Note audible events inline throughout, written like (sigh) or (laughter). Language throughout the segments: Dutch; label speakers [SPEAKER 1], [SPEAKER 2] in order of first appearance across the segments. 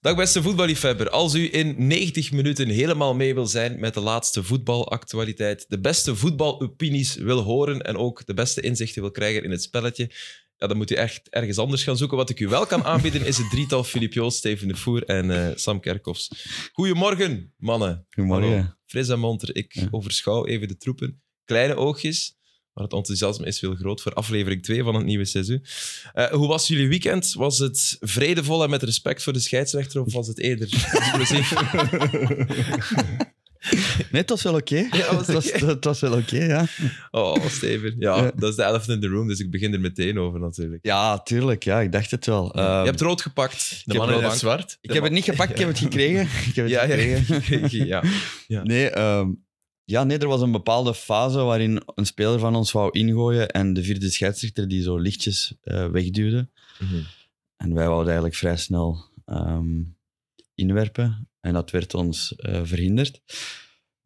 [SPEAKER 1] Dag beste voetballiefhebber, als u in 90 minuten helemaal mee wil zijn met de laatste voetbalactualiteit, de beste voetbalopinies wil horen en ook de beste inzichten wil krijgen in het spelletje, ja, dan moet u echt ergens anders gaan zoeken. Wat ik u wel kan aanbieden is het drietal Filip Joost, Steven de Voer en eh, Sam Kerkhoffs. Goedemorgen, mannen. Hallo.
[SPEAKER 2] Goedemorgen.
[SPEAKER 1] Fris en monter, ik
[SPEAKER 2] Ja.
[SPEAKER 1] overschouw even de troepen. Kleine oogjes, maar het enthousiasme is veel groot voor aflevering 2 van het nieuwe seizoen. Eh, hoe was jullie weekend? Was het vredevol en met respect voor de scheidsrechter of was het
[SPEAKER 2] (laughs)
[SPEAKER 1] eerder explosief?
[SPEAKER 2] Nee, het was wel oké.
[SPEAKER 1] Ja, was
[SPEAKER 2] het, was,
[SPEAKER 1] oké.
[SPEAKER 2] het was wel oké, ja.
[SPEAKER 1] Oh, Steven. Ja,
[SPEAKER 2] Ja.
[SPEAKER 1] dat is de elephant in the room, dus ik begin er meteen over natuurlijk. Eh,
[SPEAKER 2] Ja, tuurlijk. Ja, ik dacht het wel. Ehm,
[SPEAKER 1] Je hebt rood gepakt.
[SPEAKER 2] heb
[SPEAKER 1] in
[SPEAKER 2] rood
[SPEAKER 1] de
[SPEAKER 2] gepakt.
[SPEAKER 1] zwart.
[SPEAKER 2] ik heb het niet gepakt, ik heb het gekregen. (laughs) Ik heb het
[SPEAKER 1] Ja, ja. (laughs)
[SPEAKER 2] gekregen. (laughs)
[SPEAKER 1] ja. Ja.
[SPEAKER 2] Nee, ehm, ja, nee, er was een bepaalde fase waarin een speler van ons wou ingooien en de vierde scheidsrechter die zo lichtjes eh, wegduwde.
[SPEAKER 1] Mhm.
[SPEAKER 2] En wij wouden eigenlijk vrij snel ehm, inwerpen en dat werd ons eh, verhinderd.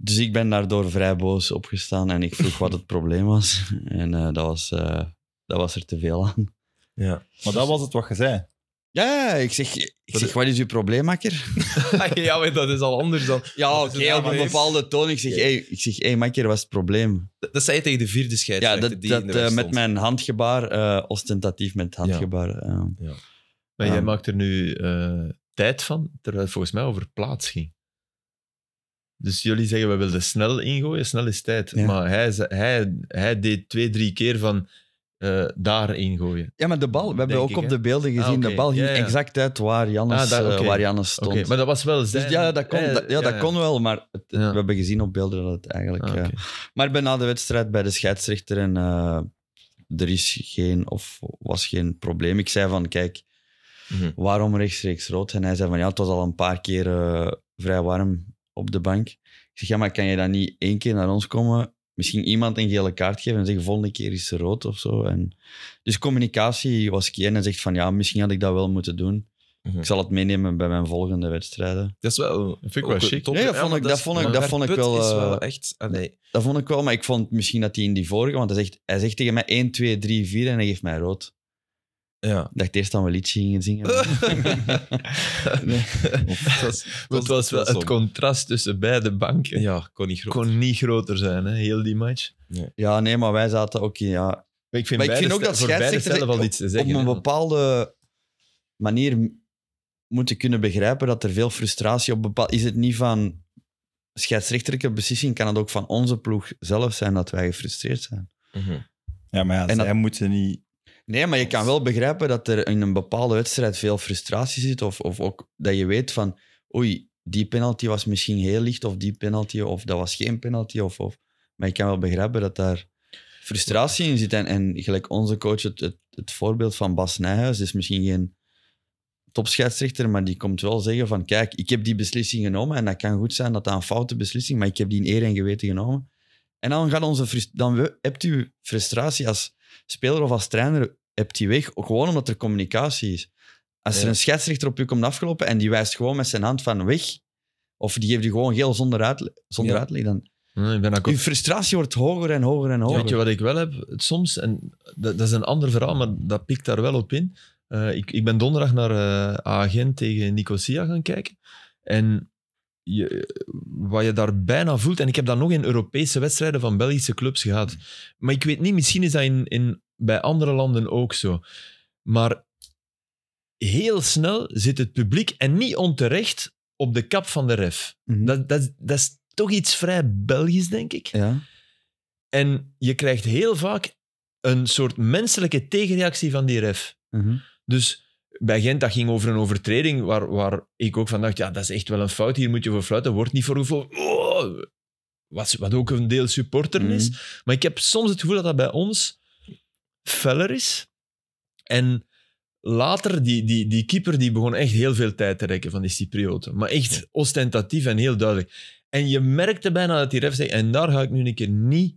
[SPEAKER 2] Dus ik ben daardoor vrij boos opgestaan en ik vroeg wat het probleem was. En eh, dat, was, eh, dat was er te veel aan.
[SPEAKER 1] ja.
[SPEAKER 3] Maar dat was het wat je zei.
[SPEAKER 2] Ja, ja, ja, ik zeg, ik
[SPEAKER 1] Wat
[SPEAKER 2] zeg
[SPEAKER 1] is-
[SPEAKER 2] wat is uw probleem, makker?
[SPEAKER 1] Ah, ja, maar dat is nou al anders dan...
[SPEAKER 2] Ja,
[SPEAKER 1] oké, op een
[SPEAKER 2] bepaalde toon. Ik zeg, hey, ik zeg, hey, makker, wat is het probleem?
[SPEAKER 1] Dat zei je tegen de vierde
[SPEAKER 2] Ja,
[SPEAKER 1] scheidsrechter
[SPEAKER 2] dat,
[SPEAKER 1] die in
[SPEAKER 2] dat
[SPEAKER 1] de weg
[SPEAKER 2] eh, met
[SPEAKER 1] stond.
[SPEAKER 2] mijn handgebaar, eh, ostentatief met het handgebaar. eh.
[SPEAKER 4] Maar jij
[SPEAKER 2] Ja.
[SPEAKER 4] maakt er nu eh, tijd van, terwijl het volgens mij over plaats ging. Dus jullie zeggen, we wilden snel ingooien, snel is tijd.
[SPEAKER 2] Ja.
[SPEAKER 4] Maar hij, ze- hij, hij deed twee, drie keer van eh, daar ingooien.
[SPEAKER 2] Ja, maar de bal, we hebben
[SPEAKER 4] Denk
[SPEAKER 2] ook
[SPEAKER 4] ik,
[SPEAKER 2] op
[SPEAKER 4] hè?
[SPEAKER 2] de beelden gezien,
[SPEAKER 4] Ah, oké.
[SPEAKER 2] de bal ging
[SPEAKER 4] Ja, ja.
[SPEAKER 2] exact uit waar Jannes,
[SPEAKER 4] Ah, daar,
[SPEAKER 2] eh,
[SPEAKER 4] oké.
[SPEAKER 2] waar Jannes
[SPEAKER 4] Oké,
[SPEAKER 2] stond.
[SPEAKER 4] maar dat was wel zijn... eh,
[SPEAKER 2] dus ja, dat kon,
[SPEAKER 4] hij-
[SPEAKER 2] dat, ja, dat kon wel, maar het-
[SPEAKER 4] Ja.
[SPEAKER 2] we hebben gezien op beelden dat het eigenlijk...
[SPEAKER 4] Ah, oké.
[SPEAKER 2] eh, Maar ik ben na de wedstrijd bij de scheidsrechter en eh, er is geen, of was geen probleem. Ik zei van, kijk,
[SPEAKER 1] Mhm.
[SPEAKER 2] waarom rechtstreeks rood? En hij zei van, ja, het was al een paar keer eh, vrij warm op de bank. Ik zeg, ja, maar kan je dan niet één keer naar ons komen? Misschien iemand een gele kaart geven en zeggen, volgende keer is ze rood of zo. En, dus communicatie was key. En hij zegt van, ja, misschien had ik dat wel moeten doen.
[SPEAKER 1] Mhm.
[SPEAKER 2] Ik zal het meenemen bij mijn volgende wedstrijden.
[SPEAKER 1] Dat is wel...
[SPEAKER 4] Dat vind ik wel
[SPEAKER 1] ook een
[SPEAKER 4] chic.
[SPEAKER 1] top-
[SPEAKER 2] Nee, dat
[SPEAKER 1] Ja,
[SPEAKER 2] vond
[SPEAKER 1] maar
[SPEAKER 2] ik- dat
[SPEAKER 1] is-
[SPEAKER 2] vond ik-
[SPEAKER 1] maar
[SPEAKER 2] dat vond ik
[SPEAKER 1] Put
[SPEAKER 2] wel,
[SPEAKER 1] is
[SPEAKER 2] eh,
[SPEAKER 1] wel echt... ah, nee.
[SPEAKER 2] Dat vond ik wel, maar ik vond misschien dat hij in die vorige... Want hij zegt, hij zegt tegen mij 1, 2, 3, 4 en hij geeft mij rood.
[SPEAKER 1] Ja.
[SPEAKER 2] Ik dacht eerst dat we liedje gingen zingen. (laughs)
[SPEAKER 4] Eh.
[SPEAKER 1] (laughs) Dat is-
[SPEAKER 4] Het was wel het contrast tussen beide banken.
[SPEAKER 1] Ja, kon niet groot.
[SPEAKER 4] kon niet groter zijn, hè, heel die match.
[SPEAKER 2] ja, nee, maar wij zaten ook in... Ja,
[SPEAKER 4] Maar ik vind,
[SPEAKER 2] Maar ik
[SPEAKER 4] beide
[SPEAKER 2] vind ook
[SPEAKER 4] stel-
[SPEAKER 2] dat
[SPEAKER 4] voor beide
[SPEAKER 2] scheidsrechters
[SPEAKER 4] stellen wel iets te zeggen.
[SPEAKER 2] op een
[SPEAKER 4] hè.
[SPEAKER 2] bepaalde manier m- moeten kunnen begrijpen dat er veel frustratie op bepaald... Is het niet van scheidsrechterlijke beslissing, kan het ook van onze ploeg zelf zijn dat wij gefrustreerd zijn.
[SPEAKER 1] Mhm.
[SPEAKER 3] Ja, maar ja,
[SPEAKER 2] En
[SPEAKER 3] zij
[SPEAKER 2] dat-
[SPEAKER 3] moeten niet...
[SPEAKER 2] Nee, maar je kan wel begrijpen dat er in een bepaalde wedstrijd veel frustratie zit. Of, of ook dat je weet van, oei, die penalty was misschien heel licht, of die penalty, of dat was geen penalty. Of, of. Maar je kan wel begrijpen dat daar frustratie in zit. En, en gelijk onze coach, het, het, het voorbeeld van Bas Nijhuis, is misschien geen topscheidsrechter, maar die komt wel zeggen van, kijk, ik heb die beslissing genomen en dat kan goed zijn dat dat een foute beslissing, maar ik heb die in eer en geweten genomen. En dan, gaat onze frust- dan we- hebt u frustratie als speler of als trainer, hebt die weg, ook gewoon omdat er communicatie is. Als er
[SPEAKER 1] Ja.
[SPEAKER 2] een scheidsrechter op u komt afgelopen en die wijst gewoon met zijn hand van weg, of die geeft u gewoon geel zonder, uitle zonder
[SPEAKER 1] Ja.
[SPEAKER 2] uitleg, dan...
[SPEAKER 4] Ja, ik ben akkoord.
[SPEAKER 2] Uw frustratie wordt hoger en hoger en hoger.
[SPEAKER 4] Weet je wat ik wel heb? Soms, en dat, dat is een ander verhaal, maar dat pikt daar wel op in. Eh, ik, ik ben donderdag naar eh Agent tegen Nicosia gaan kijken. En je, wat je daar bijna voelt, en ik heb dat nog in Europese wedstrijden van Belgische clubs gehad. Maar ik weet niet, misschien is dat in, in, bij andere landen ook zo. Maar heel snel zit het publiek, en niet onterecht, op de kap van de ref.
[SPEAKER 2] Mhm.
[SPEAKER 4] Dat, dat, dat is toch iets vrij Belgisch, denk ik.
[SPEAKER 2] Ja.
[SPEAKER 4] En je krijgt heel vaak een soort menselijke tegenreactie van die ref.
[SPEAKER 2] Mhm.
[SPEAKER 4] Dus bij Gent, dat ging over een overtreding waar, waar ik ook van dacht, ja, dat is echt wel een fout, hier moet je voor fluiten, wordt niet voor gefloten. Oh, wat, wat ook een deel
[SPEAKER 2] Mm.
[SPEAKER 4] supporter is.
[SPEAKER 2] Mhm.
[SPEAKER 4] Maar ik heb soms het gevoel dat dat bij ons feller is. En later, die, die, die keeper die begon echt heel veel tijd te rekken van die Cyprioten. Maar echt ostentatief en heel duidelijk. En je merkte bijna dat die ref zei, en daar ga ik nu een keer niet,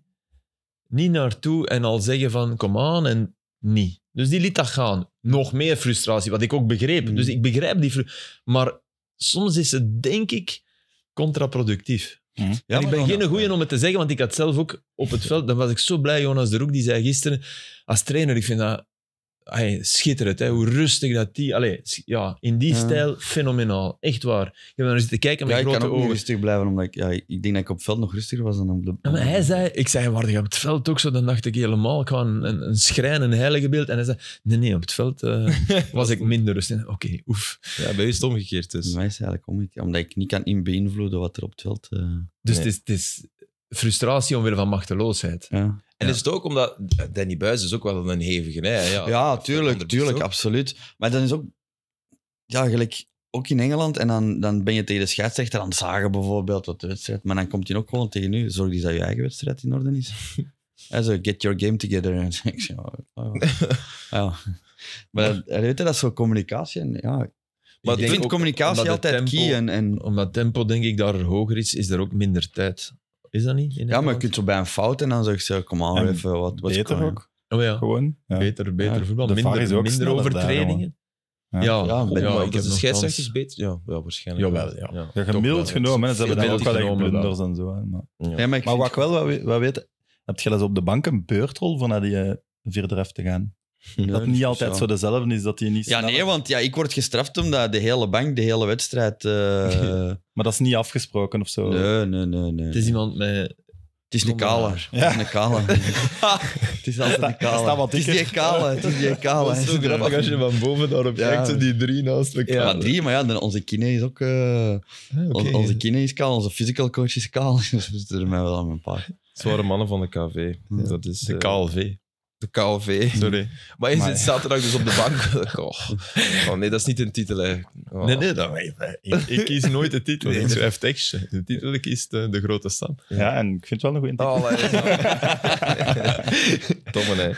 [SPEAKER 4] niet naartoe en al zeggen van, kom aan, en niet. Dus die liet dat gaan. Nog meer frustratie, wat ik ook begreep.
[SPEAKER 2] Mm.
[SPEAKER 4] Dus ik begrijp die frustratie. Maar soms is het, denk ik, contraproductief.
[SPEAKER 1] Mhm.
[SPEAKER 2] Ja,
[SPEAKER 4] En ik
[SPEAKER 2] maar
[SPEAKER 4] ben
[SPEAKER 2] dan-
[SPEAKER 4] geen goeie om het te zeggen, want ik had zelf ook op het veld, dan was ik zo blij, Jonas de Roek, die zei gisteren, als trainer, ik vind dat ay, schitterend, hè, hoe rustig dat die... Allee, s- ja, in die
[SPEAKER 2] Ja.
[SPEAKER 4] stijl, fenomenaal. Echt waar. Ik heb naar zitten kijken met
[SPEAKER 2] Ja, ik kan
[SPEAKER 4] grote
[SPEAKER 2] ook niet
[SPEAKER 4] ogen.
[SPEAKER 2] rustig blijven, omdat ik, ja, ik denk dat ik op veld nog rustiger was dan op de...
[SPEAKER 4] Ja, maar hij zei, ik zei, waar je op het veld ook zo? Dan dacht ik helemaal, ik had een, een schrijn, een heilige beeld. En hij zei, nee, nee, op het veld eh, was ik minder rustig. Oké, oef.
[SPEAKER 1] Ja, bij u is het omgekeerd dus.
[SPEAKER 2] Bij mij is het eigenlijk omgekeerd, omdat ik niet kan in beïnvloeden wat er op het veld... eh,
[SPEAKER 4] Dus
[SPEAKER 1] Nee.
[SPEAKER 4] het, is, het is frustratie omwille van machteloosheid.
[SPEAKER 2] ja.
[SPEAKER 1] En is het ook omdat Danny Buis is ook wel een hevige, hè? Ja,
[SPEAKER 2] Ja,
[SPEAKER 1] Of een
[SPEAKER 2] tuurlijk,
[SPEAKER 1] ander
[SPEAKER 2] tuurlijk,
[SPEAKER 1] persoon.
[SPEAKER 2] absoluut. Maar dan is ook, ja, gelijk, ook in Engeland, en dan, dan ben je tegen de scheidsrechter aan het zagen bijvoorbeeld wat de wedstrijd, maar dan komt hij ook gewoon tegen u, zorg eens dat je eigen wedstrijd in orde
[SPEAKER 3] (laughs)
[SPEAKER 2] is. Hij zo, get your game together. En ik zeg, oh, oh, ja. Maar dat- weet je, dat is zo communicatie. En, ja, maar ik
[SPEAKER 4] denk
[SPEAKER 2] vind
[SPEAKER 4] ook
[SPEAKER 2] communicatie
[SPEAKER 4] omdat het
[SPEAKER 2] altijd
[SPEAKER 4] tempo-
[SPEAKER 2] key. En, en,
[SPEAKER 4] Omdat tempo, denk ik, daar hoger is, is er ook minder tijd. Is dat niet? in
[SPEAKER 2] ja, maar je
[SPEAKER 4] Nederland?
[SPEAKER 2] kunt zo bij een fout en dan zeg ik zo, kom aan,
[SPEAKER 3] En
[SPEAKER 2] even wat, wat
[SPEAKER 3] Beter ook,
[SPEAKER 4] Oh ja.
[SPEAKER 3] gewoon. Ja.
[SPEAKER 4] Beter, beter
[SPEAKER 2] Ja,
[SPEAKER 4] voetbal.
[SPEAKER 3] de VAR
[SPEAKER 4] Minder,
[SPEAKER 3] is ook
[SPEAKER 4] minder
[SPEAKER 3] sneller
[SPEAKER 4] overtredingen.
[SPEAKER 3] daar,
[SPEAKER 4] ja,
[SPEAKER 2] Ja, maar-
[SPEAKER 1] Ja,
[SPEAKER 2] maar
[SPEAKER 1] ik heb de
[SPEAKER 4] nogthans-
[SPEAKER 1] scheidsrechter is beter. Ja, wel, waarschijnlijk.
[SPEAKER 4] Jawel, ja.
[SPEAKER 3] Ja,
[SPEAKER 1] Toch wel,
[SPEAKER 3] gemiddeld
[SPEAKER 1] ja.
[SPEAKER 3] genomen, hè. ze hebben dan ook
[SPEAKER 4] Gemiddeld
[SPEAKER 3] wel echt
[SPEAKER 4] genomen,
[SPEAKER 3] blunders en zo. hè, Maar,
[SPEAKER 2] Ja, maar ik
[SPEAKER 3] maar
[SPEAKER 2] vind-
[SPEAKER 3] wat ik wel wat, we- wat weet, heb je dat ze op de bank een beurt rol voor naar die eh, vierde ref te gaan?
[SPEAKER 2] Nee,
[SPEAKER 3] dat
[SPEAKER 2] dat
[SPEAKER 3] niet
[SPEAKER 2] is
[SPEAKER 3] altijd
[SPEAKER 2] zo.
[SPEAKER 3] zo dezelfde is, dat die niet
[SPEAKER 2] Ja,
[SPEAKER 3] sneller-
[SPEAKER 2] nee, want ja, ik word gestraft omdat de hele bank de hele wedstrijd... eh,
[SPEAKER 3] Maar dat is niet afgesproken of zo.
[SPEAKER 2] Nee, nee, nee. nee.
[SPEAKER 4] Het is iemand met...
[SPEAKER 2] Het is een kale.
[SPEAKER 3] Ja.
[SPEAKER 2] Het is een kale. (laughs) het is altijd een
[SPEAKER 3] Hij staat
[SPEAKER 2] kale.
[SPEAKER 3] wat
[SPEAKER 2] Het is die
[SPEAKER 3] dikker.
[SPEAKER 2] kale. Het is die kale. (laughs)
[SPEAKER 3] Dat is zo grappig als je
[SPEAKER 4] van boven daarop
[SPEAKER 2] Ja. kijkt, zo
[SPEAKER 4] die drie naast
[SPEAKER 2] Ja,
[SPEAKER 4] elkaar.
[SPEAKER 2] maar drie, maar ja, dan onze kine is ook... eh, on- Onze kine is kaal, onze physical coach is kaal. (laughs) Dus we zitten er mij wel aan mijn paar.
[SPEAKER 1] Zware mannen van de KV.
[SPEAKER 2] Ja.
[SPEAKER 1] Dat is
[SPEAKER 4] De
[SPEAKER 1] eh,
[SPEAKER 4] KLV.
[SPEAKER 1] de KLV.
[SPEAKER 4] Sorry.
[SPEAKER 1] Maar je
[SPEAKER 3] Maar-
[SPEAKER 1] zit zaterdag dus op de bank. (laughs) Goh. Oh nee, dat is niet een titel eigenlijk. Oh.
[SPEAKER 4] Nee, nee, dat, ik, ik- ik kies nooit de (laughs) titel.
[SPEAKER 1] Nee.
[SPEAKER 4] Ik schrijf tekstje. De titel kiest de, de grote stad.
[SPEAKER 3] Ja, en ik vind het wel een goede
[SPEAKER 1] Oh, allee, zo. (laughs) Domme, hè.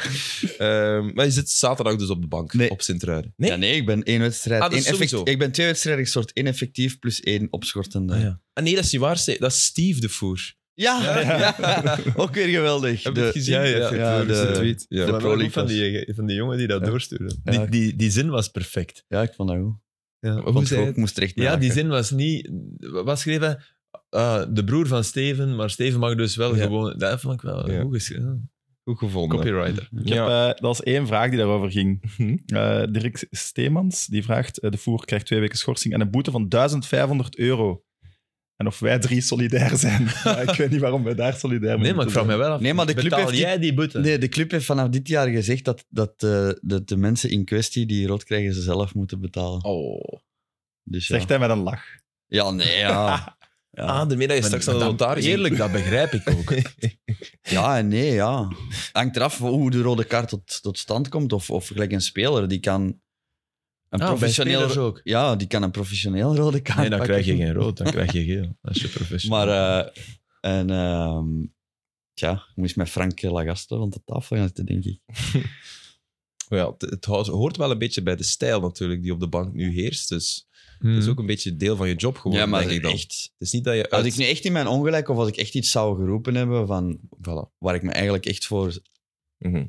[SPEAKER 1] Ehm, maar je zit zaterdag dus op de bank,
[SPEAKER 2] Nee.
[SPEAKER 1] op Sint-Truiden.
[SPEAKER 2] Nee? Ja, nee, ik ben één wedstrijd.
[SPEAKER 1] Ah, dat
[SPEAKER 2] één
[SPEAKER 1] is sowieso.
[SPEAKER 2] effect- ik ben twee wedstrijden gestort. één effectief plus één opschortende.
[SPEAKER 1] Ah, ja. Ah, nee, dat is niet waar. Steve. Dat is Steve de Voer.
[SPEAKER 2] (laughs) ja. ook weer geweldig.
[SPEAKER 1] Heb je het
[SPEAKER 2] De-
[SPEAKER 1] gezien?
[SPEAKER 4] ja, ja,
[SPEAKER 1] ja,
[SPEAKER 4] de-
[SPEAKER 1] ja, de
[SPEAKER 2] de-
[SPEAKER 1] tweet. Ja.
[SPEAKER 2] de-
[SPEAKER 4] Maar
[SPEAKER 2] Pro
[SPEAKER 4] ook
[SPEAKER 2] League
[SPEAKER 4] van
[SPEAKER 2] was-
[SPEAKER 4] die, van die jongen die dat
[SPEAKER 2] Ja.
[SPEAKER 4] doorstuurde.
[SPEAKER 2] Ja.
[SPEAKER 4] Die, die, die zin was perfect.
[SPEAKER 2] ja, ik vond dat goed.
[SPEAKER 1] Hoe
[SPEAKER 2] Want
[SPEAKER 1] zei
[SPEAKER 2] ik
[SPEAKER 1] het?
[SPEAKER 2] moest er echt
[SPEAKER 4] Ja, die
[SPEAKER 2] nadenken.
[SPEAKER 4] zin was niet... Wat schreef hij? Eh, de broer van Steven, maar Steven mag dus wel
[SPEAKER 1] Ja.
[SPEAKER 4] gewoon... Dat vond ik wel
[SPEAKER 1] Ja.
[SPEAKER 4] goed geschreven.
[SPEAKER 1] Goed gevonden.
[SPEAKER 4] Copywriter.
[SPEAKER 3] Ik heb, eh, dat was één vraag die daarover ging.
[SPEAKER 1] Hm?
[SPEAKER 3] Eh, Dirk Steemans die vraagt: eh, De voer krijgt twee weken schorsing en een boete van 1500 euro. En of wij drie solidair zijn. (laughs) Maar ik weet niet waarom wij daar solidair mee
[SPEAKER 4] Nee, maar ik vraag
[SPEAKER 3] moeten
[SPEAKER 4] mij wel af.
[SPEAKER 2] Nee, maar de club
[SPEAKER 4] betaal
[SPEAKER 2] heeft die-
[SPEAKER 4] jij die boete?
[SPEAKER 2] Nee, de club heeft vanaf dit jaar gezegd dat, dat, eh, dat de mensen in kwestie die rood krijgen, ze zelf moeten betalen.
[SPEAKER 1] Oh.
[SPEAKER 2] Dus
[SPEAKER 3] zijn.
[SPEAKER 2] ja.
[SPEAKER 3] Zegt hij met een lach.
[SPEAKER 2] ja, nee,
[SPEAKER 4] (laughs)
[SPEAKER 2] ja. ja.
[SPEAKER 1] Ah, de middag is straks naar de
[SPEAKER 4] dan-
[SPEAKER 1] notaris.
[SPEAKER 4] Eerlijk, dat begrijp ik ook.
[SPEAKER 2] Ja en nee, ja. Hangt eraf hoe de rode kaart tot, tot stand komt. Of, of gelijk een speler, die kan een
[SPEAKER 4] Ah, bij
[SPEAKER 2] professioneel...
[SPEAKER 4] spelers ook.
[SPEAKER 2] Ja, die kan een professioneel rode kaart
[SPEAKER 4] Nee, dan
[SPEAKER 2] pakken.
[SPEAKER 4] krijg je geen rood, dan krijg je geel. Als je
[SPEAKER 2] (laughs)
[SPEAKER 4] professional
[SPEAKER 2] Maar, eh, en... ehm, Tja, ik moest met Frank Lagaste rond de tafel gaan zitten, denk ik.
[SPEAKER 1] Ja, het, het houdt- hoort wel een beetje bij de stijl natuurlijk die op de bank nu heerst. Dus
[SPEAKER 4] Hmm.
[SPEAKER 1] het is ook een beetje deel van je job geworden,
[SPEAKER 2] ja, maar
[SPEAKER 1] denk ik dan.
[SPEAKER 2] echt.
[SPEAKER 1] Het is niet dat je
[SPEAKER 2] Als
[SPEAKER 1] uit...
[SPEAKER 2] ik nu echt in mijn ongelijk, of als ik echt iets zou geroepen hebben van
[SPEAKER 1] Voilà.
[SPEAKER 2] waar ik me eigenlijk echt voor
[SPEAKER 1] Mhm.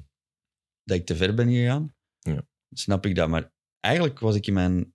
[SPEAKER 2] dat ik te ver ben gegaan.
[SPEAKER 1] Ja.
[SPEAKER 2] Snap ik dat. Maar eigenlijk was ik in mijn,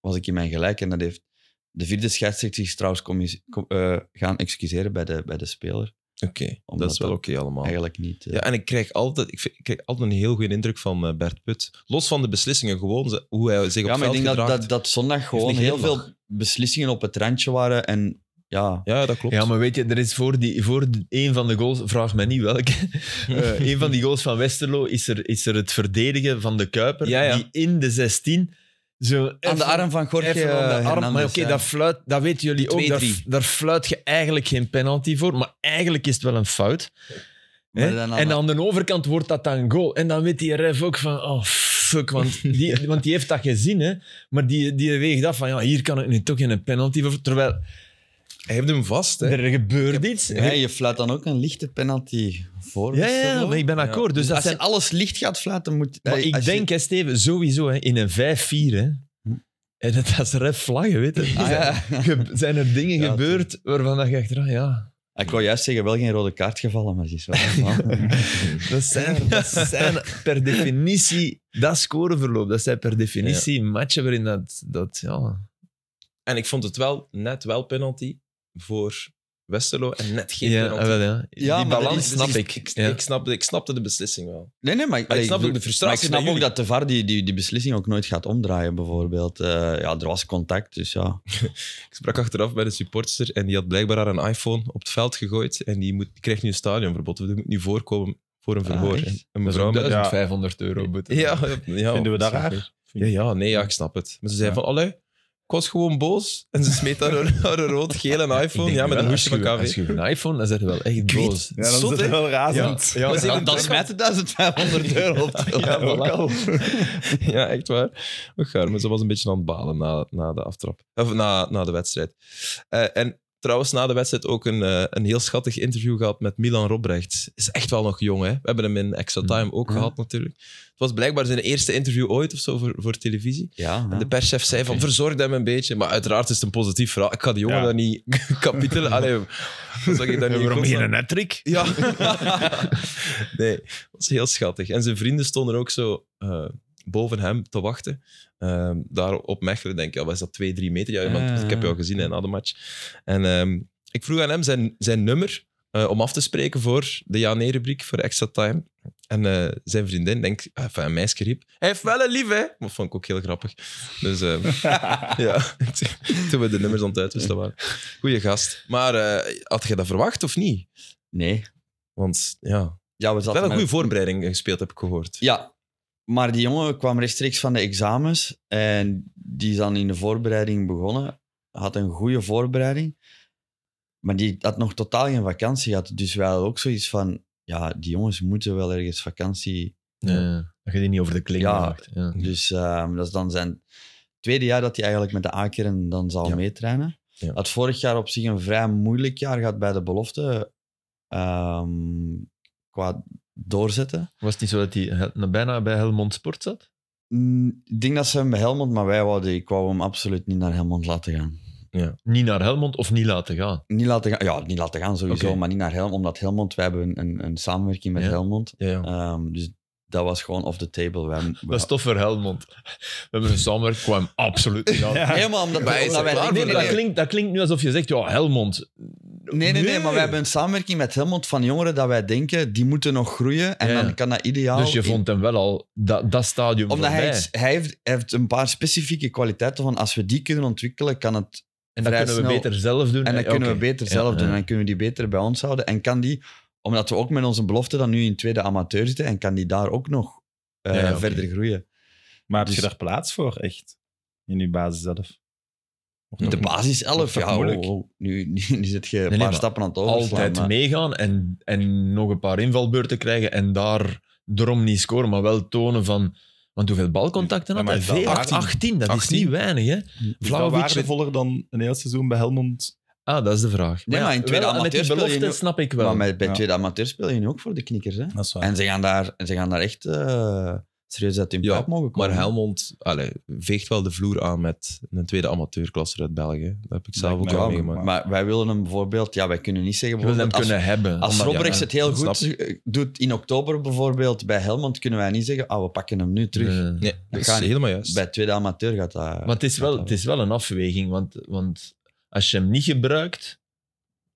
[SPEAKER 2] was ik in mijn gelijk. En dat heeft de vierde scheidsrechter zich trouwens commis- com- eh, gaan excuseren bij de, bij de speler.
[SPEAKER 1] Oké, dat
[SPEAKER 2] Omdat
[SPEAKER 1] is wel
[SPEAKER 2] dat
[SPEAKER 1] oké allemaal.
[SPEAKER 2] Eigenlijk niet.
[SPEAKER 1] Oh.
[SPEAKER 2] eh.
[SPEAKER 1] Ja, en ik krijg, altijd, ik, vind- ik krijg altijd een heel goede indruk van eh, Bert Put. Los van de beslissingen, gewoon ze- hoe hij zich
[SPEAKER 2] Ja,
[SPEAKER 1] op
[SPEAKER 2] maar
[SPEAKER 1] het
[SPEAKER 2] ik
[SPEAKER 1] veld
[SPEAKER 2] denk dat,
[SPEAKER 1] gedraagt.
[SPEAKER 2] dat, dat zondag gewoon
[SPEAKER 1] niet
[SPEAKER 2] heel
[SPEAKER 1] heel
[SPEAKER 2] veel beslissingen op het randje waren. En ja,
[SPEAKER 1] Ja, dat klopt.
[SPEAKER 4] Ja, maar weet je, er is voor, die, voor de- een van de goals, vraag mij niet welke, (laughs) eh, een van die goals van Westerlo is er, is er het verdedigen van de Kuiper,
[SPEAKER 1] Ja, ja.
[SPEAKER 4] die in de 16 zo
[SPEAKER 2] aan de arm van Jorge eh,
[SPEAKER 4] even aan de arm,
[SPEAKER 2] Hernandez,
[SPEAKER 4] maar oké,
[SPEAKER 2] hè.
[SPEAKER 4] dat fluit, dat weten jullie ook, daar,
[SPEAKER 1] 2-3.
[SPEAKER 4] daar fluit je eigenlijk geen penalty voor, maar eigenlijk is het wel een fout.
[SPEAKER 2] Maar
[SPEAKER 4] Hè?
[SPEAKER 2] dan aan
[SPEAKER 4] en
[SPEAKER 2] de-
[SPEAKER 4] aan de overkant wordt dat dan goal. En dan weet die ref ook van, oh fuck,
[SPEAKER 2] (laughs)
[SPEAKER 4] want die, want die heeft dat gezien, hè. Maar die, die weegt af van, ja, hier kan ik nu toch geen penalty voor... Terwijl,
[SPEAKER 1] Hij heeft hem vast, hè.
[SPEAKER 4] er gebeurt iets.
[SPEAKER 2] Ja, je fluit dan ook een lichte penalty voor.
[SPEAKER 4] Ja, ja,
[SPEAKER 2] Westerlo.
[SPEAKER 4] ja, maar ik ben
[SPEAKER 1] Ja.
[SPEAKER 4] akkoord. Dus dat
[SPEAKER 2] als je
[SPEAKER 4] zijn...
[SPEAKER 2] alles licht gaat fluiten, moet...
[SPEAKER 4] Maar
[SPEAKER 2] eh,
[SPEAKER 4] ik
[SPEAKER 2] als je-
[SPEAKER 4] denk, hè, Steven, sowieso hè, in een 5-4. Hè, en dat is ref vlaggen, weet je.
[SPEAKER 2] Ah,
[SPEAKER 1] (laughs)
[SPEAKER 2] ja.
[SPEAKER 4] Ge- Zijn er dingen
[SPEAKER 2] Ja,
[SPEAKER 4] gebeurd waarvan dat je achteraf, ja,
[SPEAKER 2] Ik wou juist zeggen, wel geen rode kaart gevallen, maar ze
[SPEAKER 1] (laughs)
[SPEAKER 2] is wel gevallen.
[SPEAKER 4] (laughs) dat zijn, dat zijn per definitie, dat scoreverloop, dat zijn per definitie matchen waarin dat, dat ja.
[SPEAKER 1] En ik vond het wel net wel penalty voor Westerlo en net geen
[SPEAKER 4] Ja,
[SPEAKER 1] penalty.
[SPEAKER 4] ah, wel, ja.
[SPEAKER 2] Ja,
[SPEAKER 1] Die
[SPEAKER 2] maar
[SPEAKER 1] balans
[SPEAKER 2] dat is-
[SPEAKER 1] snap
[SPEAKER 2] dus
[SPEAKER 1] ik. Ik,
[SPEAKER 4] ja.
[SPEAKER 1] ik snapte, ik snapte de beslissing wel.
[SPEAKER 2] Nee, nee, maar
[SPEAKER 1] Maar ik snap
[SPEAKER 2] bedoel-
[SPEAKER 1] ook de frustratie
[SPEAKER 2] Maar ik
[SPEAKER 1] bij
[SPEAKER 2] snap ook
[SPEAKER 1] jullie.
[SPEAKER 2] dat de VAR die, die, die beslissing ook nooit gaat omdraaien, bijvoorbeeld. Eh, ja, er was contact, dus ja.
[SPEAKER 1] Ik sprak achteraf bij de supporter en die had blijkbaar haar een iPhone op het veld gegooid en die, moet, die krijgt nu een stadionverbod. Die moet nu voorkomen voor een
[SPEAKER 2] Ah,
[SPEAKER 1] verhoor.
[SPEAKER 2] echt?
[SPEAKER 1] En een
[SPEAKER 4] Dat is
[SPEAKER 1] mevrouw
[SPEAKER 4] ook
[SPEAKER 1] met-
[SPEAKER 4] 1500 euro boete.
[SPEAKER 1] Ja, ja,
[SPEAKER 3] Vinden we dat
[SPEAKER 1] waarschijnlijk.
[SPEAKER 3] raar?
[SPEAKER 1] Ja, ja, nee, ja, ik snap het. Maar ze zei
[SPEAKER 3] Ja.
[SPEAKER 1] van, allee, ik was gewoon boos. En ze smeet haar, haar rood-gele iPhone, ja, met een hoesje van
[SPEAKER 4] Als
[SPEAKER 1] KV.
[SPEAKER 4] je een iPhone, dan zit je wel echt
[SPEAKER 1] Ik weet-
[SPEAKER 4] boos.
[SPEAKER 3] Ja, dan
[SPEAKER 1] Zot,
[SPEAKER 3] is het
[SPEAKER 1] hè?
[SPEAKER 3] wel razend.
[SPEAKER 1] Ja, maar ze heeft
[SPEAKER 2] Dan,
[SPEAKER 1] een
[SPEAKER 2] dan
[SPEAKER 1] plek
[SPEAKER 2] smijt het 1500 euro op de
[SPEAKER 3] Ja, ook al.
[SPEAKER 2] (laughs)
[SPEAKER 1] Ja, echt waar. Och, gaar, maar ze was een beetje aan het balen na, na de aftrap. Of na, na de wedstrijd. Eh, en trouwens, na de wedstrijd ook een, eh, een heel schattig interview gehad met Milan Robrecht. Is echt wel nog jong, hè? We hebben hem in Extra Time ook
[SPEAKER 2] Ja.
[SPEAKER 1] gehad, natuurlijk. Het was blijkbaar zijn eerste interview ooit of zo voor, voor televisie.
[SPEAKER 2] Ja,
[SPEAKER 1] En
[SPEAKER 2] ja.
[SPEAKER 1] de perschef zei van, verzorg hem een beetje. Maar uiteraard is het een positief verhaal. Ik ga die jongen
[SPEAKER 3] Ja.
[SPEAKER 1] daar niet (laughs) kapitelen.
[SPEAKER 4] (laughs)
[SPEAKER 1] Allee, wat zeg ik daar niet?
[SPEAKER 4] Waarom
[SPEAKER 1] in
[SPEAKER 4] hier
[SPEAKER 1] godsnaam?
[SPEAKER 4] een hat
[SPEAKER 1] Ja. (laughs) nee, dat was heel schattig. En zijn vrienden stonden ook zo eh, boven hem te wachten. Ehm, daar op Mechelen, denk ik, ja, was dat twee, drie meter? Ja, want
[SPEAKER 2] Ah.
[SPEAKER 1] ik heb jou gezien hè, na de match. En ehm, ik vroeg aan hem zijn, zijn nummer eh, om af te spreken voor de ja rubriek voor Extra Time. En eh, zijn vriendin, denk ik, enfin, een meisje riep, hij heeft wel een lief, hè? Dat vond ik ook heel grappig. Dus ehm, ja, (laughs) toen we de nummers aan het uitwisselen waren. Goeie gast. Maar eh, had je dat verwacht of niet?
[SPEAKER 2] Nee.
[SPEAKER 1] Want ja,
[SPEAKER 2] Ja, we zaten
[SPEAKER 1] wel een
[SPEAKER 2] met-
[SPEAKER 1] goede voorbereiding gespeeld, heb ik gehoord.
[SPEAKER 2] Ja, maar die jongen kwam rechtstreeks van de examens en die is dan in de voorbereiding begonnen. Had een goede voorbereiding, maar die had nog totaal geen vakantie gehad. Dus wij hadden ook zoiets van, ja, die jongens moeten wel ergens vakantie.
[SPEAKER 4] Dat je die niet over de kling
[SPEAKER 2] Ja.
[SPEAKER 4] maakt. Ja.
[SPEAKER 2] Dus ehm, dat is dan zijn tweede jaar dat hij eigenlijk met de A-kern dan zal
[SPEAKER 1] Ja.
[SPEAKER 2] meetrainen.
[SPEAKER 1] Ja.
[SPEAKER 2] Had vorig jaar op zich een vrij moeilijk jaar gehad bij de belofte ehm, qua doorzetten.
[SPEAKER 4] Was het niet zo dat hij he- bijna bij Helmond Sport zat?
[SPEAKER 2] Mm, Ik denk dat ze hem bij Helmond, maar wij wouden, ik wou hem absoluut niet naar Helmond laten gaan.
[SPEAKER 4] Niet naar Helmond of niet laten gaan?
[SPEAKER 2] Niet laten gaan, ja, niet laten gaan sowieso,
[SPEAKER 4] Oké.
[SPEAKER 2] maar niet naar Helmond, omdat Helmond, wij hebben een, een, een samenwerking met
[SPEAKER 4] Ja.
[SPEAKER 2] Helmond.
[SPEAKER 1] Ja, ja.
[SPEAKER 2] Ehm, dus dat was gewoon off the table. Wij,
[SPEAKER 4] Dat is tof voor Helmond. We hebben een samenwerking, kwam absoluut niet aan.
[SPEAKER 3] Ja.
[SPEAKER 2] (laughs) Helemaal omdat,
[SPEAKER 1] Maar hij is
[SPEAKER 2] omdat
[SPEAKER 1] er
[SPEAKER 2] wij...
[SPEAKER 1] klaar
[SPEAKER 2] Nee,
[SPEAKER 1] voor,
[SPEAKER 2] nee,
[SPEAKER 4] dat,
[SPEAKER 2] nee.
[SPEAKER 4] klinkt, dat klinkt nu alsof je zegt, ja, Helmond.
[SPEAKER 2] Nee, nee, nee, maar wij hebben een samenwerking met Helmond van jongeren dat wij denken, die moeten nog groeien en
[SPEAKER 4] Ja, ja.
[SPEAKER 2] dan kan dat ideaal...
[SPEAKER 4] Dus je
[SPEAKER 2] in-
[SPEAKER 4] vond hem wel al dat, dat stadium
[SPEAKER 2] omdat hij,
[SPEAKER 4] voorbij.
[SPEAKER 2] iets- hij heeft, hij heeft een paar specifieke kwaliteiten van als we die kunnen ontwikkelen, kan het
[SPEAKER 4] en dat
[SPEAKER 2] vrij
[SPEAKER 4] kunnen we
[SPEAKER 2] snel-
[SPEAKER 4] beter zelf doen.
[SPEAKER 2] En dan
[SPEAKER 4] Ja,
[SPEAKER 2] kunnen
[SPEAKER 4] oké.
[SPEAKER 2] we beter
[SPEAKER 4] Ja,
[SPEAKER 2] zelf doen.
[SPEAKER 4] ja.
[SPEAKER 2] En dan kunnen we die beter bij ons houden. En kan die, omdat we ook met onze belofte dan nu in tweede amateur zitten, en kan die daar ook nog eh,
[SPEAKER 4] Ja, ja, oké.
[SPEAKER 2] verder groeien.
[SPEAKER 3] Maar heb je
[SPEAKER 2] Dus-
[SPEAKER 3] daar plaats voor, echt? In je basis zelf? Wordt
[SPEAKER 2] De
[SPEAKER 3] nog-
[SPEAKER 2] basis 11,
[SPEAKER 3] toch
[SPEAKER 2] ja,
[SPEAKER 3] moeilijk?
[SPEAKER 2] oh, oh, nu, nu, nu zit je een paar
[SPEAKER 4] nee, maar
[SPEAKER 2] stappen aan het overslaan.
[SPEAKER 4] Altijd
[SPEAKER 2] maar-
[SPEAKER 4] meegaan en, en nog een paar invalbeurten krijgen en daar erom niet scoren, maar wel tonen van... Want hoeveel balcontacten had
[SPEAKER 3] Ja,
[SPEAKER 4] hij?
[SPEAKER 3] maar het is wel
[SPEAKER 4] 18, 18, dat is
[SPEAKER 1] 18.
[SPEAKER 4] niet weinig, hè?
[SPEAKER 3] Is dat
[SPEAKER 4] Vlahovic-
[SPEAKER 3] waardevoller dan een heel seizoen bij Helmond?
[SPEAKER 4] Ah, dat is de vraag.
[SPEAKER 2] Nee, maar in tweede
[SPEAKER 4] wel, met die
[SPEAKER 2] amateur speel je
[SPEAKER 4] belofte
[SPEAKER 2] nu-
[SPEAKER 4] snap ik wel.
[SPEAKER 2] Maar met, bij
[SPEAKER 3] Ja.
[SPEAKER 2] tweede amateur speel je nu ook voor de knikkers. Hè?
[SPEAKER 3] Dat is waar.
[SPEAKER 2] En ze gaan daar, en ze gaan daar echt eh, serieus uit hun
[SPEAKER 1] Ja,
[SPEAKER 2] pijp mogen komen.
[SPEAKER 1] Maar Helmond allee, veegt wel de vloer aan met een tweede amateurklasse uit België. Dat heb ik zelf
[SPEAKER 3] Lijkt
[SPEAKER 1] ook
[SPEAKER 3] mij
[SPEAKER 1] al
[SPEAKER 3] ook,
[SPEAKER 1] meegemaakt.
[SPEAKER 2] Maar wij willen hem bijvoorbeeld, ja, wij kunnen niet zeggen
[SPEAKER 4] je wil hem
[SPEAKER 2] bijvoorbeeld als-
[SPEAKER 4] kunnen hebben.
[SPEAKER 2] Als
[SPEAKER 4] Omdat-
[SPEAKER 2] Robrechts
[SPEAKER 4] ja,
[SPEAKER 2] het heel
[SPEAKER 1] snap
[SPEAKER 2] goed doet in oktober bijvoorbeeld bij Helmond, kunnen wij niet zeggen, ah, we pakken hem nu terug.
[SPEAKER 4] nee.
[SPEAKER 1] Nee, dat is
[SPEAKER 2] gaat niet.
[SPEAKER 1] helemaal juist.
[SPEAKER 2] Bij tweede amateur gaat dat...
[SPEAKER 4] Maar het is wel, het is wel een afweging, want, want als je hem niet gebruikt,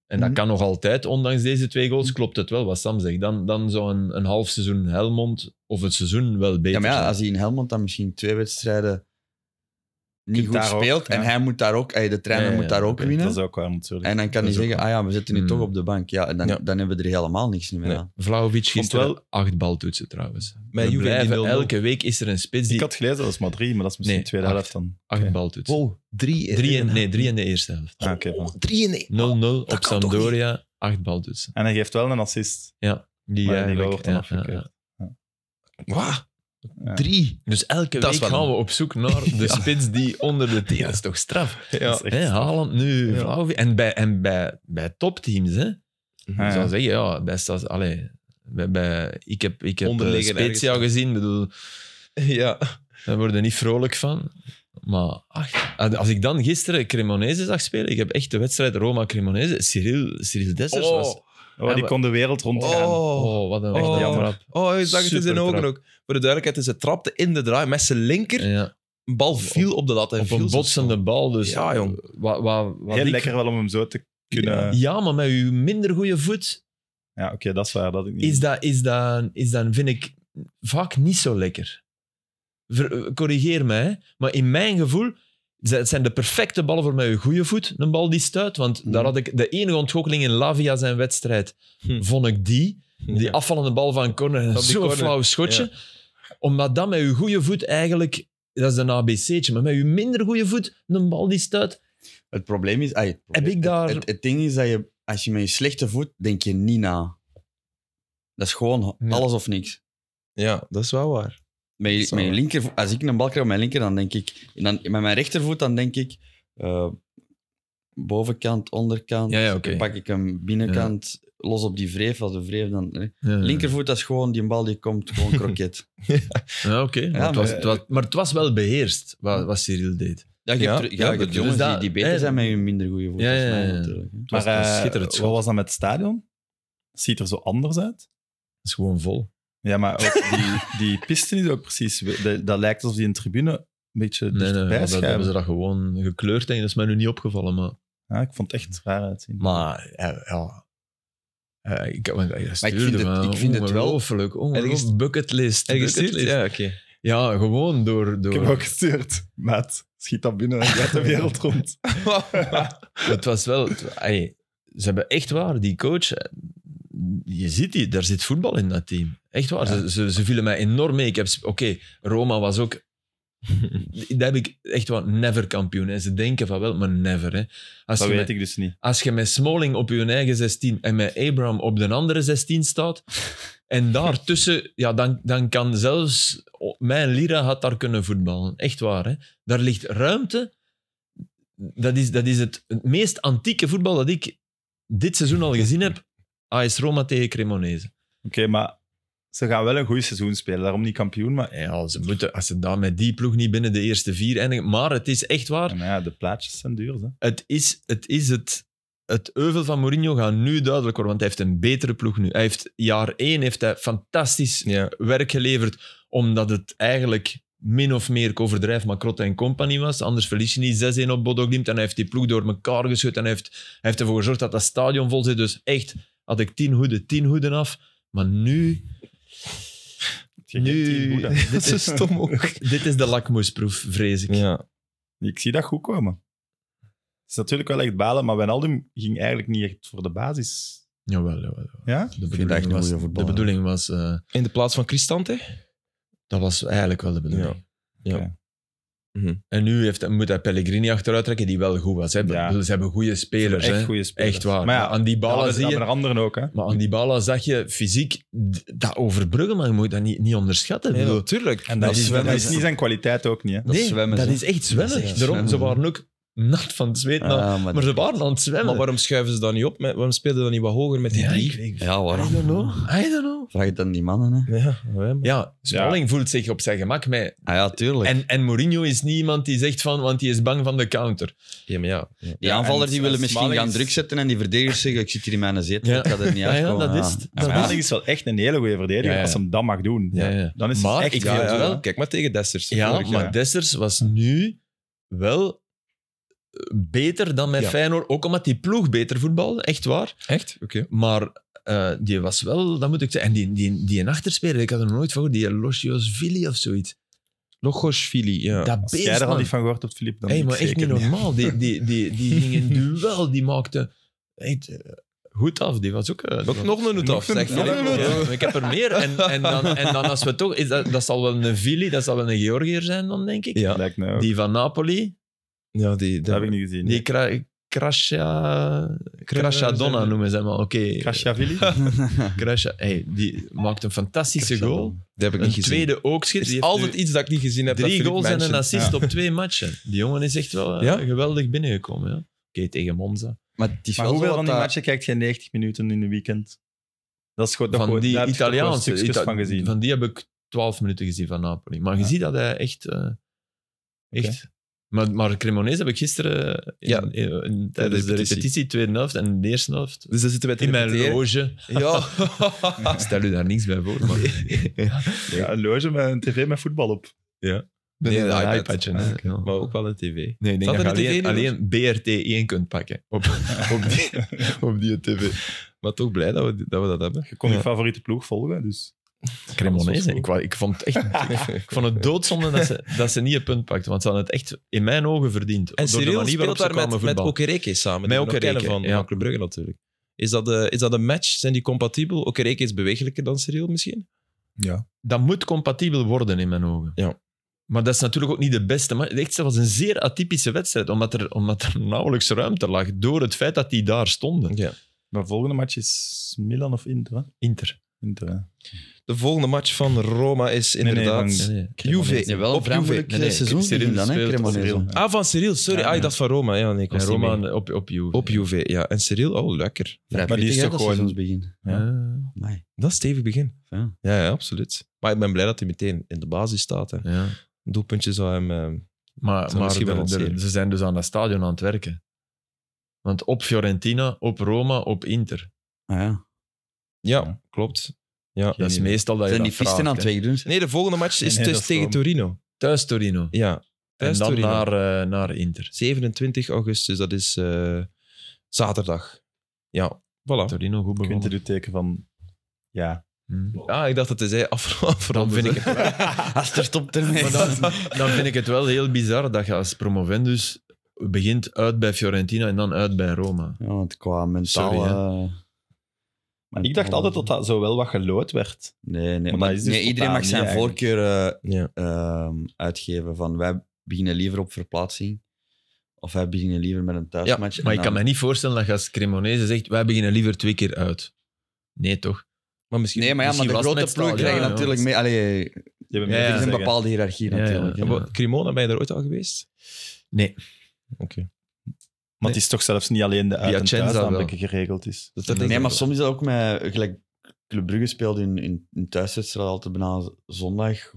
[SPEAKER 4] en dat
[SPEAKER 3] Mhm.
[SPEAKER 4] kan nog altijd, ondanks deze twee goals, klopt het wel wat Sam zegt. Dan, dan zou een, een half seizoen Helmond of het seizoen wel beter
[SPEAKER 2] ja, maar ja,
[SPEAKER 4] zijn.
[SPEAKER 2] als hij in Helmond dan misschien twee wedstrijden niet
[SPEAKER 3] Kunt
[SPEAKER 2] goed
[SPEAKER 3] daar ook,
[SPEAKER 2] speelt en
[SPEAKER 3] ja.
[SPEAKER 2] hij moet daar ook, eh, de trainer
[SPEAKER 4] Ja, ja,
[SPEAKER 2] moet daar
[SPEAKER 4] ja,
[SPEAKER 2] ook
[SPEAKER 4] oké,
[SPEAKER 2] winnen.
[SPEAKER 3] Dat is ook waar, natuurlijk.
[SPEAKER 2] En dan kan
[SPEAKER 3] Dat
[SPEAKER 2] hij
[SPEAKER 3] is ook
[SPEAKER 2] zeggen, ah ja, we zitten nu
[SPEAKER 4] Mm.
[SPEAKER 2] toch op de bank. Ja, en dan,
[SPEAKER 1] Ja.
[SPEAKER 2] dan hebben we er helemaal niks meer
[SPEAKER 1] Nee.
[SPEAKER 2] aan.
[SPEAKER 4] Vlahovic gisteren
[SPEAKER 3] Vond
[SPEAKER 4] acht baltoetsen trouwens.
[SPEAKER 1] Bij
[SPEAKER 4] We
[SPEAKER 1] Juve die
[SPEAKER 4] blijven-
[SPEAKER 1] 0-0.
[SPEAKER 4] elke week is er een spits die
[SPEAKER 3] Ik had gelezen dat is maar drie, maar dat is misschien
[SPEAKER 4] Nee,
[SPEAKER 3] tweede
[SPEAKER 4] acht.
[SPEAKER 3] helft dan.
[SPEAKER 4] acht
[SPEAKER 3] Oké.
[SPEAKER 4] baltoetsen.
[SPEAKER 1] Wow, drie,
[SPEAKER 4] Drie in, nee, drie in de eerste helft.
[SPEAKER 3] Ah, oké, voilà.
[SPEAKER 1] 3 in één.
[SPEAKER 4] 0-0 op
[SPEAKER 1] Oh, kan toch
[SPEAKER 4] Sampdoria, acht baltoetsen.
[SPEAKER 3] En hij geeft wel een assist.
[SPEAKER 4] Die
[SPEAKER 3] Maar die
[SPEAKER 4] eigenlijk-
[SPEAKER 3] wordt dan
[SPEAKER 4] ja,
[SPEAKER 3] afgekeurd.
[SPEAKER 4] ja, ja.
[SPEAKER 1] Wow,
[SPEAKER 3] Ja.
[SPEAKER 1] drie.
[SPEAKER 4] Dus elke
[SPEAKER 1] Dat is
[SPEAKER 4] week
[SPEAKER 1] wel
[SPEAKER 4] gaan we op zoek naar de spits die onder de tien is. toch straf?
[SPEAKER 3] Ja, dat is echt
[SPEAKER 4] Hè,
[SPEAKER 3] straf.
[SPEAKER 4] Haaland nu,
[SPEAKER 3] Ja.
[SPEAKER 4] Vlahovic. En bij, en bij, bij topteams, hè.
[SPEAKER 3] Ja,
[SPEAKER 4] Ik
[SPEAKER 3] Ah, ja.
[SPEAKER 4] zou zeggen, Ah, ja, bij Stas... Allee, bij, bij- ik heb, ik heb eh,
[SPEAKER 1] Onderliggen
[SPEAKER 4] Spezia
[SPEAKER 1] ergens.
[SPEAKER 4] gezien. Ik bedoel,
[SPEAKER 1] (laughs) Ja.
[SPEAKER 4] daar worden niet vrolijk van. Maar ach, als ik dan gisteren Cremonese zag spelen, ik heb echt de wedstrijd Roma-Cremonese, Cyril, Cyril Dessers was...
[SPEAKER 3] Oh,
[SPEAKER 4] Ja,
[SPEAKER 3] die
[SPEAKER 4] maar-
[SPEAKER 3] kon de wereld rondgaan.
[SPEAKER 1] Oh.
[SPEAKER 4] Oh, wat een
[SPEAKER 1] Oh.
[SPEAKER 4] echte
[SPEAKER 3] Jammer.
[SPEAKER 4] jammer.
[SPEAKER 1] Oh, je zag het in zijn
[SPEAKER 4] Super
[SPEAKER 1] ogen
[SPEAKER 4] trap.
[SPEAKER 1] ook. Voor de duidelijkheid, is het trapte in de draai met zijn linker.
[SPEAKER 4] Ja,
[SPEAKER 1] Een bal viel op de lat. en
[SPEAKER 4] op
[SPEAKER 1] viel
[SPEAKER 4] een
[SPEAKER 1] zo.
[SPEAKER 4] botsende bal. Dus
[SPEAKER 1] Ja, jong.
[SPEAKER 4] Wat, wat, wat
[SPEAKER 3] Heel
[SPEAKER 4] ik-
[SPEAKER 3] lekker wel om hem zo te kunnen... Ja,
[SPEAKER 4] Ja, maar met uw minder goede voet
[SPEAKER 3] oké, dat is waar. Dat ik niet...
[SPEAKER 4] is dat, is dat, is dat, vind ik, vaak niet zo lekker. Ver- corrigeer mij, hè. maar in mijn gevoel ze- het zijn de perfecte ballen voor met uw goede voet, een bal die stuit. Want
[SPEAKER 2] Hmm.
[SPEAKER 4] daar had ik de enige ontgoocheling in Lavia zijn wedstrijd,
[SPEAKER 1] Hmm.
[SPEAKER 4] vond ik die. Die
[SPEAKER 1] Ja.
[SPEAKER 4] afvallende bal Hm. van corner,
[SPEAKER 1] Op die
[SPEAKER 4] zo'n
[SPEAKER 1] corner.
[SPEAKER 4] flauw schotje. Omdat dat met uw goede voet eigenlijk, dat is een ABC'tje, maar met uw minder goede voet, een bal die stuit.
[SPEAKER 2] Het probleem is... ai, het probleem-
[SPEAKER 4] ik
[SPEAKER 2] het-
[SPEAKER 4] daar-
[SPEAKER 2] Het, het ding is dat je, als je met je slechte voet, denk je niet na. Dat is gewoon
[SPEAKER 4] Ja.
[SPEAKER 2] alles of niks.
[SPEAKER 1] Ja, dat is wel waar.
[SPEAKER 2] Met je,
[SPEAKER 1] Zo.
[SPEAKER 2] met je linkervoet, als ik een bal krijg op mijn linker, dan denk ik... en Dan, met mijn rechtervoet, dan denk ik... eh, bovenkant, onderkant.
[SPEAKER 4] Ja, ja, oké.
[SPEAKER 2] Dan pak ik hem binnenkant, los op die vreef. Als de vreef dan... hè.
[SPEAKER 4] Ja.
[SPEAKER 2] Linkervoet, dat is gewoon die bal die komt, gewoon kroket.
[SPEAKER 4] Ja, oké. Maar,
[SPEAKER 2] Ja,
[SPEAKER 4] het was-
[SPEAKER 2] maar-
[SPEAKER 4] het was- maar het was wel beheerst, wat, wat Cyril deed.
[SPEAKER 2] Ja, je
[SPEAKER 1] Ja,
[SPEAKER 2] hebt, er- ja,
[SPEAKER 1] ja,
[SPEAKER 2] je hebt
[SPEAKER 1] dus
[SPEAKER 2] jongens
[SPEAKER 4] dat-
[SPEAKER 2] die, die beter
[SPEAKER 4] hè.
[SPEAKER 2] zijn met hun minder goede voet.
[SPEAKER 4] Ja,
[SPEAKER 2] als
[SPEAKER 4] ja,
[SPEAKER 2] mij
[SPEAKER 4] ja.
[SPEAKER 2] natuurlijk, hè.
[SPEAKER 4] was
[SPEAKER 3] maar
[SPEAKER 4] een
[SPEAKER 3] eh,
[SPEAKER 4] schitterend
[SPEAKER 3] wat
[SPEAKER 4] schot.
[SPEAKER 3] was dat met het stadion? Ziet er zo anders uit?
[SPEAKER 4] Dat is gewoon vol.
[SPEAKER 3] Ja, maar ook die, die piste is ook precies... de- dat lijkt alsof die in de tribune een beetje
[SPEAKER 4] Nee, nee,
[SPEAKER 3] dichterbij
[SPEAKER 4] maar dat hebben
[SPEAKER 3] schuiven.
[SPEAKER 4] ze dat gewoon gekleurd en dat is mij nu niet opgevallen. Maar,
[SPEAKER 3] Ja, ik vond het echt raar uitzien.
[SPEAKER 4] maar ja, ja. Eh, ik, want hij stuurde
[SPEAKER 2] vind het-
[SPEAKER 4] me
[SPEAKER 2] ik vind het wel-
[SPEAKER 4] ongelooflijk,
[SPEAKER 1] Ergens-
[SPEAKER 4] ongelooflijk. Bucketlist.
[SPEAKER 1] En gestuurd?
[SPEAKER 4] bucketlist.
[SPEAKER 1] Ja, oké.
[SPEAKER 4] Ja, gewoon door...
[SPEAKER 3] Ik
[SPEAKER 4] door
[SPEAKER 3] heb ook gestuurd. Maat, schiet dat binnen en gaat de (laughs) wereld rond.
[SPEAKER 4] het was wel... het- ey, ze hebben echt waar, die coach... eh, Je ziet die, daar zit voetbal in dat team. Echt waar,
[SPEAKER 3] Ja.
[SPEAKER 4] ze, ze, ze vielen mij enorm mee. Ik heb... sp- Oké, Roma was ook... Daar heb ik echt wel never kampioen. En ze denken van wel, maar never. Hè. Als
[SPEAKER 3] Dat
[SPEAKER 4] je
[SPEAKER 3] weet
[SPEAKER 4] met-
[SPEAKER 3] ik dus niet.
[SPEAKER 4] Als je met Smalling op je eigen 16 en met Abraham op de andere 16 staat, en daartussen, ja, dan, dan kan zelfs mijn Lira had daar kunnen voetballen. Echt waar, hè? Daar ligt ruimte. Dat is, dat is het, het meest antieke voetbal dat ik dit seizoen al gezien heb. AS Roma tegen Cremonese.
[SPEAKER 3] Oké, maar ze gaan wel een goed seizoen spelen. Daarom niet kampioen, maar...
[SPEAKER 4] Ja, ze moeten, als ze daar met die ploeg niet binnen de eerste vier eindigen. Maar het is echt waar.
[SPEAKER 3] Maar ja, de plaatjes zijn duur. Hè.
[SPEAKER 4] het is het, is het, het euvel van Mourinho gaat nu duidelijk worden, want hij heeft een betere ploeg nu. Hij heeft jaar één heeft hij fantastisch
[SPEAKER 1] ja.
[SPEAKER 4] werk geleverd, omdat het eigenlijk min of meer, ik overdrijf, maar Krotte en compagnie was. Anders verlies je niet 6-1 op Bodo Glimt en hij heeft die ploeg door elkaar geschud en hij heeft, hij heeft ervoor gezorgd dat dat stadion vol zit. Dus echt, had ik tien hoeden, tien hoeden af. Maar nu,
[SPEAKER 3] Je hebt
[SPEAKER 4] Nu-
[SPEAKER 3] geen boeddha.
[SPEAKER 4] (laughs)
[SPEAKER 1] Dat is zo stom ook.
[SPEAKER 4] dit is de lakmoesproef, vrees ik.
[SPEAKER 1] Ja.
[SPEAKER 3] (laughs) Ik zie dat goed komen. Het is natuurlijk wel echt balen, maar Wijnaldum ging eigenlijk niet echt voor de basis.
[SPEAKER 4] Jawel, jawel.
[SPEAKER 3] Ja?
[SPEAKER 4] De
[SPEAKER 2] vind dat echt
[SPEAKER 4] bedoeling
[SPEAKER 2] een
[SPEAKER 4] was...
[SPEAKER 2] goeie
[SPEAKER 4] De
[SPEAKER 2] voetballer.
[SPEAKER 4] bedoeling was eh,
[SPEAKER 1] In de plaats van Cristante?
[SPEAKER 4] dat was eigenlijk wel de bedoeling.
[SPEAKER 1] Ja.
[SPEAKER 3] Oké.
[SPEAKER 1] Mhm.
[SPEAKER 4] En nu heeft, moet hij Pellegrini achteruit trekken, die wel goed was. Hè?
[SPEAKER 3] Ja.
[SPEAKER 4] Ik bedoel, Ze hebben goede spelers.
[SPEAKER 3] echt
[SPEAKER 4] hè.
[SPEAKER 3] goede spelers.
[SPEAKER 4] echt waar.
[SPEAKER 3] Maar ja,
[SPEAKER 4] aan die ballen
[SPEAKER 3] dat
[SPEAKER 4] zie
[SPEAKER 3] hebben
[SPEAKER 4] je...
[SPEAKER 3] er anderen ook. Hè?
[SPEAKER 4] Maar aan die ballen zag je fysiek d- dat overbruggen, maar je moet dat niet, niet onderschatten. Ik
[SPEAKER 1] Nee,
[SPEAKER 4] bedoel,
[SPEAKER 1] natuurlijk.
[SPEAKER 3] En
[SPEAKER 4] dat
[SPEAKER 3] dat,
[SPEAKER 4] is
[SPEAKER 3] is,
[SPEAKER 4] wel-
[SPEAKER 3] dat
[SPEAKER 4] dat
[SPEAKER 3] is
[SPEAKER 4] is-
[SPEAKER 3] niet zijn kwaliteit ook niet. Hè?
[SPEAKER 2] Dat
[SPEAKER 4] nee,
[SPEAKER 2] is zwemmen,
[SPEAKER 4] dat
[SPEAKER 2] zo.
[SPEAKER 4] is echt
[SPEAKER 2] Dat is
[SPEAKER 4] zwemmen.
[SPEAKER 2] echt
[SPEAKER 4] Daarom, ze
[SPEAKER 2] zwemmen.
[SPEAKER 4] waren ook nat van het zweet, maar,
[SPEAKER 2] Ah,
[SPEAKER 4] maar
[SPEAKER 2] dat-
[SPEAKER 4] ze waren aan het zwemmen.
[SPEAKER 1] Maar waarom schuiven ze dan niet op? Met- Waarom spelen ze dan niet wat hoger met die
[SPEAKER 4] ja,
[SPEAKER 1] drie?
[SPEAKER 4] ik weet-
[SPEAKER 2] Ja,
[SPEAKER 4] I
[SPEAKER 2] waarom?
[SPEAKER 4] don't know. I don't know.
[SPEAKER 2] Vraag het aan die mannen, hè.
[SPEAKER 1] Ja, wij maar.
[SPEAKER 4] Ja, Smalling voelt zich op zijn gemak mee.
[SPEAKER 2] Ah ja, tuurlijk.
[SPEAKER 4] En, en Mourinho is niet iemand die zegt van, want die is bang van de counter.
[SPEAKER 1] Ja, maar ja. ja.
[SPEAKER 2] die
[SPEAKER 3] Ja,
[SPEAKER 2] aanvallers
[SPEAKER 3] en-
[SPEAKER 2] die willen
[SPEAKER 3] en
[SPEAKER 2] misschien
[SPEAKER 3] Smalling
[SPEAKER 2] gaan
[SPEAKER 3] is-
[SPEAKER 2] druk zetten en die verdedigers zeggen, ik zit hier in mijn zetel,
[SPEAKER 4] Ja.
[SPEAKER 2] ik ga er niet
[SPEAKER 4] Ja, ja,
[SPEAKER 2] uitkomen.
[SPEAKER 4] dat is het.
[SPEAKER 2] Ja, maar
[SPEAKER 4] Dat
[SPEAKER 2] ja.
[SPEAKER 3] Smalling
[SPEAKER 2] (laughs)
[SPEAKER 3] is wel echt een hele goede verdediger
[SPEAKER 4] Ja, ja.
[SPEAKER 3] als hij hem dat mag doen.
[SPEAKER 4] Ja, ja.
[SPEAKER 3] Dan is
[SPEAKER 4] Maar
[SPEAKER 3] het echt
[SPEAKER 4] ik
[SPEAKER 1] Ja,
[SPEAKER 4] vind
[SPEAKER 1] ja,
[SPEAKER 4] het wel-
[SPEAKER 1] ja. Kijk maar tegen Dessers.
[SPEAKER 4] Ja,
[SPEAKER 1] vorig jaar.
[SPEAKER 4] maar Dessers was nu wel eh, beter dan met
[SPEAKER 1] Ja.
[SPEAKER 4] Feyenoord. Ook omdat die ploeg beter voetbalde, echt waar.
[SPEAKER 1] Echt? Oké.
[SPEAKER 4] Maar eh, die was wel, dat moet ik zeggen. En die, die, die een achterspeler, ik had er nog nooit van gehoord, die Logiosvili of zoiets.
[SPEAKER 1] Logoshvili, ja.
[SPEAKER 4] Dat
[SPEAKER 3] Als jij
[SPEAKER 4] beest,
[SPEAKER 3] er al
[SPEAKER 4] man.
[SPEAKER 3] niet van gehoord hebt, Filip, dan
[SPEAKER 4] Hey,
[SPEAKER 3] ik
[SPEAKER 4] maar echt
[SPEAKER 3] zeker
[SPEAKER 4] niet normaal. Die, die, die, die ging in duel, die maakte echt, eh, goed af. Die was ook... eh, die
[SPEAKER 1] Ook
[SPEAKER 4] was-
[SPEAKER 1] nog een hoed af,
[SPEAKER 3] Nog een-
[SPEAKER 1] zeg.
[SPEAKER 4] Ja,
[SPEAKER 3] nog een hoed
[SPEAKER 1] (laughs) Ja.
[SPEAKER 4] ja, maar ik heb er meer. En, en, dan, en dan als we toch... Is dat, dat zal wel een Vili, dat zal wel een Georgiër zijn dan, denk ik.
[SPEAKER 1] Ja.
[SPEAKER 3] Lijkt me ook.
[SPEAKER 4] Die van Napoli.
[SPEAKER 1] Ja, die...
[SPEAKER 3] Dat heb ik niet gezien.
[SPEAKER 4] Die kra Krasja... Krasjadonna noemen ze hem al. Oké. (laughs)
[SPEAKER 3] Krasjavilli?
[SPEAKER 4] Krasja... Hey, die maakt een fantastische goal.
[SPEAKER 1] Dat heb ik
[SPEAKER 4] Een
[SPEAKER 1] niet gezien.
[SPEAKER 4] tweede ook
[SPEAKER 1] Het
[SPEAKER 4] schiet.
[SPEAKER 1] is altijd iets dat ik niet gezien heb. dat
[SPEAKER 4] drie
[SPEAKER 1] Philippe
[SPEAKER 4] goals en een
[SPEAKER 1] mentioned.
[SPEAKER 4] assist op twee matchen. Die jongen is echt wel eh,
[SPEAKER 1] Ja?
[SPEAKER 4] geweldig binnengekomen. Ja. Oké, tegen Monza.
[SPEAKER 2] Maar, het is
[SPEAKER 3] Maar
[SPEAKER 2] wel zo
[SPEAKER 3] hoeveel
[SPEAKER 2] dat
[SPEAKER 3] van die
[SPEAKER 2] dat-
[SPEAKER 3] matchen kijkt jij 90 minuten in een weekend? Dat is goed. dat
[SPEAKER 4] Van
[SPEAKER 3] gewoon-
[SPEAKER 4] die
[SPEAKER 3] daar heb je toch wel
[SPEAKER 4] Italiaanse.
[SPEAKER 3] stukjes
[SPEAKER 4] Ita-
[SPEAKER 3] van gezien.
[SPEAKER 4] Van die heb ik twaalf minuten gezien van Napoli. Maar je
[SPEAKER 3] Ja.
[SPEAKER 4] ziet dat hij echt... eh, echt Maar, maar Cremonese heb ik gisteren in-
[SPEAKER 1] Ja,
[SPEAKER 4] in- in- tijdens de
[SPEAKER 1] repetitie.
[SPEAKER 4] repetitie, tweede helft en de eerste helft,
[SPEAKER 1] Dus daar zitten wij te
[SPEAKER 4] in mijn
[SPEAKER 1] repeteren.
[SPEAKER 4] loge, (laughs)
[SPEAKER 1] Ja.
[SPEAKER 4] Stel u daar niks bij voor. Maar...
[SPEAKER 3] Ja, een loge met een tv met voetbal op.
[SPEAKER 1] Nee,
[SPEAKER 4] een
[SPEAKER 1] de iPad.
[SPEAKER 4] iPadje. hè.
[SPEAKER 1] Ah, oké.
[SPEAKER 4] Ja.
[SPEAKER 1] (laughs) Maar ook wel een tv.
[SPEAKER 4] Nee, ik denk
[SPEAKER 1] Zat
[SPEAKER 4] dat je
[SPEAKER 1] er een
[SPEAKER 4] alleen,
[SPEAKER 1] TV nu
[SPEAKER 4] alleen BRT1 kunt pakken (laughs) op, op, die, op die tv.
[SPEAKER 1] Maar toch blij dat we dat, we dat hebben.
[SPEAKER 3] Je kon je favoriete ploeg volgen, dus...
[SPEAKER 4] Cremonese. Ik, wa- ik, vond het echt, ik vond het doodzonde dat ze, dat ze niet een punt pakten, want ze hadden het echt in mijn ogen verdiend.
[SPEAKER 1] En
[SPEAKER 4] Door de
[SPEAKER 1] Cyril
[SPEAKER 4] manier
[SPEAKER 1] speelt
[SPEAKER 4] waarop ze
[SPEAKER 1] daar met,
[SPEAKER 4] kwamen
[SPEAKER 1] met
[SPEAKER 4] voetballen.
[SPEAKER 1] Okereke samen.
[SPEAKER 4] Met
[SPEAKER 1] die we nog
[SPEAKER 4] Okereke,
[SPEAKER 1] kennen van,
[SPEAKER 4] ja.
[SPEAKER 1] van Club Brugge natuurlijk. Is dat, eh, is dat een match? Zijn die compatibel? Okereke is bewegelijker dan Cyril misschien?
[SPEAKER 3] Ja.
[SPEAKER 4] dat moet compatibel worden in mijn ogen.
[SPEAKER 1] Ja.
[SPEAKER 4] Maar dat is natuurlijk ook niet de beste. Maar echt, het was een zeer atypische wedstrijd, omdat er, omdat er nauwelijks ruimte lag door het feit dat die daar stonden.
[SPEAKER 1] Ja.
[SPEAKER 3] Maar volgende match is Milan of Inter, hè?
[SPEAKER 4] Inter.
[SPEAKER 3] Inter, hè.
[SPEAKER 1] De volgende match van Roma is
[SPEAKER 3] nee,
[SPEAKER 1] inderdaad...
[SPEAKER 3] van-
[SPEAKER 1] Juve.
[SPEAKER 2] Nee, wel een
[SPEAKER 1] op
[SPEAKER 2] vraag voor
[SPEAKER 1] Juve.
[SPEAKER 2] nee, nee, seizoen
[SPEAKER 4] Cyril
[SPEAKER 2] dan, hè,
[SPEAKER 4] speelt op
[SPEAKER 2] Cremonese.
[SPEAKER 1] Ah, van Cyril, sorry.
[SPEAKER 3] Ja,
[SPEAKER 1] Ah,
[SPEAKER 3] ja.
[SPEAKER 1] ik dacht van Roma. Ja, nee, ik
[SPEAKER 4] En
[SPEAKER 1] was niet mee.
[SPEAKER 4] Roma op, op Juve.
[SPEAKER 1] Op Juve, ja. En Cyril, oh, lekker.
[SPEAKER 2] Vrij
[SPEAKER 3] Maar die is
[SPEAKER 2] pittig, hè,
[SPEAKER 3] toch
[SPEAKER 2] dat
[SPEAKER 3] gewoon-
[SPEAKER 2] seizoensbegin.
[SPEAKER 4] Ja.
[SPEAKER 2] Amai.
[SPEAKER 1] Dat is stevig begin.
[SPEAKER 2] Ja.
[SPEAKER 1] Ja, ja, absoluut. Maar ik ben blij dat hij meteen in de basis staat. Hè.
[SPEAKER 4] Ja.
[SPEAKER 1] Een doelpuntje zou hem... eh,
[SPEAKER 4] Maar,
[SPEAKER 1] Zou
[SPEAKER 4] maar
[SPEAKER 1] misschien wel
[SPEAKER 4] er- er-
[SPEAKER 1] lanceren.
[SPEAKER 4] ze zijn dus aan dat stadion aan het werken. Want op Fiorentina, op Roma, op Inter.
[SPEAKER 2] Ah, ja.
[SPEAKER 1] ja, klopt. Ja.
[SPEAKER 4] Dat is
[SPEAKER 3] idee.
[SPEAKER 4] meestal dat je
[SPEAKER 2] Zijn
[SPEAKER 4] dat
[SPEAKER 2] die pisten
[SPEAKER 4] vraagt,
[SPEAKER 2] aan het
[SPEAKER 4] hè.
[SPEAKER 2] wegdoen?
[SPEAKER 1] Nee, de volgende match is
[SPEAKER 3] Nee, nee,
[SPEAKER 1] dus
[SPEAKER 3] dat is
[SPEAKER 1] tegen
[SPEAKER 3] Roma.
[SPEAKER 1] Torino.
[SPEAKER 4] Thuis Torino.
[SPEAKER 1] Ja,
[SPEAKER 4] en
[SPEAKER 1] thuis
[SPEAKER 4] dan
[SPEAKER 1] Torino.
[SPEAKER 4] naar, eh, naar Inter.
[SPEAKER 1] 27 augustus, dat is eh, zaterdag. Ja, voilà.
[SPEAKER 4] Torino goed
[SPEAKER 3] Je kunt
[SPEAKER 4] begonnen.
[SPEAKER 3] het teken van... Ja.
[SPEAKER 4] Hm.
[SPEAKER 1] Ah, ik dacht dat hij zei af, (laughs)
[SPEAKER 4] Dan vind ik het wel.
[SPEAKER 2] (laughs) Als het er stopt ermee.
[SPEAKER 4] Maar dan, dan vind ik het wel heel bizar dat je als promovendus begint uit bij Fiorentina en dan uit bij Roma.
[SPEAKER 2] Ja, want qua mentaal... eh,
[SPEAKER 4] Sorry, hè.
[SPEAKER 3] Maar ik dacht altijd dat dat zo wel wat gelood werd.
[SPEAKER 2] Nee, nee,
[SPEAKER 3] dat
[SPEAKER 2] maar
[SPEAKER 3] is dus
[SPEAKER 2] nee, iedereen
[SPEAKER 3] totaal
[SPEAKER 2] mag zijn
[SPEAKER 3] niet eigenlijk.
[SPEAKER 2] voorkeur eh,
[SPEAKER 1] Ja.
[SPEAKER 2] ehm, uitgeven van wij beginnen liever op verplaatsing of wij beginnen liever met een
[SPEAKER 1] Ja,
[SPEAKER 2] thuismatch.
[SPEAKER 4] Maar
[SPEAKER 2] En
[SPEAKER 4] ik kan
[SPEAKER 2] dan-
[SPEAKER 4] me niet voorstellen dat je als Cremonese zegt, wij beginnen liever twee keer uit. Nee, toch?
[SPEAKER 1] Maar misschien...
[SPEAKER 2] Nee, maar ja, maar
[SPEAKER 4] Misschien
[SPEAKER 2] de
[SPEAKER 4] was het
[SPEAKER 2] grote ploeg
[SPEAKER 4] met Stal,
[SPEAKER 2] krijgen
[SPEAKER 4] ja,
[SPEAKER 2] natuurlijk
[SPEAKER 4] ja.
[SPEAKER 2] mee. Allee,
[SPEAKER 3] Die hebben meer
[SPEAKER 4] Ja, ja.
[SPEAKER 2] er is
[SPEAKER 3] te
[SPEAKER 2] een
[SPEAKER 3] zeggen.
[SPEAKER 2] bepaalde hiërarchie
[SPEAKER 4] Ja, ja.
[SPEAKER 2] natuurlijk. hè.
[SPEAKER 4] Ja.
[SPEAKER 1] Wat, Cremona, ben je daar ooit al geweest?
[SPEAKER 4] Nee.
[SPEAKER 1] Oké.
[SPEAKER 3] Maar het is toch zelfs niet alleen de uit- en
[SPEAKER 4] Piacenza wel.
[SPEAKER 3] thuisnaam dat geregeld is.
[SPEAKER 1] Dat- dat denk
[SPEAKER 2] Nee,
[SPEAKER 1] ik
[SPEAKER 2] maar
[SPEAKER 1] wel.
[SPEAKER 2] soms is dat ook met... Gelijk, Club Brugge speelde in, in, in thuiswedstrijd altijd bijna zondag.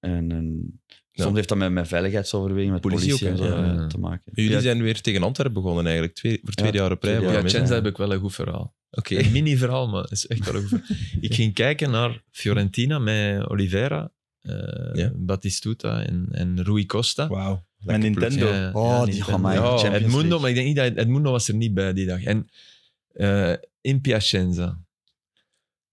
[SPEAKER 2] En, en soms heeft dat met, met veiligheidsoverweging, met
[SPEAKER 1] Politie
[SPEAKER 2] politie,
[SPEAKER 1] ook,
[SPEAKER 2] en zo
[SPEAKER 1] hè.
[SPEAKER 4] Ja, ja.
[SPEAKER 2] eh, te maken.
[SPEAKER 1] Jullie
[SPEAKER 4] Ja.
[SPEAKER 1] zijn weer tegen Antwerpen begonnen eigenlijk, twee, voor tweede jaar op rij.
[SPEAKER 2] tweede
[SPEAKER 1] maar
[SPEAKER 2] jaar.
[SPEAKER 1] ja,
[SPEAKER 4] Piacenza
[SPEAKER 1] mensen-
[SPEAKER 4] heb ik wel een goed verhaal.
[SPEAKER 1] Oké.
[SPEAKER 4] Een mini-verhaal, maar het is echt wel een goed
[SPEAKER 1] (laughs)
[SPEAKER 4] verhaal. Ik ging kijken naar Fiorentina met Oliveira, eh,
[SPEAKER 1] Ja.
[SPEAKER 4] Batistuta en, en Rui Costa.
[SPEAKER 3] Wauw. En Nintendo.
[SPEAKER 4] Ja, ja,
[SPEAKER 2] Oh, die
[SPEAKER 4] Nintendo.
[SPEAKER 2] gaan mij
[SPEAKER 1] Ja,
[SPEAKER 2] Champions
[SPEAKER 4] Edmundo,
[SPEAKER 2] League.
[SPEAKER 4] maar ik denk niet dat Edmundo was er niet bij die dag. En eh, in Piacenza.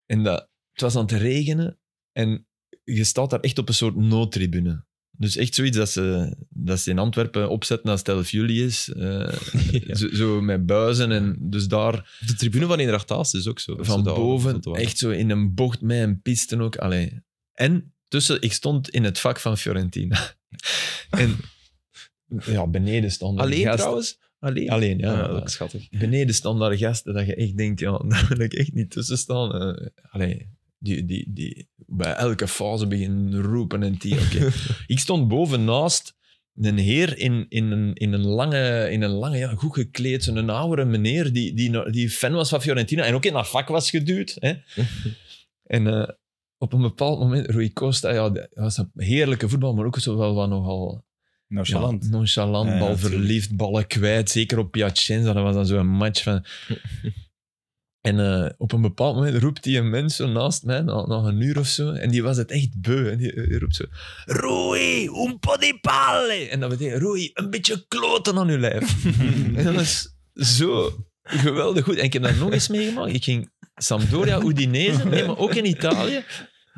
[SPEAKER 4] En dat, het was aan het regenen en je staat daar echt op een soort noodtribune. Dus echt zoiets dat ze, dat ze in Antwerpen opzetten als Stel jullie is. eh,
[SPEAKER 1] (laughs)
[SPEAKER 4] zo, zo met buizen en dus daar
[SPEAKER 1] De tribune van Inderdaad Taals is ook zo. Dat
[SPEAKER 4] van
[SPEAKER 1] ze daar
[SPEAKER 4] boven,
[SPEAKER 1] tot waren.
[SPEAKER 4] echt zo in een bocht met een pisten ook. Allee. En tussen, ik stond in het vak van Fiorentina. (laughs) en ja, beneden stonden
[SPEAKER 1] Alleen
[SPEAKER 4] gasten.
[SPEAKER 1] trouwens? Alleen?
[SPEAKER 4] Alleen, ja.
[SPEAKER 1] Ah, dat is schattig.
[SPEAKER 4] beneden staan daar gasten dat je echt denkt, ja, (laughs) daar wil ik echt niet tussen staan. Eh, allee, die, die, die bij elke fase beginnen roepen en die. (laughs) oké. ik stond boven naast een heer in, in, een, in een lange, in een lange ja, goed gekleed, zo'n oudere meneer die, die, no- die fan was van Fiorentina en ook in dat vak was geduwd. (laughs) Hè. en eh, op een bepaald moment, Rui Costa, ja, dat was een heerlijke voetbal, maar ook zo wel wat nogal
[SPEAKER 3] Nonchalant.
[SPEAKER 4] ja, nonchalant,
[SPEAKER 3] Ja, ja,
[SPEAKER 4] bal
[SPEAKER 3] natuurlijk.
[SPEAKER 4] verliefd, ballen kwijt. Zeker op Piacenza, dat was dan zo'n match (laughs) van... En eh, op een bepaald moment roept die een mens zo naast mij, na, na een uur of zo, en die was het echt beu. En die, eh, roept zo, Rui, un po' di palle! En dat betekent, Rui, een beetje kloten aan uw (laughs) lijf. en dat was zo geweldig goed. En ik heb dat nog eens meegemaakt. Ik ging Sampdoria, Udinese, nee, maar ook in Italië.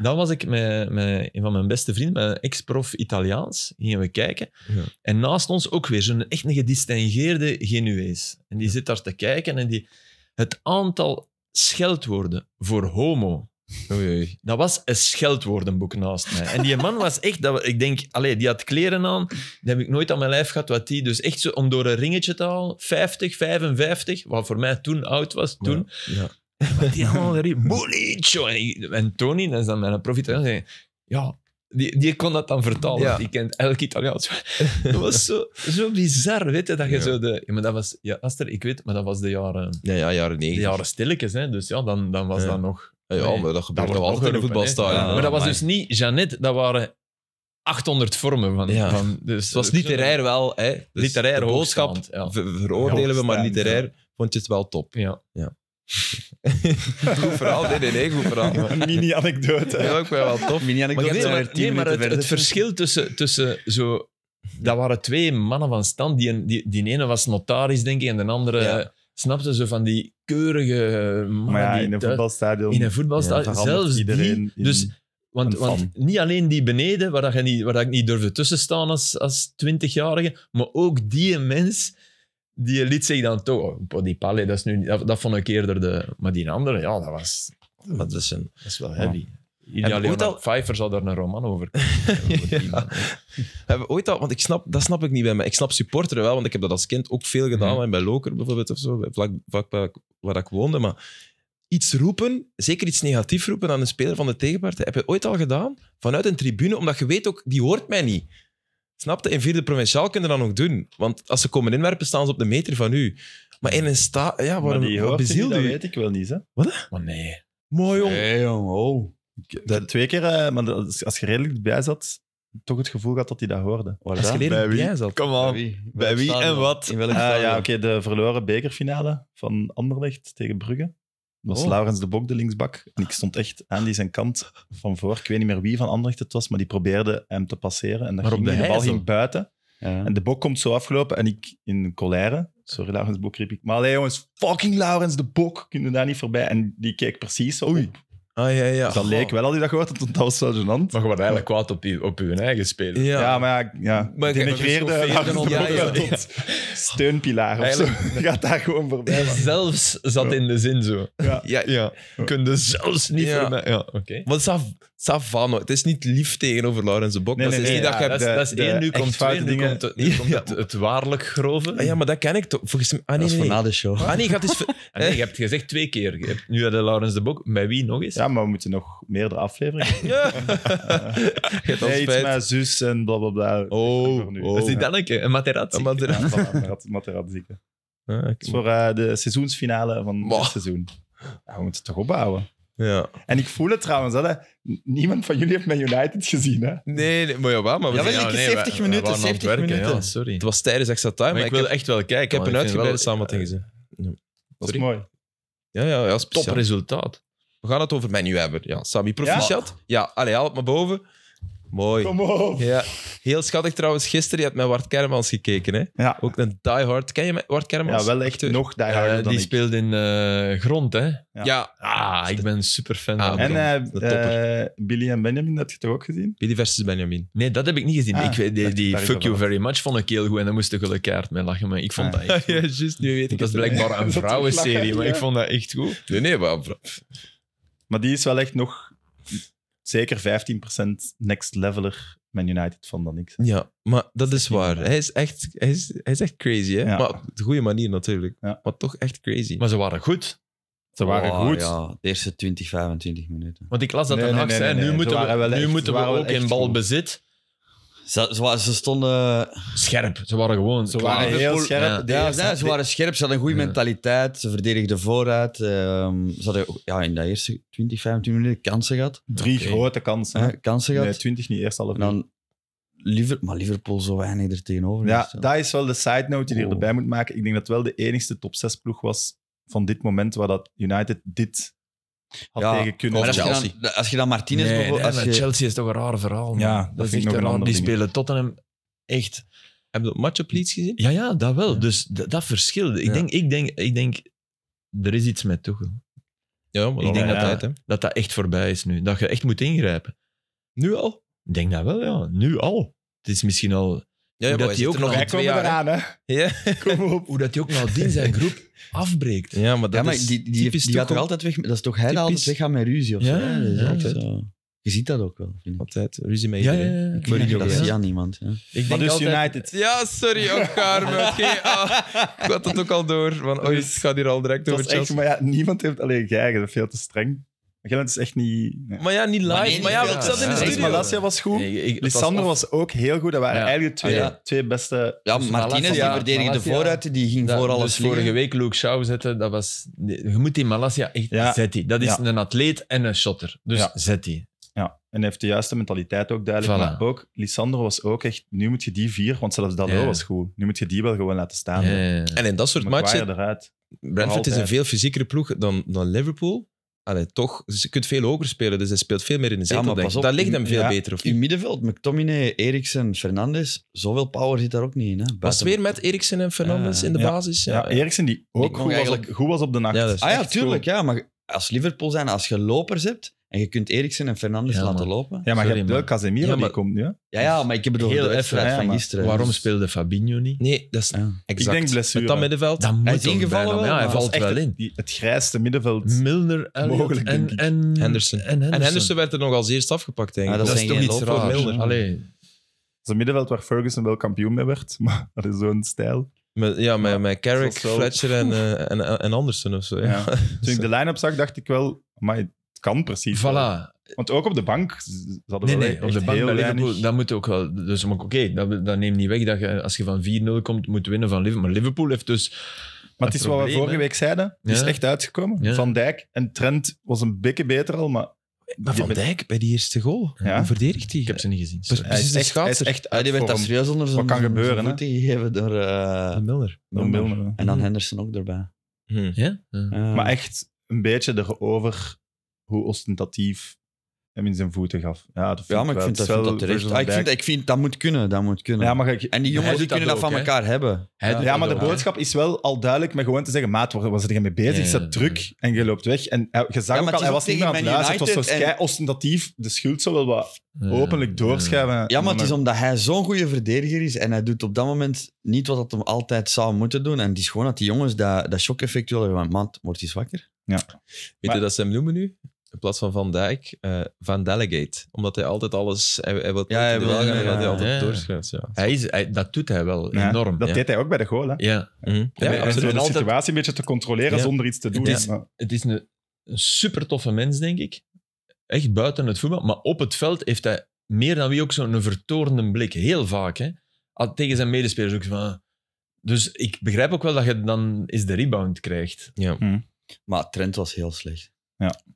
[SPEAKER 4] Dan was ik met, met een van mijn beste vrienden, met een ex-prof Italiaans, gingen we kijken.
[SPEAKER 1] Ja.
[SPEAKER 4] En naast ons ook weer zo'n echt een gedistingeerde Genuees. En die zit daar te kijken en die... Het aantal scheldwoorden voor homo,
[SPEAKER 1] Oei, oei.
[SPEAKER 4] dat was een scheldwoordenboek naast mij. En die man was echt... Dat, we- ik denk, allee, die had kleren aan, die heb ik nooit aan mijn lijf gehad, wat die... Dus echt zo, om door een ringetje te halen, 50, 55, wat voor mij toen oud was, toen...
[SPEAKER 1] Ja.
[SPEAKER 4] (laughs) Wat die allemaal riep, Bullicio. En, ik- en Tony, dat is dan mijn prof Italiaans, zei, ja, die, die kon dat dan vertalen.
[SPEAKER 1] Ja.
[SPEAKER 4] want Die kent elk Italiaans. (laughs) dat was zo, zo bizar, weet je, dat je
[SPEAKER 1] Ja.
[SPEAKER 4] zo de... Ja, maar dat was... Ja, Aster, ik weet, maar dat was de jaren...
[SPEAKER 1] Ja, ja, jaren
[SPEAKER 4] De
[SPEAKER 1] 90.
[SPEAKER 4] jaren stilletjes, hè. Dus ja, Ah, dan, dan was
[SPEAKER 1] Ja.
[SPEAKER 4] dat nog...
[SPEAKER 1] Ja, maar dat gebeurt wel altijd in een voetbalstadion.
[SPEAKER 2] Ja,
[SPEAKER 1] hè.
[SPEAKER 4] maar dat was
[SPEAKER 2] amai.
[SPEAKER 4] dus niet Jeannette, dat waren 800 vormen van...
[SPEAKER 1] Ja.
[SPEAKER 4] van dus,
[SPEAKER 1] Het was literair wel, hè? Dus
[SPEAKER 4] Literair
[SPEAKER 1] de boodschap
[SPEAKER 4] hoogstaand, ja.
[SPEAKER 1] ver- veroordelen we, maar
[SPEAKER 3] Hoogstaand,
[SPEAKER 1] literair vond je het wel top.
[SPEAKER 4] Ja.
[SPEAKER 1] Ja. Goed verhaal. Nee, nee, nee, goed (laughs) verhaal. Maar,
[SPEAKER 3] (laughs) Een mini-anekdote.
[SPEAKER 1] ja, ik
[SPEAKER 2] (laughs)
[SPEAKER 1] ben wel tof.
[SPEAKER 2] Mini
[SPEAKER 4] Maar,
[SPEAKER 2] anekdote
[SPEAKER 4] nee,
[SPEAKER 2] zijn
[SPEAKER 4] maar,
[SPEAKER 2] weer tien
[SPEAKER 4] nee, maar
[SPEAKER 2] minuten
[SPEAKER 4] het,
[SPEAKER 2] verder.
[SPEAKER 4] het verschil tussen, tussen zo... Dat waren twee mannen van stand. Die, die, die ene was notaris, denk ik, en de andere...
[SPEAKER 1] Ja.
[SPEAKER 4] Snapte ze van die keurige mannen
[SPEAKER 3] Maar ja,
[SPEAKER 4] die
[SPEAKER 3] in een
[SPEAKER 4] thuis-
[SPEAKER 3] voetbalstadion.
[SPEAKER 4] in een voetbalstadion.
[SPEAKER 3] verandert
[SPEAKER 4] zelfs
[SPEAKER 3] iedereen
[SPEAKER 4] die.
[SPEAKER 3] in
[SPEAKER 4] Dus, want,
[SPEAKER 3] een
[SPEAKER 4] want
[SPEAKER 3] fan.
[SPEAKER 4] niet alleen die beneden, waar, dat je niet, waar dat ik niet durfde tussenstaan als, als 20-jarige, maar ook die mens, die liet zich dan toch... oh, die Palais, dat, is nu, niet- dat, dat vond ik eerder de... Maar die andere, ja, dat was,
[SPEAKER 1] Maar dat is een...
[SPEAKER 4] dat is wel heavy. Ja.
[SPEAKER 1] Heb je ooit
[SPEAKER 4] Leonard
[SPEAKER 1] al-
[SPEAKER 4] Pfeiffer zou daar een roman over kunnen schrijven, die man.
[SPEAKER 1] Hebben we ooit al... Want ik snap, dat snap ik niet bij mij. Ik snap supporteren wel, want ik heb dat als kind ook veel gedaan.
[SPEAKER 4] Mhm.
[SPEAKER 1] en Bij Loker bijvoorbeeld of zo, bij- vlak, vlak bij waar ik woonde. Maar iets roepen, zeker iets negatief roepen aan een speler van de tegenpartij. Heb je het ooit al gedaan? Vanuit een tribune, omdat je weet ook, die hoort mij niet. Snapte? In vierde provinciaal kunnen dat nog doen. Want als ze komen inwerpen, staan ze op de meter van u. Maar in een sta... Ja,
[SPEAKER 3] Maar
[SPEAKER 1] waarom
[SPEAKER 3] die
[SPEAKER 1] wat
[SPEAKER 3] hoort je niet,
[SPEAKER 1] bezielde
[SPEAKER 3] dat
[SPEAKER 1] u?
[SPEAKER 3] weet ik wel niet. Hè?
[SPEAKER 4] Maar nee.
[SPEAKER 1] Mooi, jong.
[SPEAKER 2] Hey, jong, oh.
[SPEAKER 3] Ik- Twee keer, eh, maar dat- als, als je redelijk bij zat, toch het gevoel had dat hij dat hoorde.
[SPEAKER 2] Waar
[SPEAKER 1] Dat is
[SPEAKER 2] dat? Ah,
[SPEAKER 1] geleden
[SPEAKER 3] Bij
[SPEAKER 1] dat
[SPEAKER 3] wie?
[SPEAKER 1] jij zat.
[SPEAKER 4] Come
[SPEAKER 2] Bij
[SPEAKER 4] on.
[SPEAKER 2] wie?
[SPEAKER 4] Bij
[SPEAKER 2] Welk
[SPEAKER 4] wie en
[SPEAKER 2] stadion?
[SPEAKER 4] wat?
[SPEAKER 2] In welk
[SPEAKER 3] Ah, ja,
[SPEAKER 2] stadion?
[SPEAKER 3] oké, de verloren bekerfinale van Anderlecht tegen Brugge. Dat was
[SPEAKER 1] Oh.
[SPEAKER 3] Laurens de Bok, de linksbak. En ik stond echt aan die zijn kant van voor. Ik weet niet meer wie van Anderlecht het was, maar die probeerde hem te passeren. En dat
[SPEAKER 4] Maar op
[SPEAKER 3] ging
[SPEAKER 4] de
[SPEAKER 3] niet. bal
[SPEAKER 4] heizel.
[SPEAKER 3] ging buiten.
[SPEAKER 2] Ja.
[SPEAKER 3] En de Bok komt zo afgelopen en ik in colère. Sorry, Laurens de Bok riep ik. Maar allee, jongens, fucking Laurens de Bok, kunnen daar niet voorbij. En die keek precies zo. Oei,
[SPEAKER 1] Ah, ja, ja.
[SPEAKER 3] dus dat leek wel al die dag gehoord, want dat was zo gênant.
[SPEAKER 4] Maar je wordt eigenlijk kwaad op je, op je eigen speler.
[SPEAKER 1] Ja,
[SPEAKER 3] Ja, maar ja, ja.
[SPEAKER 1] Maar ik- (laughs)
[SPEAKER 3] denigreerde
[SPEAKER 1] maar
[SPEAKER 3] Laurens de Bok
[SPEAKER 1] geschoffeerd en
[SPEAKER 3] wel
[SPEAKER 1] al- ja, ja,
[SPEAKER 3] tot steunpilaar of zo. (laughs) Gaat daar gewoon voorbij. man.
[SPEAKER 4] Zelfs zat in de zin zo.
[SPEAKER 1] ja,
[SPEAKER 4] Ja, kunde zelfs niet
[SPEAKER 1] Ja.
[SPEAKER 4] voor mij. Ja, oké.
[SPEAKER 1] Maar ça- ça va nog. Het is niet lief tegenover Laurens de Bok.
[SPEAKER 3] Nee,
[SPEAKER 1] maar
[SPEAKER 3] nee,
[SPEAKER 1] het is
[SPEAKER 3] nee,
[SPEAKER 1] niet dat
[SPEAKER 3] ja,
[SPEAKER 1] je...
[SPEAKER 4] dat,
[SPEAKER 3] de-
[SPEAKER 4] is, dat is
[SPEAKER 3] de
[SPEAKER 4] één, nu
[SPEAKER 3] echt
[SPEAKER 4] komt twee,
[SPEAKER 3] foute
[SPEAKER 4] nu
[SPEAKER 3] dingen-
[SPEAKER 4] komt, het- nu komt
[SPEAKER 1] Ja.
[SPEAKER 4] het, het waarlijk grove.
[SPEAKER 1] Ah, ja, maar dat ken ik toch. Volgens mij... Ah,
[SPEAKER 2] Dat
[SPEAKER 1] nee,
[SPEAKER 2] is
[SPEAKER 1] nee,
[SPEAKER 2] voor
[SPEAKER 1] nee.
[SPEAKER 2] na de show.
[SPEAKER 1] Ah, nee, gaat eens... ver-
[SPEAKER 4] (laughs) Ah, nee, je hebt gezegd twee keer. Je hebt, nu hadden Laurens de Bok, bij wie nog eens?
[SPEAKER 3] Ja, maar we moeten nog meerdere afleveringen.
[SPEAKER 1] (laughs) Ja. Je hebt al
[SPEAKER 3] Nee, iets
[SPEAKER 1] spijt.
[SPEAKER 3] met zus en bla bla bla.
[SPEAKER 1] Oh,
[SPEAKER 3] Voor nu.
[SPEAKER 1] oh.
[SPEAKER 4] Dat is die Danneke, een materazzi.
[SPEAKER 1] Maar er-
[SPEAKER 3] Ja, voilà, Materazzi- Materazzi. Het
[SPEAKER 1] (laughs) Ah, oké.
[SPEAKER 3] is voor eh, de seizoensfinale van
[SPEAKER 1] Bah.
[SPEAKER 3] het seizoen. Ja, we moeten het toch opbouwen.
[SPEAKER 1] Ja.
[SPEAKER 3] En ik voel het trouwens, hè. niemand van jullie heeft Man United gezien. Hè?
[SPEAKER 1] Nee, nee, maar jawel, maar... we
[SPEAKER 2] Ja,
[SPEAKER 1] zijn-
[SPEAKER 2] wel, ik- 70 minuten, 70 minuten.
[SPEAKER 4] Ja, Ah, sorry.
[SPEAKER 1] Het was tijdens extra time,
[SPEAKER 4] Maar,
[SPEAKER 1] maar
[SPEAKER 4] ik wil
[SPEAKER 1] heb,
[SPEAKER 4] echt wel kijken.
[SPEAKER 1] ik heb
[SPEAKER 4] want
[SPEAKER 1] een
[SPEAKER 4] vind wel- eh, Ah,
[SPEAKER 1] uitgebreide samenvatting gezien.
[SPEAKER 3] Dat
[SPEAKER 1] Sorry.
[SPEAKER 3] is mooi.
[SPEAKER 1] Ja, ja, ja, speciaal.
[SPEAKER 4] Top resultaat.
[SPEAKER 1] We gaan het over menu hebben. Ja, Sami, proficiat. Ja, allee, haal het maar boven. Mooi.
[SPEAKER 3] Kom op.
[SPEAKER 1] Ja, heel schattig trouwens. Gisteren, je hebt met Wart Kermans gekeken, hè?
[SPEAKER 3] Ja.
[SPEAKER 1] Ook een diehard. Ken je me- Wart Kermans?
[SPEAKER 3] ja, wel echt
[SPEAKER 1] Acteur.
[SPEAKER 3] nog die harder
[SPEAKER 4] Eh,
[SPEAKER 3] dan
[SPEAKER 4] die
[SPEAKER 3] ik.
[SPEAKER 4] speelt in eh, Grond, hè?
[SPEAKER 1] Ja.
[SPEAKER 3] Ja.
[SPEAKER 4] Ah, ik ben super fan
[SPEAKER 1] Ah,
[SPEAKER 4] van
[SPEAKER 3] En
[SPEAKER 4] Grond.
[SPEAKER 3] eh,
[SPEAKER 1] de topper.
[SPEAKER 3] eh, Billy en Benjamin, dat heb je toch ook gezien?
[SPEAKER 1] Billy versus Benjamin.
[SPEAKER 4] Nee, dat heb ik niet gezien.
[SPEAKER 3] Ah,
[SPEAKER 4] ik,
[SPEAKER 3] dat
[SPEAKER 4] weet- die
[SPEAKER 3] is
[SPEAKER 4] die
[SPEAKER 3] daar is
[SPEAKER 4] Fuck
[SPEAKER 3] dat
[SPEAKER 4] You
[SPEAKER 3] wel.
[SPEAKER 4] Very Much vond ik heel goed en daar moest ik gelukkig kaart mee lachen, maar ik vond
[SPEAKER 3] Ah.
[SPEAKER 4] dat
[SPEAKER 1] (laughs)
[SPEAKER 4] echt goed.
[SPEAKER 1] juist. Nu weet
[SPEAKER 4] Dat is
[SPEAKER 1] (laughs)
[SPEAKER 4] blijkbaar een
[SPEAKER 3] Dat
[SPEAKER 4] vrouwenserie,
[SPEAKER 3] lachen,
[SPEAKER 4] maar
[SPEAKER 3] ja.
[SPEAKER 4] ik vond dat echt goed.
[SPEAKER 1] Nee, nee, maar... bro.
[SPEAKER 3] Maar die is wel echt nog zeker 15% next leveler Man United van dan ik.
[SPEAKER 1] Ja, maar dat is waar. Hij is echt, hij is, hij is echt crazy, hè?
[SPEAKER 3] Ja.
[SPEAKER 1] Maar op de goede manier natuurlijk.
[SPEAKER 3] Ja.
[SPEAKER 1] Maar toch echt crazy.
[SPEAKER 4] Maar ze waren goed.
[SPEAKER 3] Ze waren
[SPEAKER 2] Oh,
[SPEAKER 3] goed.
[SPEAKER 2] Ja, de eerste 20, 25 minuten.
[SPEAKER 4] Want ik las dat
[SPEAKER 3] Nee,
[SPEAKER 4] Den
[SPEAKER 3] nee,
[SPEAKER 4] Haag
[SPEAKER 3] nee,
[SPEAKER 4] zei,
[SPEAKER 3] nee,
[SPEAKER 4] nu
[SPEAKER 3] nee. Ze
[SPEAKER 4] moeten we,
[SPEAKER 3] waren wel
[SPEAKER 4] nu
[SPEAKER 3] echt- ze
[SPEAKER 4] moeten we
[SPEAKER 3] waren wel
[SPEAKER 4] ook in
[SPEAKER 3] echt
[SPEAKER 4] balbezit.
[SPEAKER 2] Ze, ze, wa- ze stonden...
[SPEAKER 4] Scherp, ze waren gewoon
[SPEAKER 3] Ze
[SPEAKER 4] klaar.
[SPEAKER 3] waren heel
[SPEAKER 2] Liverpool-
[SPEAKER 3] scherp.
[SPEAKER 4] Ja.
[SPEAKER 3] De
[SPEAKER 2] Ja,
[SPEAKER 3] eerste-
[SPEAKER 2] nee, ze waren scherp, ze hadden een goede
[SPEAKER 4] Ja.
[SPEAKER 2] mentaliteit, ze verdedigden vooruit. ehm, ze hadden ook- ja, in de eerste 20, 25 minuten kansen gehad.
[SPEAKER 3] Drie
[SPEAKER 4] Oké.
[SPEAKER 3] grote kansen.
[SPEAKER 2] Hè, kansen
[SPEAKER 3] Nee,
[SPEAKER 2] gehad.
[SPEAKER 3] 20 niet, eerst half
[SPEAKER 2] en
[SPEAKER 3] uur.
[SPEAKER 2] dan Liverpool, maar Liverpool zo weinig er tegenover.
[SPEAKER 3] Ja,
[SPEAKER 2] Dus,
[SPEAKER 3] dat is wel de side note die je
[SPEAKER 2] Oh.
[SPEAKER 3] erbij moet maken. Ik denk dat het wel de enigste top 6 ploeg was van dit moment waar dat United dit had
[SPEAKER 2] Ja,
[SPEAKER 3] tegen kunnen.
[SPEAKER 2] Maar als,
[SPEAKER 1] Of
[SPEAKER 2] je
[SPEAKER 1] Chelsea.
[SPEAKER 2] dan, als je dan Martinez
[SPEAKER 4] Nee, nee,
[SPEAKER 2] bijvoorbeeld... als
[SPEAKER 4] maar
[SPEAKER 2] je-
[SPEAKER 4] Chelsea is toch een raar verhaal. man.
[SPEAKER 3] Ja, dat
[SPEAKER 4] dat is
[SPEAKER 3] vind ik
[SPEAKER 4] echt
[SPEAKER 3] nog
[SPEAKER 4] een
[SPEAKER 3] een
[SPEAKER 4] raar.
[SPEAKER 3] ander
[SPEAKER 4] Die
[SPEAKER 3] ding.
[SPEAKER 4] spelen Tottenham echt...
[SPEAKER 1] Heb je dat match op Leeds gezien?
[SPEAKER 4] Ja, ja, dat wel. Dus dat, dat verschil. Ik,
[SPEAKER 1] Ja.
[SPEAKER 4] denk, ik, denk, ik denk, er is iets met Tuchel.
[SPEAKER 1] Ja, maar
[SPEAKER 4] Ik denk
[SPEAKER 3] Ja,
[SPEAKER 4] dat,
[SPEAKER 3] ja.
[SPEAKER 4] dat, dat dat echt voorbij is nu. Dat je echt moet ingrijpen.
[SPEAKER 1] Nu al?
[SPEAKER 4] Ik denk dat wel, ja. Nu al. Het is misschien al...
[SPEAKER 1] Ja,
[SPEAKER 4] Hoe dat
[SPEAKER 1] maar
[SPEAKER 4] die
[SPEAKER 1] zit
[SPEAKER 4] ook
[SPEAKER 1] er
[SPEAKER 4] nog
[SPEAKER 3] Wij
[SPEAKER 1] in twee
[SPEAKER 3] komen
[SPEAKER 1] jaar, hè?
[SPEAKER 3] eraan, hè?
[SPEAKER 1] Ja.
[SPEAKER 3] Kom op.
[SPEAKER 4] Hoe dat hij ook nadien zijn groep afbreekt.
[SPEAKER 1] Ja, maar dat
[SPEAKER 2] ja, maar
[SPEAKER 1] is
[SPEAKER 2] die, die,
[SPEAKER 1] typisch
[SPEAKER 2] die gaat er
[SPEAKER 1] Tuchel.
[SPEAKER 2] altijd weg... met- Dat is toch hij dat altijd
[SPEAKER 1] Typisch.
[SPEAKER 2] weggaat met ruzie of zo.
[SPEAKER 4] Ja,
[SPEAKER 2] hè? Dat is
[SPEAKER 4] ja,
[SPEAKER 2] echt
[SPEAKER 1] altijd.
[SPEAKER 2] zo. Je ziet dat ook wel, vind ik.
[SPEAKER 1] Altijd ruzie met
[SPEAKER 4] Ja,
[SPEAKER 1] iedereen.
[SPEAKER 4] ja, ja.
[SPEAKER 1] Ik
[SPEAKER 4] Ik
[SPEAKER 1] weet
[SPEAKER 4] vind
[SPEAKER 1] niet
[SPEAKER 4] dat
[SPEAKER 1] of
[SPEAKER 2] Dat
[SPEAKER 4] Ja.
[SPEAKER 2] zie je aan niemand. Ja.
[SPEAKER 4] Ik
[SPEAKER 3] Maar
[SPEAKER 4] denk
[SPEAKER 3] dus
[SPEAKER 4] altijd-
[SPEAKER 3] United.
[SPEAKER 1] Ja, sorry, ook Carmen. ah. Ik had het ook al door. Van, oei, het gaat hier al direct
[SPEAKER 3] Dat
[SPEAKER 1] over
[SPEAKER 3] was echt,
[SPEAKER 1] Chelsea.
[SPEAKER 3] maar ja, niemand heeft... Alleen jij, dat is veel te streng. Gent is echt niet... nee.
[SPEAKER 1] Maar ja, niet live. Maar,
[SPEAKER 2] Maar nee,
[SPEAKER 1] ja,
[SPEAKER 2] niet
[SPEAKER 1] ik zat
[SPEAKER 2] veel.
[SPEAKER 1] in de
[SPEAKER 2] Ja,
[SPEAKER 3] Rex
[SPEAKER 1] studio.
[SPEAKER 4] dat-
[SPEAKER 3] Malasia was goed.
[SPEAKER 4] Nee, ik- het was
[SPEAKER 3] Lissander
[SPEAKER 4] af-
[SPEAKER 3] was, ook heel goed. Dat waren
[SPEAKER 4] Ja.
[SPEAKER 3] eigenlijk de twee,
[SPEAKER 4] Ah, ja.
[SPEAKER 3] twee beste...
[SPEAKER 2] Ja,
[SPEAKER 4] Dus
[SPEAKER 2] Martinez die
[SPEAKER 4] Malacia-
[SPEAKER 2] verdedigde
[SPEAKER 4] Malacia-
[SPEAKER 2] vooruit, die ging
[SPEAKER 4] Dat-
[SPEAKER 2] voor alles
[SPEAKER 4] dus vorige
[SPEAKER 2] liggen.
[SPEAKER 4] week Luke Shaw zetten, dat was... Je moet die Malasia echt...
[SPEAKER 3] Ja.
[SPEAKER 4] Zet die. Dat is
[SPEAKER 3] Ja.
[SPEAKER 4] een atleet en een shotter. Dus
[SPEAKER 3] Ja.
[SPEAKER 4] zet die.
[SPEAKER 3] Ja, en hij heeft de juiste mentaliteit ook duidelijk.
[SPEAKER 4] Voilà.
[SPEAKER 3] Maar ook, Lisandro was ook echt... Nu moet je die vier, want zelfs Dalot
[SPEAKER 4] Ja.
[SPEAKER 3] was goed. Nu moet je die wel gewoon laten staan.
[SPEAKER 4] Ja, ja, ja.
[SPEAKER 1] En in dat soort
[SPEAKER 3] Maguire
[SPEAKER 1] matchen
[SPEAKER 3] eruit.
[SPEAKER 1] Brentford is een
[SPEAKER 3] Altijd.
[SPEAKER 1] veel fysiekere ploeg dan, dan Liverpool. Allee, toch, dus je kunt veel hoger spelen, dus hij speelt veel meer in de zetel.
[SPEAKER 2] maar
[SPEAKER 1] denk
[SPEAKER 2] pas
[SPEAKER 1] ik.
[SPEAKER 2] op,
[SPEAKER 1] dat ligt hem veel
[SPEAKER 3] ja,
[SPEAKER 1] beter. Of niet?
[SPEAKER 2] In middenveld, McTominay, Eriksen, Fernandes, zoveel power zit daar ook niet in. Hè?
[SPEAKER 1] Was het
[SPEAKER 2] Buiten-
[SPEAKER 1] weer met Eriksen en Fernandes
[SPEAKER 2] Ja.
[SPEAKER 1] in de
[SPEAKER 3] Ja.
[SPEAKER 1] basis?
[SPEAKER 3] Ja, Eriksen die
[SPEAKER 2] Ik
[SPEAKER 3] ook
[SPEAKER 2] nog
[SPEAKER 3] goed was, op,
[SPEAKER 2] eigenlijk-
[SPEAKER 3] goed was op de nacht.
[SPEAKER 1] Ja, dat is
[SPEAKER 2] Ah ja,
[SPEAKER 3] Echt
[SPEAKER 2] tuurlijk. Ja, maar als Liverpool zijn, als je lopers hebt en je kunt Eriksen en Fernandes
[SPEAKER 4] Ja,
[SPEAKER 2] laten
[SPEAKER 4] maar-
[SPEAKER 2] lopen.
[SPEAKER 3] goed. Ja, maar je
[SPEAKER 4] Sorry,
[SPEAKER 3] hebt wel
[SPEAKER 4] maar-
[SPEAKER 3] Casemiro
[SPEAKER 1] Ja, maar-
[SPEAKER 3] die komt nu. hè?
[SPEAKER 2] Ja, ja, maar ik heb het over
[SPEAKER 4] Heel
[SPEAKER 2] de
[SPEAKER 4] even,
[SPEAKER 2] wedstrijd
[SPEAKER 3] hè,
[SPEAKER 2] van
[SPEAKER 3] maar
[SPEAKER 2] gisteren.
[SPEAKER 4] Waarom
[SPEAKER 2] dus-
[SPEAKER 4] speelde Fabinho niet?
[SPEAKER 1] Nee, dat is
[SPEAKER 2] Ja.
[SPEAKER 1] exact.
[SPEAKER 3] denk blessure.
[SPEAKER 1] Met dat middenveld.
[SPEAKER 4] Dan moet
[SPEAKER 2] is
[SPEAKER 4] toch
[SPEAKER 2] ingevallen
[SPEAKER 4] bijna-
[SPEAKER 2] wel,
[SPEAKER 4] ja, hij
[SPEAKER 2] maar
[SPEAKER 4] valt
[SPEAKER 3] Echt
[SPEAKER 4] wel
[SPEAKER 3] het-
[SPEAKER 4] in.
[SPEAKER 3] die- Het grijste middenveld.
[SPEAKER 4] Milner, Elliot
[SPEAKER 3] Mogelijk,
[SPEAKER 4] en,
[SPEAKER 3] denk ik.
[SPEAKER 4] en,
[SPEAKER 1] Henderson.
[SPEAKER 4] En Henderson.
[SPEAKER 1] En Henderson werd er nog als eerst afgepakt, denk ik.
[SPEAKER 2] Ja,
[SPEAKER 4] Dat,
[SPEAKER 2] Dat
[SPEAKER 4] is
[SPEAKER 2] zijn
[SPEAKER 4] toch
[SPEAKER 2] geen
[SPEAKER 4] niet
[SPEAKER 2] lopers,
[SPEAKER 4] raar?
[SPEAKER 1] Milner.
[SPEAKER 4] Allee,
[SPEAKER 3] Dat is een middenveld waar Ferguson wel kampioen mee werd. (laughs) Maar dat is zo'n stijl.
[SPEAKER 1] Met, ja, met, met Carrick,
[SPEAKER 3] Zoals wel.
[SPEAKER 1] Fletcher en, eh, en, en Andersen of zo. Ja.
[SPEAKER 3] Ja. Toen
[SPEAKER 4] (laughs)
[SPEAKER 3] ik de line-up zag, dacht ik wel... Maar het kan precies.
[SPEAKER 4] voilà.
[SPEAKER 3] Want ook op de bank z- ze hadden
[SPEAKER 4] Nee,
[SPEAKER 3] wel
[SPEAKER 4] nee,
[SPEAKER 3] echt
[SPEAKER 4] op de bank
[SPEAKER 3] heel
[SPEAKER 4] bij Liverpool,
[SPEAKER 3] weinig-
[SPEAKER 4] dat moet ook wel. Dus maar oké, dat, dat neemt niet weg dat je, als je van 4-0 komt, moet winnen van Liverpool. Maar Liverpool heeft dus...
[SPEAKER 3] Maar het is wat we
[SPEAKER 4] probleem,
[SPEAKER 3] vorige
[SPEAKER 4] hè.
[SPEAKER 3] week zeiden. Die is
[SPEAKER 4] Ja.
[SPEAKER 3] echt uitgekomen.
[SPEAKER 4] Ja.
[SPEAKER 3] Van Dijk en Trent was een beetje beter al, maar...
[SPEAKER 1] Maar
[SPEAKER 3] Die
[SPEAKER 1] Van
[SPEAKER 3] met-
[SPEAKER 1] Dijk, bij die eerste goal,
[SPEAKER 3] Ja.
[SPEAKER 1] hoe verdedigt hij?
[SPEAKER 4] Ik heb ze niet gezien.
[SPEAKER 1] Precies
[SPEAKER 4] sorry.
[SPEAKER 3] Hij is
[SPEAKER 1] de
[SPEAKER 3] echt- hij is
[SPEAKER 1] schaatser.
[SPEAKER 3] echt
[SPEAKER 2] Ja, Ah, die werd daar
[SPEAKER 3] uitvorm.
[SPEAKER 2] serieus onder zijn
[SPEAKER 3] kan
[SPEAKER 2] zijn
[SPEAKER 3] gebeuren, hè?
[SPEAKER 2] voeten gegeven door, eh,
[SPEAKER 1] Ah, Milner.
[SPEAKER 3] Door Milner.
[SPEAKER 2] En dan Henderson ook erbij.
[SPEAKER 1] Hm.
[SPEAKER 4] Ja? Ja.
[SPEAKER 2] Ja.
[SPEAKER 3] Maar echt een beetje erover hoe ostentatief hem in zijn voeten gaf. Ja, dat
[SPEAKER 2] ja, maar ik
[SPEAKER 3] wel.
[SPEAKER 2] vind dat,
[SPEAKER 3] Het is
[SPEAKER 2] vind dat
[SPEAKER 3] wel
[SPEAKER 2] terecht.
[SPEAKER 3] Virgil
[SPEAKER 2] Ah, ik, vind,
[SPEAKER 3] van Dijk.
[SPEAKER 2] ik vind dat moet kunnen, dat moet kunnen.
[SPEAKER 3] Ja, maar, ik-
[SPEAKER 2] En die jongens
[SPEAKER 4] Hij
[SPEAKER 2] die
[SPEAKER 4] doet
[SPEAKER 2] kunnen
[SPEAKER 4] dat
[SPEAKER 2] dat
[SPEAKER 4] ook,
[SPEAKER 2] van
[SPEAKER 4] hè?
[SPEAKER 2] elkaar hebben.
[SPEAKER 4] Hij doet
[SPEAKER 3] ja,
[SPEAKER 4] dat
[SPEAKER 3] maar de
[SPEAKER 4] ook, hè.
[SPEAKER 3] boodschap is wel al duidelijk met gewoon te zeggen, maat, waar, waar zit je mee bezig? Is
[SPEAKER 4] Ja,
[SPEAKER 3] dat druk? En je loopt weg. En eh, je zag
[SPEAKER 2] Ja, maar het
[SPEAKER 3] ook al,
[SPEAKER 2] is
[SPEAKER 3] hij
[SPEAKER 2] ook
[SPEAKER 3] was niet
[SPEAKER 2] tegen
[SPEAKER 3] meer aan het
[SPEAKER 2] Man
[SPEAKER 3] luisteren. Het was zo
[SPEAKER 2] United en-
[SPEAKER 3] sky ostentatief. De schuld zou wel wat
[SPEAKER 4] Ja.
[SPEAKER 3] openlijk doorschuiven.
[SPEAKER 2] Ja, maar het is omdat hij zo'n goede verdediger is en hij doet op dat moment niet wat dat hem altijd zou moeten doen. En het is gewoon dat die jongens dat, dat shock-effect willen. Want man, wordt hij zwakker?
[SPEAKER 1] Weet je
[SPEAKER 3] Maar-
[SPEAKER 1] dat ze hem noemen nu? In plaats van Van Dijk, eh, Van Delegate. Omdat hij altijd alles... Hij, hij wil
[SPEAKER 2] Ja, hij
[SPEAKER 1] de
[SPEAKER 2] wil-
[SPEAKER 1] wel gaan,
[SPEAKER 2] ja,
[SPEAKER 1] omdat hij
[SPEAKER 2] ja.
[SPEAKER 1] altijd
[SPEAKER 4] Ja.
[SPEAKER 1] doorschuift. Ja.
[SPEAKER 4] Hij is, hij- dat doet hij wel,
[SPEAKER 3] Ja,
[SPEAKER 4] enorm.
[SPEAKER 3] Dat
[SPEAKER 4] ja.
[SPEAKER 3] deed hij ook bij de goal. Hè?
[SPEAKER 4] Ja.
[SPEAKER 1] Mhm.
[SPEAKER 3] Ja,
[SPEAKER 1] Ja,
[SPEAKER 3] hij
[SPEAKER 1] absoluut.
[SPEAKER 3] probeert de
[SPEAKER 4] altijd-
[SPEAKER 3] situatie een beetje te controleren
[SPEAKER 1] Ja.
[SPEAKER 3] zonder iets te doen.
[SPEAKER 4] Het is-
[SPEAKER 3] hè. Maar-
[SPEAKER 4] Het is een, een super toffe mens, denk ik. Echt buiten het voetbal. Maar op het veld heeft hij meer dan wie ook zo'n vertorende blik. Heel vaak. Hè? Al Tegen zijn medespelers ook. zo Van, ah. dus ik begrijp ook wel dat je dan eens de rebound krijgt.
[SPEAKER 2] Maar Trent was heel slecht.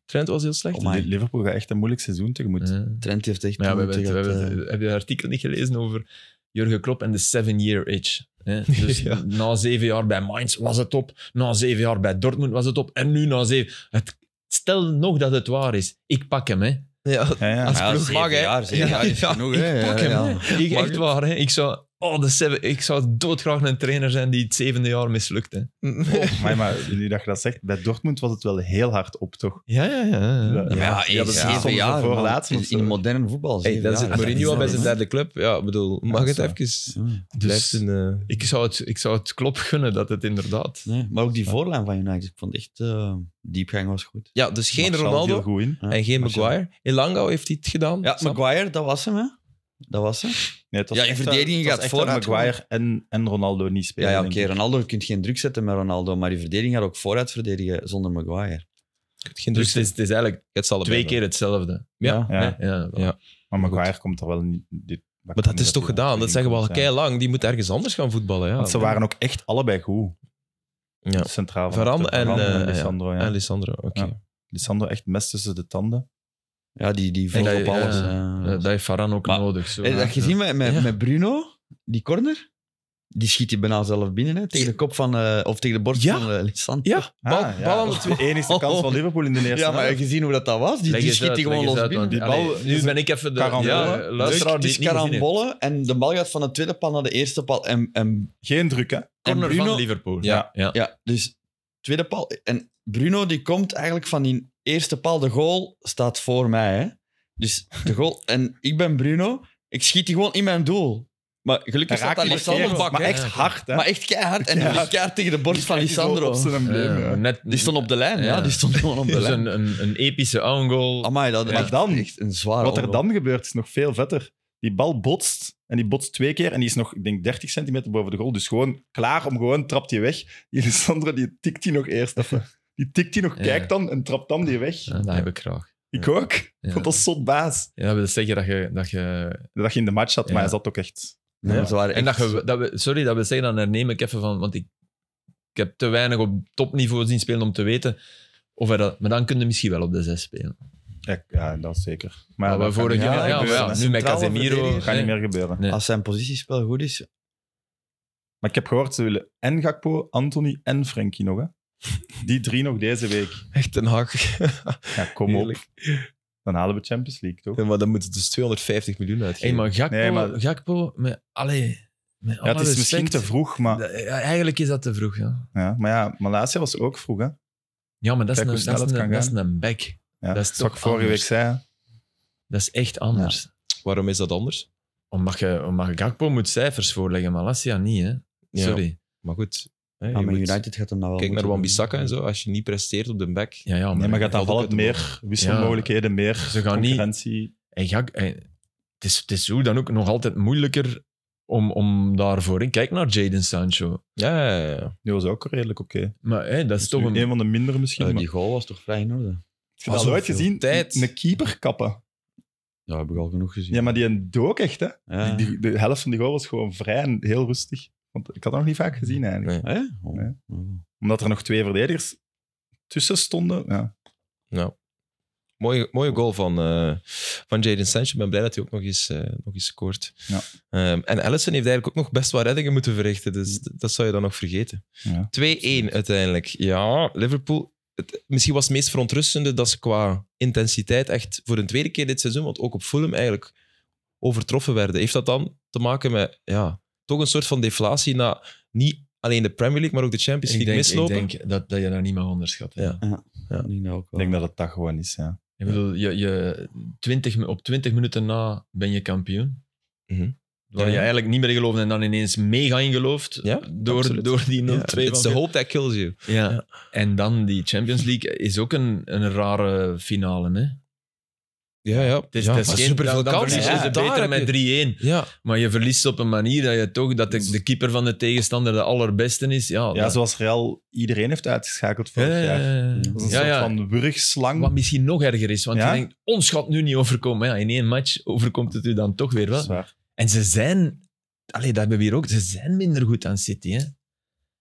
[SPEAKER 1] Trent was heel slecht.
[SPEAKER 2] Oh my.
[SPEAKER 3] Liverpool gaat echt een moeilijk seizoen tegemoet.
[SPEAKER 4] Ja.
[SPEAKER 2] Trent heeft echt...
[SPEAKER 4] Maar ja, we hebben,
[SPEAKER 2] moeite
[SPEAKER 4] het, we
[SPEAKER 2] gehad,
[SPEAKER 4] hebben, het-
[SPEAKER 2] eh.
[SPEAKER 4] heb je het artikel niet gelezen over Jurgen Klopp en de seven-year itch? Hè? Dus
[SPEAKER 1] Ja.
[SPEAKER 4] na zeven jaar bij Mainz was het op, na zeven jaar bij Dortmund was het op, en nu na zeven... Het, stel nog dat het waar is. Ik pak hem, hè.
[SPEAKER 1] Ja,
[SPEAKER 3] Ja, ja.
[SPEAKER 1] Als
[SPEAKER 2] Ja,
[SPEAKER 1] ploeg
[SPEAKER 2] zeven
[SPEAKER 1] mag, hè.
[SPEAKER 2] jaar, zeven
[SPEAKER 1] Ja,
[SPEAKER 2] jaar is
[SPEAKER 1] ja,
[SPEAKER 2] genoeg,
[SPEAKER 1] ik
[SPEAKER 2] hè.
[SPEAKER 4] pak
[SPEAKER 2] Ja,
[SPEAKER 4] hem,
[SPEAKER 2] ja.
[SPEAKER 4] hè. Ik, echt waar, hè. Ik zou... Oh, de seven, ik zou doodgraag een trainer zijn die het zevende jaar mislukt, hè.
[SPEAKER 3] Maar, maar nu dat je dat zegt, bij Dortmund was het wel heel hard op, toch?
[SPEAKER 4] Ja, ja, ja.
[SPEAKER 3] Ja.
[SPEAKER 2] Ja, maar
[SPEAKER 3] Ja,
[SPEAKER 2] ja,
[SPEAKER 3] dat is
[SPEAKER 2] zeven
[SPEAKER 3] soms
[SPEAKER 2] jaar,
[SPEAKER 3] een
[SPEAKER 2] man.
[SPEAKER 3] voorlaatste of
[SPEAKER 2] In,
[SPEAKER 3] zo.
[SPEAKER 2] in modern voetbal,
[SPEAKER 1] Hey,
[SPEAKER 2] zeven
[SPEAKER 1] dan
[SPEAKER 2] jaar.
[SPEAKER 1] zit
[SPEAKER 2] eh, Dat is
[SPEAKER 1] Mourinho al bij
[SPEAKER 2] niet
[SPEAKER 1] zijn
[SPEAKER 2] normaal.
[SPEAKER 1] derde club. Ja, ik bedoel, mag het
[SPEAKER 3] zo.
[SPEAKER 1] even?
[SPEAKER 2] Ja.
[SPEAKER 4] Dus
[SPEAKER 1] Blijft een... eh,
[SPEAKER 4] ik zou het, ik zou het Klopp gunnen dat het inderdaad...
[SPEAKER 2] Nee, maar ook die voorlijn van United, ik vond echt... eh, diepgang was goed.
[SPEAKER 1] Ja, dus geen
[SPEAKER 3] Martial viel
[SPEAKER 1] Ronaldo
[SPEAKER 3] goed in.
[SPEAKER 2] Ja,
[SPEAKER 1] en geen
[SPEAKER 3] Martial.
[SPEAKER 1] Maguire. Elangau heeft hij het gedaan.
[SPEAKER 2] Ja,
[SPEAKER 1] Sam?
[SPEAKER 2] Maguire, dat was hem, hè. Dat was hem.
[SPEAKER 3] Nee, het was
[SPEAKER 2] Ja, je
[SPEAKER 3] echt dat-
[SPEAKER 2] verdediging
[SPEAKER 3] het was
[SPEAKER 2] gaat
[SPEAKER 3] echt dat
[SPEAKER 2] vooruit
[SPEAKER 3] Maguire en, en Ronaldo niet spelen.
[SPEAKER 2] Ja, ja oké,
[SPEAKER 3] denk ik.
[SPEAKER 2] Ronaldo, je kunt geen druk zetten met Ronaldo, maar je verdediging gaat ook vooruit verdedigen zonder Maguire.
[SPEAKER 1] Geen
[SPEAKER 4] Dus het is, het is eigenlijk
[SPEAKER 1] Het zal
[SPEAKER 4] twee keer hetzelfde.
[SPEAKER 1] Ja.
[SPEAKER 3] Ja,
[SPEAKER 4] hè. Ja,
[SPEAKER 1] Ja.
[SPEAKER 3] maar Maguire komt er wel niet... dit-
[SPEAKER 1] Maar dat is toch gedaan? Dat zeggen we al kei lang. Die moet ergens anders gaan voetballen. Ja.
[SPEAKER 3] Want ze waren ook echt allebei goed.
[SPEAKER 1] Ja.
[SPEAKER 3] Centraal. van
[SPEAKER 1] Varane
[SPEAKER 3] achter.
[SPEAKER 1] en,
[SPEAKER 3] Varane
[SPEAKER 1] eh, ja.
[SPEAKER 3] Lissandro. Ja.
[SPEAKER 1] En Lissandro, oké.
[SPEAKER 3] Ja. Lissandro echt mes tussen de tanden.
[SPEAKER 2] Ja, die, die
[SPEAKER 4] En
[SPEAKER 2] volgt
[SPEAKER 4] dat
[SPEAKER 2] op
[SPEAKER 4] je-
[SPEAKER 2] alles.
[SPEAKER 4] ja,
[SPEAKER 2] Ja,
[SPEAKER 4] Eh, dat heeft Varane ook
[SPEAKER 2] Maar-
[SPEAKER 4] nodig. Zo,
[SPEAKER 2] Heb je dat gezien met, met,
[SPEAKER 1] Ja.
[SPEAKER 2] met Bruno, die corner? Die schiet hij bijna zelf binnen, hè? tegen de kop van, eh, of tegen de borst
[SPEAKER 1] Ja.
[SPEAKER 2] van eh, Lissandro.
[SPEAKER 1] Ja, bal,
[SPEAKER 3] Ah, ja,
[SPEAKER 1] bal aan
[SPEAKER 3] dat
[SPEAKER 1] de
[SPEAKER 3] is (laughs)
[SPEAKER 1] twee.
[SPEAKER 3] de enige kans van Liverpool in de eerste
[SPEAKER 2] Ja, maar heb
[SPEAKER 3] helft.
[SPEAKER 2] je gezien hoe dat, dat was? Die,
[SPEAKER 4] Leg
[SPEAKER 2] die
[SPEAKER 4] eens
[SPEAKER 2] schiet
[SPEAKER 4] uit,
[SPEAKER 2] hij gewoon
[SPEAKER 4] leg eens
[SPEAKER 2] los
[SPEAKER 4] uit,
[SPEAKER 2] binnen.
[SPEAKER 4] want-
[SPEAKER 3] Die
[SPEAKER 4] allee,
[SPEAKER 3] bal-
[SPEAKER 4] nu ben ik even de
[SPEAKER 3] Karambol,
[SPEAKER 4] ja,
[SPEAKER 3] hè?
[SPEAKER 2] Luister,
[SPEAKER 4] luisteraar
[SPEAKER 2] het
[SPEAKER 4] die
[SPEAKER 2] is
[SPEAKER 4] het niet gezien heeft.
[SPEAKER 2] karambollen en de bal gaat van de tweede paal naar de eerste paal. En, en,
[SPEAKER 3] Geen druk, hè?
[SPEAKER 2] en
[SPEAKER 4] Corner van
[SPEAKER 2] Bruno,
[SPEAKER 4] Liverpool.
[SPEAKER 1] Ja.
[SPEAKER 4] ja.
[SPEAKER 2] Ja, dus tweede paal. En Bruno die komt eigenlijk van die eerste paal. De goal staat voor mij. Hè? Dus de
[SPEAKER 4] (laughs)
[SPEAKER 2] goal. En ik ben Bruno. Ik schiet die gewoon in mijn doel. Maar gelukkig staat daar
[SPEAKER 3] die
[SPEAKER 2] Lissandro
[SPEAKER 3] verkeerd,
[SPEAKER 2] bak.
[SPEAKER 3] Maar
[SPEAKER 2] hè.
[SPEAKER 3] echt hard, hè?
[SPEAKER 2] Maar echt keihard. En
[SPEAKER 3] Ja.
[SPEAKER 2] die is keihard tegen de borst van
[SPEAKER 3] Die krijgt die zo
[SPEAKER 2] Lissandro.
[SPEAKER 3] op zijn embleem,
[SPEAKER 4] Eh, (laughs)
[SPEAKER 3] ja.
[SPEAKER 4] net,
[SPEAKER 2] Die stond op de lijn. Ja,
[SPEAKER 4] Ja.
[SPEAKER 2] die stond gewoon op de
[SPEAKER 4] dus
[SPEAKER 2] lijn.
[SPEAKER 4] een, een, een epische own goal.
[SPEAKER 2] Amai, dat
[SPEAKER 3] Maar
[SPEAKER 2] echt,
[SPEAKER 3] dan,
[SPEAKER 2] echt een zware
[SPEAKER 3] Wat er
[SPEAKER 2] oorlog.
[SPEAKER 3] dan gebeurt is nog veel vetter. Die bal botst en die botst twee keer en die is nog, ik denk, 30 centimeter boven de goal. Dus gewoon klaar om gewoon trapt hij weg. Die Lissandra die tikt die nog eerst even. Die tikt die nog,
[SPEAKER 4] Ja.
[SPEAKER 3] kijkt dan en trapt dan die weg.
[SPEAKER 4] Ja, dat heb ik graag.
[SPEAKER 3] Ik ook.
[SPEAKER 4] Ja.
[SPEAKER 3] Want dat is zot baas.
[SPEAKER 4] Ja, dat wil zeggen dat je... Dat je,
[SPEAKER 3] Dat je in de match zat,
[SPEAKER 4] Ja.
[SPEAKER 3] maar hij zat ook echt.
[SPEAKER 2] Ja, maar ze waren
[SPEAKER 4] en dat
[SPEAKER 2] echt-
[SPEAKER 4] je dat we, sorry, dat wil zeggen, dan herneem ik even van... Want ik, ik heb te weinig op topniveau zien spelen om te weten... Of hij dat, maar dan kun je misschien wel op de zes spelen.
[SPEAKER 3] Ja, ja, dat is zeker. Maar
[SPEAKER 4] Maar
[SPEAKER 3] ja,
[SPEAKER 4] we
[SPEAKER 3] dat kan
[SPEAKER 4] vorig
[SPEAKER 3] niet
[SPEAKER 4] jaar,
[SPEAKER 3] meer
[SPEAKER 4] ja, maar
[SPEAKER 3] gebeuren,
[SPEAKER 4] ja,
[SPEAKER 3] hè.
[SPEAKER 4] nu met
[SPEAKER 2] Centrale
[SPEAKER 4] Casemiro.
[SPEAKER 2] verdediger.
[SPEAKER 3] Dat kan niet meer gebeuren.
[SPEAKER 4] Nee.
[SPEAKER 2] Als zijn positiespel goed is,
[SPEAKER 3] Maar ik heb gehoord, ze willen en Gakpo, Anthony en Frenkie nog. Hè? Die drie nog deze week.
[SPEAKER 1] Echt een hak.
[SPEAKER 3] Ja, kom
[SPEAKER 1] Heerlijk.
[SPEAKER 3] op. Dan halen we Champions League, toch?
[SPEAKER 1] Ja, maar dan moeten dus 250 miljoen
[SPEAKER 4] Hé,
[SPEAKER 1] uitgeven.
[SPEAKER 4] maar Gakpo,
[SPEAKER 3] Nee, maar-
[SPEAKER 4] Gakpo met, allee, met
[SPEAKER 3] Ja, het
[SPEAKER 4] alle
[SPEAKER 3] is misschien
[SPEAKER 4] respect.
[SPEAKER 3] te vroeg, maar,
[SPEAKER 4] Da- ja, eigenlijk is dat te vroeg, ja.
[SPEAKER 3] ja, maar ja, Malasia was ook vroeg. Hè?
[SPEAKER 4] Ja, maar dat is,
[SPEAKER 3] Kijk hoe
[SPEAKER 4] een,
[SPEAKER 3] snel
[SPEAKER 4] dat, is
[SPEAKER 3] het
[SPEAKER 4] een,
[SPEAKER 3] kan
[SPEAKER 4] dat is
[SPEAKER 3] gaan.
[SPEAKER 4] een back.
[SPEAKER 3] Ja,
[SPEAKER 4] Dat is
[SPEAKER 3] wat
[SPEAKER 4] toch
[SPEAKER 3] ik vorige
[SPEAKER 4] anders.
[SPEAKER 3] week zei. hè.
[SPEAKER 4] Dat is echt anders.
[SPEAKER 1] Waarom is dat anders?
[SPEAKER 4] Omdat, je, omdat je Gakpo moet cijfers voorleggen, Malasia niet, hè.
[SPEAKER 1] Ja,
[SPEAKER 4] Sorry.
[SPEAKER 1] Maar goed. Hè,
[SPEAKER 2] Ja,
[SPEAKER 1] je
[SPEAKER 2] maar
[SPEAKER 1] moet-
[SPEAKER 2] United gaat hem nou wel
[SPEAKER 1] Kijk naar
[SPEAKER 2] moeten
[SPEAKER 1] Wan-Bissaka
[SPEAKER 2] doen.
[SPEAKER 1] en zo. Als je niet presteert op de back.
[SPEAKER 4] Ja, ja, maar,
[SPEAKER 3] Nee, maar gaat dan
[SPEAKER 1] valt ook
[SPEAKER 3] wel
[SPEAKER 1] uit
[SPEAKER 3] het
[SPEAKER 1] de
[SPEAKER 3] meer wisselmogelijkheden, meer
[SPEAKER 4] Ze gaan niet-
[SPEAKER 3] concurrentie.
[SPEAKER 4] En Gak, en het, is, het is hoe dan ook nog altijd moeilijker om, om daarvoor in. Kijk naar Jaden Sancho.
[SPEAKER 1] Ja, ja, ja, ja.
[SPEAKER 3] Die was ook redelijk oké.
[SPEAKER 4] Maar hè, dat is
[SPEAKER 3] Dus Nu
[SPEAKER 4] toch een...
[SPEAKER 3] een van de mindere misschien.
[SPEAKER 2] Eh,
[SPEAKER 3] maar-
[SPEAKER 2] die goal was toch vrij in orde?
[SPEAKER 3] Ik heb dat
[SPEAKER 1] Al
[SPEAKER 3] nooit
[SPEAKER 1] zoveel
[SPEAKER 3] gezien.
[SPEAKER 1] tijd.
[SPEAKER 3] Een keeper kappen.
[SPEAKER 2] Ja, heb ik al genoeg gezien.
[SPEAKER 3] Ja, maar die een dook echt, hè?
[SPEAKER 2] Ja.
[SPEAKER 3] Die, die- de helft van die goal was gewoon vrij en heel rustig. Want ik had dat nog niet vaak gezien eigenlijk.
[SPEAKER 1] Nee.
[SPEAKER 2] Hè? Oh.
[SPEAKER 3] Ja.
[SPEAKER 2] Oh.
[SPEAKER 3] Omdat er nog twee verdedigers tussen stonden. Ja.
[SPEAKER 1] Nou. Mooie, mooie goal van, eh, van Jadon Sancho. Ik ben blij dat hij ook nog eens, eh, nog eens scoort.
[SPEAKER 3] Ja.
[SPEAKER 1] Ehm, en Allison heeft eigenlijk ook nog best wat reddingen moeten verrichten. Dus d- dat zou je dan nog vergeten.
[SPEAKER 3] Mm. Ja.
[SPEAKER 1] 2-1 uiteindelijk. Ja, Liverpool. Het, misschien was het meest verontrustende dat ze qua intensiteit echt voor een tweede keer dit seizoen, want ook op Fulham eigenlijk, overtroffen werden. Heeft dat dan te maken met ja, toch een soort van deflatie na niet alleen de Premier League, maar ook de Champions
[SPEAKER 4] Ik
[SPEAKER 1] League
[SPEAKER 4] denk, ik
[SPEAKER 1] mislopen?
[SPEAKER 4] denk dat, dat je dat niet mag onderschatten.
[SPEAKER 1] Ja.
[SPEAKER 2] Ik denk dat ook
[SPEAKER 3] Ik
[SPEAKER 4] Oh.
[SPEAKER 2] wel.
[SPEAKER 3] denk dat het dat gewoon is. Ja.
[SPEAKER 4] Ik bedoel, je, je 20, mi- op 20 minuten na ben je kampioen.
[SPEAKER 1] Mhm.
[SPEAKER 4] Waar
[SPEAKER 1] Ja,
[SPEAKER 4] je
[SPEAKER 1] ja.
[SPEAKER 4] eigenlijk niet meer gelooft en dan ineens mega ingelooft
[SPEAKER 1] Ja,
[SPEAKER 4] door,
[SPEAKER 1] absoluut.
[SPEAKER 4] door die 0-2.
[SPEAKER 1] Ja, it's the
[SPEAKER 4] van-
[SPEAKER 1] hope that kills you.
[SPEAKER 4] ja. En dan die Champions League is ook een, een rare finale. Hè?
[SPEAKER 1] Ja, ja.
[SPEAKER 4] Het is,
[SPEAKER 1] ja,
[SPEAKER 4] het is
[SPEAKER 1] maar
[SPEAKER 4] geen
[SPEAKER 1] superveel
[SPEAKER 4] dan- dan
[SPEAKER 1] kansen.
[SPEAKER 4] verliezen
[SPEAKER 1] Ja,
[SPEAKER 4] ze
[SPEAKER 1] daar
[SPEAKER 4] beter
[SPEAKER 1] heb je-
[SPEAKER 4] met 3-1.
[SPEAKER 1] Ja,
[SPEAKER 4] Maar je verliest op een manier dat je toch dat de,
[SPEAKER 3] Dus-
[SPEAKER 4] de keeper van de tegenstander de allerbeste is. Oh, Ja,
[SPEAKER 3] ja,
[SPEAKER 4] dat-
[SPEAKER 3] zoals Real iedereen heeft uitgeschakeld
[SPEAKER 4] Ja,
[SPEAKER 3] vorig
[SPEAKER 4] ja,
[SPEAKER 3] jaar.
[SPEAKER 4] ja, ja.
[SPEAKER 3] Dat is een
[SPEAKER 4] Ja,
[SPEAKER 3] soort
[SPEAKER 4] ja.
[SPEAKER 3] van wurgslang.
[SPEAKER 4] Wat misschien nog erger is, want
[SPEAKER 3] Ja?
[SPEAKER 4] je denkt, ons gaat nu niet overkomen. Maar Ja, in één match overkomt het u dan toch weer
[SPEAKER 3] Dat
[SPEAKER 4] wel.
[SPEAKER 3] is waar.
[SPEAKER 4] En ze zijn, allee, dat hebben we hier ook, ze zijn minder goed dan City. Hè?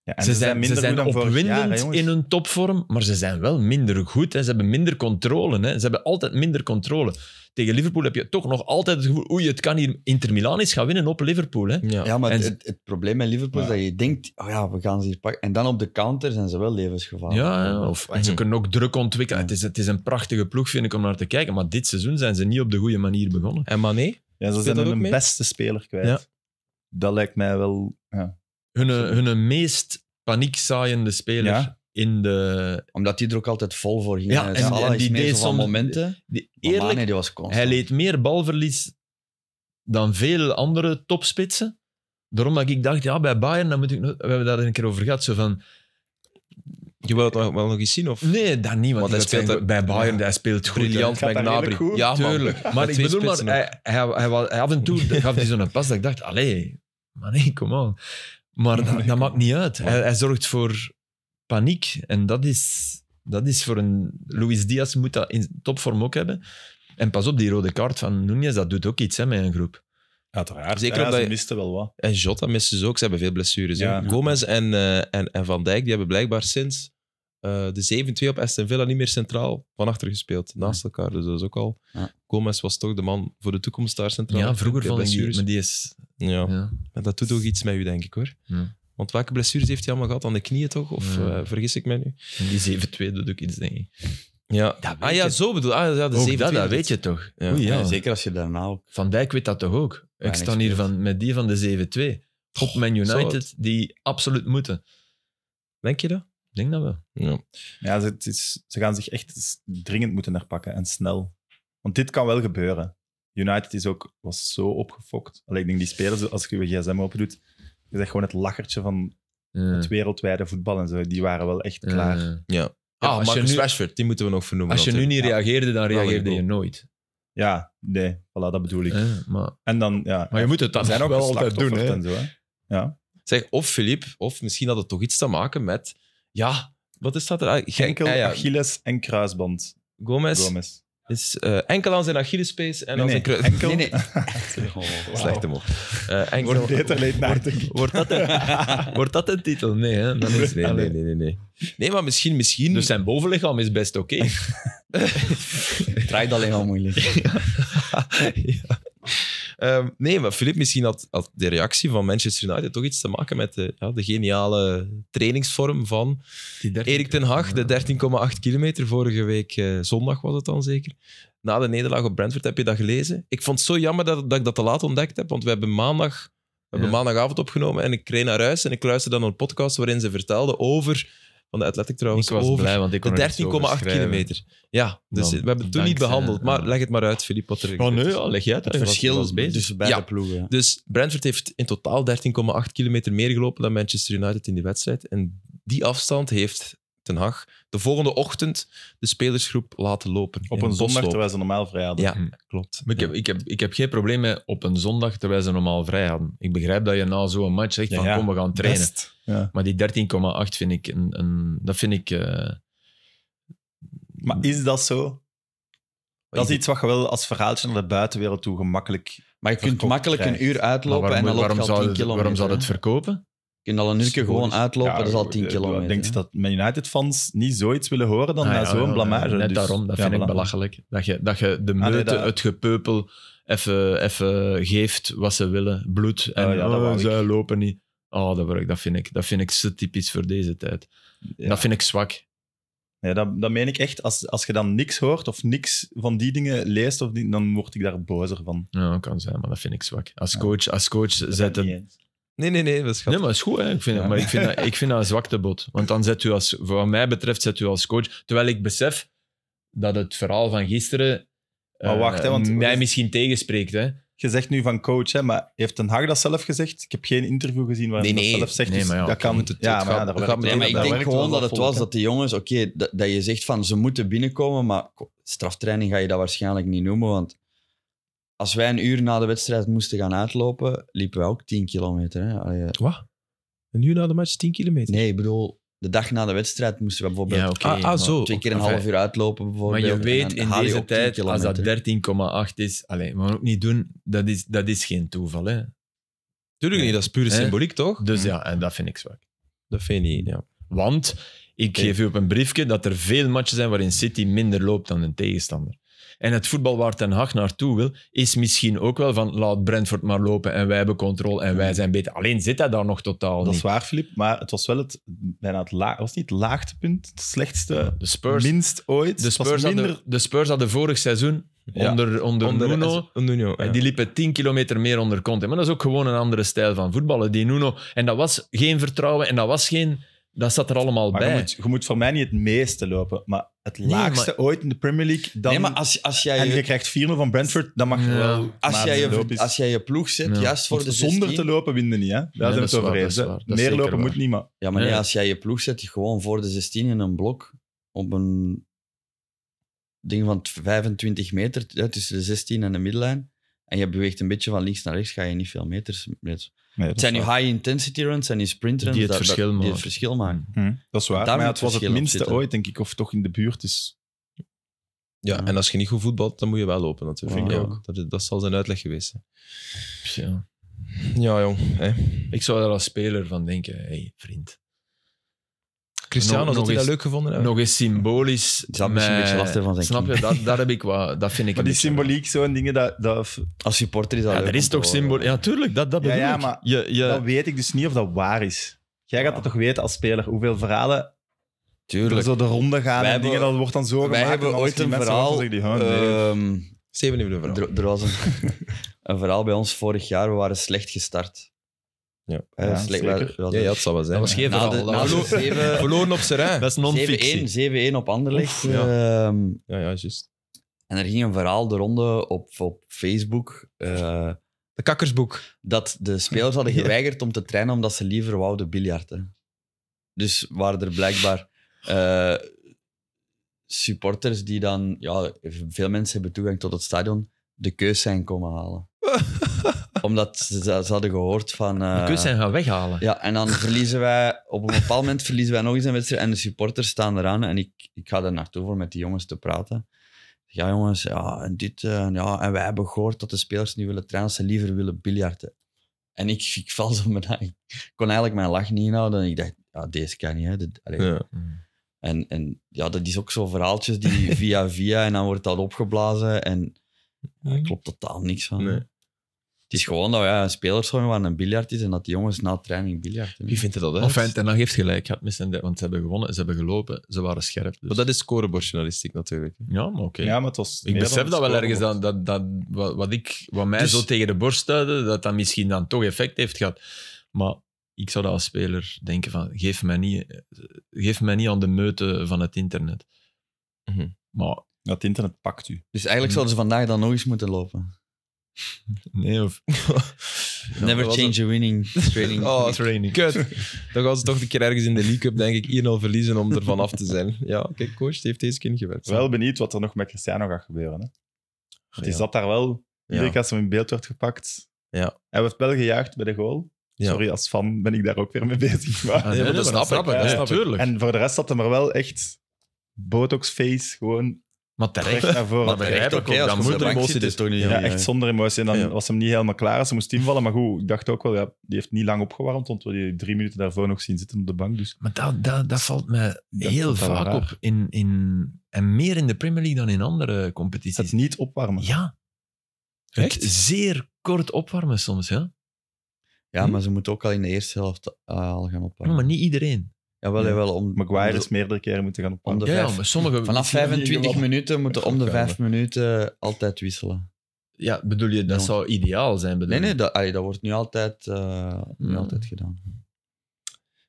[SPEAKER 3] Ja, en
[SPEAKER 4] ze, zijn, ze
[SPEAKER 3] minder
[SPEAKER 4] zijn
[SPEAKER 3] goed dan vorig jaar,
[SPEAKER 4] opwindend
[SPEAKER 3] hè, jongens.
[SPEAKER 4] in hun topvorm, maar ze zijn wel minder goed. Hè? Ze hebben minder controle. Hè? Ze hebben altijd minder controle. Tegen Liverpool heb je toch nog altijd het gevoel, oei, het kan hier Inter Milan is gaan winnen op Liverpool. Hè?
[SPEAKER 1] ja.
[SPEAKER 2] Ja, maar
[SPEAKER 4] En
[SPEAKER 2] het,
[SPEAKER 4] ze-
[SPEAKER 2] het, het probleem met Liverpool
[SPEAKER 3] Ja.
[SPEAKER 2] is dat je denkt, oh ja, we gaan ze hier pakken. En dan op de counter zijn ze wel levensgevaarlijk.
[SPEAKER 4] Ja, ja, of, en ze
[SPEAKER 1] Mhm.
[SPEAKER 4] kunnen ook druk ontwikkelen.
[SPEAKER 2] Ja.
[SPEAKER 4] Het, is, het is een prachtige ploeg, vind ik, om naar te kijken. Maar dit seizoen zijn ze niet op de goede manier begonnen.
[SPEAKER 1] En Mané?
[SPEAKER 3] Ja, ze
[SPEAKER 1] Speelt
[SPEAKER 3] zijn
[SPEAKER 1] dat ook
[SPEAKER 3] hun
[SPEAKER 1] mee?
[SPEAKER 3] beste speler kwijt.
[SPEAKER 1] Ja.
[SPEAKER 3] Dat lijkt mij wel... Ja.
[SPEAKER 4] Hun, eh,
[SPEAKER 3] Sorry.
[SPEAKER 4] hun meest paniekzaaiende speler
[SPEAKER 3] Ja.
[SPEAKER 4] in de...
[SPEAKER 2] Omdat die er ook altijd vol voor ging.
[SPEAKER 4] Ja,
[SPEAKER 2] En
[SPEAKER 4] en-
[SPEAKER 2] Salah
[SPEAKER 4] en
[SPEAKER 2] is
[SPEAKER 4] die
[SPEAKER 2] meer
[SPEAKER 4] deed
[SPEAKER 2] zo van
[SPEAKER 4] soms-
[SPEAKER 2] momenten.
[SPEAKER 4] de
[SPEAKER 2] Maar
[SPEAKER 4] eerlijk,
[SPEAKER 2] Mane, die was constant.
[SPEAKER 4] hij leed meer balverlies dan veel andere topspitsen. Daarom dat ik dacht, ja, bij Bayern, dan moet ik, nog- we hebben daar een keer over gehad, zo van...
[SPEAKER 1] Je wilt het nog- wel nog eens zien? Of?
[SPEAKER 4] Nee, dat niet, want,
[SPEAKER 1] Want hij
[SPEAKER 4] dat
[SPEAKER 1] speelt
[SPEAKER 4] zijn-
[SPEAKER 1] er-
[SPEAKER 4] bij Bayern,
[SPEAKER 1] ja.
[SPEAKER 4] hij speelt goed.
[SPEAKER 1] Briljant
[SPEAKER 4] hè.
[SPEAKER 3] Gaat dat
[SPEAKER 1] McNabry.
[SPEAKER 3] redelijk goed?
[SPEAKER 1] Ja, man.
[SPEAKER 4] Tuurlijk. Maar
[SPEAKER 1] Met
[SPEAKER 4] ik
[SPEAKER 1] twee
[SPEAKER 4] bedoel maar,
[SPEAKER 1] spitsen
[SPEAKER 4] hij, hij, hij, wa- hij af en
[SPEAKER 1] (laughs)
[SPEAKER 4] toe gaf hij zo'n pas dat ik dacht, allee, maar nee, kom aan. Maar dat, dat maakt niet uit. Hij, hij zorgt voor paniek. En dat is, dat is voor een... Luis Diaz moet dat in topvorm ook hebben. En pas op, die rode kaart van Nunez, dat doet ook iets hè, met een groep.
[SPEAKER 3] Uiteraard.
[SPEAKER 1] Zeker
[SPEAKER 3] ja,
[SPEAKER 1] omdat
[SPEAKER 3] ze
[SPEAKER 1] je-
[SPEAKER 3] misten wel wat.
[SPEAKER 1] En Jota missen ze ook. Ze hebben veel blessures. hè.
[SPEAKER 3] Ja.
[SPEAKER 1] Gomez en, eh, en, en Van Dijk die hebben blijkbaar sinds eh, de 7-2 op Aston Villa niet meer centraal van achter gespeeld. Naast elkaar. Dus dat is ook al...
[SPEAKER 2] Ja.
[SPEAKER 1] Gomez was toch de man voor de toekomst daar centraal.
[SPEAKER 4] Ja, vroeger
[SPEAKER 1] Veel
[SPEAKER 4] vond ik die,
[SPEAKER 1] blessures. Oh.
[SPEAKER 4] maar die is...
[SPEAKER 1] Ja.
[SPEAKER 4] Ja.
[SPEAKER 1] En dat doet ook iets met u, denk ik, hoor.
[SPEAKER 4] Ja.
[SPEAKER 1] Want welke blessures heeft hij allemaal gehad? Aan de knieën, toch? Of
[SPEAKER 4] Ja.
[SPEAKER 1] eh, vergis ik mij nu?
[SPEAKER 4] En die 7-2 doet ook iets, denk ik.
[SPEAKER 1] Ja.
[SPEAKER 4] Dat weet
[SPEAKER 1] Ah ja,
[SPEAKER 4] je.
[SPEAKER 1] zo bedoel Ah, ja, de
[SPEAKER 4] Ook
[SPEAKER 1] 7-2
[SPEAKER 4] dat, dat
[SPEAKER 1] bedoelt.
[SPEAKER 4] weet je toch?
[SPEAKER 1] Ja.
[SPEAKER 4] Oei, ja.
[SPEAKER 2] Ja, zeker als je daarna ook...
[SPEAKER 4] Van Dijk weet dat toch ook? Ik
[SPEAKER 2] Weinig
[SPEAKER 4] sta hier
[SPEAKER 2] speelt.
[SPEAKER 4] van, met die van de 7-2. Op Man
[SPEAKER 1] zou
[SPEAKER 4] United, die absoluut moeten. Ik
[SPEAKER 1] Denk je dat?
[SPEAKER 4] denk dat wel.
[SPEAKER 1] Ja.
[SPEAKER 3] Ja, ze, het is- ze gaan zich echt s- dringend moeten herpakken en snel. Want dit kan wel gebeuren. United is ook, was zo opgefokt. Allee, ik denk die spelers, als je je gsm opendoet, is echt gewoon het lachertje van
[SPEAKER 4] Ja.
[SPEAKER 3] het wereldwijde voetbal en zo. Die waren wel echt
[SPEAKER 4] Ja.
[SPEAKER 3] klaar.
[SPEAKER 4] Ja,
[SPEAKER 1] Ah,
[SPEAKER 4] als je
[SPEAKER 1] Marcus
[SPEAKER 4] nu-
[SPEAKER 1] Rashford, die moeten we nog vernoemen.
[SPEAKER 4] Als je nu
[SPEAKER 1] natuurlijk.
[SPEAKER 4] niet reageerde, dan
[SPEAKER 1] Wel
[SPEAKER 4] reageerde
[SPEAKER 1] een
[SPEAKER 4] je
[SPEAKER 1] goal.
[SPEAKER 4] nooit.
[SPEAKER 3] Ja, nee, voilà, dat bedoel ik.
[SPEAKER 4] hè. Maar,
[SPEAKER 3] En dan, ja.
[SPEAKER 4] maar je moet het
[SPEAKER 3] er
[SPEAKER 4] dan
[SPEAKER 3] zijn ook
[SPEAKER 4] wel altijd doen.
[SPEAKER 3] geslachtofferd
[SPEAKER 4] Hè?
[SPEAKER 3] En zo, hè.
[SPEAKER 1] Zeg, of Filip, of misschien had het toch iets te maken met... Ja, wat is dat er? Ah, Genk-
[SPEAKER 3] Enkel,
[SPEAKER 1] ah ja,
[SPEAKER 3] Achilles en kruisband,
[SPEAKER 1] Gomez,
[SPEAKER 3] Gomez.
[SPEAKER 1] is eh, enkel aan zijn Achillespees en
[SPEAKER 3] Nee,
[SPEAKER 1] aan zijn
[SPEAKER 3] nee,
[SPEAKER 1] kruis.
[SPEAKER 3] enkel.
[SPEAKER 2] Nee, nee. (laughs)
[SPEAKER 1] Slechte mop. Eh, enkel...
[SPEAKER 3] (laughs) Wordt beter late night, denk ik.
[SPEAKER 4] Wordt,
[SPEAKER 3] (laughs)
[SPEAKER 4] dat een, wordt dat een titel? Nee, hè? Dan is
[SPEAKER 1] Nee, nee, nee, nee, nee. Nee, maar misschien... misschien...
[SPEAKER 4] Dus zijn bovenlichaam is best oké.
[SPEAKER 2] Het draait alleen al moeilijk.
[SPEAKER 1] Ja. Ehm, nee, maar Filip, misschien had, had de reactie van Manchester United toch iets te maken met de, ja, de geniale trainingsvorm van Erik ten Hag, de 13,8 kilometer vorige week eh, zondag was het dan zeker. Na de nederlaag op Brentford heb je dat gelezen. Ik vond het zo jammer dat, dat ik dat te laat ontdekt heb, want we hebben maandag we hebben maandagavond opgenomen en ik kreeg naar huis en ik luisterde dan een podcast waarin ze vertelden over van de Athletic
[SPEAKER 4] Ik
[SPEAKER 1] trouwens
[SPEAKER 4] was
[SPEAKER 1] over
[SPEAKER 4] blij, want ik kon er iets over
[SPEAKER 1] de 13,8
[SPEAKER 4] schrijven.
[SPEAKER 1] kilometer. Ja, dus
[SPEAKER 4] Dan
[SPEAKER 1] we hebben het toen niet
[SPEAKER 4] dankzij-
[SPEAKER 1] behandeld, maar
[SPEAKER 4] ja.
[SPEAKER 1] leg het maar uit, Filip. Wat er
[SPEAKER 4] Oh
[SPEAKER 1] gebeurd
[SPEAKER 4] nee,
[SPEAKER 1] is.
[SPEAKER 4] ja, leg jij het uit.
[SPEAKER 2] Het verschil
[SPEAKER 4] was bezig.
[SPEAKER 2] tussen beide
[SPEAKER 1] Ja.
[SPEAKER 2] ploegen. ja.
[SPEAKER 1] Dus Brentford heeft in totaal 13,8 kilometer meer gelopen dan Manchester United in die wedstrijd. En die afstand heeft Ten Hag de volgende ochtend de spelersgroep laten lopen.
[SPEAKER 3] Op
[SPEAKER 1] In
[SPEAKER 3] een
[SPEAKER 1] het
[SPEAKER 3] zondag
[SPEAKER 1] bosloop.
[SPEAKER 3] terwijl ze normaal vrij hadden.
[SPEAKER 1] Ja,
[SPEAKER 4] Hm.
[SPEAKER 1] klopt.
[SPEAKER 4] Maar ik, heb, ik, heb, ik heb geen probleem met op een zondag terwijl ze normaal vrij hadden. Ik begrijp dat je na zo'n match zegt
[SPEAKER 3] Ja,
[SPEAKER 4] van
[SPEAKER 3] ja.
[SPEAKER 4] kom, we gaan trainen.
[SPEAKER 3] Best. Ja.
[SPEAKER 4] Maar die 13,8 vind ik een... een dat vind ik... eh,
[SPEAKER 3] Maar is dat zo? Dat is iets wat je wel als verhaaltje naar de buitenwereld toe gemakkelijk...
[SPEAKER 2] Maar je kunt
[SPEAKER 3] Verkocht
[SPEAKER 2] makkelijk een
[SPEAKER 3] krijgt.
[SPEAKER 2] uur
[SPEAKER 4] maar
[SPEAKER 2] uitlopen
[SPEAKER 4] waarom,
[SPEAKER 2] en dan loop je
[SPEAKER 4] waarom,
[SPEAKER 2] al 10
[SPEAKER 4] zou,
[SPEAKER 2] kilometer.
[SPEAKER 4] waarom zou
[SPEAKER 2] hè.
[SPEAKER 4] het verkopen?
[SPEAKER 2] Je kunt al een uur gewoon
[SPEAKER 3] Symbolisch.
[SPEAKER 2] uitlopen, dat is al
[SPEAKER 3] Ja,
[SPEAKER 2] 10
[SPEAKER 3] eh,
[SPEAKER 2] kilometer.
[SPEAKER 3] Ik denk
[SPEAKER 2] hè.
[SPEAKER 3] dat Man United-fans niet zoiets willen horen dan
[SPEAKER 4] Ah,
[SPEAKER 3] na
[SPEAKER 4] ja,
[SPEAKER 3] zo'n
[SPEAKER 4] wel,
[SPEAKER 3] blamage.
[SPEAKER 4] Net
[SPEAKER 3] Dus-
[SPEAKER 4] daarom, dat
[SPEAKER 3] ja,
[SPEAKER 4] vind ik
[SPEAKER 3] voilà. Ah,
[SPEAKER 4] belachelijk. Dat je, dat je de
[SPEAKER 3] nee,
[SPEAKER 4] meute,
[SPEAKER 3] dat-
[SPEAKER 4] het gepeupel, even, even geeft wat ze willen. Bloed. En
[SPEAKER 3] Ah, ja, dat
[SPEAKER 4] oh,
[SPEAKER 3] wou ik.
[SPEAKER 4] zij lopen niet. Oh, dat, werkt, dat, vind ik, dat vind ik zo typisch voor deze tijd.
[SPEAKER 3] Ja.
[SPEAKER 4] Dat vind ik zwak.
[SPEAKER 3] Ja, dat, dat meen ik echt. Als, als je dan niks hoort of niks van die dingen leest, of die, dan word ik daar bozer van.
[SPEAKER 4] Ja, kan zijn, maar dat vind ik zwak. Als
[SPEAKER 3] Ja.
[SPEAKER 4] coach, als coach zet
[SPEAKER 3] Dat
[SPEAKER 4] hem
[SPEAKER 3] niet eens.
[SPEAKER 1] Nee, nee, nee, dat is
[SPEAKER 4] Nee,
[SPEAKER 1] schattig.
[SPEAKER 4] maar dat is goed. Hè? Ik vind
[SPEAKER 3] Ja.
[SPEAKER 4] dat, maar ik vind, dat, ik vind dat een zwakte bot. Want dan zet u als, voor wat mij betreft, zet u als coach. Terwijl ik besef dat het verhaal van gisteren
[SPEAKER 3] Maar
[SPEAKER 4] eh,
[SPEAKER 3] wacht, hè, want-
[SPEAKER 4] mij misschien tegenspreekt. Hè?
[SPEAKER 3] Je zegt nu van coach, hè, maar heeft Ten Hag dat zelf gezegd? Ik heb geen interview gezien waarin
[SPEAKER 1] Nee,
[SPEAKER 3] hij
[SPEAKER 1] nee.
[SPEAKER 3] dat zelf zegt.
[SPEAKER 4] Nee,
[SPEAKER 3] dus
[SPEAKER 4] maar ja,
[SPEAKER 3] dat
[SPEAKER 4] oké,
[SPEAKER 3] kan.
[SPEAKER 1] want het-
[SPEAKER 3] ja,
[SPEAKER 1] het
[SPEAKER 3] maar ja,
[SPEAKER 1] gaat-
[SPEAKER 3] daar
[SPEAKER 1] het
[SPEAKER 3] werkt-
[SPEAKER 1] gaat
[SPEAKER 2] Ja, maar ik
[SPEAKER 3] daar
[SPEAKER 2] denk
[SPEAKER 3] werkt
[SPEAKER 2] gewoon
[SPEAKER 3] wel
[SPEAKER 2] dat het
[SPEAKER 3] volk,
[SPEAKER 2] was
[SPEAKER 3] hè.
[SPEAKER 2] dat die jongens, oké, dat, dat je zegt van ze moeten binnenkomen, maar ko- straftraining ga je dat waarschijnlijk niet noemen, want als wij een uur na de wedstrijd moesten gaan uitlopen, liepen wij ook 10 kilometer. Hè? Allee, eh.
[SPEAKER 1] Wat? Een uur na de match 10 kilometer?
[SPEAKER 2] nee, ik bedoel, de dag na de wedstrijd moesten we bijvoorbeeld
[SPEAKER 4] Ja, oké.
[SPEAKER 1] Ah, ah,
[SPEAKER 4] maar-
[SPEAKER 1] zo.
[SPEAKER 2] twee keer een
[SPEAKER 1] Enfin,
[SPEAKER 2] half uur uitlopen.
[SPEAKER 4] Maar
[SPEAKER 2] Bijvoorbeeld,
[SPEAKER 4] je
[SPEAKER 2] en
[SPEAKER 4] weet
[SPEAKER 2] dan
[SPEAKER 4] in
[SPEAKER 2] haal je
[SPEAKER 4] deze
[SPEAKER 2] ook 10
[SPEAKER 4] tijd, als dat
[SPEAKER 2] kilometer.
[SPEAKER 4] 13,8 is, alleen, maar ook niet doen, dat is, dat is geen toeval. Hè?
[SPEAKER 1] Tuurlijk
[SPEAKER 4] Nee.
[SPEAKER 1] niet, dat is pure
[SPEAKER 4] Hè?
[SPEAKER 1] symboliek, toch?
[SPEAKER 4] Dus ja, en dat vind ik zwak.
[SPEAKER 1] Dat vind je niet, ja.
[SPEAKER 4] Want ik geef u op een briefje dat er veel matchen zijn waarin City minder loopt dan een tegenstander. En het voetbal waar Ten Hag naartoe wil, is misschien ook wel van laat Brentford maar lopen en wij hebben controle en wij zijn beter. Alleen zit dat daar nog totaal
[SPEAKER 3] Dat is
[SPEAKER 4] niet.
[SPEAKER 3] waar, Filip, maar het was wel het, bijna het, la, was niet het laagtepunt, het slechtste,
[SPEAKER 4] De Spurs,
[SPEAKER 3] minst ooit.
[SPEAKER 4] de,
[SPEAKER 3] het
[SPEAKER 4] Spurs
[SPEAKER 3] was minder.
[SPEAKER 4] hadden, de Spurs hadden vorig seizoen
[SPEAKER 3] Ja.
[SPEAKER 4] onder, onder, Nuno...
[SPEAKER 1] Nuno, ja.
[SPEAKER 4] En die liepen 10 kilometer meer onder Conte. Maar dat is ook gewoon een andere stijl van voetballen. Die Nuno. En dat was geen vertrouwen en dat was geen. Dat zat er allemaal
[SPEAKER 3] maar je
[SPEAKER 4] bij.
[SPEAKER 3] moet, je moet voor mij niet het meeste lopen, maar het
[SPEAKER 4] Nee,
[SPEAKER 3] laagste ooit in de Premier League. Dan,
[SPEAKER 2] Nee, maar als, als jij
[SPEAKER 3] en je
[SPEAKER 2] je,
[SPEAKER 3] krijgt 4-0 van Brentford, dan mag je
[SPEAKER 4] Ja.
[SPEAKER 3] wel.
[SPEAKER 2] als
[SPEAKER 3] maar
[SPEAKER 2] jij
[SPEAKER 3] loop
[SPEAKER 2] je,
[SPEAKER 3] is-
[SPEAKER 2] als jij je ploeg zet,
[SPEAKER 4] Ja.
[SPEAKER 2] juist voor
[SPEAKER 3] want
[SPEAKER 2] de
[SPEAKER 3] zonder
[SPEAKER 2] 16,
[SPEAKER 3] te lopen winden niet, hè? Daar zijn we
[SPEAKER 4] dat
[SPEAKER 3] het
[SPEAKER 4] is waar,
[SPEAKER 3] over
[SPEAKER 4] dat is
[SPEAKER 3] eens. hè.
[SPEAKER 4] waar. Dat is
[SPEAKER 3] Meer
[SPEAKER 4] zeker
[SPEAKER 3] lopen
[SPEAKER 4] waar.
[SPEAKER 3] moet niet, maar
[SPEAKER 2] Ja, maar
[SPEAKER 4] Ja.
[SPEAKER 2] nee, als jij je ploeg zet, je gewoon voor de 16 in een blok op een ding van 25 meter hè, tussen de 16 en de middenlijn. En je beweegt een beetje van links naar rechts, ga je niet veel meters. Met.
[SPEAKER 3] Nee,
[SPEAKER 2] Het
[SPEAKER 3] dat is
[SPEAKER 2] zijn nu
[SPEAKER 3] waar.
[SPEAKER 2] high intensity runs en die sprintruns
[SPEAKER 4] Die het
[SPEAKER 2] dat- dat-
[SPEAKER 4] verschil
[SPEAKER 2] die het
[SPEAKER 4] maken. Hmm.
[SPEAKER 2] verschil maken.
[SPEAKER 3] Hm, dat is waar.
[SPEAKER 2] Daar
[SPEAKER 3] maar ja,
[SPEAKER 2] moet
[SPEAKER 3] het was het
[SPEAKER 2] verschil op
[SPEAKER 3] minste
[SPEAKER 2] zitten.
[SPEAKER 3] ooit, denk ik, of toch in de buurt. Dus
[SPEAKER 1] ja, en als je niet goed voetbalt, dan moet je wel lopen natuurlijk.
[SPEAKER 2] Vind ik
[SPEAKER 1] Ja, Dat, dat zal zijn uitleg geweest zijn.
[SPEAKER 4] Ja.
[SPEAKER 1] Ja, jong. Hè.
[SPEAKER 4] Ik zou daar als speler van denken: hé, hey, vriend.
[SPEAKER 1] Cristiano,
[SPEAKER 4] nog
[SPEAKER 1] zou hij dat
[SPEAKER 4] eens-
[SPEAKER 1] leuk gevonden hebben?
[SPEAKER 4] Nog eens symbolisch.
[SPEAKER 2] Daar heb ik een beetje last van, denk
[SPEAKER 4] Snap
[SPEAKER 2] ik.
[SPEAKER 4] je? Dat, daar heb ik wat. Dat vind ik.
[SPEAKER 3] maar
[SPEAKER 4] een
[SPEAKER 3] die
[SPEAKER 4] beetje-
[SPEAKER 3] symboliek, zo'n dingen, dat, dat,
[SPEAKER 2] Als supporter is dat
[SPEAKER 4] Ja,
[SPEAKER 2] leuk
[SPEAKER 4] er
[SPEAKER 2] om
[SPEAKER 4] is
[SPEAKER 2] te
[SPEAKER 4] toch
[SPEAKER 2] horen.
[SPEAKER 4] symbolisch. Ja, tuurlijk, dat, dat
[SPEAKER 3] Ja,
[SPEAKER 4] bedoel
[SPEAKER 3] ja,
[SPEAKER 4] ik.
[SPEAKER 3] maar
[SPEAKER 4] je, je,
[SPEAKER 3] dat weet ik dus niet of dat waar is. Jij gaat dat toch weten als speler, hoeveel verhalen er
[SPEAKER 2] Tuurlijk.
[SPEAKER 3] zo de ronde gaan
[SPEAKER 2] Wij
[SPEAKER 3] en
[SPEAKER 2] hebben-
[SPEAKER 3] dingen, dat wordt dan zo gemaakt.
[SPEAKER 2] Wij
[SPEAKER 3] en
[SPEAKER 2] hebben
[SPEAKER 3] dan
[SPEAKER 2] ooit
[SPEAKER 3] misschien
[SPEAKER 2] een
[SPEAKER 3] mensen horen
[SPEAKER 2] verhaal...
[SPEAKER 3] zeggen
[SPEAKER 4] Oh,
[SPEAKER 3] die, "Huh, nee."
[SPEAKER 2] ehm,
[SPEAKER 1] Zeven uur vooral.
[SPEAKER 2] Er, er was
[SPEAKER 4] (laughs)
[SPEAKER 2] een, een verhaal bij ons vorig jaar. We waren slecht gestart.
[SPEAKER 1] Ja.
[SPEAKER 2] Eh,
[SPEAKER 3] Ja,
[SPEAKER 2] slecht,
[SPEAKER 3] zeker.
[SPEAKER 2] we- we
[SPEAKER 1] Ja,
[SPEAKER 2] hadden-
[SPEAKER 1] ja, dat zal wel zijn.
[SPEAKER 4] dat was geen
[SPEAKER 2] na de-
[SPEAKER 4] verhaal.
[SPEAKER 2] na
[SPEAKER 4] dat
[SPEAKER 2] de
[SPEAKER 4] was- (laughs)
[SPEAKER 2] zeven-
[SPEAKER 1] Verloren op Serain.
[SPEAKER 4] Dat is
[SPEAKER 2] 7-1,
[SPEAKER 4] non-fictie.
[SPEAKER 2] 7-1 op Anderlecht.
[SPEAKER 1] Oef, ja.
[SPEAKER 2] Ehm,
[SPEAKER 1] Ja, ja, juist.
[SPEAKER 2] en er ging een verhaal de ronde op, op Facebook eh,
[SPEAKER 1] De kakkersboek.
[SPEAKER 2] dat de spelers
[SPEAKER 4] (laughs)
[SPEAKER 2] hadden geweigerd om te trainen omdat ze liever wouden biljarten. Dus waren er blijkbaar eh, supporters die dan... Ja, veel mensen hebben toegang tot het stadion, de keus zijn komen
[SPEAKER 4] (laughs)
[SPEAKER 2] halen. omdat ze, ze hadden gehoord van... eh,
[SPEAKER 4] De kus zijn gaan weghalen.
[SPEAKER 2] Ja, en dan verliezen wij, op een bepaald moment verliezen wij nog eens een wedstrijd en de supporters staan eraan en ik, ik ga er naartoe voor met die jongens te praten. Ja, jongens, ja, en dit, eh, en ja, en wij hebben gehoord dat de spelers niet willen trainen, ze liever willen biljarten. En ik, ik val zo mijn Ik kon eigenlijk mijn lach niet inhouden en ik dacht, ja, deze kan niet, hè. Dit, allee.
[SPEAKER 1] Ja.
[SPEAKER 2] En, en ja, dat is ook zo verhaaltjes die (laughs) via via en dan wordt dat opgeblazen en ja, klopt totaal niks van.
[SPEAKER 1] Nee.
[SPEAKER 2] Het is gewoon dat we ja, een spelersvorm waar een biljart is en dat die jongens na training biljart
[SPEAKER 1] Wie
[SPEAKER 2] hebben.
[SPEAKER 1] vindt er dat uit?
[SPEAKER 4] Maar fijn, Ten Hag heeft gelijk gehad met zijn... de- Want ze hebben gewonnen, ze hebben gelopen, ze waren scherp. dus-
[SPEAKER 1] Maar dat is scorebordjournalistiek natuurlijk.
[SPEAKER 4] Ja, maar oké.
[SPEAKER 3] Ja, maar het was
[SPEAKER 4] Ik
[SPEAKER 3] meer
[SPEAKER 4] besef
[SPEAKER 3] dan
[SPEAKER 4] dat wel
[SPEAKER 3] scorebord.
[SPEAKER 4] ergens, dat, dat, dat, wat, wat ik, wat mij
[SPEAKER 1] Dus-
[SPEAKER 4] zo tegen de borst stuitte, dat dat misschien dan toch effect heeft gehad. Maar ik zou dat als speler denken van, geef mij niet, eh, geef mij niet aan de meute van het internet.
[SPEAKER 1] Mhm.
[SPEAKER 4] Maar
[SPEAKER 3] Ja, het internet pakt u.
[SPEAKER 2] Dus eigenlijk zouden ze vandaag dan nog eens moeten lopen.
[SPEAKER 4] nee, (laughs) of
[SPEAKER 2] Never change a (laughs) winning training.
[SPEAKER 1] Oh,
[SPEAKER 4] training.
[SPEAKER 1] Kut. Dan gaan ze toch een keer ergens in de League Cup, denk ik, 1-0 verliezen om er vanaf te zijn. Ja, kijk, coach, die heeft deze keer niet gewerkt.
[SPEAKER 3] Wel benieuwd wat er nog met Cristiano gaat gebeuren. Hè? Want die
[SPEAKER 1] Ja.
[SPEAKER 3] zat daar wel. Iedere
[SPEAKER 1] Ja.
[SPEAKER 3] keer als hem in beeld werd gepakt.
[SPEAKER 1] Ja.
[SPEAKER 3] Hij werd wel gejaagd bij de goal.
[SPEAKER 1] Ja.
[SPEAKER 3] Sorry, als fan ben ik daar ook weer mee bezig. maar-
[SPEAKER 4] Ah, nee, maar dat snap ik,
[SPEAKER 1] ik,
[SPEAKER 4] hè,
[SPEAKER 1] dat snap ik.
[SPEAKER 4] tuurlijk.
[SPEAKER 3] En voor de rest zat hem er wel echt botox-face gewoon
[SPEAKER 4] maar
[SPEAKER 3] recht
[SPEAKER 4] terecht.
[SPEAKER 3] naar voren.
[SPEAKER 4] Maar begrijp ik ook, dat moet er emotie
[SPEAKER 2] is toch niet
[SPEAKER 3] Ja, echt zonder emotie. En dan
[SPEAKER 1] Ja.
[SPEAKER 3] was hem niet helemaal klaar. Ze moest invallen. Maar goed, ik dacht ook wel, ja, die heeft niet lang opgewarmd. Want we die drie minuten daarvoor nog zien zitten op de bank. Dus
[SPEAKER 4] Maar dat, dat, dat valt mij
[SPEAKER 3] Ja,
[SPEAKER 4] heel
[SPEAKER 3] dat is wel
[SPEAKER 4] vaak
[SPEAKER 3] raar.
[SPEAKER 4] op. In, in, en meer in de Premier League dan in andere competities.
[SPEAKER 3] het niet opwarmen.
[SPEAKER 4] Ja.
[SPEAKER 1] Echt?
[SPEAKER 4] Het zeer kort opwarmen soms, ja.
[SPEAKER 2] Ja, maar ze moeten ook al in de eerste helft eh, al gaan
[SPEAKER 4] Ja,
[SPEAKER 2] oppakken.
[SPEAKER 4] maar niet iedereen.
[SPEAKER 2] Jawel, jawel. Om,
[SPEAKER 3] Maguire
[SPEAKER 2] om
[SPEAKER 3] is meerdere keren moeten gaan opwarmen.
[SPEAKER 2] Om
[SPEAKER 4] Ja, ja,
[SPEAKER 2] vijf-
[SPEAKER 4] maar
[SPEAKER 2] (laughs)
[SPEAKER 4] sommige...
[SPEAKER 2] Vanaf
[SPEAKER 4] misschien-
[SPEAKER 2] 25 minuten moeten om de
[SPEAKER 4] Opwarmen.
[SPEAKER 2] 5 minuten altijd wisselen.
[SPEAKER 4] Ja, bedoel je, dat
[SPEAKER 2] Ja.
[SPEAKER 4] zou ideaal zijn, bedoel
[SPEAKER 2] Nee, nee,
[SPEAKER 4] je?
[SPEAKER 2] dat, allee, dat wordt nu altijd, eh, nu
[SPEAKER 4] Ja.
[SPEAKER 2] altijd gedaan.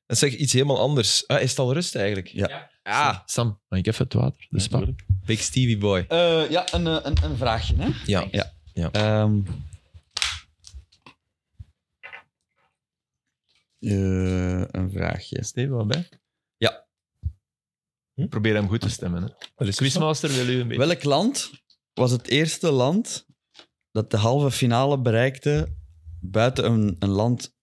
[SPEAKER 1] En zeg iets helemaal anders. Ah, is het al rust eigenlijk?
[SPEAKER 2] Ja.
[SPEAKER 1] Ah,
[SPEAKER 4] Sam, mag ik even het water? De
[SPEAKER 3] Ja,
[SPEAKER 4] spa.
[SPEAKER 3] Dus natuurlijk.
[SPEAKER 1] Big Stevie Boy.
[SPEAKER 2] Eh, ja, een, eh, een, een vraagje. Hè?
[SPEAKER 1] Ja.
[SPEAKER 2] Ja. Ehm. Eh, een vraagje.
[SPEAKER 4] Steven, wat bij?
[SPEAKER 2] Ja.
[SPEAKER 1] Hm?
[SPEAKER 4] Probeer hem goed te stemmen. Hè. Quizmaster wil u een beetje...
[SPEAKER 2] Welk land was het eerste land dat de halve finale bereikte buiten een, een land,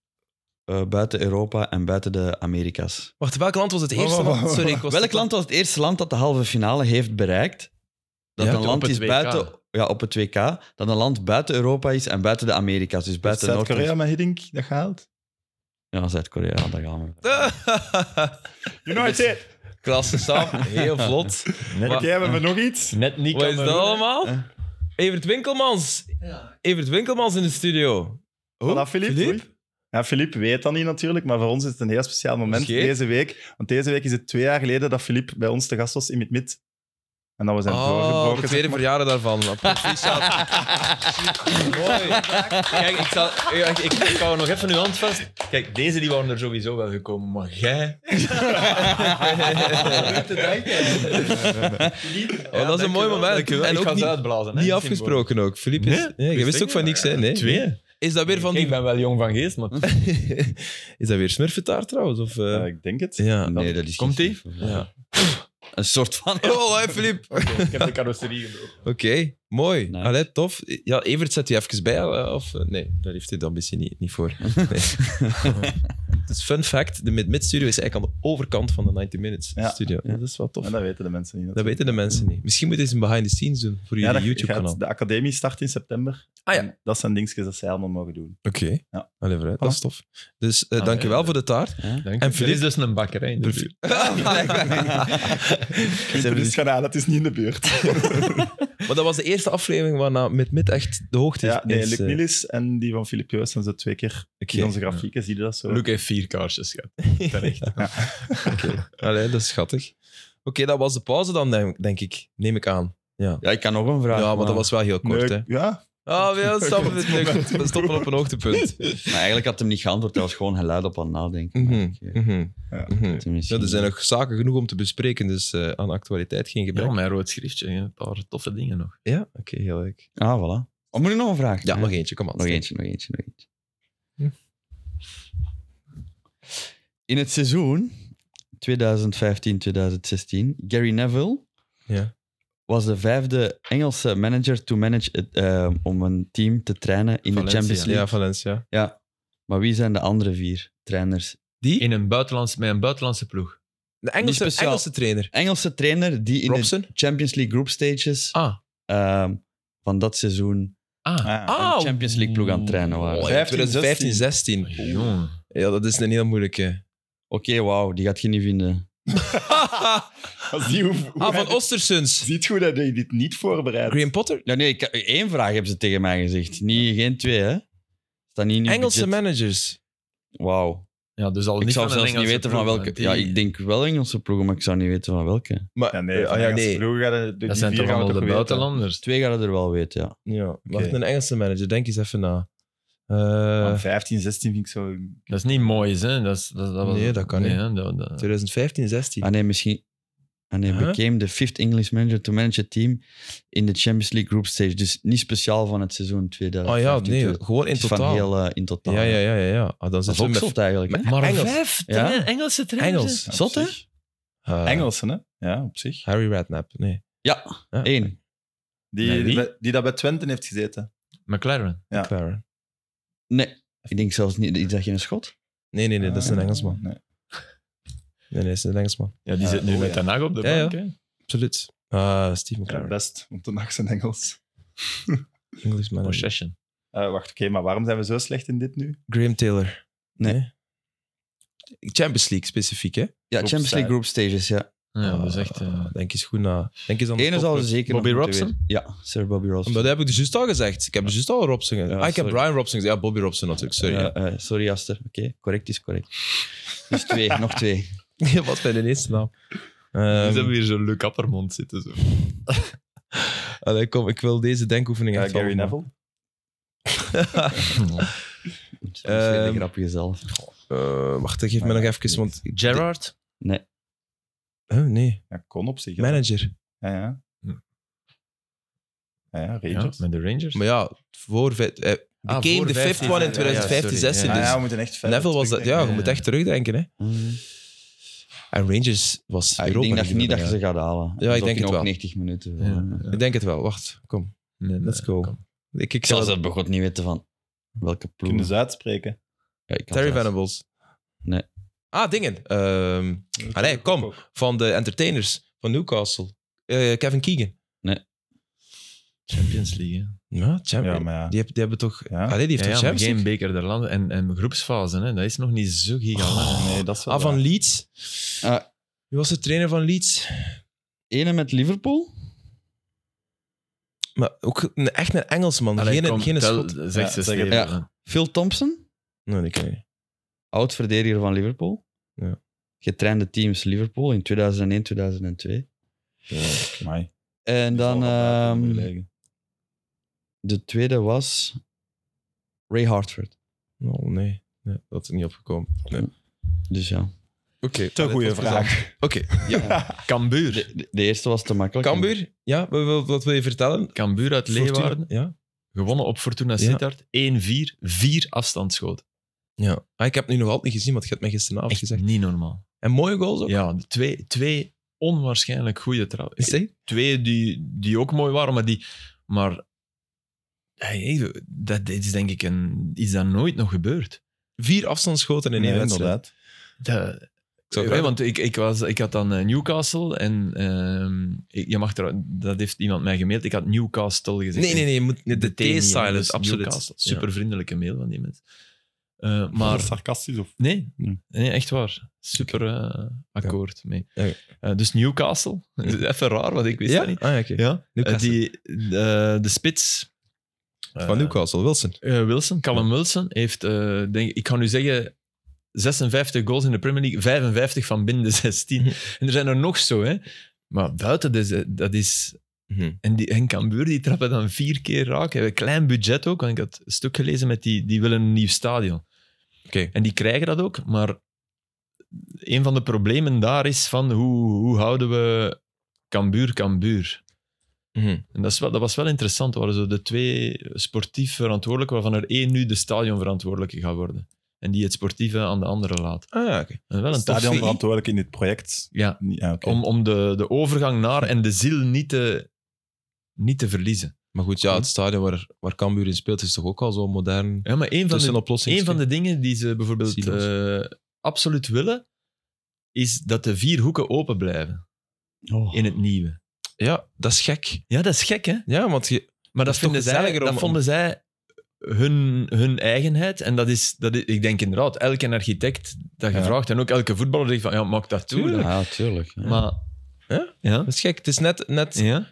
[SPEAKER 2] eh, buiten Europa en buiten de Amerika's?
[SPEAKER 1] Wacht, welk land was het eerste
[SPEAKER 3] Wow, wow,
[SPEAKER 1] land?
[SPEAKER 3] wow,
[SPEAKER 1] Sorry, ik was
[SPEAKER 2] Welk land was het eerste land dat de halve finale heeft bereikt? Dat
[SPEAKER 4] Ja,
[SPEAKER 2] een
[SPEAKER 4] op
[SPEAKER 2] land
[SPEAKER 4] het
[SPEAKER 2] is
[SPEAKER 4] WK.
[SPEAKER 2] buiten, ja, op het WK, dat een land buiten Europa is en buiten de Amerika's, dus
[SPEAKER 3] Heeft
[SPEAKER 2] buiten Noord-
[SPEAKER 3] Zuid-Korea met Hiddink dat gehaald?
[SPEAKER 2] Ja, Zuid-Korea, daar gaan we.
[SPEAKER 3] You know it.
[SPEAKER 1] (laughs) Klasse, Sam. Heel vlot.
[SPEAKER 4] Net,
[SPEAKER 1] Wat-
[SPEAKER 3] Dus- Oké, hebben we nog iets?
[SPEAKER 4] net niet
[SPEAKER 1] Wat is dat
[SPEAKER 4] Cameroen, hè.
[SPEAKER 1] allemaal? Evert Winkelmans. Evert Winkelmans in de studio. Hoe?
[SPEAKER 3] Voilà, Filip. Oei. Ja, Filip weet dat niet natuurlijk, maar voor ons is het een heel speciaal moment
[SPEAKER 1] Oké.
[SPEAKER 3] deze week. Want deze week is het twee jaar geleden dat Filip bij ons te gast was in het mid. En dat we zijn
[SPEAKER 1] Oh,
[SPEAKER 3] doorgebroken.
[SPEAKER 1] de
[SPEAKER 3] zeg
[SPEAKER 1] tweede
[SPEAKER 3] maar.
[SPEAKER 1] verjaardag daarvan. Proficiat. Mooi.
[SPEAKER 4] Kijk, ik, zal, ja, ik, ik, ik hou nog even uw hand vast. Kijk, deze die waren er sowieso wel gekomen, maar jij...
[SPEAKER 1] Oh, dat is een mooi moment. En
[SPEAKER 4] En
[SPEAKER 1] ook
[SPEAKER 4] ook
[SPEAKER 1] niet-
[SPEAKER 4] uitblazen. hè,
[SPEAKER 1] Niet
[SPEAKER 4] symbool.
[SPEAKER 1] afgesproken ook. Filip is...
[SPEAKER 4] Nee, eh,
[SPEAKER 1] Nee, je wist ook van niks, hè? Nee.
[SPEAKER 4] Twee.
[SPEAKER 1] Is dat weer van
[SPEAKER 4] Ik
[SPEAKER 1] die...
[SPEAKER 4] ben wel jong van geest, maar...
[SPEAKER 1] (laughs) Is dat weer smurfetaart trouwens? Of, eh?
[SPEAKER 3] Ja, ik denk het.
[SPEAKER 1] Ja.
[SPEAKER 2] Nee, dat is
[SPEAKER 4] Komt
[SPEAKER 2] geen-
[SPEAKER 1] Ja.
[SPEAKER 2] (laughs) Een soort van.
[SPEAKER 1] (laughs) Oh, hè, Filip. Oké,
[SPEAKER 4] Ik heb de carrosserie
[SPEAKER 1] (laughs)
[SPEAKER 4] gebroken.
[SPEAKER 1] mooi.
[SPEAKER 2] Nice.
[SPEAKER 1] Allee, tof. Ja, Evert zet u even bij. eh, Of, eh, nee, daar heeft hij de ambitie niet, niet voor. Nee. dus fun fact, de Mid-Mid-studio is eigenlijk aan de overkant van de 90 Minutes
[SPEAKER 3] Ja.
[SPEAKER 1] studio. Dat is wel tof.
[SPEAKER 3] En dat weten de mensen niet.
[SPEAKER 1] Dat weten de mensen niet. Misschien moet je eens een behind the scenes doen voor
[SPEAKER 3] Ja,
[SPEAKER 1] jullie
[SPEAKER 3] dat
[SPEAKER 1] YouTube-kanaal.
[SPEAKER 3] gaat- De academie start in september.
[SPEAKER 1] Ah, ja.
[SPEAKER 3] En Dat zijn dingetjes dat zij allemaal mogen doen.
[SPEAKER 1] Oké.
[SPEAKER 3] Ja.
[SPEAKER 1] Allee, vooruit. Dat is tof. Dus eh,
[SPEAKER 4] Ah,
[SPEAKER 1] dankjewel
[SPEAKER 4] ja.
[SPEAKER 1] voor de taart.
[SPEAKER 4] Dank
[SPEAKER 1] En
[SPEAKER 4] en
[SPEAKER 1] Filip-
[SPEAKER 4] is dus een bakkerij. in de buurt.
[SPEAKER 3] Ze hebben dus gaan aan, het is niet in de buurt.
[SPEAKER 1] Maar dat was de eerste aflevering waarna met mid echt de hoogte
[SPEAKER 3] Ja, nee,
[SPEAKER 1] is,
[SPEAKER 3] Luc
[SPEAKER 1] eh,
[SPEAKER 3] Nilis en die van Filip Joos zijn zo twee keer
[SPEAKER 1] oké.
[SPEAKER 3] in onze grafieken. Zie je dat zo?
[SPEAKER 4] Luc heeft vier kaarsjes gehad.
[SPEAKER 1] (laughs)
[SPEAKER 4] Terecht.
[SPEAKER 1] Allee, dat is schattig. Oké, dat was de pauze dan, denk- denk ik. Neem ik aan.
[SPEAKER 2] Ja, ik kan nog een vraag.
[SPEAKER 1] ja, maar dat was wel heel
[SPEAKER 3] Nee,
[SPEAKER 1] kort, hè.
[SPEAKER 3] Ja,
[SPEAKER 1] Ah, we stoppen, met Luc. We stoppen op een
[SPEAKER 3] (laughs)
[SPEAKER 1] hoogtepunt.
[SPEAKER 2] Maar eigenlijk had hem niet geantwoord. Hij was gewoon geluid op aan het nadenken.
[SPEAKER 1] Mhm,
[SPEAKER 2] Maar ik, eh,
[SPEAKER 1] mhm,
[SPEAKER 3] Ja.
[SPEAKER 1] mhm.
[SPEAKER 2] het is misschien-
[SPEAKER 1] Ja, er zijn nog zaken genoeg om te bespreken, dus eh, aan actualiteit geen gebrek.
[SPEAKER 4] Ja,
[SPEAKER 1] Ja,
[SPEAKER 4] mijn rood schriftje. Een paar toffe dingen nog.
[SPEAKER 1] oké, heel leuk.
[SPEAKER 2] Ah, voilà. Oh, moet ik nog een vraag?
[SPEAKER 1] Ja, nog eentje, kom aan.
[SPEAKER 2] Nog eentje, nog eentje, nog eentje. In het seizoen 2015-2016, Gary Neville
[SPEAKER 1] Ja.
[SPEAKER 2] was de vijfde Engelse manager to manage het, eh, om een team te trainen in de
[SPEAKER 4] Valencia.
[SPEAKER 2] Champions League.
[SPEAKER 1] Ja, Valencia.
[SPEAKER 2] Ja. Maar wie zijn de andere vier trainers?
[SPEAKER 1] Die?
[SPEAKER 4] In een buitenlands, met een buitenlandse ploeg.
[SPEAKER 1] De Engelse,
[SPEAKER 2] speciaal.
[SPEAKER 1] Engelse trainer.
[SPEAKER 2] Engelse trainer die in
[SPEAKER 1] Robson?
[SPEAKER 2] de Champions League group stages
[SPEAKER 4] Ah.
[SPEAKER 2] ehm, van dat seizoen
[SPEAKER 4] Ah.
[SPEAKER 3] Ah,
[SPEAKER 1] Ah,
[SPEAKER 2] een Champions League ploeg aan het trainen waren.
[SPEAKER 1] Oh,
[SPEAKER 2] Oké,
[SPEAKER 1] ja,
[SPEAKER 3] 15,
[SPEAKER 1] 2015, 16.
[SPEAKER 4] Jongen.
[SPEAKER 1] Ja, dat is een heel moeilijke.
[SPEAKER 2] wauw, die gaat je niet vinden.
[SPEAKER 3] Als die hoe, hoe
[SPEAKER 1] Ah,
[SPEAKER 3] hij
[SPEAKER 1] van
[SPEAKER 3] dit-
[SPEAKER 1] Ostersons.
[SPEAKER 3] Ziet goed dat je dit niet voorbereidt.
[SPEAKER 1] Graham Potter?
[SPEAKER 2] Ja, nee, ik, één vraag hebben ze tegen mij gezegd. Niet, geen twee, hè? Staat niet in uw
[SPEAKER 1] Engelse
[SPEAKER 2] budget.
[SPEAKER 1] managers.
[SPEAKER 2] Wauw.
[SPEAKER 4] Ja, dus al
[SPEAKER 2] Ik
[SPEAKER 4] niet
[SPEAKER 2] zou
[SPEAKER 4] van een
[SPEAKER 2] zelfs niet
[SPEAKER 4] Engelse
[SPEAKER 2] weten van
[SPEAKER 4] ploeg,
[SPEAKER 2] welke.
[SPEAKER 4] want die-
[SPEAKER 2] Ja, ik denk wel Engelse ploegen, maar ik zou niet weten van welke.
[SPEAKER 1] Maar,
[SPEAKER 3] Ja, nee,
[SPEAKER 1] ah, ja, nee.
[SPEAKER 4] dat zijn toch allemaal de buitenlanders.
[SPEAKER 2] Twee gaan er wel weten, ja.
[SPEAKER 1] Ja, wacht, een Engelse manager, denk eens even na. Eh,
[SPEAKER 3] 15, 16 vind ik zo...
[SPEAKER 4] Dat is niet mooi, hè? Dat is, dat, dat was,
[SPEAKER 1] Nee, dat kan niet.
[SPEAKER 4] hè, dat- dat-
[SPEAKER 1] 2015, 16.
[SPEAKER 2] Ah nee, misschien... Ah nee,
[SPEAKER 1] Huh?
[SPEAKER 2] became the fifth English manager to manage a team in de Champions League group stage. Dus niet speciaal van het seizoen 2015.
[SPEAKER 1] Ah ja, nee,
[SPEAKER 2] 20.
[SPEAKER 1] gewoon in
[SPEAKER 2] Het is van
[SPEAKER 1] totaal.
[SPEAKER 2] heel eh, in totaal.
[SPEAKER 1] ja, ja, ja, ja, ja. Ah, dan
[SPEAKER 2] Dat is
[SPEAKER 1] zitten
[SPEAKER 2] ook
[SPEAKER 1] we met
[SPEAKER 2] zot eigenlijk. hè?
[SPEAKER 4] Maar
[SPEAKER 1] Engels.
[SPEAKER 4] vijf
[SPEAKER 2] Ja.
[SPEAKER 4] tra- Engelse trainers.
[SPEAKER 1] Engels.
[SPEAKER 3] Ja, op
[SPEAKER 2] Zot, hè?
[SPEAKER 3] zich.
[SPEAKER 1] Eh,
[SPEAKER 3] Engelsen, hè? Ja, op zich.
[SPEAKER 1] Harry Redknapp, nee.
[SPEAKER 2] Ja,
[SPEAKER 1] Ja,
[SPEAKER 2] één.
[SPEAKER 3] Die,
[SPEAKER 4] Nee, wie?
[SPEAKER 3] die, die dat bij Twente heeft gezeten.
[SPEAKER 4] McLaren.
[SPEAKER 3] Ja.
[SPEAKER 1] McLaren.
[SPEAKER 2] Nee, ik denk zelfs niet... Is dat geen schot?
[SPEAKER 1] Nee, nee, nee, dat is een
[SPEAKER 3] Ah,
[SPEAKER 1] Engelsman.
[SPEAKER 3] Nee.
[SPEAKER 1] Nee, nee, dat is een Engelsman.
[SPEAKER 4] Ja, die
[SPEAKER 3] Eh,
[SPEAKER 4] zit nu
[SPEAKER 3] oh,
[SPEAKER 4] met
[SPEAKER 3] ja.
[SPEAKER 4] Den Haag op de
[SPEAKER 1] Ja,
[SPEAKER 4] bank. hè.
[SPEAKER 1] Absoluut. Ah, Steve
[SPEAKER 3] Ja,
[SPEAKER 1] McLaren,
[SPEAKER 3] best, want de nacht zijn Engels.
[SPEAKER 1] English manager.
[SPEAKER 4] Possession.
[SPEAKER 3] Eh, wacht, oké, maar waarom zijn we zo slecht in dit nu?
[SPEAKER 1] Graham Taylor.
[SPEAKER 2] Nee.
[SPEAKER 1] Champions League specifiek, hè?
[SPEAKER 2] Ja,
[SPEAKER 3] Groep
[SPEAKER 2] Champions League
[SPEAKER 3] stage.
[SPEAKER 2] group stages, ja.
[SPEAKER 4] Ja, dat is
[SPEAKER 1] Ah,
[SPEAKER 4] echt... eh,
[SPEAKER 1] Denk eens goed na. Denk eens aan de
[SPEAKER 2] Eén
[SPEAKER 1] top-
[SPEAKER 2] zouden ze zeker nog
[SPEAKER 4] Bobby
[SPEAKER 2] moeten
[SPEAKER 4] Robson?
[SPEAKER 2] weten. Ja, Sir Bobby Robson.
[SPEAKER 1] Maar dat heb ik dus juist al gezegd. Ik heb dus juist al Robson gezegd.
[SPEAKER 2] Ja,
[SPEAKER 1] ah, ik heb
[SPEAKER 2] sorry.
[SPEAKER 1] Brian Robson gezegd. Ja, Bobby Robson natuurlijk, sorry.
[SPEAKER 2] Ja, eh, sorry, Aster. Oké, correct is correct. Dus twee, nog
[SPEAKER 1] (laughs) (laughs)
[SPEAKER 2] twee.
[SPEAKER 1] Ja, Wat bij de eerste naam.
[SPEAKER 4] dus
[SPEAKER 1] Ehm,
[SPEAKER 4] hebben we hier zo'n Luc Appermond zitten. Zo.
[SPEAKER 1] allee, kom, ik wil deze denkoefening
[SPEAKER 3] Ja,
[SPEAKER 1] echt wel
[SPEAKER 3] Eh, Gary
[SPEAKER 1] doen.
[SPEAKER 3] Neville.
[SPEAKER 2] Dat is een
[SPEAKER 1] Ehm,
[SPEAKER 2] grapje zelf.
[SPEAKER 1] Eh, wacht, geef me nog even, want...
[SPEAKER 4] Gerrard?
[SPEAKER 2] Nee.
[SPEAKER 1] Huh, nee,
[SPEAKER 3] Ja, kon op zich. hè.
[SPEAKER 1] manager.
[SPEAKER 3] Ja, ja.
[SPEAKER 4] Hm.
[SPEAKER 3] Ja, ja,
[SPEAKER 4] (laughs) Ja,
[SPEAKER 3] Rangers. Ja,
[SPEAKER 4] met de Rangers.
[SPEAKER 1] Maar ja, voor... eh, vijf- Hij
[SPEAKER 4] Ah,
[SPEAKER 1] became
[SPEAKER 4] voor
[SPEAKER 1] the fifth
[SPEAKER 4] 15,
[SPEAKER 1] one
[SPEAKER 4] ja,
[SPEAKER 1] in
[SPEAKER 4] ja,
[SPEAKER 1] 2015,
[SPEAKER 4] sorry,
[SPEAKER 1] 16.
[SPEAKER 4] ja.
[SPEAKER 1] dus
[SPEAKER 3] Ah, ja, we moeten echt verder
[SPEAKER 1] Neville was dat...
[SPEAKER 3] terugdenken.
[SPEAKER 1] Ja, je
[SPEAKER 4] ja,
[SPEAKER 1] moet
[SPEAKER 4] ja.
[SPEAKER 1] echt terugdenken, hè.
[SPEAKER 2] Mm.
[SPEAKER 1] En Rangers was
[SPEAKER 2] Ah, ik
[SPEAKER 1] Europa
[SPEAKER 2] denk dat je
[SPEAKER 1] League
[SPEAKER 2] niet dat je
[SPEAKER 1] winnaar.
[SPEAKER 2] ze gaat halen.
[SPEAKER 1] Ja, ik denk het
[SPEAKER 2] ook
[SPEAKER 1] wel.
[SPEAKER 2] 90 minuten. eh.
[SPEAKER 4] Ja, ja.
[SPEAKER 1] Ik denk het wel. Wacht, kom.
[SPEAKER 4] Nee, nee,
[SPEAKER 1] Let's go.
[SPEAKER 4] kom.
[SPEAKER 1] Ik, ik
[SPEAKER 2] Ik
[SPEAKER 1] zal
[SPEAKER 2] zou dat begot niet weten van welke ploeg.
[SPEAKER 3] Kunnen ze uitspreken?
[SPEAKER 2] Ja, ik kan
[SPEAKER 1] Terry
[SPEAKER 2] zelfs-
[SPEAKER 1] Venables.
[SPEAKER 2] Nee.
[SPEAKER 1] Ah, dingen. Ehm, Allee, kom. Van de entertainers van Newcastle. Eh, Kevin Keegan.
[SPEAKER 4] Champions League. hè.
[SPEAKER 1] Ja, champion.
[SPEAKER 3] Ja, maar ja.
[SPEAKER 1] die, heb- die hebben toch...
[SPEAKER 3] Ja.
[SPEAKER 1] Allee, die heeft
[SPEAKER 4] Ja, ja,
[SPEAKER 1] toch
[SPEAKER 4] maar
[SPEAKER 1] Champions
[SPEAKER 4] geen
[SPEAKER 1] League?
[SPEAKER 4] beker der landen en, en groepsfase. Hè. Dat is nog niet zo gigantisch.
[SPEAKER 3] Oh, Nee, dat is wel
[SPEAKER 1] Ah, van
[SPEAKER 3] waar.
[SPEAKER 1] Leeds.
[SPEAKER 2] Ah.
[SPEAKER 1] Wie was de trainer van Leeds?
[SPEAKER 2] Ene met Liverpool?
[SPEAKER 1] Maar ook een, echt een Engelsman.
[SPEAKER 4] Allee,
[SPEAKER 1] geen
[SPEAKER 4] kom,
[SPEAKER 1] geen
[SPEAKER 4] tel-
[SPEAKER 1] schot.
[SPEAKER 4] Zeg
[SPEAKER 3] Ja,
[SPEAKER 4] ze
[SPEAKER 3] zeg het.
[SPEAKER 4] Steven,
[SPEAKER 2] Ja.
[SPEAKER 4] hè.
[SPEAKER 2] Phil Thompson,
[SPEAKER 1] Nee, die ken ik niet.
[SPEAKER 2] oud-verdediger van Liverpool.
[SPEAKER 1] Ja.
[SPEAKER 2] Getrainde teams Liverpool in 2001, 2002.
[SPEAKER 3] Ja, amai.
[SPEAKER 2] En
[SPEAKER 3] Die
[SPEAKER 2] dan
[SPEAKER 3] zal wel buiten
[SPEAKER 2] ehm,
[SPEAKER 3] moeten liggen.
[SPEAKER 2] de tweede was Ray Hartford.
[SPEAKER 1] Oh, nee. nee. Dat is niet opgekomen. Nee. Oké.
[SPEAKER 2] Dus ja.
[SPEAKER 3] Te
[SPEAKER 1] allee,
[SPEAKER 3] goede
[SPEAKER 1] tot
[SPEAKER 3] vraag.
[SPEAKER 1] Oké.
[SPEAKER 4] Cambuur.
[SPEAKER 2] De, de eerste was te makkelijk.
[SPEAKER 1] Cambuur? Ja, wat wil, wat wil je vertellen?
[SPEAKER 4] Cambuur uit Leeuwarden.
[SPEAKER 1] Ja.
[SPEAKER 4] Gewonnen op Fortuna Sittard. 1-4. Vier afstandsschoten.
[SPEAKER 1] ja. Ah, ik heb het nu nog altijd niet gezien, want je hebt mij gisteravond
[SPEAKER 4] Echt
[SPEAKER 1] gezegd.
[SPEAKER 4] niet normaal.
[SPEAKER 1] En mooie goals ook.
[SPEAKER 4] Ja, de twee, twee onwaarschijnlijk goede trappen.
[SPEAKER 1] Is die?
[SPEAKER 4] Twee die, die ook mooi waren, maar die... Maar... Hey, dat, dit is denk ik een, iets dat nooit nog gebeurt.
[SPEAKER 1] Vier afstandsschoten in één
[SPEAKER 3] Nee,
[SPEAKER 1] wedstrijd.
[SPEAKER 3] inderdaad.
[SPEAKER 4] Dat,
[SPEAKER 1] Ik zou
[SPEAKER 4] Ja,
[SPEAKER 1] graag-
[SPEAKER 4] Eh, want ik, ik, was, ik had dan eh, Newcastle en ehm, ik- je mag er, dat heeft iemand mij gemaild. Ik had Newcastle gezegd.
[SPEAKER 1] Nee, nee, nee. Je moet, de, T
[SPEAKER 4] T
[SPEAKER 1] is
[SPEAKER 4] niet, hè,
[SPEAKER 1] silent,
[SPEAKER 4] dus
[SPEAKER 1] absoluut.
[SPEAKER 4] Newcastle. Super vriendelijke mail van die mens. Eh, maar
[SPEAKER 3] sarcastisch of...
[SPEAKER 4] nee,
[SPEAKER 3] Hm.
[SPEAKER 4] nee, echt waar. Super eh, akkoord mee.
[SPEAKER 1] Oké.
[SPEAKER 4] Eh, dus Newcastle, (laughs) even raar, want ik wist
[SPEAKER 1] Ja?
[SPEAKER 4] dat niet.
[SPEAKER 1] Ah, oké.
[SPEAKER 4] Ja, eh,
[SPEAKER 1] Newcastle.
[SPEAKER 4] die, de, de spits eh,
[SPEAKER 1] Van Newcastle, Wilson.
[SPEAKER 4] eh, Wilson, Callum Wilson, heeft, eh, denk, ik- ik kan nu zeggen, 56 goals in de Premier League, 55 van binnen de (laughs) 16. En er zijn er nog zo, hè. Maar buiten, de, dat is...
[SPEAKER 1] Mhm.
[SPEAKER 4] En, die, en Cambuur, die trappen dan vier keer raak. Hebben een klein budget ook, want ik had een stuk gelezen met die, die willen een nieuw stadion.
[SPEAKER 1] Oké.
[SPEAKER 4] En die krijgen dat ook, maar een van de problemen daar is van hoe, hoe houden we Cambuur, Cambuur?
[SPEAKER 1] Mhm.
[SPEAKER 4] En dat, is wel, dat was wel interessant. Dat waren zo de twee sportief verantwoordelijken, waarvan er één nu de stadionverantwoordelijke gaat worden. En die het sportieve aan de andere laat.
[SPEAKER 1] Ah, ja, oké.
[SPEAKER 4] En wel een tof
[SPEAKER 3] Stadion
[SPEAKER 4] idee.
[SPEAKER 3] verantwoordelijk in dit project.
[SPEAKER 4] Ja,
[SPEAKER 3] Ja, oké.
[SPEAKER 4] om, om de, de overgang naar en de ziel niet te, niet te verliezen.
[SPEAKER 1] Maar goed, ja, het stadion waar, waar Cambuur in speelt is toch ook al zo modern.
[SPEAKER 4] Ja, maar één van,
[SPEAKER 1] Dus Mhm. een
[SPEAKER 4] de,
[SPEAKER 1] oplossing.
[SPEAKER 4] één van de dingen die ze bijvoorbeeld
[SPEAKER 1] Silo's.
[SPEAKER 4] eh, absoluut willen, is dat de vier hoeken open blijven
[SPEAKER 2] Oh.
[SPEAKER 4] in het nieuwe.
[SPEAKER 1] Ja, dat is gek.
[SPEAKER 4] Ja, dat is gek, hè?
[SPEAKER 1] Ja, want je...
[SPEAKER 4] Maar dat,
[SPEAKER 1] Dat is
[SPEAKER 4] vinden
[SPEAKER 1] toch
[SPEAKER 4] zij,
[SPEAKER 1] gezelliger om-
[SPEAKER 4] dat vonden zij hun, hun eigenheid. En dat is, dat is- ik denk inderdaad, elke architect dat
[SPEAKER 3] Ja.
[SPEAKER 4] gevraagd en ook elke voetballer zegt van, ja, maak dat toe.
[SPEAKER 1] Tuurlijk.
[SPEAKER 4] dan.
[SPEAKER 2] Ja, tuurlijk. Ja.
[SPEAKER 4] Maar,
[SPEAKER 1] Ja?
[SPEAKER 4] ja?
[SPEAKER 1] Dat is gek. Het is net, net
[SPEAKER 4] ja?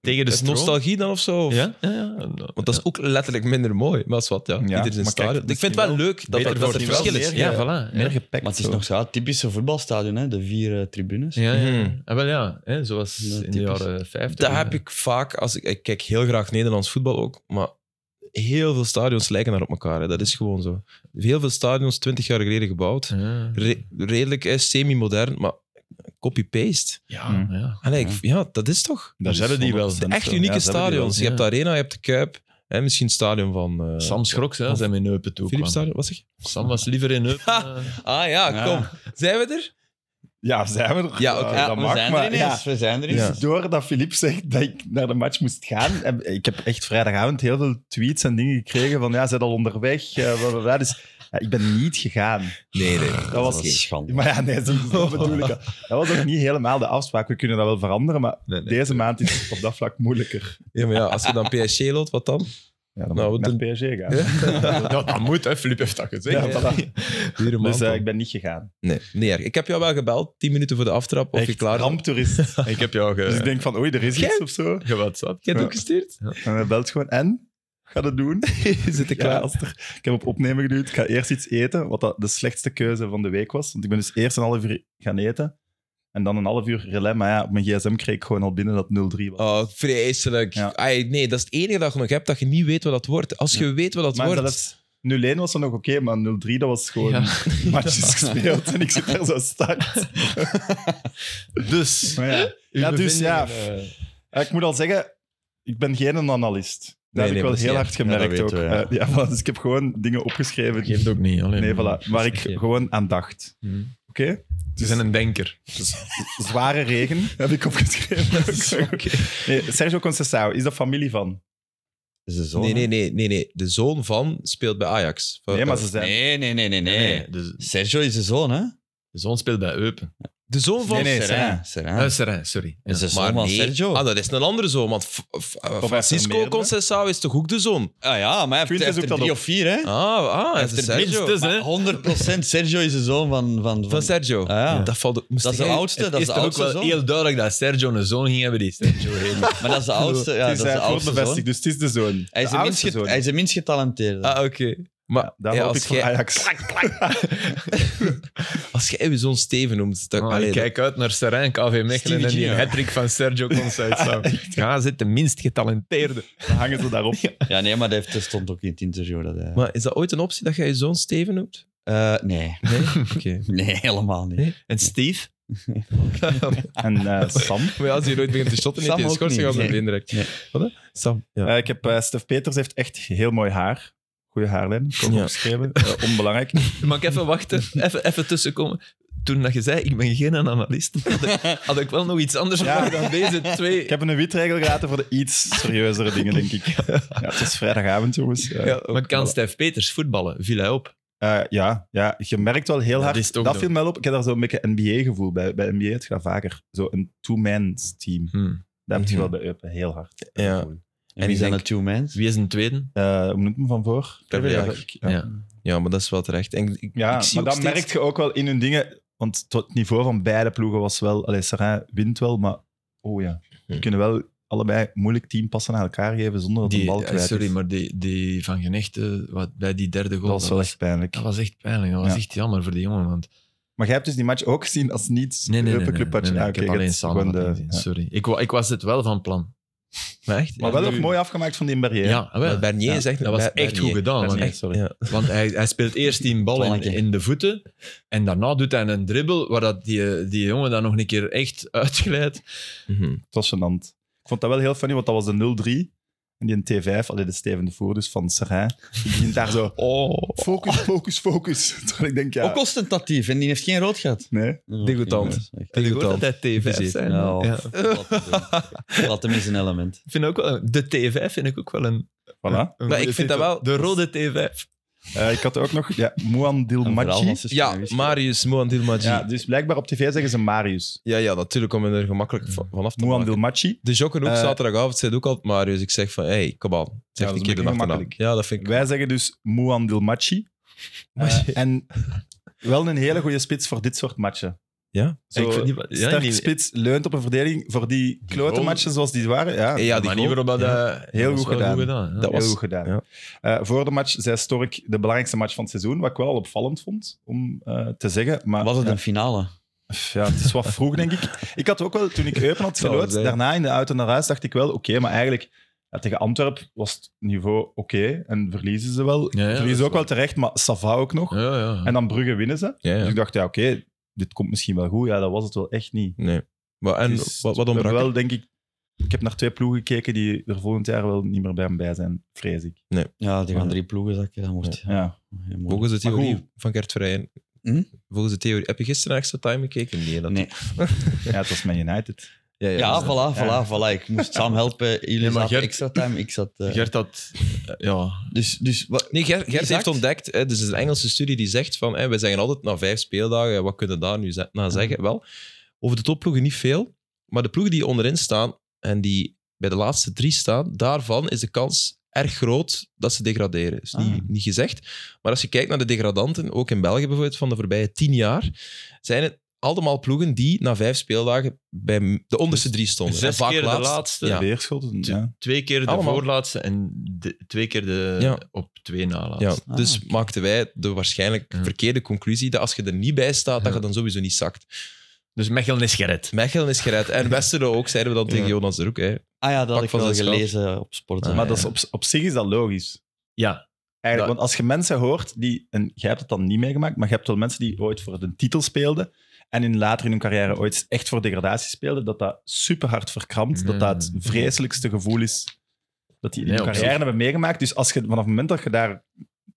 [SPEAKER 4] tegen de
[SPEAKER 1] Is
[SPEAKER 4] stroom.
[SPEAKER 1] nostalgie dan of zo? Of-
[SPEAKER 4] Ja, ja, ja. En,
[SPEAKER 1] Want dat is ook letterlijk minder mooi. Maar dat is wat, ja. Ieder zijn
[SPEAKER 3] maar kijk,
[SPEAKER 1] stadion. Ik vind
[SPEAKER 3] misschien
[SPEAKER 1] het wel
[SPEAKER 3] wel
[SPEAKER 1] leuk dat,
[SPEAKER 3] beter
[SPEAKER 1] er- dat er
[SPEAKER 3] wordt die
[SPEAKER 1] verschil
[SPEAKER 3] wel
[SPEAKER 1] is.
[SPEAKER 3] meer,
[SPEAKER 1] Ja.
[SPEAKER 4] ja, voilà.
[SPEAKER 3] Meer
[SPEAKER 4] Ja,
[SPEAKER 3] gepakt.
[SPEAKER 2] Maar het is
[SPEAKER 3] zo.
[SPEAKER 2] nog zo, het typische voetbalstadion, hè? de vier eh, tribunes.
[SPEAKER 4] ja, ja.
[SPEAKER 1] Mhm.
[SPEAKER 4] Ah, wel ja. Hè, zoals
[SPEAKER 2] Ja,
[SPEAKER 4] in de
[SPEAKER 2] typisch.
[SPEAKER 4] jaren 50.
[SPEAKER 1] Dat heb ik vaak. Als ik, ik kijk heel graag Nederlands voetbal ook. Maar heel veel stadions lijken naar op elkaar. Hè. Dat is gewoon zo. Heel veel stadions, 20 jaar geleden gebouwd.
[SPEAKER 4] Ja,
[SPEAKER 1] Re- redelijk eh, semi-modern, maar copy-paste.
[SPEAKER 4] ja. ja.
[SPEAKER 1] En ik, ja, dat is toch?
[SPEAKER 3] Dat is
[SPEAKER 4] hebben die wel.
[SPEAKER 3] 100%
[SPEAKER 1] Echt
[SPEAKER 3] zo.
[SPEAKER 1] unieke
[SPEAKER 3] Ja, ze hebben die wel.
[SPEAKER 1] stadions.
[SPEAKER 4] wel,
[SPEAKER 1] Je hebt
[SPEAKER 4] ja.
[SPEAKER 1] de Arena, je hebt de Kuip. En misschien het stadion van... eh
[SPEAKER 4] Sam schrok, hè, als hij met Neupen toe
[SPEAKER 1] Philips
[SPEAKER 4] kwam.
[SPEAKER 1] Stadion, wat zeg je?
[SPEAKER 4] Sam was liever in (laughs) Neupen.
[SPEAKER 1] Ha!
[SPEAKER 4] eh.
[SPEAKER 1] Ah ja,
[SPEAKER 2] Ja.
[SPEAKER 1] kom. Zijn we er?
[SPEAKER 3] Ja, zijn we er?
[SPEAKER 1] Ja, oké.
[SPEAKER 3] dat mag, maar ja.
[SPEAKER 2] we zijn er
[SPEAKER 3] Dus door dat Filip zegt dat ik naar de match moest gaan. heb- ik heb echt vrijdagavond heel veel tweets en dingen gekregen van ja, ze zijn al onderweg. eh, bla, bla, bla. Dus ja, ik ben niet gegaan.
[SPEAKER 1] Nee, nee.
[SPEAKER 3] Dat was
[SPEAKER 2] is schande.
[SPEAKER 3] Maar ja, nee, zo zo bedoel ik dat. Dat was ook niet helemaal de afspraak. We kunnen dat wel veranderen, maar
[SPEAKER 1] nee, nee.
[SPEAKER 3] deze maand is het op dat vlak moeilijker.
[SPEAKER 1] Ja, maar ja, als je dan PSG loopt, wat dan?
[SPEAKER 3] Ja, dan
[SPEAKER 1] Nou,
[SPEAKER 3] moet
[SPEAKER 1] we
[SPEAKER 3] ik naar PSG gaan.
[SPEAKER 1] Ja.
[SPEAKER 4] Ja, dat moet, hè. Filip heeft dat gezegd.
[SPEAKER 3] Ja, voilà.
[SPEAKER 1] Dure man,
[SPEAKER 3] Dus eh,
[SPEAKER 1] dan.
[SPEAKER 3] ik ben niet gegaan.
[SPEAKER 1] Nee, nee, ik heb jou wel gebeld, 10 minuten voor de aftrap, of je
[SPEAKER 3] Echt
[SPEAKER 1] klaar eh, bent. (laughs)
[SPEAKER 3] ramptoerist.
[SPEAKER 4] Ik heb jou
[SPEAKER 3] Dus ik
[SPEAKER 4] ge...
[SPEAKER 3] denk van, oei, er is
[SPEAKER 1] Jij?
[SPEAKER 3] iets of zo.
[SPEAKER 4] gewhatsappt.
[SPEAKER 1] Jij hebt
[SPEAKER 3] Ja.
[SPEAKER 1] ook gestuurd?
[SPEAKER 3] En hij belt gewoon, en? Ga dat
[SPEAKER 1] (laughs)
[SPEAKER 3] doen?
[SPEAKER 1] Zit ik
[SPEAKER 3] Ja,
[SPEAKER 1] klaar?
[SPEAKER 3] als er- ik heb op opnemen geduwd. Ik ga eerst iets eten, wat dat de slechtste keuze van de week was. Want ik ben dus eerst een half uur gaan eten. En dan een half uur relais. Maar ja, op mijn gsm kreeg ik gewoon al binnen dat 0-3 was.
[SPEAKER 1] Oh, vreselijk.
[SPEAKER 3] Ja.
[SPEAKER 1] Ai, nee, dat is het enige dat je nog hebt, dat je niet weet wat dat wordt. Als je weet wat dat
[SPEAKER 3] maar
[SPEAKER 1] wordt...
[SPEAKER 3] zelfs 0-1 was dan nog oké, maar 0-3 dat was gewoon
[SPEAKER 4] Ja.
[SPEAKER 3] matches gespeeld. En ik zit daar zo (laughs) start.
[SPEAKER 4] Dus.
[SPEAKER 3] Maar ja. Ja, dus ja. Eh, Ik moet al zeggen, ik ben geen analist. Dat
[SPEAKER 1] Nee,
[SPEAKER 3] heb
[SPEAKER 1] nee,
[SPEAKER 3] ik wel
[SPEAKER 1] dat is
[SPEAKER 3] heel
[SPEAKER 1] niet
[SPEAKER 3] hard
[SPEAKER 2] Ja, dat
[SPEAKER 3] gemerkt ook.
[SPEAKER 2] weten we, ja.
[SPEAKER 3] Eh, ja, voilà, dus ik heb gewoon dingen opgeschreven.
[SPEAKER 4] Geeft ook niet, alleen.
[SPEAKER 3] Nee, voilà. Waar ik gewoon aan dacht.
[SPEAKER 2] Mhm.
[SPEAKER 3] Oké?
[SPEAKER 4] Ze zijn een denker.
[SPEAKER 3] Zware
[SPEAKER 2] (laughs)
[SPEAKER 3] regen heb ik (laughs) opgeschreven. Oké. Nee, Sergio Conceição, is dat familie van?
[SPEAKER 2] Oh, Is de zoon,
[SPEAKER 1] Nee, nee,
[SPEAKER 2] hè?
[SPEAKER 1] nee, nee, nee. De zoon van speelt bij Ajax.
[SPEAKER 3] Nee, maar ze zijn...
[SPEAKER 2] Nee, nee, nee, nee, nee.
[SPEAKER 4] dus
[SPEAKER 2] Sergio is de zoon, hè?
[SPEAKER 4] de zoon speelt bij Eupen.
[SPEAKER 1] De zoon van...
[SPEAKER 3] Nee, nee,
[SPEAKER 2] Serrain. Serrain.
[SPEAKER 4] Eh, Serrain, sorry.
[SPEAKER 2] Is de zoon
[SPEAKER 1] Maar
[SPEAKER 2] van
[SPEAKER 1] nee.
[SPEAKER 2] Sergio.
[SPEAKER 1] Ah, dat is een andere zoon, want F- F-
[SPEAKER 3] er
[SPEAKER 1] Francisco
[SPEAKER 3] meerdere?
[SPEAKER 1] Conceição is toch ook de zoon?
[SPEAKER 2] Ah ja, maar hij heeft,
[SPEAKER 3] Quintus
[SPEAKER 2] hij heeft
[SPEAKER 3] zoekt
[SPEAKER 2] er
[SPEAKER 3] dat
[SPEAKER 2] drie
[SPEAKER 3] op.
[SPEAKER 2] of vier, hè?
[SPEAKER 1] Ah, ah hij
[SPEAKER 2] hij
[SPEAKER 1] is
[SPEAKER 2] heeft
[SPEAKER 1] de
[SPEAKER 2] er
[SPEAKER 1] Sergio.
[SPEAKER 4] minstens- hè?
[SPEAKER 2] Maar 100% Sergio is de zoon van... van, van,
[SPEAKER 1] Van Sergio.
[SPEAKER 2] Ah, ja.
[SPEAKER 1] Dat, valt, moest
[SPEAKER 2] dat is de
[SPEAKER 1] jij-
[SPEAKER 2] oudste,
[SPEAKER 4] Het
[SPEAKER 2] dat is
[SPEAKER 4] is
[SPEAKER 2] de
[SPEAKER 4] toch ook
[SPEAKER 2] oudste
[SPEAKER 4] wel
[SPEAKER 2] zoon.
[SPEAKER 4] heel duidelijk dat Sergio een zoon ging hebben die Sergio heet.
[SPEAKER 2] Maar dat is de oudste, ja,
[SPEAKER 3] het
[SPEAKER 2] dat is
[SPEAKER 3] is,
[SPEAKER 2] de
[SPEAKER 3] eh,
[SPEAKER 2] oudste
[SPEAKER 3] voortbevestigd,
[SPEAKER 2] zoon.
[SPEAKER 3] dus het is de zoon.
[SPEAKER 2] Hij is
[SPEAKER 3] de
[SPEAKER 2] de, minst,
[SPEAKER 3] oudste
[SPEAKER 2] get-
[SPEAKER 3] zoon.
[SPEAKER 2] hij is de minst getalenteerde.
[SPEAKER 1] Ah, oké. Maar
[SPEAKER 3] Daar
[SPEAKER 1] ja,
[SPEAKER 3] hoop ik
[SPEAKER 1] als,
[SPEAKER 3] voor
[SPEAKER 1] jij,
[SPEAKER 3] Ajax.
[SPEAKER 1] als jij je zoon Steven noemt... Dan,
[SPEAKER 4] Oh,
[SPEAKER 1] allee,
[SPEAKER 4] ik
[SPEAKER 1] dat-
[SPEAKER 4] kijk uit naar Serijn, KV Mechelen
[SPEAKER 2] Stevie
[SPEAKER 4] en die
[SPEAKER 2] Gino.
[SPEAKER 4] hattrick van Sergio (laughs) Conceição. Ja, zit de minst getalenteerde.
[SPEAKER 3] Dan hangen ze daarop.
[SPEAKER 2] (laughs) Ja, nee, maar dat heeft, dat stond ook in het interview. Dat hij,
[SPEAKER 1] Maar is dat ooit een optie dat jij je zoon Steven noemt?
[SPEAKER 2] Eh, nee.
[SPEAKER 1] Nee?
[SPEAKER 2] (laughs)
[SPEAKER 1] Oké.
[SPEAKER 2] nee, helemaal niet.
[SPEAKER 4] En Steve?
[SPEAKER 3] En eh, Sam.
[SPEAKER 1] Maar ja, als je nooit begint te shotten,
[SPEAKER 2] Sam
[SPEAKER 1] heeft hij een
[SPEAKER 2] ook
[SPEAKER 1] schorsing
[SPEAKER 2] niet.
[SPEAKER 1] op zijn
[SPEAKER 2] Nee.
[SPEAKER 1] been direct.
[SPEAKER 2] Nee.
[SPEAKER 1] Wat, hè? Sam. Ja.
[SPEAKER 3] Eh, ik heb, eh, Stef Peters heeft echt heel mooi haar. Goeie haarlijn, ik heb ook
[SPEAKER 1] Ja.
[SPEAKER 3] opgeschreven. Eh, onbelangrijk.
[SPEAKER 4] Mag ik even wachten? Even, even tussenkomen. Toen dat je zei, ik ben geen analist, (laughs) had ik, had ik wel nog iets anders
[SPEAKER 3] Ja.
[SPEAKER 4] verwacht dan deze twee.
[SPEAKER 3] Ik heb een witregel gelaten voor de iets serieuzere dingen, denk ik. Ja, het is vrijdagavond, jongens. Eh,
[SPEAKER 4] Ja, maar kan Stef Peters voetballen? Viel hij op?
[SPEAKER 3] Eh, ja, ja, je merkt wel heel
[SPEAKER 4] Dat
[SPEAKER 3] hard.
[SPEAKER 4] is
[SPEAKER 3] Dat,
[SPEAKER 4] toch
[SPEAKER 3] dat
[SPEAKER 4] de-
[SPEAKER 3] viel mij wel op. Ik heb daar zo'n beetje NBA-gevoel bij. Bij NBA heb je dat vaker. Zo'n two-man's team.
[SPEAKER 4] Hm.
[SPEAKER 3] Dat heb je
[SPEAKER 1] Mhm.
[SPEAKER 3] wel bij Eupen heel hard.
[SPEAKER 1] Ja.
[SPEAKER 3] Gevoel.
[SPEAKER 2] En wie
[SPEAKER 1] ik
[SPEAKER 2] zijn
[SPEAKER 1] denk-
[SPEAKER 2] de two mans?
[SPEAKER 4] Wie is een tweede?
[SPEAKER 3] Eh, hoe noemt hem van voor?
[SPEAKER 1] Trevor Jaak.
[SPEAKER 3] Jaak. Ja,
[SPEAKER 4] Ja.
[SPEAKER 1] ja, maar dat is wel terecht. En ik,
[SPEAKER 3] Ja,
[SPEAKER 1] ik zie
[SPEAKER 3] maar
[SPEAKER 1] ook
[SPEAKER 3] dat
[SPEAKER 1] steeds-
[SPEAKER 3] merk je ook wel in hun dingen. Want tot het niveau van beide ploegen was wel... Allee, Serrain wint wel, maar... Oh ja. Die
[SPEAKER 1] Ja.
[SPEAKER 3] kunnen wel allebei moeilijk team passen aan elkaar geven zonder dat de
[SPEAKER 4] Hm. Die,
[SPEAKER 3] bal
[SPEAKER 4] eh,
[SPEAKER 3] kwijt is.
[SPEAKER 4] sorry, maar die, die van Genechten, wat, bij die derde goal,
[SPEAKER 3] Dat was wel echt pijnlijk.
[SPEAKER 4] dat was echt pijnlijk. Dat was
[SPEAKER 3] Ja.
[SPEAKER 4] echt jammer voor die jongen. Want...
[SPEAKER 3] Maar jij hebt dus die match ook gezien als niet...
[SPEAKER 4] Nee, nee, nee. nee,
[SPEAKER 3] Eupen Club
[SPEAKER 4] nee,
[SPEAKER 3] match.
[SPEAKER 4] nee,
[SPEAKER 3] Ah,
[SPEAKER 4] ik heb
[SPEAKER 3] oké,
[SPEAKER 4] alleen
[SPEAKER 3] het is gewoon
[SPEAKER 4] samen
[SPEAKER 3] de- ja.
[SPEAKER 4] Sorry. Ik, wa- ik was het wel van plan.
[SPEAKER 1] Maar echt?
[SPEAKER 3] Maar wel ook mooi afgemaakt van die Berrier.
[SPEAKER 4] Ja, ah, wel.
[SPEAKER 1] Maar Bernier
[SPEAKER 3] Ja,
[SPEAKER 1] is echt...
[SPEAKER 4] dat was
[SPEAKER 1] Ber-
[SPEAKER 4] echt goed
[SPEAKER 1] Bernier.
[SPEAKER 4] gedaan.
[SPEAKER 3] Bernier.
[SPEAKER 4] Want,
[SPEAKER 3] Nee, sorry.
[SPEAKER 1] Ja.
[SPEAKER 4] want hij, hij speelt eerst die bal in,
[SPEAKER 2] Plannetje.
[SPEAKER 4] in de voeten en daarna doet hij een dribbel waar dat die, die jongen dan nog een keer echt uitglijdt.
[SPEAKER 1] Mhm.
[SPEAKER 3] Het was gênant. Ik vond dat wel heel funny, want dat was de 0-3. En die een T5, alleen de Steven de Voer, dus van Serrain, die begint daar
[SPEAKER 4] (laughs)
[SPEAKER 3] zo...
[SPEAKER 4] Oh.
[SPEAKER 3] Focus, focus, focus. (laughs) Terwijl ik denk, ja...
[SPEAKER 2] Ook ostentatief. En die heeft geen rood gehad.
[SPEAKER 3] Nee.
[SPEAKER 1] Degotant.
[SPEAKER 4] Ik hoor dat hij TV
[SPEAKER 1] Precies.
[SPEAKER 4] zijn.
[SPEAKER 2] Nou,
[SPEAKER 4] Ja.
[SPEAKER 2] laat hem doen. Laat hem eens een element.
[SPEAKER 4] Ik Vind ook wel, de T5 vind ik ook wel een.
[SPEAKER 3] Voilà.
[SPEAKER 4] een
[SPEAKER 1] Maar
[SPEAKER 4] goede
[SPEAKER 1] ik vind dat
[SPEAKER 4] titel.
[SPEAKER 1] wel-
[SPEAKER 4] De rode T5.
[SPEAKER 3] Eh, ik had ook nog... Ja, Mouan Dilmachi.
[SPEAKER 1] Ja, Marius Moandilmaji.
[SPEAKER 3] Ja,
[SPEAKER 1] Ja.
[SPEAKER 3] dus blijkbaar op tv zeggen ze Marius.
[SPEAKER 1] ja, natuurlijk om er gemakkelijk va- vanaf te
[SPEAKER 3] Mouan
[SPEAKER 1] maken.
[SPEAKER 3] Dilmachi.
[SPEAKER 1] De jokken ook
[SPEAKER 3] Eh,
[SPEAKER 1] zaterdagavond zei ook altijd Marius. Ik zeg van, hey, kom aan. Zeg
[SPEAKER 3] dat is
[SPEAKER 1] een keer de
[SPEAKER 3] een beetje
[SPEAKER 1] achternaam.
[SPEAKER 3] gemakkelijk.
[SPEAKER 1] Ja, dat vind ik...
[SPEAKER 3] Wij zeggen dus Mouan Dilmachi. Eh, en wel een hele goede spits voor dit soort matchen.
[SPEAKER 1] Ja?
[SPEAKER 3] Zo,
[SPEAKER 4] Ik vind die- ja,
[SPEAKER 3] sterk
[SPEAKER 4] die-
[SPEAKER 3] spits leunt op een verdediging voor die klote
[SPEAKER 4] goal.
[SPEAKER 3] matchen zoals die waren. Ja,
[SPEAKER 1] Ja,
[SPEAKER 4] Ja,
[SPEAKER 1] die
[SPEAKER 4] die
[SPEAKER 1] goal.
[SPEAKER 4] manier waarop dat... eh, dat
[SPEAKER 3] Heel
[SPEAKER 4] was
[SPEAKER 3] goed
[SPEAKER 4] wel
[SPEAKER 3] gedaan.
[SPEAKER 4] ja.
[SPEAKER 1] Dat
[SPEAKER 3] heel
[SPEAKER 1] was-
[SPEAKER 3] goed gedaan.
[SPEAKER 1] ja.
[SPEAKER 3] Eh, voor de match zei Stork de belangrijkste match van het seizoen, wat ik wel al opvallend vond om eh, te zeggen. Maar,
[SPEAKER 2] Was het
[SPEAKER 3] ja,
[SPEAKER 2] een finale?
[SPEAKER 3] pff, ja, het is wat vroeg, denk ik. Ik had ook wel, toen ik
[SPEAKER 1] (laughs)
[SPEAKER 3] Eupen had
[SPEAKER 1] Zou
[SPEAKER 3] gelood,
[SPEAKER 1] zijn.
[SPEAKER 3] daarna in de auto naar huis, dacht ik wel, oké, maar eigenlijk ja, tegen Antwerp was het niveau oké en verliezen ze wel.
[SPEAKER 4] Ja, ja, dat is
[SPEAKER 3] verliezen ook wel
[SPEAKER 4] waar.
[SPEAKER 3] terecht, maar Sava ook nog.
[SPEAKER 4] Ja, ja.
[SPEAKER 3] En dan Brugge winnen ze.
[SPEAKER 1] Ja,
[SPEAKER 3] Dus
[SPEAKER 1] ja.
[SPEAKER 3] ik dacht, ja, oké, dit komt misschien wel goed. Ja, dat was het wel echt niet.
[SPEAKER 1] Nee. Maar, en
[SPEAKER 3] Dus
[SPEAKER 1] wat, wat
[SPEAKER 3] we hebben
[SPEAKER 1] ontbrak er?
[SPEAKER 3] wel, denk ik, ik heb naar twee ploegen gekeken die er volgend jaar wel niet meer bij hem bij zijn, vrees ik.
[SPEAKER 2] Ja, die gaan drie ploegen zakken. Dan wordt ja.
[SPEAKER 3] Ja.
[SPEAKER 2] heel moeilijk.
[SPEAKER 1] Volgens de
[SPEAKER 3] Maar
[SPEAKER 1] theorie
[SPEAKER 3] goed.
[SPEAKER 1] van Gert Vrijen.
[SPEAKER 2] Hm?
[SPEAKER 1] Volgens de theorie. Heb je gisteren naar extra time gekeken? Nee. Dat
[SPEAKER 2] Nee.
[SPEAKER 3] ja, het was Man United.
[SPEAKER 1] ja,
[SPEAKER 2] Ja,
[SPEAKER 1] dus-
[SPEAKER 2] voilà,
[SPEAKER 3] Ja.
[SPEAKER 2] voilà, voilà. Ik moest Sam helpen. Jullie
[SPEAKER 4] maar
[SPEAKER 2] zaten
[SPEAKER 4] Gert-
[SPEAKER 2] extra time. Ik zat... eh,
[SPEAKER 4] Gert had... eh, Ja.
[SPEAKER 2] Dus, dus wat,
[SPEAKER 1] Nee, Gert, Gert
[SPEAKER 2] Exact.
[SPEAKER 1] heeft ontdekt, hè, dus het is een Engelse studie die zegt van, hè, wij zeggen altijd na vijf speeldagen, hè, wat kunnen we daar nu ze- na
[SPEAKER 4] Mhm.
[SPEAKER 1] zeggen? Wel, over de topploegen niet veel, maar de ploegen die onderin staan en die bij de laatste drie staan, daarvan is de kans erg groot dat ze degraderen. Dat is niet,
[SPEAKER 2] Ah.
[SPEAKER 1] niet gezegd. Maar als je kijkt naar de degradanten, ook in België bijvoorbeeld, van de voorbije tien jaar, zijn het allemaal ploegen die na vijf speeldagen bij de onderste drie stonden. En
[SPEAKER 4] Dus Zes
[SPEAKER 1] vaak
[SPEAKER 4] keer de
[SPEAKER 1] laatst.
[SPEAKER 4] laatste,
[SPEAKER 1] Ja.
[SPEAKER 3] Beerschot. Ja.
[SPEAKER 4] twee keer de
[SPEAKER 1] Allemaal.
[SPEAKER 4] voorlaatste en de- twee keer de,
[SPEAKER 1] Ja.
[SPEAKER 4] op twee nalaatste.
[SPEAKER 1] Ja,
[SPEAKER 2] Ah,
[SPEAKER 1] dus
[SPEAKER 2] oké.
[SPEAKER 1] maakten wij de waarschijnlijk
[SPEAKER 4] Ja.
[SPEAKER 1] verkeerde conclusie dat als je er niet bij staat, dat je dan sowieso niet zakt.
[SPEAKER 4] Dus Mechelen is gered.
[SPEAKER 1] Mechelen is gered. En Westerlo ook, zeiden we dan tegen
[SPEAKER 4] Ja.
[SPEAKER 1] Jonas er ook. Hè.
[SPEAKER 2] ah ja, dat had ik
[SPEAKER 1] van
[SPEAKER 2] wel
[SPEAKER 1] zijn schuld.
[SPEAKER 2] gelezen op sport.
[SPEAKER 1] Ah,
[SPEAKER 3] Maar
[SPEAKER 2] Ja.
[SPEAKER 3] dat is op, op zich is dat logisch.
[SPEAKER 4] Ja,
[SPEAKER 3] Eigenlijk,
[SPEAKER 4] Dat-
[SPEAKER 3] want als je mensen hoort die, en jij hebt het dan niet meegemaakt, maar je hebt wel mensen die ooit voor de titel speelden en in later in hun carrière ooit echt voor degradatie speelden, dat dat super hard verkrampt, dat dat het
[SPEAKER 4] Mm.
[SPEAKER 3] vreselijkste gevoel is dat die in
[SPEAKER 4] Nee,
[SPEAKER 3] hun
[SPEAKER 4] op
[SPEAKER 3] carrière
[SPEAKER 4] zich-
[SPEAKER 3] hebben meegemaakt. Dus als je, vanaf het moment dat je daar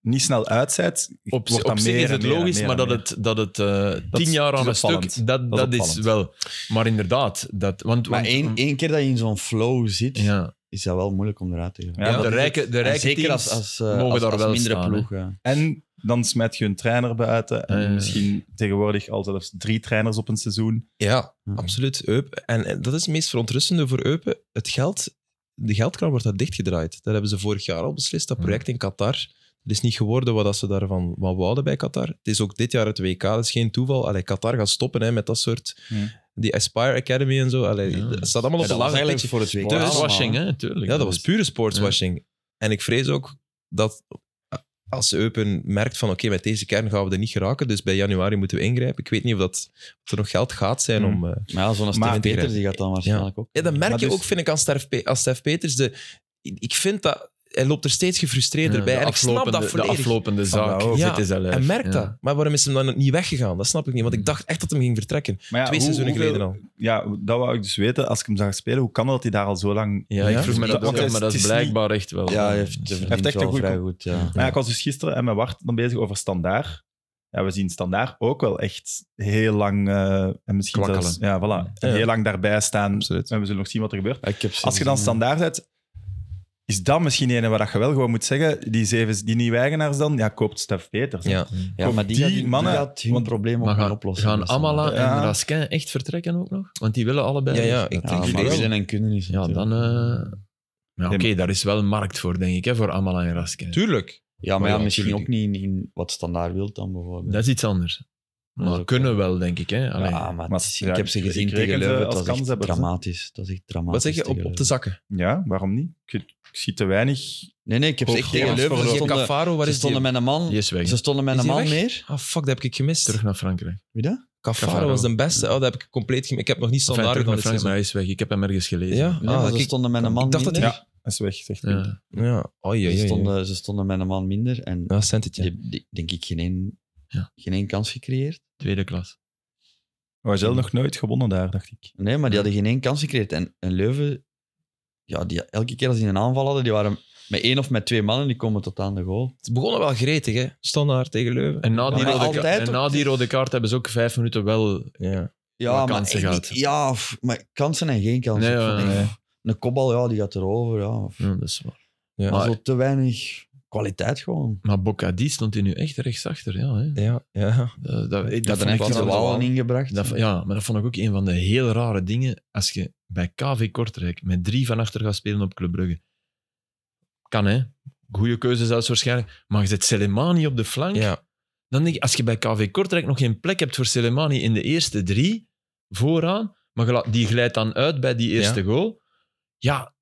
[SPEAKER 3] niet snel uit bent,
[SPEAKER 4] op,
[SPEAKER 3] wordt dat
[SPEAKER 4] op zich
[SPEAKER 3] meer
[SPEAKER 4] is
[SPEAKER 3] en
[SPEAKER 4] het
[SPEAKER 3] meer en
[SPEAKER 4] logisch,
[SPEAKER 3] meer
[SPEAKER 4] maar
[SPEAKER 3] en
[SPEAKER 4] dat
[SPEAKER 3] meer.
[SPEAKER 4] het, dat het eh, tien
[SPEAKER 3] is-
[SPEAKER 4] jaar
[SPEAKER 3] het
[SPEAKER 4] aan
[SPEAKER 3] is
[SPEAKER 4] een
[SPEAKER 3] opvallend.
[SPEAKER 4] stuk, dat,
[SPEAKER 3] Dat is
[SPEAKER 4] dat, is
[SPEAKER 3] opvallend.
[SPEAKER 4] wel. Maar inderdaad, dat, want,
[SPEAKER 2] Maar
[SPEAKER 4] want-
[SPEAKER 2] één, één keer dat je in zo'n flow zit,
[SPEAKER 4] ja,
[SPEAKER 2] is dat wel moeilijk om eruit te gaan.
[SPEAKER 3] Ja,
[SPEAKER 4] ja,
[SPEAKER 3] dat
[SPEAKER 4] de
[SPEAKER 3] is
[SPEAKER 4] rijke,
[SPEAKER 3] het.
[SPEAKER 4] de
[SPEAKER 2] En
[SPEAKER 4] rijke
[SPEAKER 2] zeker als,
[SPEAKER 4] teams
[SPEAKER 2] als, eh,
[SPEAKER 4] mogen
[SPEAKER 2] als,
[SPEAKER 4] daar
[SPEAKER 2] als
[SPEAKER 4] wel
[SPEAKER 2] mindere
[SPEAKER 4] staan, hè.
[SPEAKER 2] ploeg. ja.
[SPEAKER 3] En dan smijt je een trainer buiten. En
[SPEAKER 4] Ja, ja, ja.
[SPEAKER 3] misschien tegenwoordig al zelfs drie trainers op een seizoen.
[SPEAKER 1] Ja,
[SPEAKER 2] Ja.
[SPEAKER 1] absoluut. Eupen. En eh, dat is het meest verontrustende voor Eupen. Het geld, de geldkraan wordt daar dichtgedraaid. Dat hebben ze vorig jaar al beslist, dat project in Qatar. Het is niet geworden wat dat ze daarvan van wouden bij Qatar. Het is ook dit jaar het WK, dat is geen toeval. Allee, Qatar gaat stoppen hè, met dat soort...
[SPEAKER 3] Ja.
[SPEAKER 1] Die Aspire Academy en zo. Allee,
[SPEAKER 4] Ja.
[SPEAKER 1] Dat staat allemaal op
[SPEAKER 2] Ja,
[SPEAKER 1] de
[SPEAKER 2] dat was
[SPEAKER 1] lage
[SPEAKER 2] eigenlijk
[SPEAKER 1] pitje.
[SPEAKER 2] voor het WK.
[SPEAKER 1] Dus-
[SPEAKER 4] sportswashing, hè, natuurlijk.
[SPEAKER 1] Ja, dat was pure sportswashing. En ik vrees ook dat als Eupen merkt van oké, met deze kern gaan we er niet geraken, dus bij januari moeten we ingrijpen. Ik weet niet of, dat, of er nog geld gaat zijn
[SPEAKER 3] Hmm.
[SPEAKER 1] om... eh,
[SPEAKER 2] Maar ja, zo'n
[SPEAKER 1] Maar-
[SPEAKER 2] Stef Peters die gaat dan waarschijnlijk ook.
[SPEAKER 1] ja, dat merk
[SPEAKER 3] Maar
[SPEAKER 1] je
[SPEAKER 3] dus-
[SPEAKER 1] ook, vind ik, aan Stef, Pe- aan Stef Peters. De, ik vind dat... Hij loopt er steeds gefrustreerder bij. En ik snap dat
[SPEAKER 4] De
[SPEAKER 1] volledig.
[SPEAKER 4] aflopende
[SPEAKER 3] Snap
[SPEAKER 4] zaak.
[SPEAKER 3] dat ook.
[SPEAKER 1] Ja,
[SPEAKER 4] Dit is al
[SPEAKER 1] Hij
[SPEAKER 4] erg,
[SPEAKER 1] merkt
[SPEAKER 4] ja.
[SPEAKER 1] dat. Maar waarom is hem dan niet weggegaan? Dat snap ik niet. Want ik dacht echt dat hem ging vertrekken.
[SPEAKER 3] Maar ja,
[SPEAKER 1] Twee
[SPEAKER 3] hoe-
[SPEAKER 1] seizoenen
[SPEAKER 3] hoeveel-
[SPEAKER 1] geleden al.
[SPEAKER 3] Ja, dat wou ik dus weten. Als ik hem zag spelen, hoe kan dat dat hij daar al zo lang...
[SPEAKER 4] Ja,
[SPEAKER 1] Ja?
[SPEAKER 4] ik vroeg me dat
[SPEAKER 3] Want
[SPEAKER 4] ook,
[SPEAKER 3] het is-
[SPEAKER 4] maar dat
[SPEAKER 3] het
[SPEAKER 4] is
[SPEAKER 3] is niet-
[SPEAKER 4] blijkbaar echt wel.
[SPEAKER 2] Ja, hij heeft, hij verdient
[SPEAKER 3] echt een
[SPEAKER 2] wel
[SPEAKER 3] goede
[SPEAKER 2] vrij
[SPEAKER 3] kop.
[SPEAKER 2] goed. Ja.
[SPEAKER 3] Maar ja, ik was dus gisteren en met Wart dan bezig over Standaar. Ja, we zien Standaar ook wel echt heel lang... eh, en misschien
[SPEAKER 1] Kwakkelen.
[SPEAKER 3] zelfs- Ja, voilà.
[SPEAKER 1] Ja.
[SPEAKER 3] Heel lang daarbij staan.
[SPEAKER 1] Absoluut.
[SPEAKER 3] En we zullen nog zien wat er gebeurt.
[SPEAKER 2] Ja, ik heb ze
[SPEAKER 3] Als je dan
[SPEAKER 2] gezien, ja.
[SPEAKER 3] Standaar zet... Is dat misschien een waar dat je wel gewoon moet zeggen? Die zeven, die nieuwe eigenaars dan? Ja, koopt Stef Peters. hè.
[SPEAKER 1] Ja.
[SPEAKER 2] Ja,
[SPEAKER 3] Kom,
[SPEAKER 2] maar die,
[SPEAKER 3] die
[SPEAKER 2] gaat, die
[SPEAKER 3] mannen-
[SPEAKER 2] gaat hun
[SPEAKER 3] want-
[SPEAKER 2] probleem ook
[SPEAKER 4] Maar
[SPEAKER 2] gaan
[SPEAKER 4] gaan,
[SPEAKER 2] oplossen.
[SPEAKER 4] gaan
[SPEAKER 2] met z'n allen.
[SPEAKER 4] Amala en
[SPEAKER 3] Ja.
[SPEAKER 4] Raskin echt vertrekken ook nog? Want die willen allebei.
[SPEAKER 1] Ja, ja,
[SPEAKER 4] weg.
[SPEAKER 1] ik
[SPEAKER 2] Ja,
[SPEAKER 1] denk
[SPEAKER 2] maar
[SPEAKER 1] het wel.
[SPEAKER 2] willen en kunnen niet.
[SPEAKER 4] Ja,
[SPEAKER 2] natuurlijk.
[SPEAKER 4] dan... eh, ja, Oké, daar is wel een markt voor, denk ik, hè, voor Amala en Raskin.
[SPEAKER 1] Tuurlijk.
[SPEAKER 2] Ja, maar
[SPEAKER 1] Maar
[SPEAKER 2] ja,
[SPEAKER 1] ja,
[SPEAKER 2] misschien ook
[SPEAKER 1] natuurlijk.
[SPEAKER 2] niet in, in wat standaard wilt dan bijvoorbeeld.
[SPEAKER 4] Dat is iets anders.
[SPEAKER 2] Dat is
[SPEAKER 4] Maar
[SPEAKER 2] ook
[SPEAKER 4] kunnen wel, denk ik. Hè? Allee.
[SPEAKER 2] ja, maar, het is-
[SPEAKER 3] Maar,
[SPEAKER 2] ik
[SPEAKER 3] ja,
[SPEAKER 2] heb ze
[SPEAKER 3] ik-
[SPEAKER 2] gezien
[SPEAKER 3] ik
[SPEAKER 2] tegen
[SPEAKER 3] reken ze
[SPEAKER 2] Leuven.
[SPEAKER 3] als
[SPEAKER 2] Het was echt
[SPEAKER 3] kanshebbers, hè?
[SPEAKER 2] dramatisch. Dat is echt dramatisch.
[SPEAKER 1] Wat zeg je? Op,
[SPEAKER 2] tegen
[SPEAKER 1] op de
[SPEAKER 2] Leuven.
[SPEAKER 1] zakken.
[SPEAKER 3] Ja, waarom niet? Ik, ik zie te weinig.
[SPEAKER 2] Nee, nee, ik heb ze echt
[SPEAKER 3] Hoog-
[SPEAKER 2] tegen
[SPEAKER 3] hoog-
[SPEAKER 2] Leuven. Ze
[SPEAKER 3] hoog-
[SPEAKER 2] stonden,
[SPEAKER 1] Cafaro, waar
[SPEAKER 2] ze
[SPEAKER 1] is die?
[SPEAKER 2] stonden met een man.
[SPEAKER 4] Die is weg.
[SPEAKER 2] Ze stonden met
[SPEAKER 1] Is
[SPEAKER 2] een
[SPEAKER 1] die
[SPEAKER 2] man
[SPEAKER 1] weg?
[SPEAKER 2] meer.
[SPEAKER 1] Ah, fuck, dat heb ik gemist.
[SPEAKER 4] Terug naar Frankrijk.
[SPEAKER 2] Wie dat?
[SPEAKER 1] Cafaro
[SPEAKER 4] Cafaro.
[SPEAKER 1] was de beste. Oh, dat heb ik compleet gemist. Ik heb nog niet
[SPEAKER 4] Enfin,
[SPEAKER 1] standaard
[SPEAKER 4] terug
[SPEAKER 1] gedaan.
[SPEAKER 4] naar
[SPEAKER 1] dit
[SPEAKER 4] Frankrijk, maar hij is weg. Ik heb hem ergens gelezen.
[SPEAKER 1] Ja?
[SPEAKER 2] Nee,
[SPEAKER 1] Ah,
[SPEAKER 2] maar ze
[SPEAKER 1] kijk,
[SPEAKER 2] stonden met een man
[SPEAKER 1] ik dacht dat
[SPEAKER 2] minder.
[SPEAKER 1] hij-
[SPEAKER 3] Ja, is weg, zegt
[SPEAKER 4] Ja.
[SPEAKER 3] Pim.
[SPEAKER 1] seizoen. Ja. Oh, jee,
[SPEAKER 2] ze,
[SPEAKER 1] jee, jee.
[SPEAKER 2] stonden, ze stonden met een man minder. En
[SPEAKER 1] Ja, Saint-Étienne.
[SPEAKER 2] die, die- denk ik geen één,
[SPEAKER 4] Ja.
[SPEAKER 2] geen één kans gecreëerd.
[SPEAKER 4] Tweede klas.
[SPEAKER 3] Maar zelf nog nooit gewonnen daar, dacht ik.
[SPEAKER 2] Nee, maar die hadden geen één kans gecreëerd. En, en Leuven, ja, die, elke keer als die een aanval hadden, die waren met één of met twee mannen, die komen tot aan de goal.
[SPEAKER 1] Het begonnen wel gretig, hè? Standaard tegen Leuven.
[SPEAKER 4] En na, die
[SPEAKER 2] maar
[SPEAKER 4] rode, ka-
[SPEAKER 2] altijd
[SPEAKER 4] en
[SPEAKER 2] ook-
[SPEAKER 4] na die rode kaart hebben ze ook vijf minuten wel...
[SPEAKER 1] Ja.
[SPEAKER 2] Ja,
[SPEAKER 4] Maar
[SPEAKER 2] maar,
[SPEAKER 4] kansen
[SPEAKER 2] ik-
[SPEAKER 4] gehad.
[SPEAKER 2] ja, f- maar kansen en geen kansen.
[SPEAKER 4] Nee,
[SPEAKER 2] Ik vond
[SPEAKER 4] ja,
[SPEAKER 2] echt,
[SPEAKER 3] nee.
[SPEAKER 2] f- Een kopbal, ja, die gaat erover. Ja. F-
[SPEAKER 4] Ja, dat is waar.
[SPEAKER 1] Ja.
[SPEAKER 2] Maar
[SPEAKER 4] Maar-
[SPEAKER 2] zo te weinig kwaliteit gewoon.
[SPEAKER 4] Maar Bocadi stond hier nu echt rechtsachter. Ja, hè.
[SPEAKER 1] Ja, ja.
[SPEAKER 4] Dat, dat,
[SPEAKER 2] Dat
[SPEAKER 4] ik- dat
[SPEAKER 2] dan
[SPEAKER 4] vond ik
[SPEAKER 2] heeft
[SPEAKER 1] echt
[SPEAKER 2] de
[SPEAKER 4] wel-
[SPEAKER 1] wel-
[SPEAKER 2] Walen ingebracht.
[SPEAKER 4] dat- ja, maar dat vond ik ook een van de heel rare dingen. Als je bij KV Kortrijk met drie van achter gaat spelen op Club Brugge. Kan, hè? Goeie keuze zelfs waarschijnlijk. Maar je zet Selemani op de flank.
[SPEAKER 1] ja.
[SPEAKER 4] Dan denk ik, als je bij KV Kortrijk nog geen plek hebt voor Soleimani in de eerste drie, vooraan, maar je laat- die glijdt dan uit bij die eerste goal. Ja,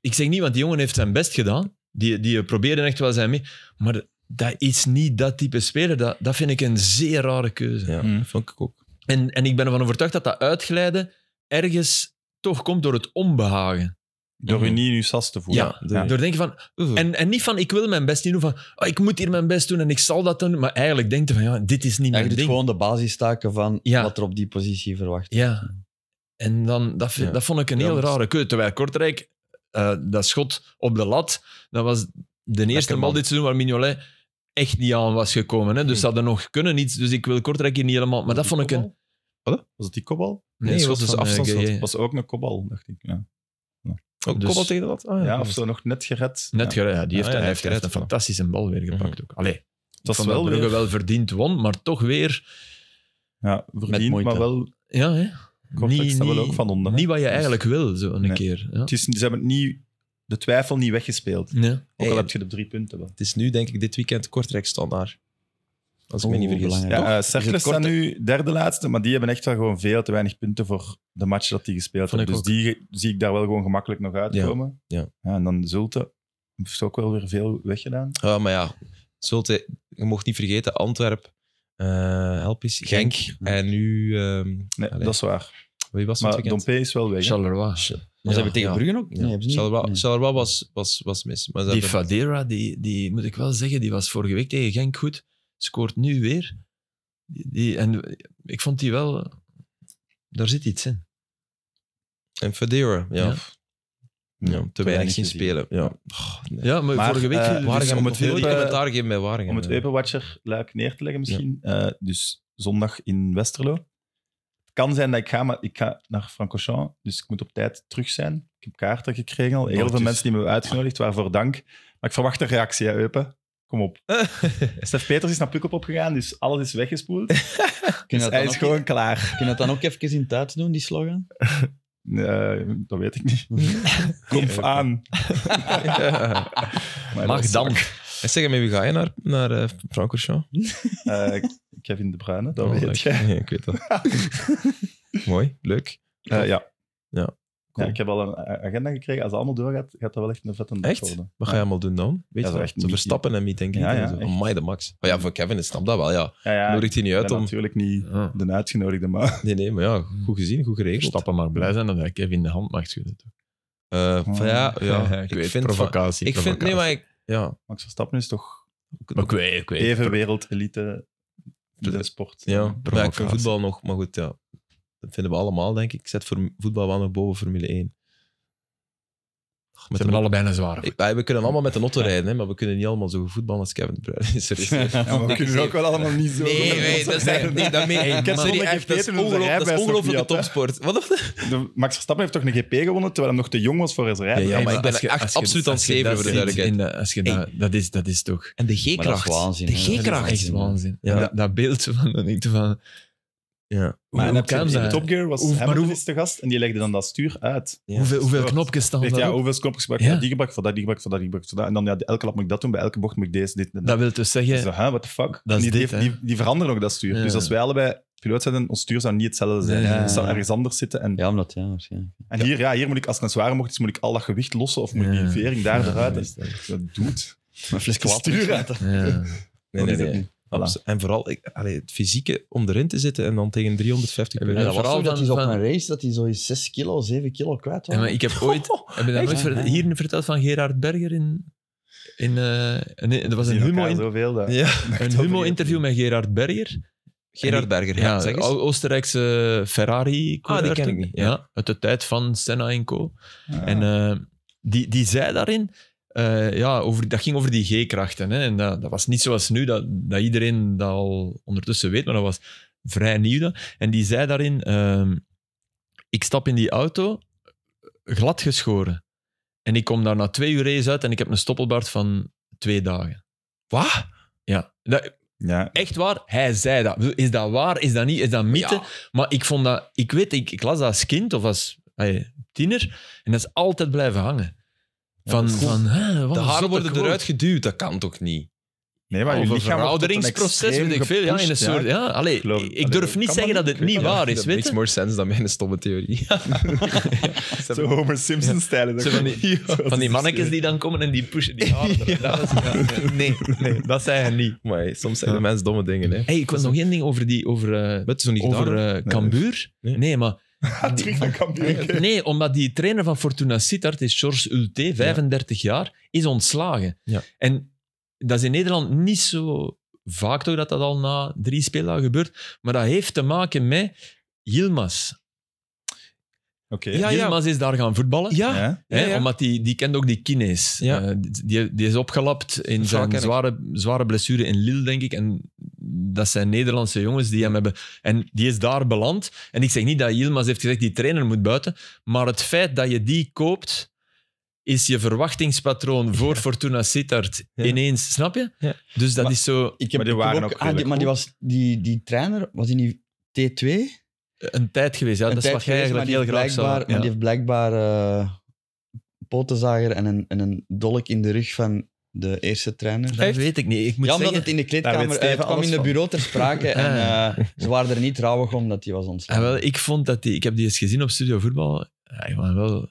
[SPEAKER 4] ik zeg niet, want die jongen heeft zijn best gedaan. Die, die probeerde echt wel zijn mee. Maar dat is niet dat type speler. Dat, dat vind ik een zeer rare keuze.
[SPEAKER 1] Ja,
[SPEAKER 3] Mm.
[SPEAKER 1] vond ik ook.
[SPEAKER 4] En, en ik ben ervan overtuigd dat dat uitglijden ergens toch komt door het onbehagen.
[SPEAKER 3] Door u niet in uw sas te voelen.
[SPEAKER 4] Ja,
[SPEAKER 1] de-
[SPEAKER 4] Door denken van,
[SPEAKER 1] En,
[SPEAKER 4] en, en niet van ik wil mijn best niet doen, van ah, ik moet hier mijn best doen en ik zal dat doen. Maar eigenlijk denkt hij van ja, dit is niet
[SPEAKER 2] Ja,
[SPEAKER 4] mijn
[SPEAKER 2] je doet
[SPEAKER 4] ding.
[SPEAKER 2] gewoon de basistaken van
[SPEAKER 4] Ja.
[SPEAKER 2] wat er op die positie verwacht
[SPEAKER 4] Ja. En dan, dat, vind-
[SPEAKER 1] Ja.
[SPEAKER 4] dat vond ik een
[SPEAKER 1] Ja,
[SPEAKER 4] heel
[SPEAKER 1] dat is-
[SPEAKER 4] rare keuze. Terwijl Kortrijk, eh, dat schot op de lat, dat was de eerste
[SPEAKER 1] man.
[SPEAKER 4] bal dit seizoen waar Mignolet echt niet aan was gekomen. Hè? Dus dat er nog kunnen iets. Dus ik wil Kortrijk hier niet helemaal... Maar dat vond ik een...
[SPEAKER 3] Was het die kopbal?
[SPEAKER 4] Nee,
[SPEAKER 1] Nee,
[SPEAKER 4] schot
[SPEAKER 1] was dus
[SPEAKER 4] van, eh,
[SPEAKER 1] afstandsschot.
[SPEAKER 4] Gueye.
[SPEAKER 3] Was ook een kopbal, dacht ik. Ja,
[SPEAKER 1] ook
[SPEAKER 4] dus-
[SPEAKER 1] kobbel tegen de lat? Ah,
[SPEAKER 3] ja of zo nog net gered.
[SPEAKER 4] Net
[SPEAKER 3] ja.
[SPEAKER 4] gered, ja, die heeft,
[SPEAKER 1] Ah, ja,
[SPEAKER 4] hij
[SPEAKER 1] hij
[SPEAKER 4] heeft,
[SPEAKER 1] heeft
[SPEAKER 4] heeft een
[SPEAKER 1] gered,
[SPEAKER 4] fantastische bal weer gepakt ook. Allee,
[SPEAKER 3] Dat was
[SPEAKER 4] van wel
[SPEAKER 3] wel weer,
[SPEAKER 4] wel verdiend won, maar toch weer
[SPEAKER 3] ja, verdiend,
[SPEAKER 2] moeite.
[SPEAKER 3] maar wel...
[SPEAKER 4] ja, hè?
[SPEAKER 3] Kortrijk
[SPEAKER 4] Niet-
[SPEAKER 3] staat wel
[SPEAKER 4] niet-
[SPEAKER 3] ook van onder. hè.
[SPEAKER 4] niet wat je eigenlijk wil zo een
[SPEAKER 3] Nee.
[SPEAKER 4] keer. Ja.
[SPEAKER 3] Het is, ze hebben het niet, de twijfel niet weggespeeld. Ook
[SPEAKER 4] Ja.
[SPEAKER 3] al
[SPEAKER 1] Hey.
[SPEAKER 3] heb je de drie punten wel.
[SPEAKER 1] Het is nu, denk ik, dit weekend Kortrijk standaard. Als ik me niet
[SPEAKER 2] Oeh,
[SPEAKER 1] vergis.
[SPEAKER 2] belangrijk.
[SPEAKER 1] Toch?
[SPEAKER 3] Ja, eh Cercle
[SPEAKER 1] het
[SPEAKER 3] staat
[SPEAKER 1] korte-
[SPEAKER 3] nu derde laatste, maar die hebben echt wel gewoon veel te weinig punten voor de match dat die gespeeld
[SPEAKER 4] Vond
[SPEAKER 3] hebben. Dus
[SPEAKER 4] ik
[SPEAKER 3] die ge- zie ik daar wel gewoon gemakkelijk nog uitkomen.
[SPEAKER 1] ja.
[SPEAKER 3] en dan Zulte heeft ook wel weer veel weggedaan.
[SPEAKER 1] Ja, maar ja, Zulte, je mocht niet vergeten, Antwerp, eh help eens, Genk. En nu, ehm,
[SPEAKER 3] Nee,
[SPEAKER 1] Allee.
[SPEAKER 3] dat is waar.
[SPEAKER 1] wie was het
[SPEAKER 3] Maar
[SPEAKER 1] weekend?
[SPEAKER 3] Dompe is wel weg. hè.
[SPEAKER 4] Charleroi.
[SPEAKER 2] Maar ze hebben tegen
[SPEAKER 1] ja.
[SPEAKER 2] Brugge ook? Nee,
[SPEAKER 1] Ja.
[SPEAKER 2] hebben ze niet.
[SPEAKER 1] Charleroi,
[SPEAKER 2] Nee.
[SPEAKER 1] Charleroi was, was, was mis. Maar ze
[SPEAKER 4] Die
[SPEAKER 1] hebben-
[SPEAKER 4] Fadera, die, die moet ik wel zeggen, die was vorige week tegen Genk goed. Scoort nu weer. Die, die- en ik vond die wel... Daar zit iets in.
[SPEAKER 1] en Fadera, ja.
[SPEAKER 4] Ja.
[SPEAKER 1] Ja. te weinig zien
[SPEAKER 3] gezien.
[SPEAKER 1] spelen. Ja. Oh, nee.
[SPEAKER 4] Ja, maar,
[SPEAKER 3] Maar,
[SPEAKER 4] vorige week...
[SPEAKER 3] eh,
[SPEAKER 4] dus-
[SPEAKER 1] Waregem,
[SPEAKER 3] om het
[SPEAKER 1] veel
[SPEAKER 3] Eupen-
[SPEAKER 1] commentaar geven bij Waregem.
[SPEAKER 3] Om het Eupenwatcher-luik neer te leggen misschien. eh, dus zondag in Westerlo. Het kan zijn dat ik ga, maar ik ga naar Francochamp. Dus ik moet op tijd terug zijn. Ik heb kaarten gekregen al. Heel
[SPEAKER 1] Noortjes.
[SPEAKER 3] veel mensen die me hebben uitgenodigd, waarvoor dank. Maar ik verwacht een reactie, hè, Eupen. Kom op. Stef Peters is naar Pukkelpop opgegaan, dus alles is weggespoeld. Dus
[SPEAKER 2] Kunnen we dat
[SPEAKER 3] hij
[SPEAKER 2] dan
[SPEAKER 3] is
[SPEAKER 2] ook-
[SPEAKER 3] gewoon klaar.
[SPEAKER 2] Kun je dat dan ook even in Duits doen, die slogan?
[SPEAKER 3] Eh, dat weet ik niet. Kom
[SPEAKER 1] Eupen.
[SPEAKER 3] aan.
[SPEAKER 1] ja.
[SPEAKER 3] Maar dat
[SPEAKER 4] Mag
[SPEAKER 3] is
[SPEAKER 4] dan.
[SPEAKER 3] zwak.
[SPEAKER 1] En zeg, met wie ga je naar, naar eh, Francorchamps?
[SPEAKER 3] Eh, Kevin De Bruyne, dat
[SPEAKER 1] Oh, leuk.
[SPEAKER 3] weet je.
[SPEAKER 1] Ja, ik weet dat. Mooi, leuk.
[SPEAKER 3] Eh, ja.
[SPEAKER 1] Ja, cool.
[SPEAKER 3] Ja, ik heb al een a- agenda gekregen. Als het allemaal doorgaat, gaat dat wel echt een vette dag
[SPEAKER 1] Echt?
[SPEAKER 3] worden.
[SPEAKER 1] Wat ga je allemaal doen dan? Weet
[SPEAKER 3] Ja,
[SPEAKER 1] je
[SPEAKER 3] zo
[SPEAKER 1] wel.
[SPEAKER 3] echt
[SPEAKER 1] Zo
[SPEAKER 3] meet-
[SPEAKER 1] verstappen en meet, denk ik.
[SPEAKER 3] Ja, ja,
[SPEAKER 1] en zo.
[SPEAKER 3] echt.
[SPEAKER 1] Amai, de max. Maar ja, voor Kevin, ik snap dat wel, ja.
[SPEAKER 3] Ja, ja,
[SPEAKER 1] Nodig die niet
[SPEAKER 3] ik
[SPEAKER 1] uit
[SPEAKER 3] ben
[SPEAKER 1] om...
[SPEAKER 3] natuurlijk niet
[SPEAKER 4] Ja.
[SPEAKER 3] de uitgenodigde, maar... (laughs)
[SPEAKER 1] Nee, nee, maar ja, goed gezien, goed geregeld.
[SPEAKER 4] Stappen mag blij zijn dat hij Kevin in de hand mag schudden.
[SPEAKER 1] Eh, van
[SPEAKER 4] (laughs)
[SPEAKER 1] ja, ja,
[SPEAKER 4] Ah, ik,
[SPEAKER 1] ik,
[SPEAKER 4] weet,
[SPEAKER 1] vind... van-
[SPEAKER 4] provocatie.
[SPEAKER 1] ik vind... Nee, maar ik... Ja,
[SPEAKER 3] Max Verstappen is toch
[SPEAKER 4] Maar ik weet, ik weet.
[SPEAKER 3] even wereldelite in de sport.
[SPEAKER 1] ja. Maar ja, ik
[SPEAKER 4] Provocatie.
[SPEAKER 1] vind voetbal nog... Maar goed, ja. Dat vinden we allemaal, denk ik. Ik zet voor voetbal wel nog boven Formule 1. Ach,
[SPEAKER 4] Ze
[SPEAKER 1] met
[SPEAKER 4] hebben
[SPEAKER 1] de...
[SPEAKER 4] allebei een zware.
[SPEAKER 1] Ik- wij- we kunnen allemaal met de auto rijden, hè, maar we kunnen niet allemaal zo goed voetballen als Kevin De Bruyne. Sorry.
[SPEAKER 3] (laughs) Ja, maar we kunnen ook wel allemaal niet zo
[SPEAKER 1] Nee,
[SPEAKER 3] goed
[SPEAKER 1] nee, dat is echt niet. Dat, meen-
[SPEAKER 4] Hey,
[SPEAKER 1] ik heb
[SPEAKER 4] man.
[SPEAKER 1] sorry,
[SPEAKER 3] Zonder
[SPEAKER 1] echt, dat is
[SPEAKER 3] GP toen onze
[SPEAKER 1] ongelooflijk- dat
[SPEAKER 3] rijbewijs
[SPEAKER 1] is
[SPEAKER 3] nog
[SPEAKER 1] ongelooflijke
[SPEAKER 3] niet had, hè.
[SPEAKER 1] topsport. Wat?
[SPEAKER 3] (laughs) De- Max Verstappen heeft toch een GP gewonnen, terwijl hij nog te jong was voor zijn rijden.
[SPEAKER 1] Ja, ja, maar
[SPEAKER 4] Nee,
[SPEAKER 1] ik ben
[SPEAKER 4] als je-
[SPEAKER 1] echt
[SPEAKER 4] als je-
[SPEAKER 1] absoluut
[SPEAKER 4] als je
[SPEAKER 1] aan het
[SPEAKER 4] dat
[SPEAKER 1] zeven, voor de
[SPEAKER 4] ziet
[SPEAKER 1] duidelijkheid.
[SPEAKER 4] in de- als je dat- dat is- Dat is toch...
[SPEAKER 1] En de
[SPEAKER 2] Maar dat is
[SPEAKER 1] G-kracht.
[SPEAKER 2] waanzin,
[SPEAKER 1] De
[SPEAKER 2] hè. Dat is
[SPEAKER 1] G-kracht.
[SPEAKER 2] echt
[SPEAKER 4] Echt waanzin.
[SPEAKER 1] Ja.
[SPEAKER 4] Dat, dat beeld (laughs) van, dan denk ik van...
[SPEAKER 1] Ja.
[SPEAKER 4] hoe-
[SPEAKER 3] Maar
[SPEAKER 4] hoe
[SPEAKER 3] in
[SPEAKER 4] kan dat?
[SPEAKER 3] Top Gear was
[SPEAKER 4] Hoe- maar
[SPEAKER 3] Hamilton
[SPEAKER 4] hoe-
[SPEAKER 3] is te gast en die legde dan dat stuur uit.
[SPEAKER 1] Ja.
[SPEAKER 4] hoeveel hoeveel
[SPEAKER 3] Zo.
[SPEAKER 4] knopjes staan
[SPEAKER 3] Echt, ja,
[SPEAKER 4] daarop?
[SPEAKER 3] hoeveel knopjes gebruik
[SPEAKER 4] Ja.
[SPEAKER 3] je? Die gebruik ik voor dat, die gebruik ik voor dat, die gebruik ik voor dat. En dan, ja, elke lap moet ik dat doen, bij elke bocht moet ik deze, dit en dat.
[SPEAKER 4] Dat wil dus zeggen...
[SPEAKER 3] Zo, hè, what the fuck?
[SPEAKER 4] Dat is
[SPEAKER 3] die, die
[SPEAKER 4] dit,
[SPEAKER 3] heeft-
[SPEAKER 4] hè?
[SPEAKER 3] die, die veranderen ook dat stuur.
[SPEAKER 4] Ja.
[SPEAKER 3] Dus als wij allebei piloot zijn, ons stuur zou niet hetzelfde zijn.
[SPEAKER 4] Nee, ja,
[SPEAKER 3] Het zou
[SPEAKER 2] ja.
[SPEAKER 3] ergens anders zitten. En,
[SPEAKER 2] Ja, omdat, ja, waarschijnlijk.
[SPEAKER 3] en hier, ja, hier moet ik, als het een zware mocht is, moet ik al dat gewicht lossen of moet ik
[SPEAKER 4] Ja.
[SPEAKER 3] die vering daar
[SPEAKER 4] Ja,
[SPEAKER 3] eruit. En,
[SPEAKER 4] dat
[SPEAKER 3] dat doet.
[SPEAKER 2] Een fles kwaad.
[SPEAKER 3] Stuur uit.
[SPEAKER 4] Ja.
[SPEAKER 1] Nee, nee,
[SPEAKER 3] Dat is het
[SPEAKER 1] nee.
[SPEAKER 3] niet.
[SPEAKER 1] Abs- En vooral ik, allee, het fysieke om erin te zitten en dan tegen 350 per
[SPEAKER 4] Ja,
[SPEAKER 1] uur.
[SPEAKER 2] En
[SPEAKER 4] dat
[SPEAKER 2] dat was zo
[SPEAKER 4] vooral
[SPEAKER 2] dat
[SPEAKER 4] van-
[SPEAKER 2] hij zo op
[SPEAKER 4] van-
[SPEAKER 2] een race dat hij zo eens 6 kilo, 7 kilo kwijt was.
[SPEAKER 4] Ja, maar ik heb (laughs) ooit... Heb je dat nooit ver- hier verteld van Gerard Berger in... in eh, nee, er was een
[SPEAKER 3] Die elkaar
[SPEAKER 4] humo, in-
[SPEAKER 3] zoveel, dat- (laughs)
[SPEAKER 1] Ja.
[SPEAKER 4] een humo interview met Gerard Berger.
[SPEAKER 1] Gerard Berger, ja,
[SPEAKER 4] Ja,
[SPEAKER 1] zeg
[SPEAKER 4] de
[SPEAKER 1] eens.
[SPEAKER 4] Oostenrijkse ferrari
[SPEAKER 1] Ah, die ken ik niet,
[SPEAKER 4] Ja.
[SPEAKER 1] ja.
[SPEAKER 4] uit de tijd van Senna en co.
[SPEAKER 3] Ja.
[SPEAKER 4] En eh, die, die zei daarin, eh, ja, over, dat ging over die G-krachten. Hè, en dat, dat was niet zoals nu, dat, dat iedereen dat al ondertussen weet, maar dat was vrij nieuw. dan. En die zei daarin, ehm, ik stap in die auto, glad geschoren. En ik kom daar na twee uur race uit en ik heb een stoppelbaard van twee dagen. Wat? Ja. Dat,
[SPEAKER 3] Ja.
[SPEAKER 4] Echt waar, hij zei dat. Ik bedoel, Is dat waar, is dat niet, is dat mythe?
[SPEAKER 1] Ja.
[SPEAKER 4] Maar ik vond dat, ik weet, ik, ik las dat als kind of als ey, tiener en dat is altijd blijven hangen. Van,
[SPEAKER 3] dat is goed.
[SPEAKER 4] van hè, wat
[SPEAKER 1] De
[SPEAKER 4] een zotte
[SPEAKER 1] haren worden
[SPEAKER 4] quote.
[SPEAKER 1] eruit geduwd, dat kan toch niet?
[SPEAKER 3] Nee, maar
[SPEAKER 4] Of
[SPEAKER 3] je
[SPEAKER 4] een
[SPEAKER 3] lichaam wordt tot een
[SPEAKER 4] verouderingsproces,
[SPEAKER 3] extreem
[SPEAKER 4] weet ik veel. Ja, in een
[SPEAKER 3] gepusht,
[SPEAKER 4] soort,
[SPEAKER 3] ja.
[SPEAKER 4] ja. Allee,
[SPEAKER 3] geloof-
[SPEAKER 4] ik,
[SPEAKER 3] allee,
[SPEAKER 4] durf niet
[SPEAKER 3] kan
[SPEAKER 4] zeggen
[SPEAKER 3] dat?
[SPEAKER 4] dat het
[SPEAKER 3] Ik weet
[SPEAKER 4] niet
[SPEAKER 3] het
[SPEAKER 4] waar
[SPEAKER 1] Dat
[SPEAKER 4] is,
[SPEAKER 1] makes
[SPEAKER 4] weet je.
[SPEAKER 1] more sense dan mijn stomme theorie. (laughs)
[SPEAKER 3] Zo Homer Simpson-stijl.
[SPEAKER 4] Zo
[SPEAKER 3] (laughs)
[SPEAKER 4] van die, van die
[SPEAKER 3] eh,
[SPEAKER 4] mannetjes die dan komen en die pushen die haren. eraf. Dat is- ja, nee, nee, dat zijn er niet.
[SPEAKER 1] maar hey, soms zeggen mensen domme dingen. Hè.
[SPEAKER 4] Hey, ik was nog één ding over, die, over, eh,
[SPEAKER 1] Weet je zo niet
[SPEAKER 4] over
[SPEAKER 1] gedaan?
[SPEAKER 4] eh, Cambuur.
[SPEAKER 1] Nee.
[SPEAKER 4] Nee, maar...
[SPEAKER 3] Terug naar
[SPEAKER 1] (laughs)
[SPEAKER 3] Cambuur.
[SPEAKER 4] Nee, omdat die trainer van Fortuna Sittard is Georges Ulte, 35 jaar, is ontslagen.
[SPEAKER 1] Ja.
[SPEAKER 4] En dat is in Nederland niet zo vaak toch dat dat al na drie speeldagen gebeurt. Maar dat heeft te maken met Yilmaz.
[SPEAKER 3] Oké.
[SPEAKER 1] Ja, ja.
[SPEAKER 4] Yilmaz is daar gaan voetballen.
[SPEAKER 1] Ja,
[SPEAKER 3] Ja?
[SPEAKER 1] ja,
[SPEAKER 4] Hè,
[SPEAKER 1] ja.
[SPEAKER 4] Omdat die, die kent ook die kines.
[SPEAKER 1] Ja.
[SPEAKER 4] Eh, die, die is opgelapt in
[SPEAKER 1] Verhaal ken
[SPEAKER 4] zijn
[SPEAKER 1] ik.
[SPEAKER 4] zware, zware blessure in Lille, denk ik. En dat zijn Nederlandse jongens die hem hebben. En die is daar beland. En ik zeg niet dat Yilmaz heeft gezegd, die trainer moet buiten. Maar het feit dat je die koopt, is je verwachtingspatroon voor Fortuna Sittard
[SPEAKER 1] Ja.
[SPEAKER 4] ineens, snap je?
[SPEAKER 1] Ja.
[SPEAKER 4] Dus dat
[SPEAKER 3] Maar-
[SPEAKER 4] is zo
[SPEAKER 2] Ik heb,
[SPEAKER 3] Maar die
[SPEAKER 2] ik heb
[SPEAKER 3] waren ook
[SPEAKER 2] ah, die,
[SPEAKER 3] redelijk
[SPEAKER 2] Maar die,
[SPEAKER 3] goed.
[SPEAKER 2] was, die, die trainer, was die niet T2?
[SPEAKER 4] een tijd geweest. Ja,
[SPEAKER 2] Een
[SPEAKER 4] dat is
[SPEAKER 2] tijd
[SPEAKER 4] wat jij
[SPEAKER 2] geweest, maar
[SPEAKER 4] eigenlijk
[SPEAKER 2] die
[SPEAKER 4] heel
[SPEAKER 2] heeft
[SPEAKER 4] graag
[SPEAKER 2] blijkbaar,
[SPEAKER 4] zou...
[SPEAKER 2] Maar
[SPEAKER 4] ja.
[SPEAKER 2] die heeft blijkbaar eh, potenzager en een, en een dolk in de rug van de eerste trainer.
[SPEAKER 4] Dat weet ik niet. Ik moet
[SPEAKER 2] ja, omdat
[SPEAKER 4] zeggen...
[SPEAKER 2] het in de
[SPEAKER 3] Daar
[SPEAKER 2] kleedkamer
[SPEAKER 3] weet
[SPEAKER 2] eh,
[SPEAKER 3] Steven
[SPEAKER 2] het kwam
[SPEAKER 3] alles
[SPEAKER 2] in de
[SPEAKER 3] van.
[SPEAKER 2] bureau ter sprake en eh, ze waren er niet trouwig om dat hij was
[SPEAKER 4] Ah,
[SPEAKER 2] ontslagen.
[SPEAKER 4] wel, ik vond dat die... Ik heb die eens gezien op Studio Voetbal. Ja, ik vond wel... dat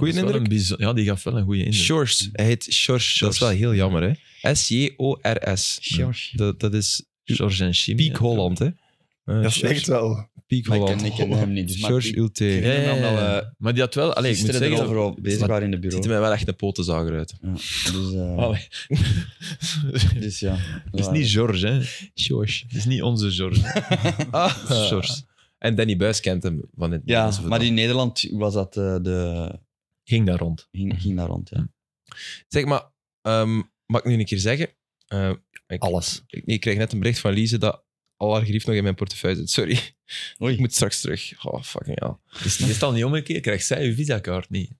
[SPEAKER 4] was wel
[SPEAKER 1] indruk?
[SPEAKER 4] een bizo- ja, die gaf wel een goede indruk.
[SPEAKER 1] Shores. Hij heet Shores. Dat is wel heel jammer, hè? S-J-O-R-S.
[SPEAKER 2] George.
[SPEAKER 1] Dat, dat is
[SPEAKER 4] George en Chimie.
[SPEAKER 1] Piek Holland, hè? Eh,
[SPEAKER 3] Dat is
[SPEAKER 1] Sjors-
[SPEAKER 3] echt wel...
[SPEAKER 1] Piek
[SPEAKER 2] Maar ik
[SPEAKER 1] Holland.
[SPEAKER 2] ken- ik ken hem niet, dus maar
[SPEAKER 1] Sjors
[SPEAKER 2] ik-
[SPEAKER 1] Ulte.
[SPEAKER 2] ik-
[SPEAKER 4] Ja, ja, ja,
[SPEAKER 2] Omdat
[SPEAKER 4] ja.
[SPEAKER 1] eh,
[SPEAKER 2] we
[SPEAKER 4] Maar die had wel... Allee, ik moet
[SPEAKER 2] Gisteren
[SPEAKER 4] zeggen... dat-
[SPEAKER 2] overal bezig
[SPEAKER 1] maar-
[SPEAKER 2] waren in de bureau.
[SPEAKER 1] ziet er mij wel echt een potenzager uit.
[SPEAKER 2] Ja, dus, eh,
[SPEAKER 1] Oh.
[SPEAKER 4] Allee.
[SPEAKER 2] dus ja.
[SPEAKER 4] (laughs) Het is niet George, hè. George. Het is niet onze
[SPEAKER 1] (laughs)
[SPEAKER 4] George.
[SPEAKER 1] Ah. Sjors. En Danny Buis kent hem van het
[SPEAKER 2] Ja,
[SPEAKER 1] Nederlandse
[SPEAKER 2] maar
[SPEAKER 1] voetbal.
[SPEAKER 2] in Nederland was dat eh, de...
[SPEAKER 4] Ging daar rond.
[SPEAKER 2] Ging, ging daar rond, ja.
[SPEAKER 1] Zeg maar, ehm, mag ik nu een keer zeggen? Eh, ik,
[SPEAKER 4] Alles.
[SPEAKER 1] Ik, ik kreeg net een bericht van Lise dat al haar grief nog in mijn portefeuille zit. Sorry, ik
[SPEAKER 2] Oei.
[SPEAKER 1] moet straks terug. Oh, fucking hell.
[SPEAKER 4] Is het al niet omgekeerd? Krijgt zij uw visakaart niet?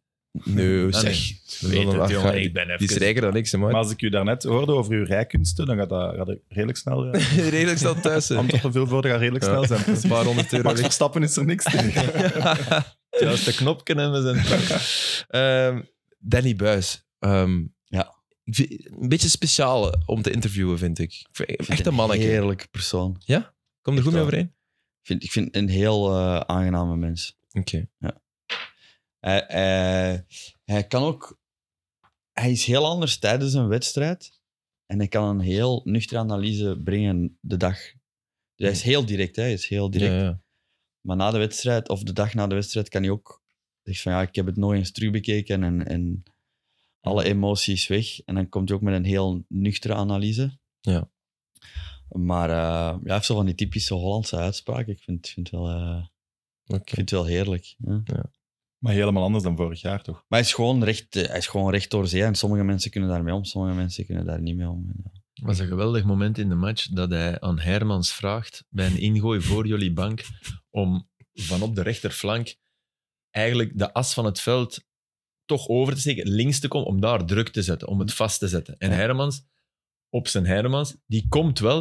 [SPEAKER 1] Nee,
[SPEAKER 4] Ah,
[SPEAKER 1] zeg.
[SPEAKER 4] nee.
[SPEAKER 1] We willen wel gaan.
[SPEAKER 4] ben
[SPEAKER 1] Die is rijker dan ik, ze
[SPEAKER 3] Maar
[SPEAKER 1] maar.
[SPEAKER 3] als ik u daarnet hoorde over uw rijkunsten, dan gaat dat, gaat dat redelijk
[SPEAKER 1] (laughs)
[SPEAKER 3] snel... eh,
[SPEAKER 1] Redelijk snel thuis. hè.
[SPEAKER 3] Antwerpen veelvuldig gaat redelijk
[SPEAKER 1] Ja.
[SPEAKER 3] snel
[SPEAKER 1] (laughs)
[SPEAKER 3] zijn.
[SPEAKER 1] Een paar honderd euro.
[SPEAKER 3] Max Verstappen is er niks tegen.
[SPEAKER 4] Het juiste knopje en we zijn...
[SPEAKER 2] (laughs)
[SPEAKER 1] Ehm, Danny Buis. Ehm,
[SPEAKER 2] Ja.
[SPEAKER 1] ik vind- een beetje speciaal eh, om te interviewen, vind ik. Ik vind-
[SPEAKER 2] Ik vind
[SPEAKER 1] Echt
[SPEAKER 2] het
[SPEAKER 1] een mannetje.
[SPEAKER 2] Heerlijke persoon.
[SPEAKER 1] Kom er goed mee
[SPEAKER 2] waar.
[SPEAKER 1] overeen?
[SPEAKER 2] Ik vind, ik vind een heel eh, aangename mens.
[SPEAKER 1] Oké.
[SPEAKER 2] Hij, hij- hij kan ook... Hij is heel anders tijdens een wedstrijd. En hij kan een heel nuchtere analyse brengen de dag. Dus hij is heel direct, hè. Hij is heel direct.
[SPEAKER 1] Ja, ja.
[SPEAKER 2] Maar na de wedstrijd, of de dag na de wedstrijd, kan hij ook zeggen van ja, ik heb het nooit eens terugbekeken en, en alle emoties weg. En dan komt hij ook met een heel nuchtere analyse.
[SPEAKER 1] Ja.
[SPEAKER 2] Maar eh, ja, hij heeft zo van die typische Hollandse uitspraken. Ik vind, vind, het wel, eh, ik
[SPEAKER 1] Oké.
[SPEAKER 2] vind het wel heerlijk. Ja.
[SPEAKER 3] Maar helemaal anders dan vorig jaar, toch?
[SPEAKER 2] Maar hij is, gewoon recht, eh, hij is gewoon recht door zee. En sommige mensen kunnen daarmee om, sommige mensen kunnen daar niet mee om. En, ja.
[SPEAKER 4] Het was een geweldig moment in de match dat hij aan Hermans vraagt bij een ingooi voor jullie bank om vanop de rechterflank eigenlijk de as van het veld toch over te steken, links te komen, om daar druk te zetten, om het vast te zetten. En
[SPEAKER 2] Mhm. Ja.
[SPEAKER 4] Hermans, op zijn Hermans, die komt wel,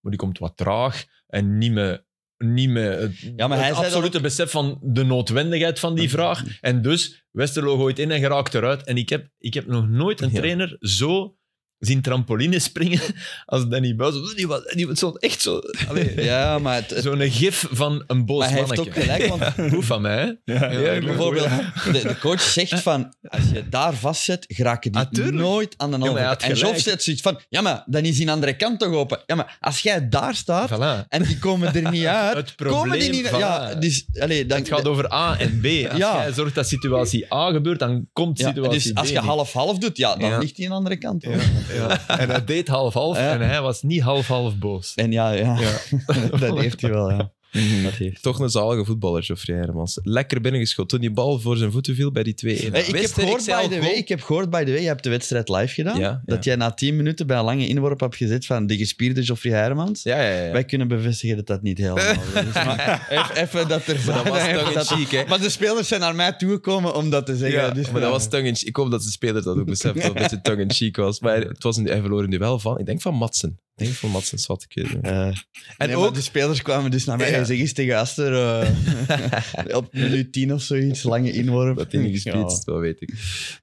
[SPEAKER 4] maar die komt wat traag en niet meer... Niet meer het,
[SPEAKER 2] Ja, maar hij
[SPEAKER 4] het
[SPEAKER 2] zei dat
[SPEAKER 4] absolute besef van de noodwendigheid van die vraag. En dus, Westerlo gooit in en geraakt eruit. En ik heb, ik heb nog nooit een
[SPEAKER 1] Ja.
[SPEAKER 4] trainer zo zien trampoline springen (laughs) als Danny Buis. Die was, die was zo- echt
[SPEAKER 2] (laughs)
[SPEAKER 4] zo- allee,
[SPEAKER 2] Ja, maar, het, het-
[SPEAKER 4] zo'n gif van een boos
[SPEAKER 2] maar hij heeft
[SPEAKER 4] mannetje.
[SPEAKER 2] ook gelijk, want (laughs)
[SPEAKER 4] Goed van mij, hè?
[SPEAKER 3] Ja,
[SPEAKER 2] bijvoorbeeld, de, de coach zegt van, als je daar vastzet, geraken die
[SPEAKER 4] Ah, tuurlijk.
[SPEAKER 2] nooit aan de
[SPEAKER 4] maar
[SPEAKER 2] andere
[SPEAKER 4] hij had
[SPEAKER 2] kant. En Joff
[SPEAKER 4] gelijk.
[SPEAKER 2] zet zoiets van, ja, maar dan is die andere kant toch open. Ja, maar als jij daar staat
[SPEAKER 4] Voilà.
[SPEAKER 2] en die komen er
[SPEAKER 4] (laughs)
[SPEAKER 2] niet uit,
[SPEAKER 4] Het
[SPEAKER 2] komen die
[SPEAKER 4] probleem,
[SPEAKER 2] niet
[SPEAKER 4] voilà.
[SPEAKER 2] Ja, dus, allee, dan,
[SPEAKER 4] Het gaat over A en B. Als
[SPEAKER 2] Ja.
[SPEAKER 4] jij zorgt dat situatie A gebeurt, dan komt
[SPEAKER 2] ja,
[SPEAKER 4] situatie
[SPEAKER 2] dus
[SPEAKER 4] B
[SPEAKER 2] als je
[SPEAKER 4] niet.
[SPEAKER 2] half-half doet, ja, dan
[SPEAKER 4] Ja.
[SPEAKER 2] ligt die aan de andere kant.
[SPEAKER 3] Ja.
[SPEAKER 4] Ja. En hij deed half-half
[SPEAKER 2] Ja.
[SPEAKER 4] en hij was niet half-half boos.
[SPEAKER 2] En ja, ja, (laughs) dat heeft hij
[SPEAKER 1] (laughs)
[SPEAKER 2] wel, ja. Dat heeft
[SPEAKER 1] Toch een zalige voetballer, Geoffrey Hermans. Lekker binnengeschoten toen die bal voor zijn voeten viel bij die 2-1.
[SPEAKER 2] Hey, ik, heb
[SPEAKER 1] Wist er,
[SPEAKER 2] gehoord,
[SPEAKER 1] zei
[SPEAKER 2] by
[SPEAKER 1] al
[SPEAKER 2] the
[SPEAKER 1] goal.
[SPEAKER 2] way, ik heb gehoord, by the way, je hebt de wedstrijd live gedaan.
[SPEAKER 1] Ja, ja.
[SPEAKER 2] Dat jij na 10 minuten bij een lange inworp hebt gezet van de gespierde Geoffrey Hermans.
[SPEAKER 1] Ja, ja, ja.
[SPEAKER 2] Wij kunnen bevestigen dat dat niet helemaal zo is.
[SPEAKER 1] (laughs)
[SPEAKER 2] Maar eff- even dat er (laughs)
[SPEAKER 1] Maar dat was
[SPEAKER 2] even
[SPEAKER 1] tongue in
[SPEAKER 2] dat-
[SPEAKER 1] cheek, hè?
[SPEAKER 2] Maar de spelers zijn naar mij toegekomen om dat te zeggen.
[SPEAKER 1] Ja,
[SPEAKER 2] dus,
[SPEAKER 1] maar dat was tongue in
[SPEAKER 2] (laughs)
[SPEAKER 1] cheek. Ik hoop dat de speler dat ook beseft, dat het een beetje tongue in cheek was. Maar het was een, hij verloor een duel van, ik denk van Matsen. denk van Madsens wat ik weet niet.
[SPEAKER 2] en
[SPEAKER 1] En
[SPEAKER 2] ook...
[SPEAKER 1] ook-
[SPEAKER 2] De spelers kwamen dus naar mij
[SPEAKER 1] Ja.
[SPEAKER 2] en zeg eens tegen Aster eh, (laughs) op minuut 10 of zoiets, lange inworp.
[SPEAKER 1] (laughs) Dat hij niet gespeeld dat weet ik.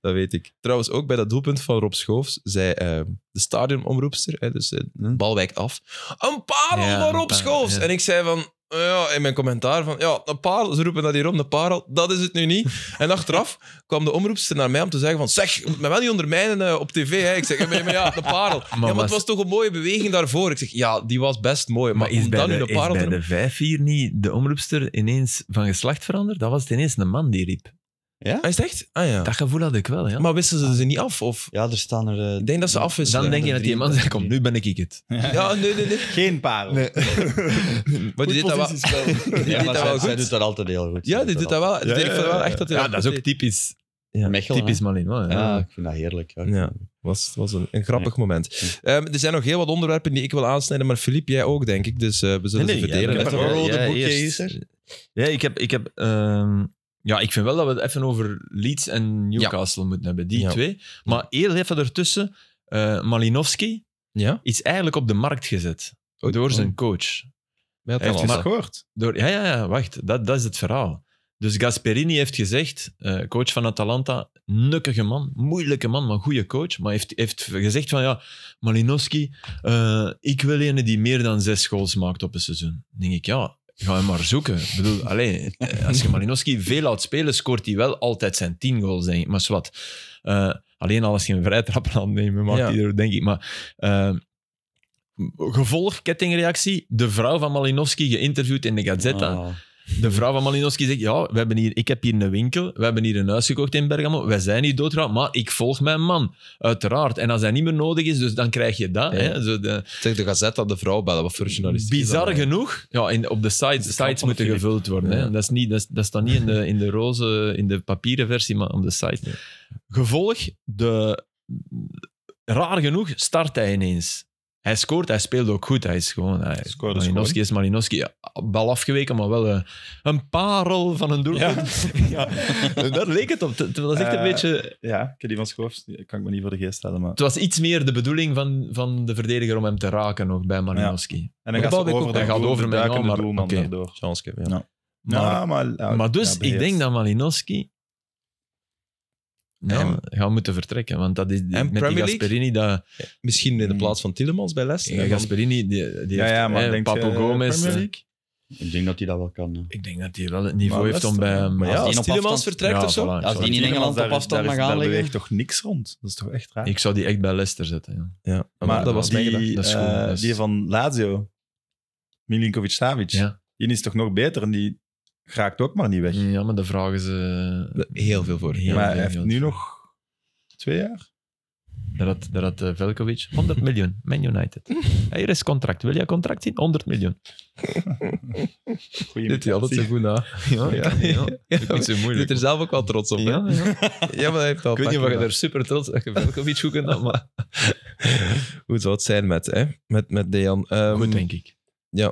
[SPEAKER 1] Dat weet ik. Trouwens, ook bij dat doelpunt van Rob Schoofs zei eh, de stadionomroepster, hè, dus eh, de bal wijkt af, een parel
[SPEAKER 4] Hm? Ja,
[SPEAKER 1] van
[SPEAKER 4] een
[SPEAKER 1] Rob
[SPEAKER 4] parel,
[SPEAKER 1] Schoofs.
[SPEAKER 4] ja.
[SPEAKER 1] En ik zei van, eh, ja, in mijn commentaar van, ja, een parel, ze roepen dat hier om, een parel, dat is het nu niet. En
[SPEAKER 4] (laughs)
[SPEAKER 1] achteraf kwam de omroepster naar mij om te zeggen van, zeg, je moet me wel niet ondermijnen eh, op tv. Hè. Ik zeg, ja, maar- maar ja, de
[SPEAKER 4] (laughs)
[SPEAKER 1] parel. ja, maar
[SPEAKER 4] was-
[SPEAKER 1] het was toch een mooie beweging daarvoor. Ik zeg, ja, die was best mooi, maar,
[SPEAKER 4] Maar is
[SPEAKER 1] om
[SPEAKER 4] bij,
[SPEAKER 1] dan
[SPEAKER 4] de,
[SPEAKER 1] nu
[SPEAKER 4] is
[SPEAKER 1] een parel te
[SPEAKER 4] bij
[SPEAKER 1] noemen-
[SPEAKER 4] de vijf hier niet de omroepster ineens van geslacht veranderd? Dat was het ineens een man die riep.
[SPEAKER 2] Ja?
[SPEAKER 1] Ah, is het echt? Ah ja.
[SPEAKER 4] Dat gevoel had ik wel, ja.
[SPEAKER 1] Maar wisten ze ze niet af? Of...
[SPEAKER 2] Ja, er staan er... eh,
[SPEAKER 1] Ik denk dat ze afwisselen.
[SPEAKER 4] dan denk je dat die man zegt, kom, nu ben ik ik het.
[SPEAKER 1] Ja, nee, nee, nee.
[SPEAKER 3] Geen parel.
[SPEAKER 4] Nee.
[SPEAKER 1] Maar die deed dat wel.
[SPEAKER 2] ja,
[SPEAKER 1] (laughs) Die deed
[SPEAKER 2] maar
[SPEAKER 1] dat
[SPEAKER 2] zij,
[SPEAKER 1] wel
[SPEAKER 2] zij
[SPEAKER 1] goed.
[SPEAKER 2] doet dat altijd heel goed.
[SPEAKER 1] Ja, die doet dat wel.
[SPEAKER 3] Ja,
[SPEAKER 1] Dus ik
[SPEAKER 3] ja,
[SPEAKER 1] vind wel
[SPEAKER 3] ja.
[SPEAKER 1] echt dat hij
[SPEAKER 4] Ja, dat is ook
[SPEAKER 1] deed.
[SPEAKER 4] typisch. Ja,
[SPEAKER 2] Mechelen,
[SPEAKER 4] typisch
[SPEAKER 2] hè?
[SPEAKER 4] Malinois.
[SPEAKER 2] wel.
[SPEAKER 4] Ja.
[SPEAKER 1] Ah.
[SPEAKER 2] Ja, ik vind dat heerlijk. Ja.
[SPEAKER 1] Ja, was, was een, een grappig moment. Ehm, er zijn nog heel wat onderwerpen die ik wil aansnijden, maar Filip, jij ook, denk ik. Dus eh, we zullen
[SPEAKER 4] Nee,
[SPEAKER 1] ze
[SPEAKER 4] nee, jij
[SPEAKER 1] verdelen.
[SPEAKER 4] bent
[SPEAKER 1] hè.
[SPEAKER 4] er
[SPEAKER 2] Een
[SPEAKER 4] Ja,
[SPEAKER 2] rode
[SPEAKER 4] ja,
[SPEAKER 2] boekje
[SPEAKER 4] eerst.
[SPEAKER 2] is er.
[SPEAKER 4] Ja, ik heb... Ik heb ehm, ja, ik vind wel dat we het even over Leeds en Newcastle moeten hebben. Die
[SPEAKER 1] Ja.
[SPEAKER 4] twee. Maar heel even ertussen. eh Malinowski
[SPEAKER 1] Ja?
[SPEAKER 4] is eigenlijk op de markt gezet.
[SPEAKER 1] Oei.
[SPEAKER 4] door zijn
[SPEAKER 1] Oh,
[SPEAKER 4] coach.
[SPEAKER 1] mij had
[SPEAKER 4] Hij
[SPEAKER 1] dat
[SPEAKER 4] heeft
[SPEAKER 1] al
[SPEAKER 4] maar-
[SPEAKER 3] Gescoord.
[SPEAKER 4] Door, ja, ja, ja, wacht. Dat, dat is het verhaal. Dus Gasperini heeft gezegd, eh, coach van Atalanta, nukkige man, moeilijke man, maar goede coach. Maar heeft, heeft gezegd van, ja, Malinowski, eh, ik wil ene die meer dan zes goals maakt op een seizoen. Dan denk ik, ja, ga hem maar zoeken. Ik bedoel, alleen, als je Malinowski veel laat spelen, scoort hij wel altijd zijn tien goals, denk ik. Maar zwart. Eh, alleen al als je een vrij trap aan nemen, maakt
[SPEAKER 1] Ja.
[SPEAKER 4] hij er, denk ik. Maar... eh, Gevolg, kettingreactie. De vrouw van Malinowski geïnterviewd in de Gazzetta.
[SPEAKER 2] Ah.
[SPEAKER 4] De vrouw van Malinowski zegt, ja, we hebben hier, ik heb hier een winkel, we hebben hier een huis gekocht in Bergamo, wij zijn niet doodgaan, maar ik volg mijn man, uiteraard. En als hij niet meer nodig is, dus dan krijg je dat.
[SPEAKER 1] Ja.
[SPEAKER 4] Hè? Zo de,
[SPEAKER 1] gezegd. Zeg de Gazette dat de vrouw bellen, wat voor
[SPEAKER 4] Mm.
[SPEAKER 1] journalist. is dat
[SPEAKER 4] Bizar
[SPEAKER 1] dan?
[SPEAKER 4] genoeg, ja, in, op de sites,
[SPEAKER 3] de
[SPEAKER 4] sites
[SPEAKER 3] van
[SPEAKER 4] moeten
[SPEAKER 3] Philippe.
[SPEAKER 4] gevuld worden.
[SPEAKER 1] Ja.
[SPEAKER 4] Hè? Dat, is niet, dat, is, dat staat niet in de, in de roze, in de papieren versie, maar op de site.
[SPEAKER 1] Ja.
[SPEAKER 4] Gevolg, de, raar genoeg start hij ineens. Hij scoort, hij speelt ook goed. Hij is gewoon... Hij,
[SPEAKER 3] Scoorde
[SPEAKER 4] Malinowski is Malinowski. Ja, bal afgeweken, maar wel eh, een parel van een doelpunt. (laughs) Ja. Daar leek het op. Het het was echt een
[SPEAKER 3] Eh,
[SPEAKER 4] beetje...
[SPEAKER 3] (laughs) Ja, ik heb die van Schoofs. die kan ik me niet voor de geest stellen. Maar...
[SPEAKER 4] Het was iets meer de bedoeling van, van de verdediger om hem te raken ook bij Malinowski.
[SPEAKER 3] En dan
[SPEAKER 4] de
[SPEAKER 3] gaat
[SPEAKER 4] bal
[SPEAKER 3] ze
[SPEAKER 4] weet ik
[SPEAKER 3] over,
[SPEAKER 4] ook,
[SPEAKER 3] de
[SPEAKER 4] hij gaat
[SPEAKER 3] doel,
[SPEAKER 4] over
[SPEAKER 3] de
[SPEAKER 4] mijn
[SPEAKER 3] duikende
[SPEAKER 4] arm, maar-
[SPEAKER 3] doelman
[SPEAKER 4] oké.
[SPEAKER 3] daardoor.
[SPEAKER 1] Chance geven, ja.
[SPEAKER 3] Ja. Ja, maar, ja,
[SPEAKER 4] maar dus,
[SPEAKER 3] ja,
[SPEAKER 4] ik
[SPEAKER 3] beheerst.
[SPEAKER 4] denk dat Malinowski ja, gaat moeten vertrekken. Want dat is die-
[SPEAKER 1] En
[SPEAKER 4] met die
[SPEAKER 1] Premier League?
[SPEAKER 4] Gasperini. Dat,
[SPEAKER 1] Misschien in de plaats van Tillemans bij Leicester.
[SPEAKER 4] Mm. ja, Gasperini, die, die
[SPEAKER 3] Ja,
[SPEAKER 4] heeft
[SPEAKER 3] ja, maar
[SPEAKER 4] hè,
[SPEAKER 3] denk
[SPEAKER 4] Papo
[SPEAKER 3] je
[SPEAKER 4] Gomez.
[SPEAKER 3] Premier
[SPEAKER 4] eh,
[SPEAKER 3] League?
[SPEAKER 2] Ik denk dat hij dat wel kan. hè.
[SPEAKER 4] Ik denk dat hij wel het niveau
[SPEAKER 3] Maar
[SPEAKER 4] heeft om
[SPEAKER 3] Leicester,
[SPEAKER 4] bij...
[SPEAKER 3] ja.
[SPEAKER 4] hem-
[SPEAKER 1] Maar ja,
[SPEAKER 2] Als die
[SPEAKER 1] als
[SPEAKER 2] op
[SPEAKER 1] Tillemans
[SPEAKER 2] afstand-
[SPEAKER 1] vertrekt
[SPEAKER 4] Ja,
[SPEAKER 1] of
[SPEAKER 4] voilà,
[SPEAKER 1] zo.
[SPEAKER 4] ik
[SPEAKER 2] Als
[SPEAKER 4] zou-
[SPEAKER 2] die niet in
[SPEAKER 3] Tuurlijk,
[SPEAKER 2] Engeland
[SPEAKER 3] maar
[SPEAKER 2] op
[SPEAKER 3] daar-
[SPEAKER 2] afstand
[SPEAKER 3] daar
[SPEAKER 2] mag
[SPEAKER 3] is- Daar
[SPEAKER 2] aanleggen.
[SPEAKER 3] beweegt toch niks rond. Dat is toch echt raar.
[SPEAKER 4] Ik zou die echt bij Leicester zetten. Ja.
[SPEAKER 1] Ja, maar,
[SPEAKER 3] maar
[SPEAKER 1] dat was mijn gedachte.
[SPEAKER 3] die,
[SPEAKER 4] Dat is goed,
[SPEAKER 3] eh,
[SPEAKER 4] dat is-
[SPEAKER 3] die van Lazio, Milinkovic-Savic,
[SPEAKER 4] Ja.
[SPEAKER 3] die is toch nog beter en die raakt ook maar niet weg.
[SPEAKER 4] ja, maar de eh, vragen ze...
[SPEAKER 1] Heel veel voor.
[SPEAKER 4] Ja,
[SPEAKER 3] maar
[SPEAKER 4] ja,
[SPEAKER 3] hij heeft
[SPEAKER 4] ja,
[SPEAKER 3] nu
[SPEAKER 4] ja.
[SPEAKER 3] nog twee jaar.
[SPEAKER 4] Daar had, daar had eh, Velkovic 100 miljoen, Man United. Hier is contract. Wil jij contract zien? 100 miljoen.
[SPEAKER 3] Goeie
[SPEAKER 1] Dit is altijd zo goed na.
[SPEAKER 4] Ja, (laughs)
[SPEAKER 1] ja.
[SPEAKER 4] Ook niet zo
[SPEAKER 1] Je
[SPEAKER 4] moeilijk.
[SPEAKER 1] zit er zelf ook wel trots op. hè?
[SPEAKER 4] Ja, ja.
[SPEAKER 1] Ja, maar hij heeft al
[SPEAKER 4] Ik weet niet
[SPEAKER 1] pakken
[SPEAKER 4] of je
[SPEAKER 1] gedaan.
[SPEAKER 4] daar super trots op Velkovic goed kunt, maar...
[SPEAKER 1] Hoe zou het zijn met, hè? met, met Dejan? Ehm,
[SPEAKER 4] Goed, denk ik.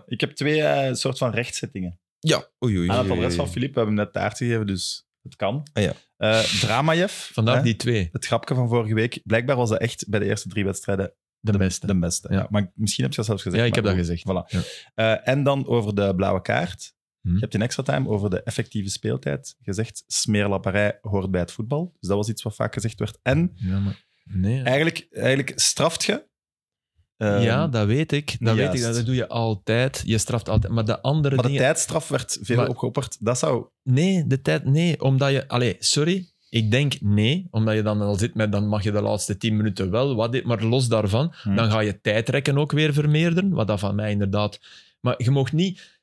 [SPEAKER 3] Ik heb twee eh, soort van rechtszittingen.
[SPEAKER 1] Ja, oei, oei.
[SPEAKER 3] Aan
[SPEAKER 4] Ah.
[SPEAKER 3] het
[SPEAKER 1] oei.
[SPEAKER 3] adres van Filip, we hebben hem net taart gegeven, dus het kan.
[SPEAKER 1] Ah, ja.
[SPEAKER 3] Eh, Dramajev,
[SPEAKER 4] Vandaar
[SPEAKER 3] hè,
[SPEAKER 4] die twee,
[SPEAKER 3] het grapje van vorige week. Blijkbaar was hij echt bij de eerste drie wedstrijden
[SPEAKER 4] de beste.
[SPEAKER 3] de beste.
[SPEAKER 4] Ja.
[SPEAKER 3] Ja. Maar misschien heb je dat zelfs gezegd.
[SPEAKER 4] Ja, ik
[SPEAKER 3] maar
[SPEAKER 4] heb dat
[SPEAKER 3] goed.
[SPEAKER 4] gezegd.
[SPEAKER 3] Voilà.
[SPEAKER 4] Ja.
[SPEAKER 3] Eh, en dan over de blauwe kaart.
[SPEAKER 4] Hm.
[SPEAKER 3] Je hebt in extra time over de effectieve speeltijd gezegd. Smeerlapperij hoort bij het voetbal. Dus dat was iets wat vaak gezegd werd. En
[SPEAKER 4] Ja, maar... Nee.
[SPEAKER 3] eigenlijk, eigenlijk straft je. eh,
[SPEAKER 4] ja, dat weet ik. Dat, weet ik.
[SPEAKER 3] juist.
[SPEAKER 4] dat doe je altijd. Je straft altijd. Maar de andere
[SPEAKER 3] maar de
[SPEAKER 4] dingen...
[SPEAKER 3] tijdstraf werd veel
[SPEAKER 4] Maar-
[SPEAKER 3] opgeopperd. Dat zou.
[SPEAKER 4] Nee, de tijd... Nee, omdat je... Allee, sorry. Ik denk nee, omdat je dan al zit met... Dan mag je de laatste tien minuten wel. Wat, dit- maar los daarvan,
[SPEAKER 3] Hm.
[SPEAKER 4] dan ga je tijdrekken ook weer vermeerderen. Wat dat van mij inderdaad... Maar je mocht niet...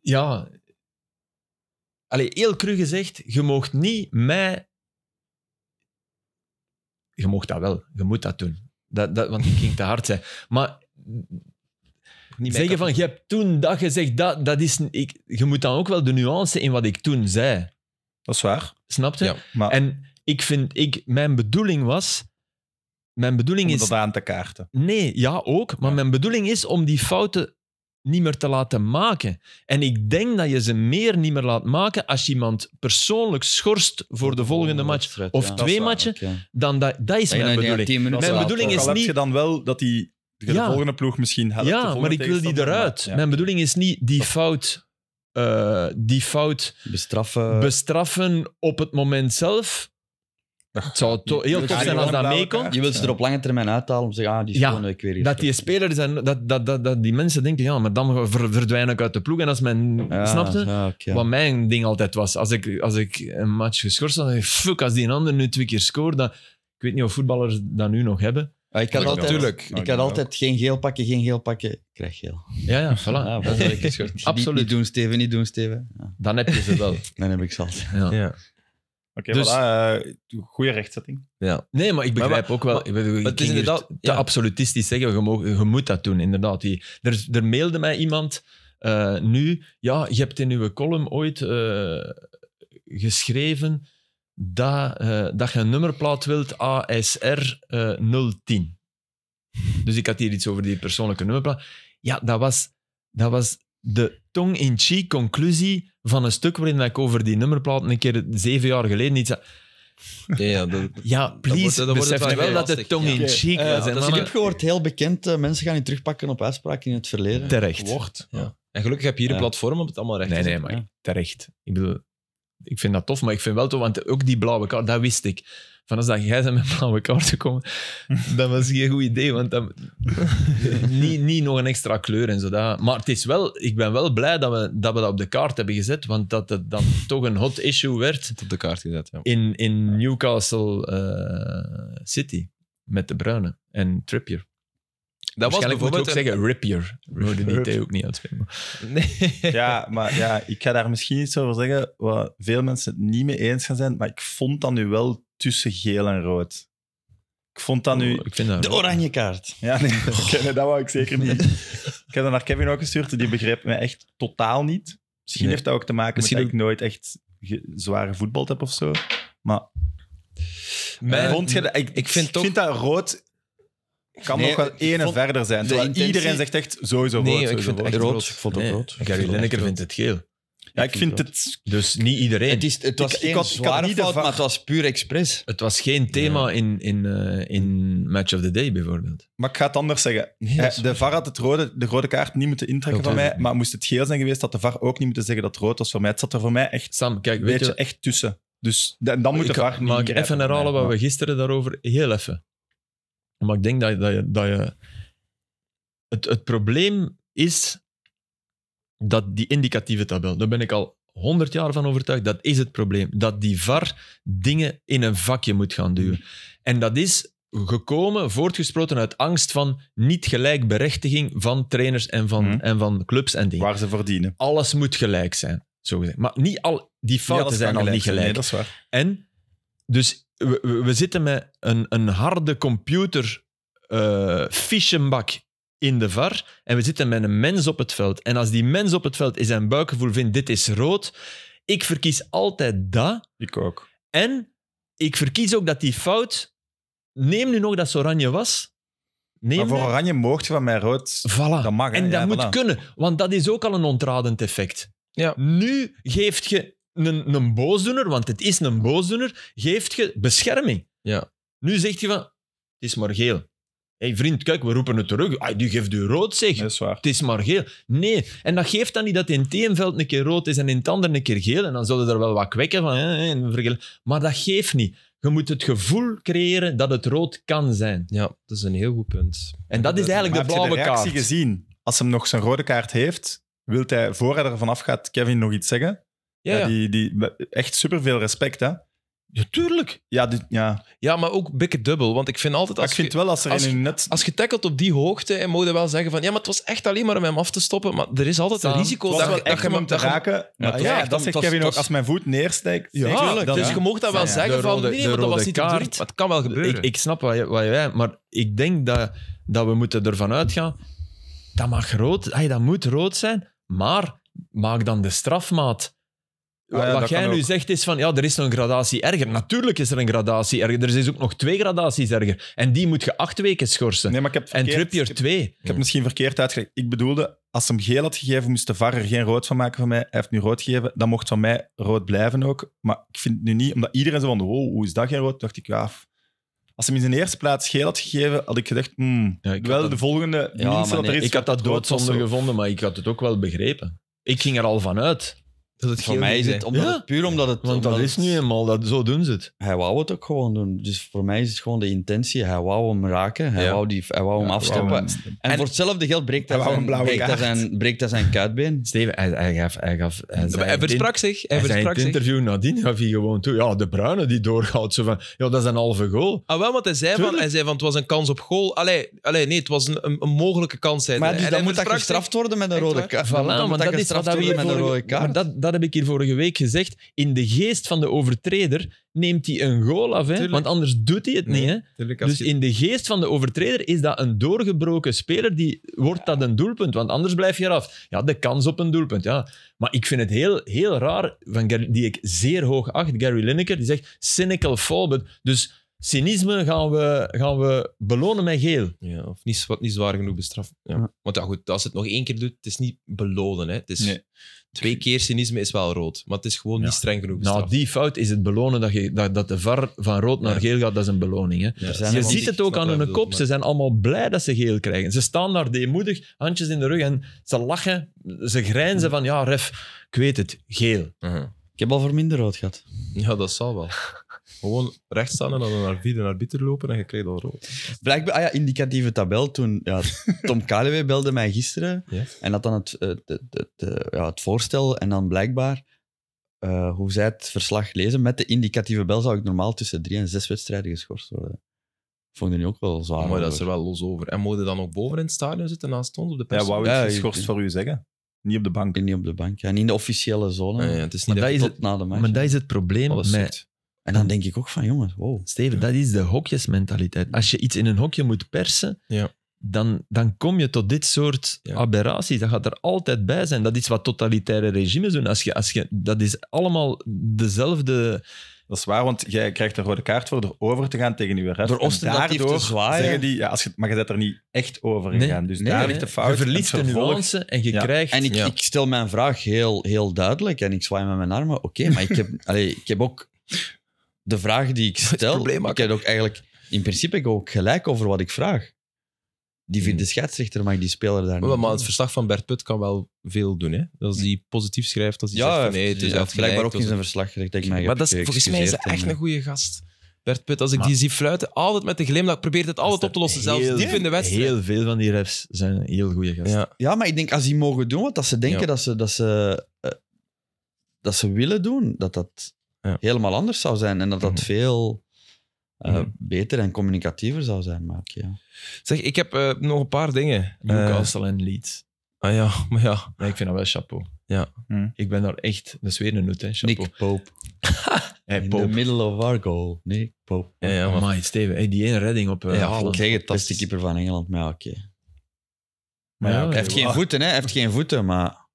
[SPEAKER 4] Ja... Allee, heel cru gezegd, je mocht niet mij je mocht dat wel, je moet dat doen. Dat, dat, want ik ging te hard zijn. Maar
[SPEAKER 1] Niet mijn
[SPEAKER 4] zeggen van, je hebt toen dat gezegd, dat, dat is... Ik, je moet dan ook wel de nuance in wat ik toen zei.
[SPEAKER 3] Dat is waar.
[SPEAKER 4] Snap je?
[SPEAKER 1] Ja.
[SPEAKER 3] Maar
[SPEAKER 4] En ik vind... Ik, mijn bedoeling was... Mijn bedoeling
[SPEAKER 3] om
[SPEAKER 4] is...
[SPEAKER 3] dat aan te kaarten.
[SPEAKER 4] Nee, ja, ook. Maar mijn bedoeling is om die fouten niet meer te laten maken. En ik denk dat je ze meer niet meer laat maken als je iemand persoonlijk schorst voor de volgende match. Of
[SPEAKER 3] Oh, Dat
[SPEAKER 4] twee
[SPEAKER 3] is waar,
[SPEAKER 4] matchen,
[SPEAKER 2] Oké.
[SPEAKER 4] dan dat, dat is
[SPEAKER 2] Dat je
[SPEAKER 4] mijn
[SPEAKER 2] dan die
[SPEAKER 4] bedoeling.
[SPEAKER 2] 10 minuten
[SPEAKER 4] Mijn
[SPEAKER 2] laat
[SPEAKER 4] bedoeling
[SPEAKER 2] ook.
[SPEAKER 4] is
[SPEAKER 3] Al heb
[SPEAKER 4] niet-
[SPEAKER 3] je dan wel dat die de
[SPEAKER 4] Ja.
[SPEAKER 3] volgende ploeg misschien helpt. de
[SPEAKER 4] Ja,
[SPEAKER 3] volgende
[SPEAKER 4] maar ik wil die
[SPEAKER 3] tegenstander,
[SPEAKER 4] eruit.
[SPEAKER 3] maar- ja.
[SPEAKER 4] Mijn bedoeling is niet die fout, eh, die fout
[SPEAKER 2] bestraffen.
[SPEAKER 4] bestraffen op het moment zelf. Het zou to- heel tof zijn als dat meekomt.
[SPEAKER 2] je wilt ze er op lange termijn uithalen om te zeggen, ah, die is
[SPEAKER 4] Ja,
[SPEAKER 2] gewoon ik weer hier.
[SPEAKER 4] Dat die spelers en dat, dat, dat, dat die mensen denken, ja, maar dan ver- verdwijn ik uit de ploeg. En als men
[SPEAKER 2] Ja,
[SPEAKER 4] snapte,
[SPEAKER 2] ja, oké.
[SPEAKER 4] wat mijn ding altijd was, als ik, als ik een match geschorst had, dacht ik, fuck, als die een ander nu twee keer scoort, dan, ik weet niet of voetballers dat nu nog hebben.
[SPEAKER 2] Ah, ik had
[SPEAKER 1] Maar
[SPEAKER 2] altijd,
[SPEAKER 1] natuurlijk.
[SPEAKER 2] ik had altijd geen geel pakken, geen geel pakken. Ik krijg geel.
[SPEAKER 4] Ja, ja, voilà.
[SPEAKER 2] Ah, volgende keer schort. Niet-
[SPEAKER 4] (laughs) Absoluut.
[SPEAKER 2] Niet doen, Steven, niet doen, Steven. Ja,
[SPEAKER 4] Dan heb je ze wel.
[SPEAKER 2] dan heb ik ze altijd.
[SPEAKER 4] Ja.
[SPEAKER 1] Ja.
[SPEAKER 3] Oké, voilà,
[SPEAKER 4] Dus-
[SPEAKER 3] eh, goede rechtzetting.
[SPEAKER 4] Nee, maar ik
[SPEAKER 1] Maar-
[SPEAKER 4] begrijp ook wel.
[SPEAKER 1] maar-
[SPEAKER 4] ik bedoel, je
[SPEAKER 1] het is
[SPEAKER 4] ging hier
[SPEAKER 1] inderdaad-
[SPEAKER 4] te
[SPEAKER 1] ja.
[SPEAKER 4] absolutistisch zeggen, je, mo- je moet dat doen, inderdaad. Die, er, er mailde mij iemand eh, nu, ja, je hebt in uw column ooit eh, geschreven dat, eh, dat je een nummerplaat wilt ASR eh, 010. Dus ik had hier iets over die persoonlijke nummerplaat. Ja, dat was, dat was de tong-in-cheek conclusie van een stuk waarin ik over die nummerplaat een keer zeven jaar geleden iets had.
[SPEAKER 1] Ja, ja, dat-
[SPEAKER 4] Ja,
[SPEAKER 1] wordt-
[SPEAKER 4] please,
[SPEAKER 1] dan wordt het
[SPEAKER 4] besef
[SPEAKER 1] wel
[SPEAKER 4] wel dat
[SPEAKER 1] lastig,
[SPEAKER 4] het tong
[SPEAKER 1] ja.
[SPEAKER 4] in cheek was.
[SPEAKER 1] dat
[SPEAKER 4] hè,
[SPEAKER 1] is
[SPEAKER 2] eh, Ik
[SPEAKER 4] mannen.
[SPEAKER 2] heb gehoord, heel bekend, eh, mensen gaan je terugpakken op uitspraken in het verleden.
[SPEAKER 4] Terecht.
[SPEAKER 2] Wordt.
[SPEAKER 1] Ja. En gelukkig heb je hier een
[SPEAKER 2] Ja.
[SPEAKER 1] platform op het allemaal recht
[SPEAKER 4] Nee,
[SPEAKER 1] is.
[SPEAKER 4] nee, maar terecht. Ik bedoel, ik vind dat tof, maar ik vind wel tof, want ook die blauwe kaart, dat wist ik. Van als dat jij zijn met blauwe kaarten komen, dat was geen goed idee, want dan, niet, niet nog een extra kleur en zo. Dat. Maar het is wel, ik ben wel blij dat we, dat we dat op de kaart hebben gezet, want dat het dan toch een hot issue werd
[SPEAKER 1] op de kaart gezet. Ja.
[SPEAKER 4] in, in Newcastle eh, City met de Bruine en Trippier.
[SPEAKER 1] Dat was
[SPEAKER 4] Waarschijnlijk moet je ook
[SPEAKER 1] bijvoorbeeld een-
[SPEAKER 4] zeggen Rippier. We moeten die T ook niet uitspelen.
[SPEAKER 1] Nee.
[SPEAKER 3] (laughs) Ja, maar ja, ik ga daar misschien iets over zeggen waar veel mensen het niet mee eens gaan zijn, maar ik vond dat nu wel tussen geel en rood. Ik vond dat
[SPEAKER 1] Oh.
[SPEAKER 3] nu...
[SPEAKER 4] Ik vind dat
[SPEAKER 2] De oranje kaart.
[SPEAKER 3] Ja, nee, (laughs) oké, nee, dat wou ik zeker niet. Ik heb dat naar Kevin ook gestuurd, die begreep mij echt totaal niet. Misschien
[SPEAKER 1] Nee.
[SPEAKER 3] heeft dat ook te maken
[SPEAKER 1] Misschien
[SPEAKER 3] met dat ik nooit echt ge- zware voetbal heb of zo. Maar
[SPEAKER 1] Mijn-
[SPEAKER 3] vond je dat- ik,
[SPEAKER 1] ik vind toch-
[SPEAKER 3] dat rood kan
[SPEAKER 2] Nee,
[SPEAKER 3] nog wel
[SPEAKER 2] ik
[SPEAKER 3] ene
[SPEAKER 2] vond-
[SPEAKER 3] verder zijn.
[SPEAKER 2] de
[SPEAKER 3] Terwijl
[SPEAKER 2] intentie-
[SPEAKER 3] Iedereen zegt echt sowieso rood.
[SPEAKER 1] Nee, ik
[SPEAKER 3] sowieso
[SPEAKER 1] vind
[SPEAKER 3] rood.
[SPEAKER 1] echt
[SPEAKER 2] rood.
[SPEAKER 1] rood.
[SPEAKER 2] Ik vond het
[SPEAKER 1] Nee.
[SPEAKER 2] rood. Ik
[SPEAKER 4] Eh, Gary
[SPEAKER 2] vond het
[SPEAKER 4] Lineker
[SPEAKER 2] rood.
[SPEAKER 4] vindt het geel.
[SPEAKER 3] Ja, ik
[SPEAKER 2] rood.
[SPEAKER 3] vind het...
[SPEAKER 4] Dus niet iedereen.
[SPEAKER 2] Het, is, het was
[SPEAKER 3] Ik- ik
[SPEAKER 2] geen
[SPEAKER 3] had- ik had
[SPEAKER 2] zware
[SPEAKER 3] niet de
[SPEAKER 2] fout,
[SPEAKER 3] var-
[SPEAKER 2] maar het was puur expres.
[SPEAKER 4] Het was geen thema in, in, eh, in Match of the Day bijvoorbeeld.
[SPEAKER 3] Maar ik ga het anders zeggen.
[SPEAKER 1] dat is
[SPEAKER 3] Eh, de VAR had het rode, de rode kaart niet moeten intrekken
[SPEAKER 4] Oké.
[SPEAKER 3] van mij, maar moest het geel zijn geweest, had de VAR ook niet moeten zeggen dat het rood was voor mij. Het zat er voor mij echt,
[SPEAKER 4] Sam, kijk,
[SPEAKER 3] een
[SPEAKER 4] weet
[SPEAKER 3] beetje
[SPEAKER 4] je...
[SPEAKER 3] echt tussen. Dus da- dan moet de
[SPEAKER 4] ik
[SPEAKER 3] VAR niet
[SPEAKER 4] maak
[SPEAKER 3] ingrijpen
[SPEAKER 4] even
[SPEAKER 3] voor
[SPEAKER 4] herhalen
[SPEAKER 3] mij.
[SPEAKER 4] wat we gisteren daarover... Heel even. Maar ik denk dat, je- dat je... Dat je het, het probleem is dat die indicatieve tabel, daar ben ik al honderd jaar van overtuigd, dat is het probleem. Dat die VAR dingen in een vakje moet gaan duwen. En dat is gekomen, voortgesproken uit angst van niet gelijkberechtiging van trainers en van,
[SPEAKER 3] Mhm.
[SPEAKER 4] en van clubs en dingen.
[SPEAKER 3] Waar ze verdienen.
[SPEAKER 4] alles moet gelijk zijn. Zo gezegd. Maar niet al, die fouten
[SPEAKER 3] Ja, dat
[SPEAKER 4] zijn
[SPEAKER 3] kan
[SPEAKER 4] al niet gelijk.
[SPEAKER 3] Nee, dat is waar.
[SPEAKER 4] En dus we, we- we zitten met een, een harde computer eh fichenkbak in de VAR en we zitten met een mens op het veld. En als die mens op het veld in zijn buikgevoel vindt, dit is rood, ik verkies altijd dat.
[SPEAKER 3] Ik ook.
[SPEAKER 4] En ik verkies ook dat die fout, neem nu nog dat ze oranje was, neem
[SPEAKER 3] Maar voor
[SPEAKER 4] dat-
[SPEAKER 3] oranje mocht je van mij rood.
[SPEAKER 4] Voilà.
[SPEAKER 3] Dat mag, hè?
[SPEAKER 4] en dat
[SPEAKER 3] Ja,
[SPEAKER 4] moet
[SPEAKER 3] voilà.
[SPEAKER 4] kunnen, want dat is ook al een ontradend effect.
[SPEAKER 1] Ja.
[SPEAKER 4] Nu geeft je een, een boosdoener, want het is een boosdoener, geeft je bescherming.
[SPEAKER 1] Ja.
[SPEAKER 4] Nu zegt je van, het is maar geel. Hé hey, vriend, kijk, we roepen het terug. Ah, die geeft u rood, zeg.
[SPEAKER 3] Dat is waar.
[SPEAKER 4] Het is maar geel. Nee, en dat geeft dan niet dat in het een veld een keer rood is en in het ander een keer geel. En dan zullen er wel wat kwekken van. hè, hè, en vergel- maar dat geeft niet. Je moet het gevoel creëren dat het rood kan zijn.
[SPEAKER 1] ja, dat is een heel goed punt.
[SPEAKER 4] En dat is
[SPEAKER 3] Maar
[SPEAKER 4] eigenlijk
[SPEAKER 3] heb
[SPEAKER 4] de
[SPEAKER 3] je de
[SPEAKER 4] blauwe
[SPEAKER 3] reactie
[SPEAKER 4] kaart.
[SPEAKER 3] gezien? Als hem nog zijn rode kaart heeft, wil hij, voor hij ervan afgaat, Kevin nog iets zeggen?
[SPEAKER 1] Ja, ja.
[SPEAKER 3] die, die, echt superveel respect, hè?
[SPEAKER 4] Ja, tuurlijk.
[SPEAKER 3] Ja, die- ja.
[SPEAKER 1] ja, maar ook bikken dubbel. Want ik vind altijd
[SPEAKER 3] Maar
[SPEAKER 1] als
[SPEAKER 3] ik
[SPEAKER 1] je-
[SPEAKER 3] vind wel als er
[SPEAKER 1] als
[SPEAKER 3] in een net...
[SPEAKER 1] als je tackelt op die hoogte, en mogen wel zeggen van ja, maar het was echt alleen maar om hem af te stoppen. Maar er is altijd een
[SPEAKER 4] Sam,
[SPEAKER 1] risico
[SPEAKER 3] Het was
[SPEAKER 1] dat,
[SPEAKER 3] wel
[SPEAKER 1] je- dat
[SPEAKER 3] echt
[SPEAKER 1] je
[SPEAKER 3] om hem te
[SPEAKER 1] dat je-
[SPEAKER 3] raken.
[SPEAKER 2] maar
[SPEAKER 3] Maar
[SPEAKER 2] het was
[SPEAKER 3] ja,
[SPEAKER 2] echt
[SPEAKER 3] dat
[SPEAKER 2] om- het
[SPEAKER 3] zegt
[SPEAKER 2] was-
[SPEAKER 3] Kevin ook.
[SPEAKER 2] het was-
[SPEAKER 3] Als mijn voet neerstijgt...
[SPEAKER 1] Ja,
[SPEAKER 3] zeker, dan,
[SPEAKER 1] dus
[SPEAKER 3] ja.
[SPEAKER 1] je mocht dat wel
[SPEAKER 4] Ja,
[SPEAKER 1] zeggen
[SPEAKER 4] de
[SPEAKER 1] van
[SPEAKER 4] rode-
[SPEAKER 1] nee,
[SPEAKER 4] de
[SPEAKER 1] maar dat was
[SPEAKER 4] rode
[SPEAKER 1] niet de bedoeling.
[SPEAKER 4] kaart.
[SPEAKER 1] Maar het kan wel gebeuren.
[SPEAKER 4] Ik, ik snap wat je, wat je wij, maar ik denk dat, dat we moeten ervan uitgaan. Dat mag rood, hey, dat moet rood zijn, maar maak dan de strafmaat
[SPEAKER 3] Ah ja,
[SPEAKER 4] wat
[SPEAKER 3] dat
[SPEAKER 4] jij
[SPEAKER 3] kan
[SPEAKER 4] nu
[SPEAKER 3] ook.
[SPEAKER 4] zegt is van, ja, er is een gradatie erger. Natuurlijk is er een gradatie erger. Er is ook nog twee gradaties erger. En die moet je acht weken schorsen.
[SPEAKER 3] Nee, maar ik heb het
[SPEAKER 4] en
[SPEAKER 3] verkeerd-
[SPEAKER 4] Trippier
[SPEAKER 3] ik heb-
[SPEAKER 4] twee.
[SPEAKER 3] Ik heb het misschien verkeerd uitgelegd. Ik bedoelde, als ze hem geel had gegeven, moest de VAR er geen rood van maken van mij. Hij heeft nu rood gegeven. Dan mocht van mij rood blijven ook. Maar ik vind het nu niet, omdat iedereen zo van, wow, hoe is dat geen rood? dacht ik, ja... f- Als ze hem in zijn eerste plaats geel had gegeven, had ik gedacht, hmm,
[SPEAKER 4] Ja, ik
[SPEAKER 3] wel
[SPEAKER 4] had
[SPEAKER 3] de
[SPEAKER 4] dat-
[SPEAKER 3] volgende
[SPEAKER 2] Ja,
[SPEAKER 3] minste
[SPEAKER 2] maar
[SPEAKER 3] dat er
[SPEAKER 2] nee,
[SPEAKER 3] is.
[SPEAKER 4] Ik had dat
[SPEAKER 3] rood
[SPEAKER 4] doodzonde
[SPEAKER 3] was zo.
[SPEAKER 4] gevonden, maar ik had het ook wel begrepen. Ik ging er al van uit.
[SPEAKER 1] Dat het
[SPEAKER 2] Voor
[SPEAKER 1] geel
[SPEAKER 2] mij is
[SPEAKER 1] niet
[SPEAKER 2] het,
[SPEAKER 1] zijn.
[SPEAKER 2] omdat
[SPEAKER 4] Ja.
[SPEAKER 2] het puur omdat het...
[SPEAKER 4] Want dat
[SPEAKER 2] omdat
[SPEAKER 4] is
[SPEAKER 2] het-
[SPEAKER 4] nu eenmaal, dat, zo doen ze het.
[SPEAKER 2] Hij wou het ook gewoon doen. Dus voor mij is het gewoon de intentie. Hij wou hem raken, hij,
[SPEAKER 1] Ja.
[SPEAKER 2] wou, die, hij wou hem afstappen.
[SPEAKER 3] Wauw, man.
[SPEAKER 2] en,
[SPEAKER 1] En-
[SPEAKER 2] voor hetzelfde geld breekt
[SPEAKER 3] Hij
[SPEAKER 2] hij,
[SPEAKER 3] wou
[SPEAKER 2] zijn,
[SPEAKER 3] een blauwe
[SPEAKER 2] breekt hij,
[SPEAKER 3] kaart.
[SPEAKER 2] zijn, breekt hij zijn kuitbeen.
[SPEAKER 4] Steven, hij, hij gaf... Hij, gaf, hij zei
[SPEAKER 1] Maar Hij
[SPEAKER 4] in het
[SPEAKER 1] versprak zich. Hij
[SPEAKER 4] Hij zei in
[SPEAKER 1] versprak
[SPEAKER 4] het
[SPEAKER 1] zich.
[SPEAKER 4] interview nadien gaf hij gewoon toe. Ja, de bruine die doorgaat. Zo van, ja, dat is een halve goal.
[SPEAKER 1] Ah, wel, want hij zei, van,
[SPEAKER 4] Tuurlijk.
[SPEAKER 1] hij zei van het was een kans op goal. Allee, allee nee, het was een, een, een mogelijke kans. zei
[SPEAKER 2] Maar
[SPEAKER 1] hij.
[SPEAKER 2] dus
[SPEAKER 1] En
[SPEAKER 2] dan
[SPEAKER 1] hij
[SPEAKER 2] moet dat
[SPEAKER 1] versprak
[SPEAKER 2] gestraft worden met een
[SPEAKER 1] Echt
[SPEAKER 2] rode
[SPEAKER 1] waar?
[SPEAKER 2] kaart.
[SPEAKER 4] Voilà,
[SPEAKER 2] Dan moet
[SPEAKER 4] want dat is wat
[SPEAKER 2] gestraft
[SPEAKER 4] we hier
[SPEAKER 2] worden met een
[SPEAKER 4] vorige-
[SPEAKER 2] rode
[SPEAKER 4] maar
[SPEAKER 2] kaart.
[SPEAKER 4] dat, dat heb ik hier vorige week gezegd. In de geest van de overtreder neemt hij een goal af. Hè?
[SPEAKER 1] Tuurlijk.
[SPEAKER 4] Want anders doet hij het
[SPEAKER 1] Nee,
[SPEAKER 4] niet. Hè?
[SPEAKER 1] natuurlijk, als
[SPEAKER 4] Dus
[SPEAKER 1] je-
[SPEAKER 4] in de geest van de overtreder is dat een doorgebroken speler. Die wordt dat een doelpunt. Want anders blijf je eraf. Ja, de kans op een doelpunt. Ja. Maar ik vind het heel, heel raar. Van Gary- die ik zeer hoog acht, Gary Lineker. Die zegt cynical fallback. Dus cynisme gaan we, gaan we belonen met geel.
[SPEAKER 1] Ja, of niet, wat niet zwaar genoeg bestraft. Ja.
[SPEAKER 2] Ja.
[SPEAKER 1] Want ja, goed, als het nog één keer doet, het is niet belonen. Hè. Het is
[SPEAKER 3] Nee.
[SPEAKER 1] Twee keer cynisme is wel rood, maar het is gewoon niet streng genoeg
[SPEAKER 4] Na
[SPEAKER 2] Nou,
[SPEAKER 1] bestraft.
[SPEAKER 4] Nou, die fout is het belonen dat, je, dat, dat de VAR van rood naar
[SPEAKER 1] Ja.
[SPEAKER 4] geel gaat. Dat is een beloning. Hè?
[SPEAKER 1] Ja,
[SPEAKER 2] Er zijn
[SPEAKER 4] Je
[SPEAKER 2] er wel
[SPEAKER 1] want
[SPEAKER 4] ziet
[SPEAKER 1] ik
[SPEAKER 4] het ook
[SPEAKER 1] snap
[SPEAKER 4] aan
[SPEAKER 1] wat hij
[SPEAKER 4] hun
[SPEAKER 1] bedoelt,
[SPEAKER 4] kop. Ze zijn allemaal blij dat ze geel krijgen. Ze staan daar deemoedig, handjes in de rug en ze lachen. Ze grijnzen van, ja, ref, ik weet het, geel.
[SPEAKER 1] maar- Mhm.
[SPEAKER 2] Ik heb al voor minder rood gehad.
[SPEAKER 1] Ja, dat zal wel.
[SPEAKER 2] Ah,
[SPEAKER 1] Gewoon recht staan en dan naar arbiter, naar arbiter lopen en je krijgt al rood.
[SPEAKER 2] Blijkbaar, ah ja, indicatieve tabel toen. Ja, Tom Kalewee belde mij gisteren
[SPEAKER 1] Ja.
[SPEAKER 2] en had dan het, eh, het, het, het, ja, het voorstel. En dan blijkbaar, eh, hoe zij het verslag lezen, met de indicatieve bel zou ik normaal tussen drie en zes wedstrijden geschorst worden. Vond ik nu ook wel zwaar.
[SPEAKER 1] maar dat is
[SPEAKER 2] hoor.
[SPEAKER 1] er wel los over. En mogen dan ook boven in het stadion zitten naast ons op de pers?
[SPEAKER 3] Ja, wou
[SPEAKER 2] Ja,
[SPEAKER 3] ik
[SPEAKER 2] je-
[SPEAKER 3] geschorst voor u zeggen. Niet op de bank.
[SPEAKER 2] En niet op de bank. Ja, niet in de officiële zone.
[SPEAKER 1] Nee, het is
[SPEAKER 4] Maar
[SPEAKER 1] niet
[SPEAKER 4] dat
[SPEAKER 1] dat,
[SPEAKER 4] is
[SPEAKER 1] je
[SPEAKER 4] het-
[SPEAKER 1] tot
[SPEAKER 2] tot na de match.
[SPEAKER 4] Maar dat is het probleem
[SPEAKER 1] alles
[SPEAKER 4] met...
[SPEAKER 1] zegt.
[SPEAKER 2] En dan denk ik ook van, jongens, wow.
[SPEAKER 4] Steven, dat is de hokjesmentaliteit. Als je iets in een hokje moet persen,
[SPEAKER 1] Ja.
[SPEAKER 4] dan, dan kom je tot dit soort
[SPEAKER 1] Ja.
[SPEAKER 4] aberraties. Dat gaat er altijd bij zijn. Dat is wat totalitaire regimes doen. Als je, als je, dat is allemaal dezelfde...
[SPEAKER 3] Dat is waar, want jij krijgt een rode kaart voor erover te gaan tegen uw ref.
[SPEAKER 2] Door
[SPEAKER 3] En
[SPEAKER 2] ostentatief te
[SPEAKER 3] daardoor
[SPEAKER 2] zwaaien.
[SPEAKER 3] Zeggen die, ja, als je, maar je bent er niet echt over
[SPEAKER 4] Nee,
[SPEAKER 3] gegaan. dus
[SPEAKER 2] nee,
[SPEAKER 3] daar
[SPEAKER 2] nee.
[SPEAKER 3] ligt de fout.
[SPEAKER 4] je verliest
[SPEAKER 3] Het
[SPEAKER 4] de
[SPEAKER 3] vervolg-
[SPEAKER 4] nuance en je
[SPEAKER 3] Ja.
[SPEAKER 4] krijgt...
[SPEAKER 2] En ik,
[SPEAKER 1] Ja.
[SPEAKER 2] ik stel mijn vraag heel, heel duidelijk en ik zwaai met mijn armen. Oké, maar ik
[SPEAKER 1] (laughs)
[SPEAKER 2] heb, allee, ik heb ook de vraag die ik stel.
[SPEAKER 1] probleem
[SPEAKER 2] Ik
[SPEAKER 1] maken.
[SPEAKER 2] heb ook eigenlijk, in principe, heb ik ook gelijk over wat ik vraag. Die vindt de
[SPEAKER 1] Hmm.
[SPEAKER 2] scheidsrechter, mag die speler daar
[SPEAKER 1] Maar,
[SPEAKER 2] niet.
[SPEAKER 1] maar het verslag van Bert Put kan wel veel doen. Hè? Als hij positief schrijft, als hij
[SPEAKER 2] Hm. ja,
[SPEAKER 1] zegt van
[SPEAKER 2] hij
[SPEAKER 1] nee,
[SPEAKER 2] heeft-
[SPEAKER 1] het is
[SPEAKER 2] hij heeft blijkbaar ook in
[SPEAKER 1] afgeleid,
[SPEAKER 2] zijn verslag gezegd. dat ik mij
[SPEAKER 1] Maar
[SPEAKER 2] heb
[SPEAKER 1] dat is, volgens mij is hij
[SPEAKER 2] geëxcuseerd
[SPEAKER 1] echt
[SPEAKER 2] en- eh,
[SPEAKER 1] een goede gast. Bert Put, als ik
[SPEAKER 4] Maar-
[SPEAKER 1] die zie fluiten, altijd met de glimlach, probeert het altijd op te lossen, zelfs
[SPEAKER 4] Heel-
[SPEAKER 1] diep in de wedstrijd.
[SPEAKER 4] Heel veel van die refs zijn heel goede gasten.
[SPEAKER 1] ja.
[SPEAKER 2] Ja, maar ik denk als die mogen doen wat dat ze denken
[SPEAKER 1] Ja.
[SPEAKER 2] dat, ze, dat, ze, eh, dat ze willen doen, dat dat
[SPEAKER 1] Ja.
[SPEAKER 2] helemaal anders zou zijn. En dat dat
[SPEAKER 1] Mhm.
[SPEAKER 2] veel eh,
[SPEAKER 1] Mhm.
[SPEAKER 2] beter en communicatiever zou zijn. Maar oké, ja.
[SPEAKER 1] Zeg, ik heb eh, nog een paar dingen. Eh,
[SPEAKER 4] Newcastle en Leeds.
[SPEAKER 1] ah ja, maar ja.
[SPEAKER 4] Nee, ik vind dat wel chapeau.
[SPEAKER 1] Ja.
[SPEAKER 2] Hm.
[SPEAKER 3] Hmm.
[SPEAKER 4] Ik ben daar echt... Dat is weer een nut, hè, chapeau.
[SPEAKER 2] Nick Pope.
[SPEAKER 4] Hey,
[SPEAKER 2] In
[SPEAKER 4] Pope.
[SPEAKER 2] the middle of our goal. Nick Pope.
[SPEAKER 1] ja, ja, maar-
[SPEAKER 4] Amai, Steven. Hey, die ene redding op... eh,
[SPEAKER 1] Ja,
[SPEAKER 4] Haaland.
[SPEAKER 2] ik zeg het, dat is de keeper van Engeland. Maar ja, oké.
[SPEAKER 3] Maar ja,
[SPEAKER 4] Ja,
[SPEAKER 3] oké,
[SPEAKER 2] Hij heeft geen
[SPEAKER 3] wauw.
[SPEAKER 2] voeten, hè. Hij heeft geen voeten, maar...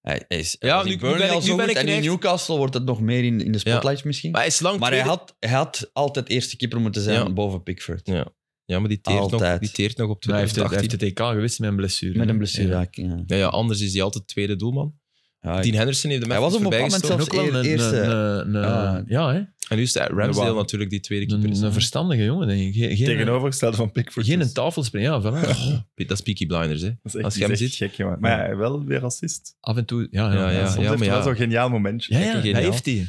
[SPEAKER 2] Hij, hij is, hij
[SPEAKER 1] Ja,
[SPEAKER 2] was in
[SPEAKER 1] nu- nu
[SPEAKER 2] Burnley
[SPEAKER 1] ben ik-
[SPEAKER 2] al
[SPEAKER 1] nu
[SPEAKER 2] zo
[SPEAKER 1] ben
[SPEAKER 2] goed
[SPEAKER 1] ik
[SPEAKER 2] en in
[SPEAKER 1] echt-
[SPEAKER 2] Newcastle wordt het nog meer in, in de spotlights misschien.
[SPEAKER 1] Maar
[SPEAKER 2] Maar,
[SPEAKER 1] hij is lang
[SPEAKER 2] hij,
[SPEAKER 1] tweede-
[SPEAKER 2] had, hij had altijd eerste keeper moeten zijn
[SPEAKER 1] Ja.
[SPEAKER 2] boven Pickford.
[SPEAKER 1] Ja. Ja, maar die teert, nog,
[SPEAKER 2] Altijd.
[SPEAKER 1] die teert nog op
[SPEAKER 4] Maar Hij heeft, het, hij
[SPEAKER 1] 2018.
[SPEAKER 4] heeft het EK gewist met een blessure.
[SPEAKER 2] Met
[SPEAKER 4] hè.
[SPEAKER 2] een blessure. Ja. ik- ja.
[SPEAKER 1] Ja, ja, anders is hij altijd tweede doelman.
[SPEAKER 2] Ja, ik-
[SPEAKER 1] Dean Henderson heeft hem
[SPEAKER 2] Hij
[SPEAKER 1] even
[SPEAKER 2] was op een
[SPEAKER 1] voorbij
[SPEAKER 2] bepaald
[SPEAKER 4] Ja. En
[SPEAKER 1] gestoken.
[SPEAKER 2] moment
[SPEAKER 4] ook wel
[SPEAKER 2] Zelfs
[SPEAKER 4] een,
[SPEAKER 2] eerste-
[SPEAKER 4] een, een- een-
[SPEAKER 2] Ah.
[SPEAKER 4] ja, hè. Een-
[SPEAKER 1] En nu is het eh, Ramsdale
[SPEAKER 3] Wauw.
[SPEAKER 1] natuurlijk die tweede keeper. is,
[SPEAKER 4] Een,
[SPEAKER 1] hè.
[SPEAKER 4] verstandige jongen, denk ik. Geen, geen,
[SPEAKER 3] Tegenovergestelde van Pickford.
[SPEAKER 4] Geen
[SPEAKER 3] dus.
[SPEAKER 4] een tafelspringer. Ja, voilà.
[SPEAKER 1] Dat is Peaky Blinders, hè.
[SPEAKER 3] Dat is echt,
[SPEAKER 1] Als je
[SPEAKER 3] dat is
[SPEAKER 1] hem
[SPEAKER 3] echt gek, jongen. Maar ja, hij wel weer racist.
[SPEAKER 4] Af en toe...
[SPEAKER 1] Ja,
[SPEAKER 4] Ja,
[SPEAKER 1] ja.
[SPEAKER 4] ja.
[SPEAKER 3] soms heeft
[SPEAKER 1] maar
[SPEAKER 3] hij wel
[SPEAKER 1] ja.
[SPEAKER 3] zo'n geniaal momentje.
[SPEAKER 4] Ja,
[SPEAKER 3] Kijk,
[SPEAKER 4] ja,
[SPEAKER 1] Geniaal.
[SPEAKER 4] hij heeft die.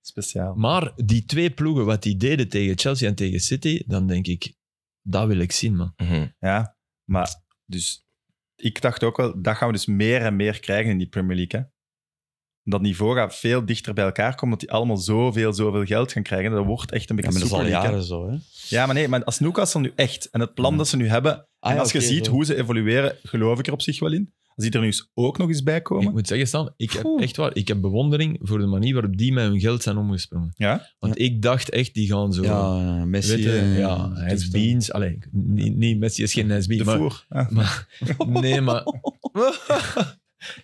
[SPEAKER 3] Speciaal.
[SPEAKER 4] Maar die twee ploegen, wat die deden tegen Chelsea en tegen City, dan denk ik, dat wil ik zien, man.
[SPEAKER 1] Mhm.
[SPEAKER 3] Ja, maar dus ik dacht ook wel, dat gaan we dus meer en meer krijgen in die Premier League. Hè? Dat niveau gaat veel dichter bij elkaar komen, omdat die allemaal zoveel, zoveel geld gaan krijgen. Dat wordt echt een
[SPEAKER 2] Ja,
[SPEAKER 3] beetje
[SPEAKER 2] maar dat is al
[SPEAKER 3] Super League, hè.
[SPEAKER 2] jaren zo, hè?
[SPEAKER 3] Ja, maar nee, maar als Newcastle nu echt, en het plan dat ze nu hebben, en als je ziet hoe ze evolueren, geloof ik er op zich wel in. Als die er nu eens ook nog eens bij komen.
[SPEAKER 4] Ik moet zeggen, Stan, ik heb
[SPEAKER 3] Oeh.
[SPEAKER 4] echt waar, ik heb bewondering voor de manier waarop die met hun geld zijn omgesprongen.
[SPEAKER 3] Ja?
[SPEAKER 4] Want ik dacht echt, die gaan zo...
[SPEAKER 2] Ja, eh, Messi.
[SPEAKER 4] weet je,
[SPEAKER 2] eh,
[SPEAKER 4] ja, hij is beans. Allee, (laughs) ik- niet, niet, Messi is geen SB,
[SPEAKER 3] De
[SPEAKER 4] maar... (laughs)
[SPEAKER 3] voer. Ja.
[SPEAKER 4] maar- nee, maar...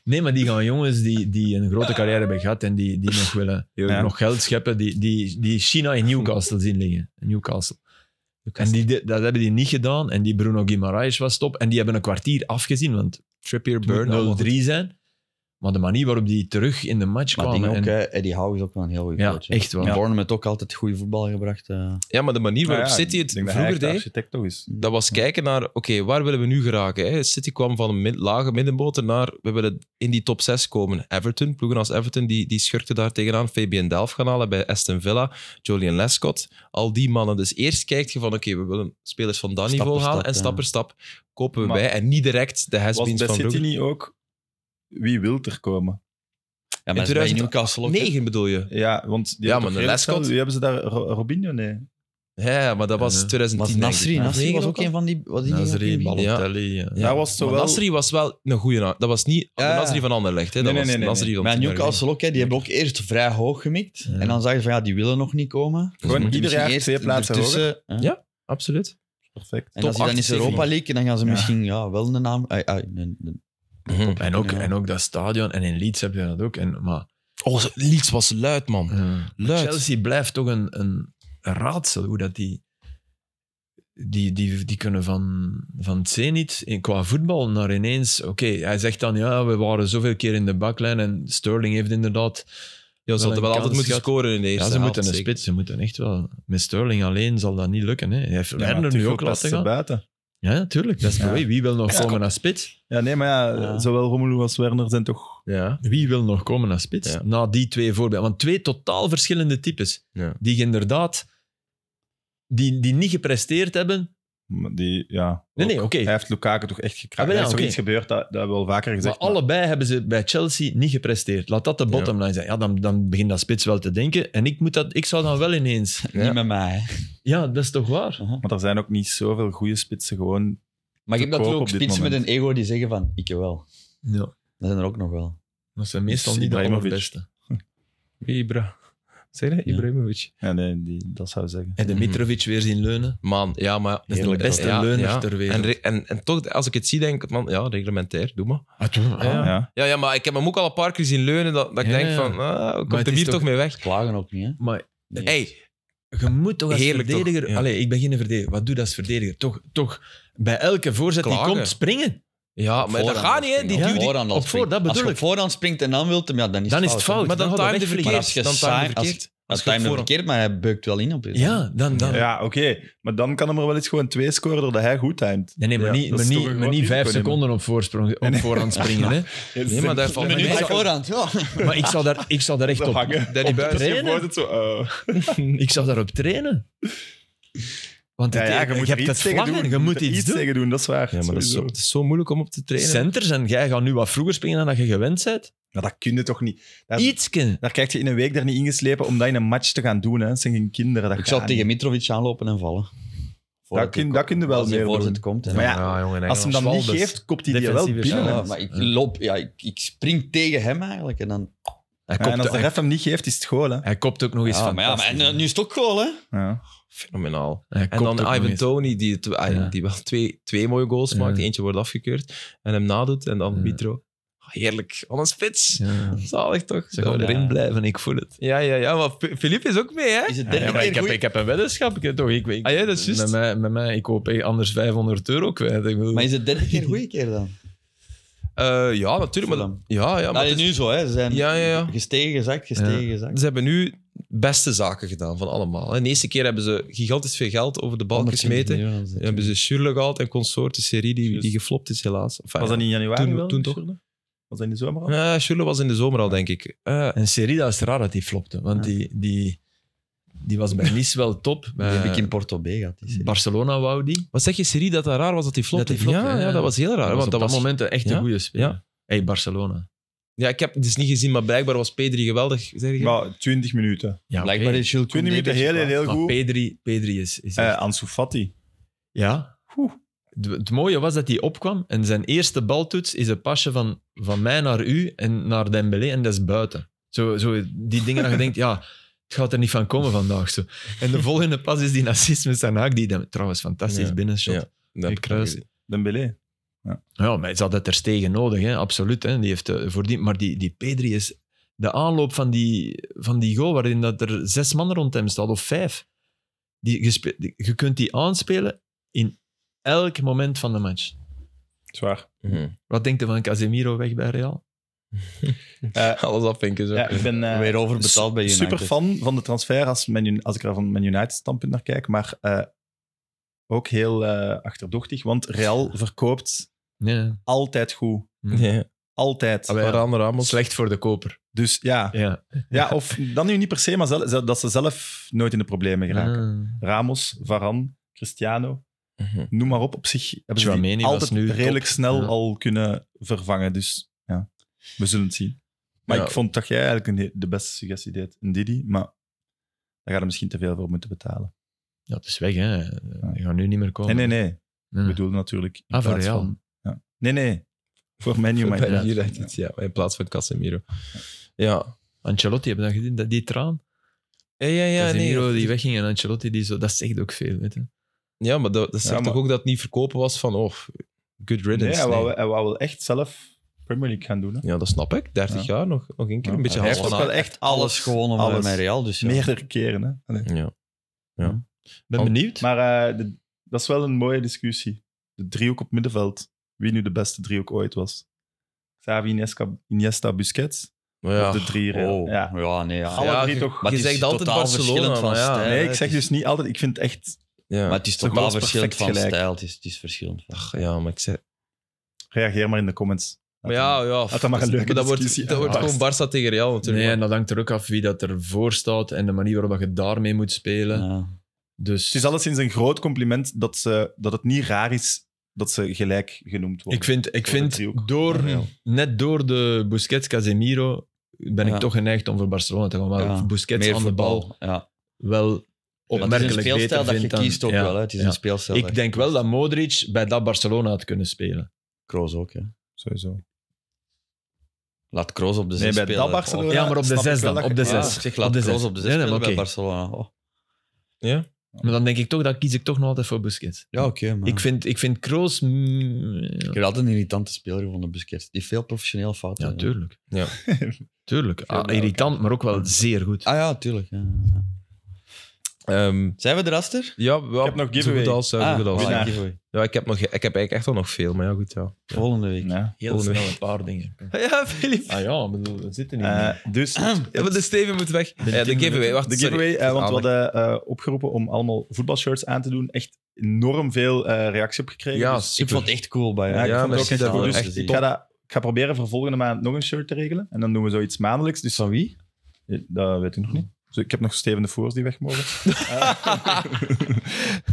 [SPEAKER 4] Nee, maar die gaan jongens die, die een grote carrière hebben gehad en die, die nog willen
[SPEAKER 3] Ja.
[SPEAKER 4] nog geld scheppen, die, die, die China in Newcastle zien liggen. In Newcastle. En die, de- dat hebben die niet gedaan. En die Bruno Guimaraes was top. En die hebben een kwartier afgezien, want
[SPEAKER 1] Trippier,
[SPEAKER 4] het moet
[SPEAKER 1] Burn, allemaal
[SPEAKER 4] 0-3 zijn. Maar de manier waarop die terug in de match
[SPEAKER 2] Maar ding
[SPEAKER 4] kwamen...
[SPEAKER 2] ook,
[SPEAKER 4] en-
[SPEAKER 2] hè, Eddie Howe is ook wel een heel goede
[SPEAKER 4] ja,
[SPEAKER 2] coach. hè.
[SPEAKER 4] echt wel.
[SPEAKER 2] Ja. Bournemouth ook altijd goede voetbal gebracht. eh.
[SPEAKER 1] goed. Ja, maar de manier waarop City het
[SPEAKER 3] Ah ik denk dat hij
[SPEAKER 1] vroeger
[SPEAKER 3] echt de
[SPEAKER 1] deed...
[SPEAKER 3] architect toch is.
[SPEAKER 1] Dat was kijken naar, oké, waar willen we nu geraken? Hè? City kwam van een min- lage middenboter naar, we willen in die top 6 komen. Everton, ploegen als Everton, die, die schurkte daar tegenaan. Fabian Delft gaan halen bij Aston Villa, Julian Lescott. Al die mannen. Dus eerst kijkt je van, oké, we willen spelers van dat
[SPEAKER 2] Stap
[SPEAKER 1] niveau
[SPEAKER 2] per
[SPEAKER 1] halen.
[SPEAKER 2] stap,
[SPEAKER 1] en stap
[SPEAKER 2] ja.
[SPEAKER 1] per stap kopen we
[SPEAKER 3] Maar-
[SPEAKER 1] bij. En niet direct de has
[SPEAKER 3] Was bij
[SPEAKER 1] van
[SPEAKER 3] City
[SPEAKER 1] vroeger.
[SPEAKER 3] niet ook wie wil er komen?
[SPEAKER 2] Ja,
[SPEAKER 1] In
[SPEAKER 2] maar bij
[SPEAKER 1] 2008
[SPEAKER 2] Newcastle ook. hè.
[SPEAKER 1] 9 bedoel je?
[SPEAKER 3] Ja, want die
[SPEAKER 1] Ja,
[SPEAKER 3] hebben
[SPEAKER 1] maar
[SPEAKER 3] toch
[SPEAKER 1] een
[SPEAKER 3] redelijk
[SPEAKER 1] Lescott?
[SPEAKER 3] snel- Wie hebben ze daar? Ro- Robinho? Nee.
[SPEAKER 1] Ja, maar dat was
[SPEAKER 4] Ja, ja.
[SPEAKER 1] 2010.
[SPEAKER 2] Was
[SPEAKER 1] denk ik.
[SPEAKER 2] Nasri,
[SPEAKER 1] Maar
[SPEAKER 2] Nasri
[SPEAKER 1] negen
[SPEAKER 2] was ook
[SPEAKER 1] al?
[SPEAKER 2] een van die... Wat die
[SPEAKER 4] Nasri,
[SPEAKER 2] die-
[SPEAKER 4] Balotelli... eh, ja.
[SPEAKER 1] Ja,
[SPEAKER 3] Daar was
[SPEAKER 1] Maar
[SPEAKER 3] zowel...
[SPEAKER 1] Nasri was wel een goede naam. Dat was niet...
[SPEAKER 2] Ja.
[SPEAKER 1] Nasri van Anderlecht, hè. Dat
[SPEAKER 3] Nee, nee,
[SPEAKER 1] was
[SPEAKER 3] nee, nee,
[SPEAKER 1] Nasri van
[SPEAKER 2] Maar
[SPEAKER 1] Anderlecht.
[SPEAKER 2] Newcastle ook, hè, die hebben ook eerst vrij hoog gemikt.
[SPEAKER 4] Ja.
[SPEAKER 2] En dan zagen ze van, ja, die willen nog niet komen. Dus
[SPEAKER 3] Gewoon
[SPEAKER 2] moeten
[SPEAKER 3] ieder
[SPEAKER 2] misschien
[SPEAKER 3] jaar
[SPEAKER 2] eerst
[SPEAKER 3] twee plaatsen
[SPEAKER 2] ertussen, hè.
[SPEAKER 1] Ja. Absoluut.
[SPEAKER 3] Perfect.
[SPEAKER 2] En als
[SPEAKER 1] Top
[SPEAKER 2] die dan is
[SPEAKER 1] 8,
[SPEAKER 2] Europa League, dan gaan ze
[SPEAKER 3] Ja.
[SPEAKER 2] misschien ja, wel een naam... ai, ai, een- een- Mhm.
[SPEAKER 4] En ook,
[SPEAKER 2] Ja.
[SPEAKER 4] en ook dat stadion. En in Leeds heb je dat ook. En, maar
[SPEAKER 1] Oh, zo- Leeds was luid, man.
[SPEAKER 4] Ja.
[SPEAKER 1] Luid.
[SPEAKER 4] Chelsea blijft toch een, een raadsel hoe dat die. Die, die, die kunnen van, van Zenit in, qua voetbal naar ineens. Oké, hij zegt dan ja, we waren zoveel keer in de baklijn en Sterling heeft inderdaad.
[SPEAKER 1] Ja, ze
[SPEAKER 4] Wel
[SPEAKER 1] hadden
[SPEAKER 4] een
[SPEAKER 1] wel altijd
[SPEAKER 4] kans
[SPEAKER 1] moeten
[SPEAKER 4] gehad.
[SPEAKER 1] scoren in de
[SPEAKER 4] Ja,
[SPEAKER 1] eerste
[SPEAKER 4] ze moeten een
[SPEAKER 1] helft,
[SPEAKER 4] spits, ze moeten echt wel. Met Sterling alleen zal dat niet lukken. Hè. Hij heeft
[SPEAKER 3] Ja,
[SPEAKER 4] Werner
[SPEAKER 3] maar
[SPEAKER 4] nu
[SPEAKER 3] Tuchel
[SPEAKER 4] ook
[SPEAKER 3] past
[SPEAKER 4] laten
[SPEAKER 3] ze
[SPEAKER 4] gaan.
[SPEAKER 3] buiten.
[SPEAKER 4] Ja, natuurlijk. Dat is het
[SPEAKER 3] Ja.
[SPEAKER 4] probleem. Wie wil nog komen naar spits?
[SPEAKER 3] Ja, nee, maar ja,
[SPEAKER 2] Ja.
[SPEAKER 3] zowel Romelu als Werner zijn toch...
[SPEAKER 1] zeker. Ja.
[SPEAKER 4] Wie wil nog komen naar spits?
[SPEAKER 1] Ja.
[SPEAKER 4] Na die twee voorbeelden. Want twee totaal verschillende types.
[SPEAKER 1] Ja.
[SPEAKER 4] Die inderdaad... Die, die niet gepresteerd hebben.
[SPEAKER 3] Die, ja,
[SPEAKER 4] Nee, nee,
[SPEAKER 3] ook-
[SPEAKER 4] oké.
[SPEAKER 3] Hij heeft Lukaku toch echt gekraakt.
[SPEAKER 4] Ah, wel,
[SPEAKER 3] er is toch
[SPEAKER 4] oké.
[SPEAKER 3] iets gebeurd, dat, dat hebben we al vaker
[SPEAKER 4] Maar
[SPEAKER 3] gezegd.
[SPEAKER 4] allebei hebben ze bij Chelsea niet gepresteerd. Laat dat de bottom line zijn. Ja, dan, dan begint dat spits wel te denken. En ik, moet dat, ik zou dan wel ineens...
[SPEAKER 2] Niet met mij, hè.
[SPEAKER 4] Ja, dat is toch waar?
[SPEAKER 3] Want er zijn ook niet zoveel goede spitsen gewoon.
[SPEAKER 2] Maar ik heb
[SPEAKER 3] Te
[SPEAKER 2] dat
[SPEAKER 3] koop
[SPEAKER 2] er ook
[SPEAKER 3] op dit
[SPEAKER 2] spitsen met een
[SPEAKER 3] moment.
[SPEAKER 2] ego die zeggen van, ik wel.
[SPEAKER 4] Ja.
[SPEAKER 2] Dat zijn er ook nog wel.
[SPEAKER 4] Dat zijn meestal
[SPEAKER 3] Dus
[SPEAKER 4] niet de
[SPEAKER 3] Ibrahimovic.
[SPEAKER 4] allerbeste.
[SPEAKER 1] Ibra. Zeg je? Ibrahimovic.
[SPEAKER 3] Ja, nee, die, dat zou ik zeggen.
[SPEAKER 4] En de Mitrovic weer zien leunen.
[SPEAKER 1] Man, ja, maar...
[SPEAKER 4] Dat is de
[SPEAKER 1] Heerlijk,
[SPEAKER 4] beste
[SPEAKER 1] ja,
[SPEAKER 4] leuner
[SPEAKER 1] ja.
[SPEAKER 4] ter wereld.
[SPEAKER 1] En, re- en, en toch, als ik het zie, denk ik, man, ja, reglementair, doe maar.
[SPEAKER 4] Ah, ja.
[SPEAKER 3] Ja.
[SPEAKER 1] Ja, ja, maar ik heb hem ook al een paar keer zien leunen, dat, dat ik
[SPEAKER 4] Ja,
[SPEAKER 1] denk
[SPEAKER 4] ja.
[SPEAKER 1] van, ah,
[SPEAKER 4] het
[SPEAKER 1] komt hem
[SPEAKER 4] is
[SPEAKER 1] hier
[SPEAKER 4] toch-
[SPEAKER 1] toch, mee weg?
[SPEAKER 2] Klagen ook niet, hè.
[SPEAKER 4] Maar
[SPEAKER 2] Nee.
[SPEAKER 1] Hey,
[SPEAKER 4] Je moet toch als
[SPEAKER 1] Heerlijk toch?
[SPEAKER 4] verdediger...
[SPEAKER 1] Ja.
[SPEAKER 4] Allee, ik ben geen verdediger. Wat doe dat als verdediger? Toch, toch bij elke voorzet
[SPEAKER 1] Klagen.
[SPEAKER 4] die komt, springen.
[SPEAKER 1] ja, maar dat
[SPEAKER 2] Voorhand
[SPEAKER 1] gaat niet, hè. Die
[SPEAKER 2] springen.
[SPEAKER 1] duw die...
[SPEAKER 2] Voorhand al
[SPEAKER 4] op voor-
[SPEAKER 2] springen.
[SPEAKER 4] dat
[SPEAKER 2] Als je
[SPEAKER 4] bedoel
[SPEAKER 2] op voorhand springt en dan wilt hem, ja, dan is
[SPEAKER 4] Dan
[SPEAKER 2] het
[SPEAKER 4] is het
[SPEAKER 2] fout.
[SPEAKER 4] fout.
[SPEAKER 1] Maar dan
[SPEAKER 4] Dan gaat
[SPEAKER 1] time
[SPEAKER 4] dat
[SPEAKER 1] de
[SPEAKER 4] wegvliegen.
[SPEAKER 2] Maar als
[SPEAKER 1] verkeerd.
[SPEAKER 2] je
[SPEAKER 1] Dan time
[SPEAKER 2] saai-
[SPEAKER 1] de
[SPEAKER 2] als-
[SPEAKER 1] verkeerd.
[SPEAKER 2] Dat
[SPEAKER 1] Als
[SPEAKER 2] is
[SPEAKER 1] je op
[SPEAKER 2] timing
[SPEAKER 1] voorhand-
[SPEAKER 2] verkeerd, maar hij beukt wel in op je.
[SPEAKER 4] Ja, dan... dan
[SPEAKER 3] Ja, oké. Maar dan kan hem er wel eens gewoon twee scoren doordat hij goed timed.
[SPEAKER 4] Nee, nee, maar,
[SPEAKER 3] Ja,
[SPEAKER 4] niet,
[SPEAKER 3] dat
[SPEAKER 4] maar,
[SPEAKER 3] is
[SPEAKER 4] niet,
[SPEAKER 3] toch een
[SPEAKER 4] maar niet
[SPEAKER 3] goed
[SPEAKER 4] vijf
[SPEAKER 3] inkomen.
[SPEAKER 4] seconden op, voorsprong, op voorhand springen.
[SPEAKER 3] (laughs)
[SPEAKER 4] Hè.
[SPEAKER 1] Nee, maar daar valt
[SPEAKER 2] Een minuut
[SPEAKER 1] mij-
[SPEAKER 2] op voorhand, ja.
[SPEAKER 4] Maar ik zou daar, ik zou daar echt
[SPEAKER 3] Zo
[SPEAKER 4] op,
[SPEAKER 3] hangen.
[SPEAKER 1] Danny
[SPEAKER 4] op
[SPEAKER 1] Buis.
[SPEAKER 4] trainen.
[SPEAKER 3] het zo... eh.
[SPEAKER 4] (laughs) Ik zou daarop trainen. Want
[SPEAKER 3] Ja,
[SPEAKER 4] het,
[SPEAKER 3] ja,
[SPEAKER 4] je,
[SPEAKER 3] je moet er
[SPEAKER 4] hebt het
[SPEAKER 3] iets tegen
[SPEAKER 4] vlaggen,
[SPEAKER 3] doen.
[SPEAKER 4] je moet iets doen.
[SPEAKER 3] tegen doen, dat is waar.
[SPEAKER 1] Ja, maar dat is zo-
[SPEAKER 3] sowieso.
[SPEAKER 1] het is zo moeilijk om op te trainen.
[SPEAKER 4] Centers en jij gaat nu wat vroeger springen dan dat je gewend bent.
[SPEAKER 3] Maar dat kun je toch niet. Ja.
[SPEAKER 4] Ietsken.
[SPEAKER 3] Daar krijg je in een week daar niet ingeslepen om dat in een match te gaan doen. Hè. Het zijn geen kinderen. Dat
[SPEAKER 2] Ik
[SPEAKER 3] gaat
[SPEAKER 2] zal tegen
[SPEAKER 3] niet.
[SPEAKER 2] Mitrovic aanlopen en vallen. Voordat
[SPEAKER 3] kun-
[SPEAKER 2] hij
[SPEAKER 3] dat
[SPEAKER 2] komt.
[SPEAKER 3] kun je wel
[SPEAKER 2] Als hij
[SPEAKER 3] meer
[SPEAKER 2] voorzet
[SPEAKER 3] doen.
[SPEAKER 2] komt. hè. Dus,
[SPEAKER 3] Maar ja,
[SPEAKER 1] jongen,
[SPEAKER 3] Als hem dat niet
[SPEAKER 4] Waldes.
[SPEAKER 3] geeft, kopt hij die wel
[SPEAKER 4] Defensieve
[SPEAKER 3] binnen.
[SPEAKER 4] ja,
[SPEAKER 2] Ja,
[SPEAKER 3] hè.
[SPEAKER 2] maar ik loop, ja, ik, ik spring tegen hem eigenlijk. En dan,
[SPEAKER 4] Hij
[SPEAKER 3] Ja, en als
[SPEAKER 4] kopt,
[SPEAKER 3] de
[SPEAKER 4] hij,
[SPEAKER 3] ref hem niet geeft, is het goal. Hè.
[SPEAKER 4] hij kopt ook nog eens
[SPEAKER 2] ja, maar ja,
[SPEAKER 4] fantastisch.
[SPEAKER 2] maar en, eh, nu is het ook goal, hè?
[SPEAKER 3] Ja.
[SPEAKER 1] Fenomenaal.
[SPEAKER 4] Hij
[SPEAKER 1] En
[SPEAKER 4] kopt
[SPEAKER 1] dan
[SPEAKER 4] ook nog
[SPEAKER 1] Ivan
[SPEAKER 4] eens.
[SPEAKER 1] Tony, die, het- ah,
[SPEAKER 4] Ja.
[SPEAKER 1] die wel twee, twee mooie goals
[SPEAKER 4] Ja.
[SPEAKER 1] maakt. Eentje wordt afgekeurd en hem nadoet. En dan
[SPEAKER 4] Ja.
[SPEAKER 1] Mitro. Ah, Heerlijk. Wat een spits.
[SPEAKER 4] Ja.
[SPEAKER 1] Zalig toch?
[SPEAKER 4] Ze gaan
[SPEAKER 1] Ja.
[SPEAKER 4] erin blijven, ik voel het.
[SPEAKER 1] Ja, ja, ja. Maar F- Philippe is ook mee, hè?
[SPEAKER 2] Is het
[SPEAKER 4] Ja,
[SPEAKER 2] derde
[SPEAKER 4] maar
[SPEAKER 2] keer
[SPEAKER 4] ik, heb,
[SPEAKER 2] goeie-
[SPEAKER 4] ik heb een weddenschap. Ik, heb toch, ik, ik-
[SPEAKER 1] Ah ja, dat is juist.
[SPEAKER 4] Met mij, met mij, ik hoop eh, anders 500 euro kwijt. Ik bedoel,
[SPEAKER 2] Maar is het derde keer een goede keer dan?
[SPEAKER 1] Eh, ja, natuurlijk. Maar,
[SPEAKER 2] Fulham.
[SPEAKER 1] ja, ja, maar
[SPEAKER 2] Allee,
[SPEAKER 1] het is-
[SPEAKER 2] nu zo, hè. Ze zijn
[SPEAKER 1] Ja, ja, ja.
[SPEAKER 2] gestegen, gezakt, gestegen, gezakt.
[SPEAKER 1] ze hebben nu beste zaken gedaan van allemaal. hè. De eerste keer hebben ze gigantisch veel geld over de bal gesmeten. Dan hebben ze Schürrle gehaald en consorten serie die, die
[SPEAKER 3] Juist.
[SPEAKER 1] geflopt is, helaas. Enfin,
[SPEAKER 3] Was dat niet in januari
[SPEAKER 1] Toen-
[SPEAKER 3] wel,
[SPEAKER 1] toen toch?
[SPEAKER 3] Schürrle? Was dat in de zomer
[SPEAKER 2] Ah,
[SPEAKER 3] al?
[SPEAKER 1] Eh, Schürrle was in de zomer al, denk ik. Eh,
[SPEAKER 4] En Serida is raar dat die flopte. Want
[SPEAKER 2] Ja.
[SPEAKER 4] die, die, die was bij Nice
[SPEAKER 1] (laughs)
[SPEAKER 4] wel top.
[SPEAKER 2] Die heb
[SPEAKER 4] Bij
[SPEAKER 2] ik in Porto B gehad. die serie.
[SPEAKER 4] Barcelona wou die.
[SPEAKER 1] Wat zeg je, Serie, dat dat raar was dat hij flopte?
[SPEAKER 4] Dat hij flopte,
[SPEAKER 1] ja,
[SPEAKER 4] ja.
[SPEAKER 1] ja, dat was heel raar.
[SPEAKER 4] Dat was
[SPEAKER 1] want dat
[SPEAKER 4] op dat
[SPEAKER 1] was...
[SPEAKER 4] moment echt
[SPEAKER 1] Ja?
[SPEAKER 4] een goede speler.
[SPEAKER 1] Ja.
[SPEAKER 4] Hey, Barcelona.
[SPEAKER 1] Ja, ik heb het dus niet gezien, maar blijkbaar was P3 geweldig. Zeg je?
[SPEAKER 3] Maar 20 minuten.
[SPEAKER 4] Ja,
[SPEAKER 2] Blijkbaar
[SPEAKER 4] oké.
[SPEAKER 2] is Jules
[SPEAKER 3] 20 minuten heel, heel, heel
[SPEAKER 4] Maar
[SPEAKER 3] goed.
[SPEAKER 4] Pedri, Pedri is... is
[SPEAKER 3] Eh
[SPEAKER 4] echt-
[SPEAKER 3] Ansu Fati.
[SPEAKER 4] ja.
[SPEAKER 3] Oeh.
[SPEAKER 4] Het- Het mooie was dat hij opkwam en zijn eerste baltoets is een pasje van, van mij naar u en naar Dembélé en dat is buiten. Zo, zo die dingen dat je denkt, ja, het gaat er niet van komen vandaag. Zo. En de volgende pas is die assist met zijn haak, die dan- trouwens fantastisch
[SPEAKER 1] Ja.
[SPEAKER 4] binnenshot.
[SPEAKER 1] Ja. dat
[SPEAKER 4] ik kruis.
[SPEAKER 1] gezien.
[SPEAKER 3] Dembélé. Ja.
[SPEAKER 4] Ja, maar ze hadden Ter Stegen nodig, hè? absoluut. Hè? Die heeft, eh, voordien, maar die, die Pedri is de aanloop van die, van die goal, waarin dat er zes man rond hem staat, of vijf. Die, je, spe- die- je kunt die aanspelen in elk moment van de match.
[SPEAKER 3] Zwaar.
[SPEAKER 1] Mhm.
[SPEAKER 4] Wat denkt je van Casemiro weg bij Real?
[SPEAKER 1] Eh, Alles afvinken. Zo.
[SPEAKER 3] Ja, ik ben eh,
[SPEAKER 2] Weer overbetaald bij United.
[SPEAKER 3] super fan van de transfer als, Man Un- als ik er van mijn United-standpunt naar kijk. Maar eh, ook heel eh, achterdochtig, want Real verkoopt
[SPEAKER 4] Nee.
[SPEAKER 3] altijd goed.
[SPEAKER 1] Ja.
[SPEAKER 3] Altijd.
[SPEAKER 4] Ah, wel.
[SPEAKER 1] Varaan Ramos.
[SPEAKER 4] Slecht voor de koper.
[SPEAKER 3] Dus ja.
[SPEAKER 4] Ja.
[SPEAKER 3] ja, of dan nu niet per se, maar zel- ze- dat ze zelf nooit in de problemen geraken.
[SPEAKER 4] Ah.
[SPEAKER 3] Ramos, Varan, Cristiano,
[SPEAKER 1] Mhm.
[SPEAKER 3] noem maar op. Op zich hebben ze
[SPEAKER 4] Tchouaméni
[SPEAKER 3] die
[SPEAKER 4] was
[SPEAKER 3] altijd
[SPEAKER 4] nu
[SPEAKER 3] redelijk
[SPEAKER 4] top.
[SPEAKER 3] snel
[SPEAKER 4] Ja.
[SPEAKER 3] al kunnen vervangen. Dus ja, we zullen het zien. Maar
[SPEAKER 4] Ja.
[SPEAKER 3] ik vond dat jij eigenlijk een he- de beste suggestie deed, een Didi. Maar daar gaat er misschien te veel voor moeten betalen.
[SPEAKER 4] Ja, het is weg, hè. Die gaan nu niet meer komen.
[SPEAKER 3] nee, nee, nee.
[SPEAKER 4] Nee.
[SPEAKER 3] Ik bedoel natuurlijk... in
[SPEAKER 4] Ah, voor
[SPEAKER 3] plaats
[SPEAKER 4] Real.
[SPEAKER 3] van- ja. Nee, nee. Voor menu, maar
[SPEAKER 1] Bij
[SPEAKER 3] inderdaad.
[SPEAKER 1] United, ja. In plaats van Casemiro. Ja.
[SPEAKER 4] Ancelotti, heb je dat gezien? Dat- Die traan?
[SPEAKER 1] Ja, ja, ja.
[SPEAKER 4] Casemiro
[SPEAKER 1] Nee.
[SPEAKER 4] die wegging en Ancelotti die zo... Dat zegt ook veel, weet je.
[SPEAKER 1] Ja, maar dat, dat zegt
[SPEAKER 3] Ja, maar-
[SPEAKER 1] toch ook dat het niet verkopen was van, oh, good
[SPEAKER 3] Nee,
[SPEAKER 1] riddance.
[SPEAKER 3] hij
[SPEAKER 1] Nee.
[SPEAKER 3] wou, hij wou wel echt zelf Premier League gaan doen. Hè?
[SPEAKER 1] Ja, dat snap ik. 30 jaar nog, nog één keer.
[SPEAKER 3] Ja.
[SPEAKER 1] Een beetje
[SPEAKER 3] Hij
[SPEAKER 1] half
[SPEAKER 3] heeft ook wel echt alles
[SPEAKER 2] Alles gewonnen
[SPEAKER 3] Alles.
[SPEAKER 2] alles. met Real. Dus ja.
[SPEAKER 3] Meerdere keren. Hè? Allee.
[SPEAKER 1] Ja.
[SPEAKER 4] Ben
[SPEAKER 1] Al-
[SPEAKER 4] benieuwd.
[SPEAKER 3] Maar eh, de- dat is wel een mooie discussie. De driehoek op middenveld. Wie nu de beste driehoek ooit was. Xavi, Iniesta, Iniesta Busquets.
[SPEAKER 1] Maar
[SPEAKER 3] Of
[SPEAKER 1] ja.
[SPEAKER 3] de drie Real.
[SPEAKER 2] Oh,
[SPEAKER 3] Ja.
[SPEAKER 2] ja. nee. Ja.
[SPEAKER 3] Alle
[SPEAKER 1] Ja,
[SPEAKER 3] drie toch.
[SPEAKER 1] Maar
[SPEAKER 2] Maar
[SPEAKER 1] je
[SPEAKER 2] het is
[SPEAKER 1] zegt altijd
[SPEAKER 2] totaal
[SPEAKER 1] Barcelona,
[SPEAKER 2] verschillend van
[SPEAKER 1] maar ja.
[SPEAKER 2] stijl.
[SPEAKER 3] nee, ik
[SPEAKER 2] het
[SPEAKER 3] zeg
[SPEAKER 2] is-
[SPEAKER 3] dus niet altijd. Ik vind echt
[SPEAKER 1] ja.
[SPEAKER 2] Maar het is
[SPEAKER 3] Ze
[SPEAKER 2] totaal
[SPEAKER 3] goals
[SPEAKER 2] verschillend van
[SPEAKER 3] perfect gelijk.
[SPEAKER 2] stijl. Het is, het is verschillend van.
[SPEAKER 1] Ach, ja, maar ik zeg...
[SPEAKER 3] Reageer maar in de comments.
[SPEAKER 1] Maar ja, ja.
[SPEAKER 3] dat maar een leuke
[SPEAKER 1] dat
[SPEAKER 3] discussie
[SPEAKER 1] wordt, dat wordt
[SPEAKER 3] aan.
[SPEAKER 1] gewoon Barça tegen Real natuurlijk.
[SPEAKER 4] nee, en dat hangt er ook af wie dat ervoor staat en de manier waarop dat je daarmee moet spelen.
[SPEAKER 2] Ja.
[SPEAKER 4] Dus
[SPEAKER 3] Het is alleszins een groot compliment dat, ze, dat het niet raar is dat ze gelijk genoemd worden.
[SPEAKER 4] ik vind, ik
[SPEAKER 3] Voor de
[SPEAKER 4] vind
[SPEAKER 3] driehoek.
[SPEAKER 4] door,
[SPEAKER 3] Ja.
[SPEAKER 4] net door de Busquets-Casemiro ben
[SPEAKER 2] Ja.
[SPEAKER 4] ik toch geneigd om voor Barcelona te gaan. Maar
[SPEAKER 2] Ja.
[SPEAKER 4] Busquets
[SPEAKER 2] Meer
[SPEAKER 4] aan de bal
[SPEAKER 2] voetbal. Ja.
[SPEAKER 4] wel
[SPEAKER 2] Het is een
[SPEAKER 4] opmerkelijk
[SPEAKER 2] speelstijl
[SPEAKER 4] beter
[SPEAKER 2] dat je
[SPEAKER 4] vindt dan-
[SPEAKER 2] kiest ook
[SPEAKER 4] Ja,
[SPEAKER 2] wel. Hè. Het is
[SPEAKER 4] ja.
[SPEAKER 2] een speelstijl.
[SPEAKER 4] Ik denk wel dat Modric bij dat Barcelona had kunnen spelen.
[SPEAKER 2] Kroos ook. Hè.
[SPEAKER 3] Sowieso.
[SPEAKER 2] Laat Kroos op de
[SPEAKER 3] Nee,
[SPEAKER 2] zes
[SPEAKER 3] bij
[SPEAKER 2] spelen.
[SPEAKER 3] dat Barcelona.
[SPEAKER 4] Ja, maar op de
[SPEAKER 3] snap ik
[SPEAKER 4] zes
[SPEAKER 3] wel
[SPEAKER 4] dan,
[SPEAKER 3] dat
[SPEAKER 4] op
[SPEAKER 3] je-
[SPEAKER 4] de
[SPEAKER 2] Ja,
[SPEAKER 4] zes.
[SPEAKER 2] ik zeg, laat
[SPEAKER 4] Op de
[SPEAKER 2] Kroos
[SPEAKER 4] zes.
[SPEAKER 2] op de zes
[SPEAKER 4] Nee, nee,
[SPEAKER 2] spelen
[SPEAKER 4] maar
[SPEAKER 2] bij
[SPEAKER 4] oké.
[SPEAKER 2] Barcelona. Oh.
[SPEAKER 4] Maar dan denk ik toch, dat kies ik toch nog altijd voor Busquets.
[SPEAKER 2] Ja, oké. maar-
[SPEAKER 4] Ik, vind, ik vind Kroos... mm, ja.
[SPEAKER 2] Ik heb altijd een irritante speler gevonden, Busquets. Die veel professioneel fouten
[SPEAKER 4] Ja,
[SPEAKER 2] heeft.
[SPEAKER 4] tuurlijk.
[SPEAKER 3] (laughs)
[SPEAKER 1] Ja.
[SPEAKER 4] tuurlijk. Ah,
[SPEAKER 3] Veel
[SPEAKER 4] irritant, maar ook wel zeer goed.
[SPEAKER 2] Ah ja, tuurlijk. ja, ja.
[SPEAKER 1] Ehm,
[SPEAKER 2] Zijn we er, Aster?
[SPEAKER 1] ja, wel,
[SPEAKER 3] heb nog
[SPEAKER 1] zo
[SPEAKER 3] giveaway.
[SPEAKER 1] goed als, zo
[SPEAKER 2] Ah,
[SPEAKER 1] goed als.
[SPEAKER 2] voilà,
[SPEAKER 3] winnaar.
[SPEAKER 2] giveaway.
[SPEAKER 1] Ja, ik heb, nog, ik heb eigenlijk echt wel nog veel, maar ja, goed, ja.
[SPEAKER 2] Volgende week.
[SPEAKER 3] Ja.
[SPEAKER 4] Heel
[SPEAKER 1] Volgende
[SPEAKER 4] snel een paar dingen.
[SPEAKER 1] Ja, Filip.
[SPEAKER 4] Ah (laughs) ja, bedoel, we zitten niet meer.
[SPEAKER 3] Eh, dus
[SPEAKER 1] (clears throat) Ja, maar de Steven moet weg. Eh,
[SPEAKER 4] tien
[SPEAKER 1] de giveaway,
[SPEAKER 4] minuten.
[SPEAKER 1] wacht.
[SPEAKER 3] de
[SPEAKER 1] sorry. Ah,
[SPEAKER 3] giveaway, eh, want we
[SPEAKER 1] Aandacht.
[SPEAKER 3] hadden eh, opgeroepen om allemaal voetbalshirts aan te doen. Echt enorm veel eh, reactie op gekregen.
[SPEAKER 1] Ja,
[SPEAKER 3] Dus
[SPEAKER 2] Ik
[SPEAKER 1] super.
[SPEAKER 2] vond het echt cool bij
[SPEAKER 3] Ja,
[SPEAKER 2] jou.
[SPEAKER 3] ik
[SPEAKER 1] Ja,
[SPEAKER 3] vond het
[SPEAKER 1] merci
[SPEAKER 3] ook echt
[SPEAKER 1] daarvoor.
[SPEAKER 3] goed. Dus
[SPEAKER 1] Echt
[SPEAKER 3] ik,
[SPEAKER 1] top.
[SPEAKER 3] ga dat, ik ga proberen voor volgende maand nog een shirt te regelen. En dan doen we zoiets maandelijks. Dus
[SPEAKER 2] Van wie?
[SPEAKER 3] Ja, Dat weet ik nog niet. Dus ik heb nog Steven de Voors die weg (laughs) mogen.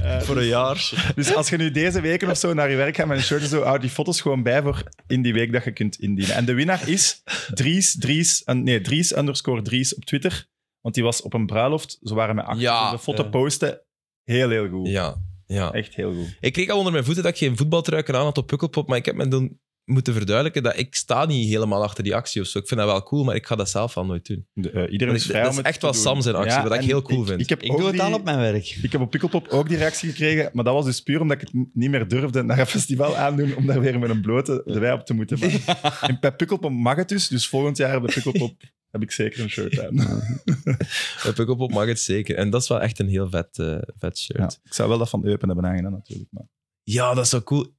[SPEAKER 3] Eh,
[SPEAKER 4] Voor een jaar.
[SPEAKER 3] dus als je nu deze weken of zo naar je werk gaat met een shirt en zo, houd die foto's gewoon bij voor in die week dat je kunt indienen. En de winnaar is Dries, Dries, en- nee, Dries underscore Dries op Twitter. Want die was op een bruiloft. Ze waren met acht.
[SPEAKER 1] Ja,
[SPEAKER 3] Dus de foto
[SPEAKER 2] eh.
[SPEAKER 3] posten, heel, heel goed.
[SPEAKER 1] Ja, ja.
[SPEAKER 3] Echt heel goed.
[SPEAKER 1] Ik kreeg al onder mijn voeten dat ik geen voetbaltruiken aan had op Pukkelpop, maar ik heb me doen moeten verduidelijken dat ik sta niet helemaal achter die actie of zo. Ik vind dat wel cool, maar ik ga dat zelf al nooit doen.
[SPEAKER 3] De, eh, iedereen is
[SPEAKER 1] Dat-
[SPEAKER 3] vrij
[SPEAKER 1] dat is
[SPEAKER 3] om het
[SPEAKER 1] echt
[SPEAKER 3] te
[SPEAKER 1] wel
[SPEAKER 3] doen.
[SPEAKER 1] Sam zijn actie, wat ik
[SPEAKER 3] en
[SPEAKER 1] heel cool vind.
[SPEAKER 3] Ik, heb
[SPEAKER 2] Ik
[SPEAKER 3] ook
[SPEAKER 2] doe het
[SPEAKER 3] die-
[SPEAKER 2] aan op mijn werk.
[SPEAKER 3] Ik heb op Pikkelpop ook die reactie gekregen, maar dat was dus puur omdat ik het n- niet meer durfde naar een festival aandoen om daar weer met een blote de wij op te moeten. Maar, en bij Pikkelpop mag het dus, dus volgend jaar bij Pikkelpop heb ik zeker een shirt aan.
[SPEAKER 1] Op Pukkelpop mag het zeker. En dat is wel echt een heel vet, eh, vet shirt.
[SPEAKER 3] Ja, (laughs) ik zou wel dat van Eupen hebben aangedaan natuurlijk. Maar.
[SPEAKER 1] Ja, dat is wel cool.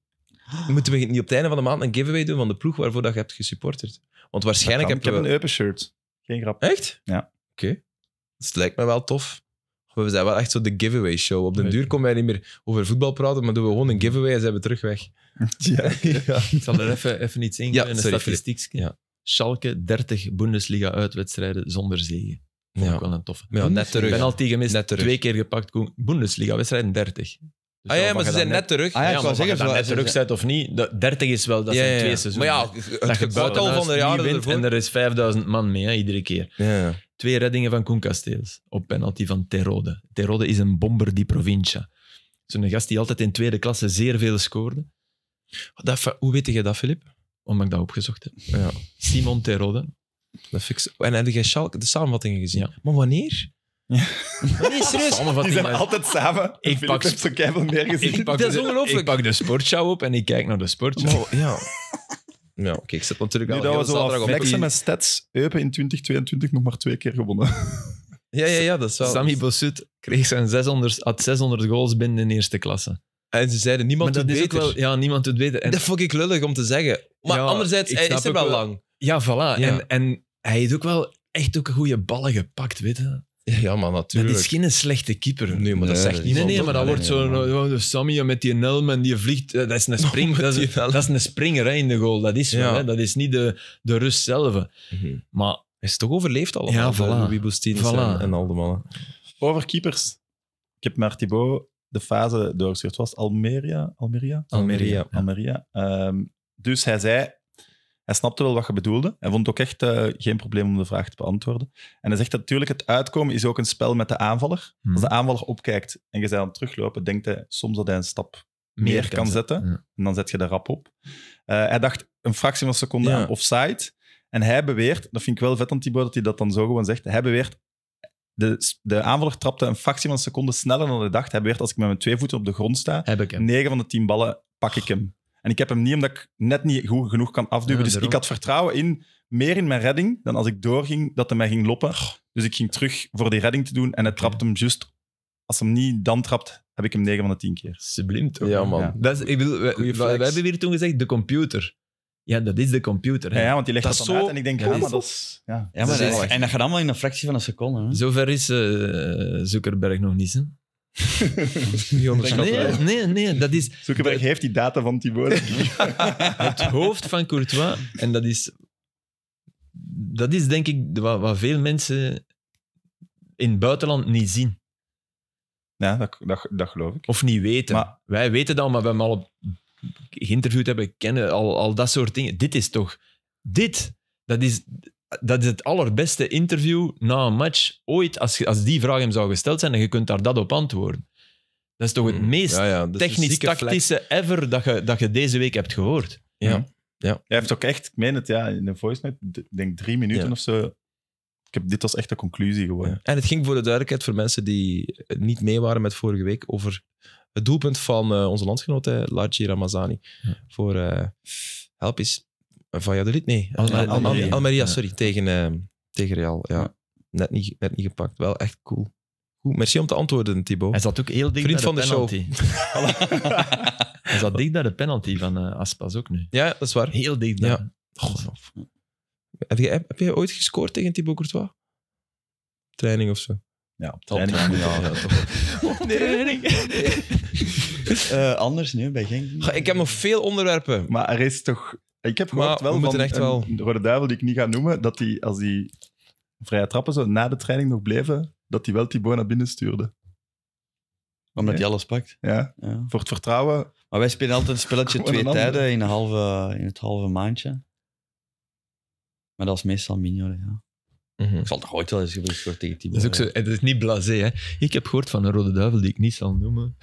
[SPEAKER 1] Moeten we niet op het einde van de maand een giveaway doen van de ploeg waarvoor dat je hebt gesupporterd? Want waarschijnlijk
[SPEAKER 3] Dat kan.
[SPEAKER 1] heb
[SPEAKER 3] ik heb
[SPEAKER 1] je...
[SPEAKER 3] een Eupen shirt. Geen grap.
[SPEAKER 1] Echt?
[SPEAKER 3] Ja.
[SPEAKER 1] Oké. Dus het lijkt me wel tof. We zijn wel echt zo de giveaway show. Op den
[SPEAKER 4] Leuk.
[SPEAKER 1] duur komen wij niet meer over voetbal praten, maar doen we gewoon een giveaway en zijn we terug weg.
[SPEAKER 3] Ja.
[SPEAKER 1] ja.
[SPEAKER 4] Ik zal er even, even iets in
[SPEAKER 1] Ja,
[SPEAKER 4] een
[SPEAKER 1] sorry,
[SPEAKER 4] statistiek.
[SPEAKER 1] Ja.
[SPEAKER 4] Schalke, 30 Bundesliga-uitwedstrijden zonder zegen. Vond ik
[SPEAKER 1] Ja.
[SPEAKER 4] wel een toffe.
[SPEAKER 1] Maar ja, net terug.
[SPEAKER 4] ben al tegen
[SPEAKER 1] Net terug.
[SPEAKER 4] Twee keer gepakt, Koen. Bundesliga-wedstrijden 30. Dus
[SPEAKER 1] ah ja,
[SPEAKER 4] of
[SPEAKER 1] maar
[SPEAKER 4] je
[SPEAKER 1] ze
[SPEAKER 4] dat
[SPEAKER 1] zijn net terug.
[SPEAKER 2] Ah ja, ik wou
[SPEAKER 4] maar
[SPEAKER 2] zeggen,
[SPEAKER 4] of je
[SPEAKER 2] zo-
[SPEAKER 4] dat net
[SPEAKER 2] ze-
[SPEAKER 4] terug
[SPEAKER 2] ze-
[SPEAKER 4] bent of niet, dat- 30 is wel, dat
[SPEAKER 1] Ja,
[SPEAKER 4] zijn
[SPEAKER 1] ja,
[SPEAKER 4] twee
[SPEAKER 1] ja.
[SPEAKER 4] seizoenen.
[SPEAKER 1] Maar ja,
[SPEAKER 4] dat
[SPEAKER 1] het
[SPEAKER 4] je
[SPEAKER 1] gebouwd al van de jaren
[SPEAKER 4] wint en
[SPEAKER 1] ervoor.
[SPEAKER 4] er is 5000 man mee, hè, iedere keer.
[SPEAKER 1] Ja.
[SPEAKER 4] Twee reddingen van Koen Kasteels op penalty van Terode. Terode is een bomber die provincia. Zo'n gast die altijd in tweede klasse zeer veel scoorde,
[SPEAKER 1] Dat, fa- hoe weet je dat, Filip?
[SPEAKER 4] omdat ik dat opgezocht heb.
[SPEAKER 1] Ja.
[SPEAKER 4] Simon Terode.
[SPEAKER 1] Dat vind ik zo- En heb jij Schalke de samenvattingen gezien?
[SPEAKER 4] Ja.
[SPEAKER 1] Maar wanneer?
[SPEAKER 4] Nee, serieus.
[SPEAKER 3] Die zijn altijd samen.
[SPEAKER 4] Ik
[SPEAKER 3] Filip
[SPEAKER 4] pak-
[SPEAKER 3] heeft zo'n keihard meer gezien.
[SPEAKER 4] Ik pak,
[SPEAKER 1] Dat is
[SPEAKER 4] de-
[SPEAKER 1] ongelooflijk.
[SPEAKER 4] ik pak de sportshow op en ik kijk naar de sportshow.
[SPEAKER 1] Oh, ja. (laughs) Ja, oké, ik zit natuurlijk
[SPEAKER 3] Nu
[SPEAKER 1] al
[SPEAKER 3] dat
[SPEAKER 1] heel
[SPEAKER 3] we
[SPEAKER 1] de
[SPEAKER 3] zo
[SPEAKER 1] zaterdag
[SPEAKER 3] al
[SPEAKER 1] op
[SPEAKER 3] flexen
[SPEAKER 1] die-
[SPEAKER 3] met stats, Eupen in 2022 nog maar twee keer gewonnen.
[SPEAKER 1] Ja, ja, ja, dat is wel...
[SPEAKER 4] Sammy Bossut kreeg zijn 600, had 600 goals binnen in eerste klasse.
[SPEAKER 1] En ze zeiden,
[SPEAKER 4] Maar
[SPEAKER 1] niemand
[SPEAKER 4] dat
[SPEAKER 1] doet
[SPEAKER 4] is ook
[SPEAKER 1] beter.
[SPEAKER 4] wel... Ja, niemand doet beter. En,
[SPEAKER 1] Dat vond ik lullig om te zeggen. Maar
[SPEAKER 4] Ja,
[SPEAKER 1] anderzijds,
[SPEAKER 4] ik
[SPEAKER 1] hij
[SPEAKER 4] snap
[SPEAKER 1] is er
[SPEAKER 4] ook
[SPEAKER 1] wel
[SPEAKER 4] wel-
[SPEAKER 1] lang. (laughs)
[SPEAKER 4] ja, voilà.
[SPEAKER 1] Ja.
[SPEAKER 4] En, en hij heeft ook wel echt ook goede ballen gepakt, weet je.
[SPEAKER 1] Ja, maar
[SPEAKER 4] Dat
[SPEAKER 1] natuurlijk.
[SPEAKER 4] is geen slechte keeper.
[SPEAKER 1] Nee, maar dat
[SPEAKER 2] Nee,
[SPEAKER 1] zegt
[SPEAKER 2] dat is-
[SPEAKER 4] Nee, nee,
[SPEAKER 1] niemand.
[SPEAKER 4] nee, maar dat
[SPEAKER 2] Nee,
[SPEAKER 4] wordt
[SPEAKER 2] nee,
[SPEAKER 4] zo'n
[SPEAKER 2] nee.
[SPEAKER 4] oh, de Sammy met die Nelm en die vliegt. eh,
[SPEAKER 1] (laughs)
[SPEAKER 4] Dat is een,
[SPEAKER 1] Oh,
[SPEAKER 4] spring, dat is, dat is een springer hè, in de goal. Dat is wel,
[SPEAKER 1] Ja.
[SPEAKER 4] hè. Dat is niet de, de rust zelf.
[SPEAKER 1] Mhm.
[SPEAKER 4] Maar
[SPEAKER 1] Hij is toch overleefd al.
[SPEAKER 4] Ja,
[SPEAKER 1] Ja,
[SPEAKER 4] voilà.
[SPEAKER 1] voilà. Louis Boustines
[SPEAKER 4] Voilà.
[SPEAKER 1] en, en al de mannen.
[SPEAKER 3] Over keepers. Ik heb naar Thibaut de fase doorgestuurd. Was het Almeria? Almeria?
[SPEAKER 1] Almeria, ja.
[SPEAKER 3] Almeria. Ehm, dus hij zei... Hij snapte wel wat je bedoelde. Hij vond het ook echt eh, geen probleem om de vraag te beantwoorden. En hij zegt dat natuurlijk het uitkomen is ook een spel met de aanvaller.
[SPEAKER 4] Hmm.
[SPEAKER 3] Als de aanvaller opkijkt en je zij aan het teruglopen, denkt hij soms dat hij een stap meer, kan, zetten.
[SPEAKER 4] Ja.
[SPEAKER 3] En dan zet je er rap op. Eh, hij dacht een fractie van een seconde
[SPEAKER 1] Ja.
[SPEAKER 3] aan offside. En hij beweert, dat vind ik wel vet aan Thibaut dat hij dat dan zo gewoon zegt. Hij beweert, de, de aanvaller trapte een fractie van een seconde sneller dan hij dacht. Hij beweert, als ik met mijn twee voeten op de grond sta,
[SPEAKER 4] Heb ik hem.
[SPEAKER 3] 9 van de 10 ballen pak ik hem. En ik heb hem niet omdat ik net niet goed genoeg kan afduwen.
[SPEAKER 4] Ja,
[SPEAKER 3] dus
[SPEAKER 4] daarom.
[SPEAKER 3] ik had vertrouwen in, meer in mijn redding dan als ik doorging, dat hij mij ging loppen. Dus ik ging terug voor die redding te doen en hij trapt hem juist. Als hij hem niet dan trapt, heb ik hem 9 van de 10 keer.
[SPEAKER 4] Subliem toch?
[SPEAKER 1] Ja, man.
[SPEAKER 3] Ja.
[SPEAKER 4] Dat is, ik bedoel, we,
[SPEAKER 1] Goeie
[SPEAKER 4] we-
[SPEAKER 1] flex.
[SPEAKER 4] we hebben weer toen gezegd, de computer. Ja, dat is de computer.
[SPEAKER 3] Ja,
[SPEAKER 4] Hè.
[SPEAKER 3] ja, want die legt
[SPEAKER 1] Dat
[SPEAKER 3] dat,
[SPEAKER 1] is
[SPEAKER 3] dan
[SPEAKER 1] zo-
[SPEAKER 3] uit en ik denk,
[SPEAKER 1] Ja,
[SPEAKER 3] ja,
[SPEAKER 1] dat
[SPEAKER 3] maar
[SPEAKER 1] is-
[SPEAKER 3] dat is... Ja.
[SPEAKER 2] Ja,
[SPEAKER 1] Dat
[SPEAKER 2] maar
[SPEAKER 1] is
[SPEAKER 2] dat-
[SPEAKER 1] echt-
[SPEAKER 2] en dat gaat allemaal in een fractie van een seconde. Hè?
[SPEAKER 4] Zover is eh Zuckerberg nog niet. Hè?
[SPEAKER 1] onderschat
[SPEAKER 4] Nee,
[SPEAKER 1] wel.
[SPEAKER 4] nee, nee, dat is
[SPEAKER 3] Zuckerberg heeft die data van Thibaut.
[SPEAKER 4] het hoofd van Courtois. En dat is, dat is denk ik de- wat, wat veel mensen in het buitenland niet zien
[SPEAKER 3] (laughs) ja, dat, dat, dat geloof ik.
[SPEAKER 4] of niet weten.
[SPEAKER 3] Maar-
[SPEAKER 4] Wij weten dat, maar we hebben al geïnterviewd hebben, kennen al, al dat soort dingen. Dit is toch, dit, dat is, dat is het allerbeste interview na een match ooit. Als, je- als die vraag hem zou gesteld zijn en je kunt daar dat op antwoorden. Dat is toch het
[SPEAKER 1] Mhm.
[SPEAKER 4] meest
[SPEAKER 1] Ja, ja, dat is een zieke flex.
[SPEAKER 4] technisch-tactische ever dat je, dat je deze week hebt gehoord.
[SPEAKER 1] Ja.
[SPEAKER 3] Hij heeft ook echt, ik meen het, ja, in een voice note, d- denk drie minuten
[SPEAKER 1] Ja.
[SPEAKER 3] of zo. Ik heb, dit was echt de conclusie geworden.
[SPEAKER 1] Ja. En het ging voor de duidelijkheid voor mensen die eh, niet mee waren met vorige week over het doelpunt van eh, onze landgenoot, eh, Largi Ramazani. Voor, eh help eens, eh, Valladolid? Nee,
[SPEAKER 4] Al-
[SPEAKER 1] Al- Al-
[SPEAKER 4] Almeria.
[SPEAKER 1] Almeria,
[SPEAKER 4] Ja.
[SPEAKER 1] sorry, tegen, eh, tegen Real. Ja.
[SPEAKER 2] Ja.
[SPEAKER 1] Net, niet, net niet gepakt, wel echt cool. Goed, merci om te antwoorden,
[SPEAKER 4] Hij
[SPEAKER 1] Thibaut.
[SPEAKER 4] zat ook heel dicht
[SPEAKER 1] Vriend
[SPEAKER 4] bij de,
[SPEAKER 1] van de
[SPEAKER 4] penalty. (laughs) Hij zat dicht bij de penalty van eh, Aspas ook nu.
[SPEAKER 1] Ja, dat is waar.
[SPEAKER 4] Heel dicht bij.
[SPEAKER 1] Ja. God. Heb, jij, heb, heb jij ooit gescoord tegen Thibaut Courtois? Training of zo?
[SPEAKER 3] Ja, op training.
[SPEAKER 1] Ja,
[SPEAKER 3] ja.
[SPEAKER 1] toch.
[SPEAKER 2] Eh, anders nu, bij Genk.
[SPEAKER 1] Goh, Ik heb nog veel onderwerpen.
[SPEAKER 3] Maar er is toch... Ik heb gehoord
[SPEAKER 1] Maar we
[SPEAKER 3] wel
[SPEAKER 1] moeten
[SPEAKER 3] van
[SPEAKER 1] echt
[SPEAKER 3] een
[SPEAKER 1] wel-
[SPEAKER 3] Rode Duivel, die ik niet ga noemen, dat hij, als die vrije trappen zo na de training nog bleven, dat hij wel Thibaut naar binnen stuurde.
[SPEAKER 2] Omdat hij alles pakt.
[SPEAKER 3] Ja,
[SPEAKER 2] Ja.
[SPEAKER 3] voor het vertrouwen.
[SPEAKER 2] Maar wij spelen altijd een spelletje
[SPEAKER 3] Gewoon
[SPEAKER 2] twee
[SPEAKER 3] een andere.
[SPEAKER 2] tijden in, een halve, in het halve maandje. Maar dat is meestal minor, ja.
[SPEAKER 4] Mhm.
[SPEAKER 2] Ik zal toch ooit wel eens gebruikt worden tegen Timo.
[SPEAKER 4] Dat is ook zo, het is niet blasé, hè. Ik heb gehoord van een rode duivel die ik niet zal (laughs) noemen.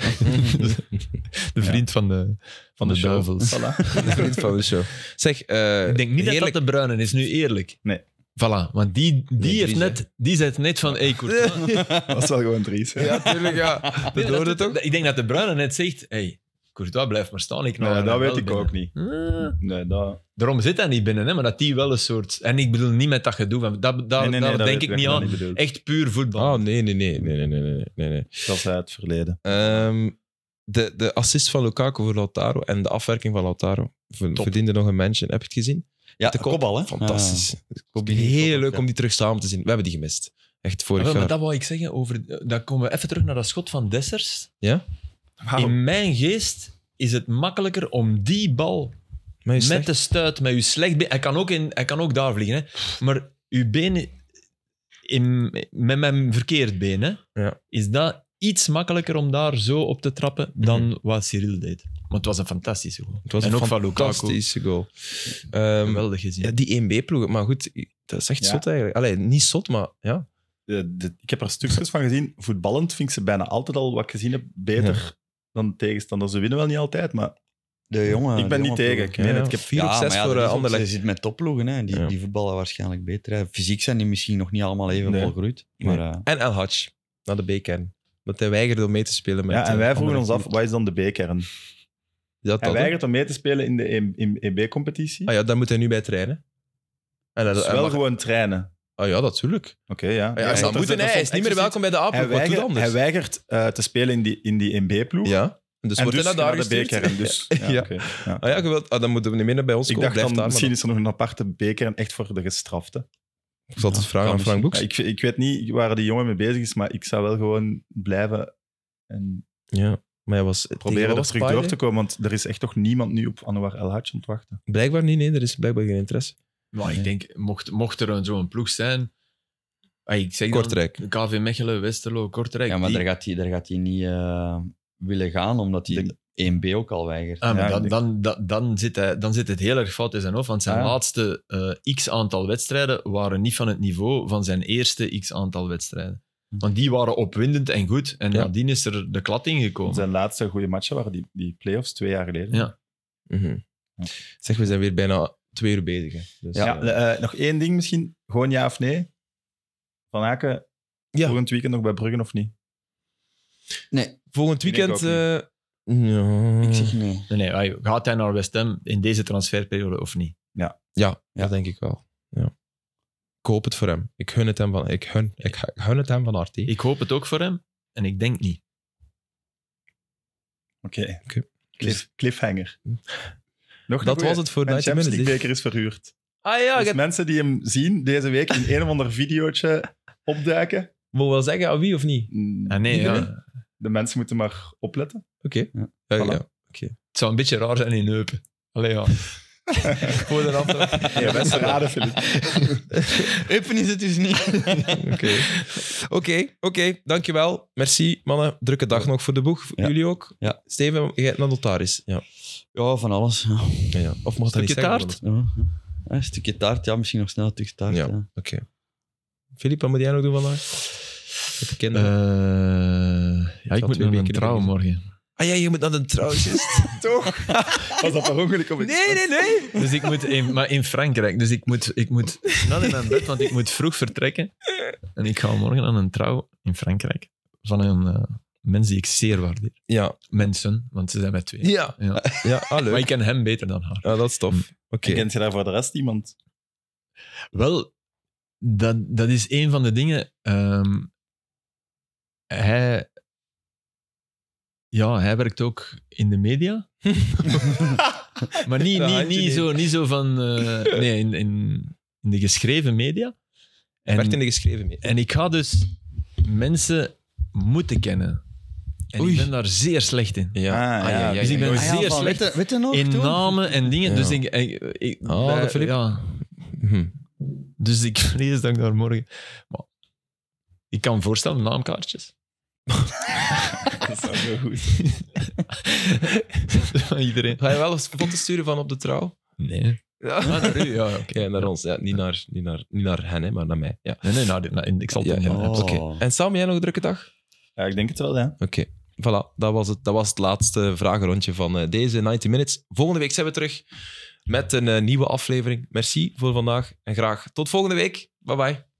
[SPEAKER 4] De vriend van de, van de,
[SPEAKER 3] show.
[SPEAKER 4] duivels.
[SPEAKER 3] Voilà.
[SPEAKER 1] Vriend van (laughs) de show. Zeg, eh,
[SPEAKER 4] Ik denk niet dat
[SPEAKER 1] heerlijk-
[SPEAKER 4] dat de bruine is, nu eerlijk.
[SPEAKER 3] Nee.
[SPEAKER 4] Voilà, want die, die,
[SPEAKER 1] Dries,
[SPEAKER 4] heeft
[SPEAKER 1] hè.
[SPEAKER 4] net, die zei het net van, hey, Courtois. (laughs)
[SPEAKER 3] Dat is wel gewoon Dries. hè.
[SPEAKER 1] Ja, tuurlijk, ja. Dat
[SPEAKER 4] Nee,
[SPEAKER 1] hoorde
[SPEAKER 4] dat-
[SPEAKER 1] toch?
[SPEAKER 4] Ik denk dat de bruine net zegt, hey, Courtois blijf maar staan. Nou, Ik knal
[SPEAKER 3] Nee,
[SPEAKER 4] hem
[SPEAKER 3] dat
[SPEAKER 4] wel
[SPEAKER 3] weet ik
[SPEAKER 4] binnen.
[SPEAKER 3] ook niet.
[SPEAKER 4] Ah.
[SPEAKER 3] Nee, dat...
[SPEAKER 4] Daarom zit dat niet binnen, hè, maar dat die wel een soort... En ik bedoel niet met dat gedoe, van, dat, daar,
[SPEAKER 3] nee, nee, nee,
[SPEAKER 4] daar
[SPEAKER 3] dat
[SPEAKER 4] denk
[SPEAKER 3] weet
[SPEAKER 4] ik niet
[SPEAKER 3] dat
[SPEAKER 4] aan.
[SPEAKER 3] bedoel.
[SPEAKER 4] Echt puur voetbal. Ah,
[SPEAKER 1] Oh, nee, nee, nee. nee, nee, nee, nee, nee, nee.
[SPEAKER 3] Dat is uit het verleden.
[SPEAKER 1] Ehm, de, de assist van Lukaku voor Lautaro en de afwerking van Lautaro ver-
[SPEAKER 2] Top.
[SPEAKER 1] verdiende nog een mention. Heb je het gezien?
[SPEAKER 2] Ja,
[SPEAKER 1] De
[SPEAKER 2] de
[SPEAKER 1] kop.
[SPEAKER 2] kopbal, hè?
[SPEAKER 1] Fantastisch.
[SPEAKER 2] Ja.
[SPEAKER 1] Het is
[SPEAKER 2] Combinatie
[SPEAKER 1] Heel
[SPEAKER 2] kopbal,
[SPEAKER 1] leuk
[SPEAKER 2] ja.
[SPEAKER 1] om die terug samen te zien. We hebben die gemist. Echt
[SPEAKER 4] Ah,
[SPEAKER 1] vorig
[SPEAKER 4] wel, maar
[SPEAKER 1] jaar.
[SPEAKER 4] dat wou ik zeggen. Over, dan komen we even terug naar dat schot van Dessers.
[SPEAKER 3] Wauw.
[SPEAKER 4] In mijn geest is het makkelijker om die bal
[SPEAKER 1] Maar je
[SPEAKER 4] met
[SPEAKER 1] zegt-
[SPEAKER 4] de stuit, met je slecht been... Hij kan ook, in, hij kan ook daar vliegen, hè. Maar uw been... In, met mijn verkeerd been, hè,
[SPEAKER 1] Ja.
[SPEAKER 4] is dat iets makkelijker om daar zo op te trappen dan wat Cyril deed. Maar het was een fantastische goal.
[SPEAKER 1] het was
[SPEAKER 4] en
[SPEAKER 1] een
[SPEAKER 4] ook van Lukaku.
[SPEAKER 1] fantastische goal. Ehm,
[SPEAKER 4] Geweldig gezien.
[SPEAKER 1] ja, die 1B-ploeg. Maar goed, dat is echt
[SPEAKER 3] Ja.
[SPEAKER 1] zot eigenlijk. Allee, niet zot, maar ja.
[SPEAKER 3] de- de- ik heb er stukjes van gezien. Voetballend vind ik ze bijna altijd al, wat ik gezien heb, beter dan de tegenstander. Ze winnen wel niet altijd, maar
[SPEAKER 2] de jongen.
[SPEAKER 3] ik ben
[SPEAKER 2] de
[SPEAKER 3] niet
[SPEAKER 2] jonge
[SPEAKER 3] tegen. Ik
[SPEAKER 2] ploegen.
[SPEAKER 3] meen
[SPEAKER 1] Ah, Ja,
[SPEAKER 3] het, ik heb
[SPEAKER 1] vier op zes
[SPEAKER 2] maar ja,
[SPEAKER 1] voor
[SPEAKER 2] dat
[SPEAKER 1] eh,
[SPEAKER 2] is ook-
[SPEAKER 1] Anderlecht.
[SPEAKER 2] Ze zit met topploegen, hè. Die,
[SPEAKER 1] Ja.
[SPEAKER 2] die voetballen waarschijnlijk beter. Hè. Fysiek zijn die misschien nog niet allemaal even
[SPEAKER 3] Nee.
[SPEAKER 2] volgroeid. Maar eh,
[SPEAKER 1] En El Hadj, naar de B-kern. Dat hij weigerde om mee te spelen met
[SPEAKER 3] Ja, en
[SPEAKER 1] eh,
[SPEAKER 3] wij vroegen ons
[SPEAKER 1] Anderlecht.
[SPEAKER 3] af, wat is dan de B-kern?
[SPEAKER 1] Dat
[SPEAKER 3] Hij
[SPEAKER 1] dat, hè?
[SPEAKER 3] weigert om mee te spelen in E de EB-competitie.
[SPEAKER 1] Ah ja, daar moet hij nu bij trainen. En dat,
[SPEAKER 3] dus
[SPEAKER 1] hij
[SPEAKER 3] wel
[SPEAKER 1] mag-
[SPEAKER 3] gewoon trainen.
[SPEAKER 1] Ah ja, natuurlijk.
[SPEAKER 3] Oké, ja.
[SPEAKER 1] Ah ja,
[SPEAKER 3] Ja,
[SPEAKER 1] zou
[SPEAKER 3] dat
[SPEAKER 1] moeten,
[SPEAKER 3] dat
[SPEAKER 1] hij is niet meer
[SPEAKER 3] expliciet.
[SPEAKER 1] welkom bij de AP.
[SPEAKER 3] Hij
[SPEAKER 1] Wat doet
[SPEAKER 3] weigert,
[SPEAKER 1] anders?
[SPEAKER 3] hij weigert eh, te spelen in die, in die E MB-ploeg.
[SPEAKER 1] ja, en dus
[SPEAKER 3] en
[SPEAKER 1] wordt
[SPEAKER 3] dus
[SPEAKER 1] hij naar daar
[SPEAKER 3] naar de B-kern.
[SPEAKER 1] gestuurd.
[SPEAKER 3] Dus,
[SPEAKER 1] (laughs) Ja.
[SPEAKER 3] ja,
[SPEAKER 1] Ja.
[SPEAKER 3] oké, ja.
[SPEAKER 1] Ah ja, geweld. Ah, dan moeten we niet meer naar bij ons
[SPEAKER 3] Ik
[SPEAKER 1] komen.
[SPEAKER 3] dacht
[SPEAKER 1] Blijf
[SPEAKER 3] dan,
[SPEAKER 1] daar.
[SPEAKER 3] misschien
[SPEAKER 1] Misschien...
[SPEAKER 3] is er nog een aparte B-kern echt voor de gestrafte.
[SPEAKER 1] Ik zal het vragen aan
[SPEAKER 3] Kan
[SPEAKER 1] Frank Boeks.
[SPEAKER 3] Ah, misschien. Ja, ik, ik weet niet waar die jongen mee bezig is, maar ik zou wel gewoon blijven en
[SPEAKER 1] Ja, maar hij was
[SPEAKER 3] proberen er terug door te komen. Want er is echt toch niemand nu op Anouar El Hadj aan het wachten.
[SPEAKER 1] Blijkbaar niet, nee, er is blijkbaar geen interesse.
[SPEAKER 4] Maar ik denk, mocht, mocht er een- zo'n ploeg zijn... ah, ik zeg dan
[SPEAKER 1] Kortrijk.
[SPEAKER 4] KV Mechelen, Westerlo, Kortrijk.
[SPEAKER 2] ja, maar
[SPEAKER 4] die-
[SPEAKER 2] daar gaat hij- daar gaat hij niet eh, willen gaan, omdat hij 1B ook al weigert.
[SPEAKER 4] Ah, maar
[SPEAKER 3] Ja,
[SPEAKER 4] dan,
[SPEAKER 3] ik
[SPEAKER 4] dan, dan, dan, zit hij, dan zit het heel erg fout in zijn hoofd. Want zijn
[SPEAKER 3] Ja.
[SPEAKER 4] laatste eh, x aantal wedstrijden waren niet van het niveau van zijn eerste x aantal wedstrijden. Want die waren opwindend en goed. En
[SPEAKER 1] Ja.
[SPEAKER 4] nadien is er de klat ingekomen.
[SPEAKER 3] Zijn laatste goede matchen waren die, die play-offs twee jaar geleden.
[SPEAKER 4] Oh. Ja.
[SPEAKER 1] Mhm.
[SPEAKER 3] Ja.
[SPEAKER 1] Zeg, we zijn weer bijna twee uur bezig. Hè. Dus,
[SPEAKER 3] Ja,
[SPEAKER 1] eh,
[SPEAKER 3] eh, nog één ding misschien. Gewoon ja of nee. Van Aken,
[SPEAKER 1] Ja.
[SPEAKER 3] volgend weekend nog bij Bruggen of niet?
[SPEAKER 2] Nee,
[SPEAKER 1] volgend
[SPEAKER 3] Ik denk
[SPEAKER 1] weekend...
[SPEAKER 3] ook
[SPEAKER 1] eh, ja,
[SPEAKER 2] ik zeg
[SPEAKER 4] (laughs)
[SPEAKER 2] nee.
[SPEAKER 4] Nee, nee, hij- gaat hij naar West Ham in deze transferperiode of niet?
[SPEAKER 1] ja, dat denk ik wel. Ja. Ik hoop het voor hem. Ik gun het hem van, ik hun, ik, ik gun het hem van harte.
[SPEAKER 4] Ik hoop het ook voor hem. En ik denk niet.
[SPEAKER 3] Oké.
[SPEAKER 1] Oké. Hm.
[SPEAKER 3] Cliff-
[SPEAKER 4] Dus-
[SPEAKER 3] cliffhanger. Nog
[SPEAKER 1] Dat was het voor
[SPEAKER 3] De
[SPEAKER 1] 90
[SPEAKER 3] Champions League
[SPEAKER 1] Minutes.
[SPEAKER 3] beker is verhuurd.
[SPEAKER 1] Ah ja,
[SPEAKER 3] dus
[SPEAKER 1] ik
[SPEAKER 3] mensen die hem zien deze week in een of ander videootje opduiken.
[SPEAKER 1] moet wel zeggen aan wie of niet.
[SPEAKER 4] Ah, nee, ja.
[SPEAKER 3] Iedereen?
[SPEAKER 4] Het
[SPEAKER 3] De mensen moeten maar opletten.
[SPEAKER 1] Oké.
[SPEAKER 2] Ja.
[SPEAKER 1] Eh,
[SPEAKER 3] Voilà.
[SPEAKER 1] ja.
[SPEAKER 4] zou een beetje raar zijn in Eupen. Allee, ja.
[SPEAKER 1] (laughs) Voor de aftrap.
[SPEAKER 3] (laughs) Ja, best raden, Filip.
[SPEAKER 2] Open is het dus niet.
[SPEAKER 1] Oké. Oké, oké. Dankjewel. Merci, mannen. Drukke dag nog voor de boeg. Voor
[SPEAKER 2] Ja.
[SPEAKER 1] Jullie ook.
[SPEAKER 2] Ja.
[SPEAKER 1] Steven, jij hebt naar notaris. Ja.
[SPEAKER 2] Ja, van alles. Ja.
[SPEAKER 1] Ja, ja. Of mag dat niet
[SPEAKER 4] Stukje
[SPEAKER 1] zeggen?
[SPEAKER 4] taart?
[SPEAKER 2] Ja. Een stukje taart, ja, misschien nog snel een stukje taart.
[SPEAKER 1] Ja.
[SPEAKER 2] ja.
[SPEAKER 1] Oké. Filip, wat moet jij nog doen vandaag? Met de kinderen.
[SPEAKER 4] Eh, ja,
[SPEAKER 1] Ik
[SPEAKER 4] ik
[SPEAKER 1] zal
[SPEAKER 4] moet
[SPEAKER 1] twee
[SPEAKER 4] naar een
[SPEAKER 1] weken
[SPEAKER 4] trouw
[SPEAKER 1] niet
[SPEAKER 4] morgen.
[SPEAKER 1] ah ja, je moet naar de trouwtjes.
[SPEAKER 3] Toch? Was dat per ongeluk op
[SPEAKER 1] (laughs) nee, nee, nee.
[SPEAKER 4] Dus ik moet in, maar in Frankrijk. Dus ik moet, ik moet snel in mijn bed, want ik moet vroeg vertrekken. En ik ga morgen aan een trouw in Frankrijk van een eh, mens die ik zeer waardeer.
[SPEAKER 1] Ja.
[SPEAKER 4] Mensen, want ze zijn met twee.
[SPEAKER 1] Ja.
[SPEAKER 4] Ja.
[SPEAKER 1] Ja, ah,
[SPEAKER 4] Maar
[SPEAKER 1] leuk.
[SPEAKER 4] ik ken hem beter dan haar.
[SPEAKER 1] Ah, dat is tof. Oké.
[SPEAKER 3] Kent je daar voor de rest iemand?
[SPEAKER 4] Wel, dat, dat is een van de dingen. ehm, hij, ja, hij werkt ook in de media.
[SPEAKER 1] (laughs)
[SPEAKER 4] maar niet,
[SPEAKER 1] Dat
[SPEAKER 4] niet,
[SPEAKER 1] handje
[SPEAKER 4] niet, zo, niet zo van. eh, nee, in, in, in de geschreven media. En,
[SPEAKER 1] Werd in de geschreven mee.
[SPEAKER 4] en ik ga dus mensen moeten kennen. En
[SPEAKER 1] Oei.
[SPEAKER 4] ik ben daar zeer slecht in.
[SPEAKER 1] Ja.
[SPEAKER 3] Ah,
[SPEAKER 1] ja, ja,
[SPEAKER 4] Dus ik ben
[SPEAKER 2] Ah,
[SPEAKER 4] zeer
[SPEAKER 2] van,
[SPEAKER 4] slecht
[SPEAKER 2] weet je- weet je nog,
[SPEAKER 4] in
[SPEAKER 2] toen?
[SPEAKER 4] namen en dingen.
[SPEAKER 1] Ja.
[SPEAKER 4] Dus ik, ik, ik-
[SPEAKER 1] Ah,
[SPEAKER 4] bij-
[SPEAKER 1] dat Filip.
[SPEAKER 4] ja,
[SPEAKER 1] Hm.
[SPEAKER 4] dus ik (laughs) vrees dat ik daar morgen. Maar, ik kan me voorstellen, naamkaartjes.
[SPEAKER 3] Dat is wel heel goed.
[SPEAKER 4] Van (laughs) iedereen.
[SPEAKER 1] Ga je wel eens foto's sturen van op de trouw?
[SPEAKER 4] Nee.
[SPEAKER 1] Ja.
[SPEAKER 4] Ah, naar u, ja, oké.
[SPEAKER 1] Ja, naar ons. Ja. Niet, naar, niet, naar, niet naar hen, hè, maar naar mij. Ja.
[SPEAKER 4] Nee, nee, nou, dit- nou, ik zal het
[SPEAKER 1] Ja,
[SPEAKER 4] niet
[SPEAKER 1] ja.
[SPEAKER 4] doen.
[SPEAKER 2] Oh.
[SPEAKER 1] Oké. En Sam, jij nog een drukke dag?
[SPEAKER 3] Ja, ik denk het wel, ja.
[SPEAKER 1] Oké. Voilà, dat was, het, dat was het laatste vragenrondje van eh, deze 90 Minutes. Volgende week zijn we terug met een eh, nieuwe aflevering. Merci voor vandaag en graag tot volgende week. Bye bye.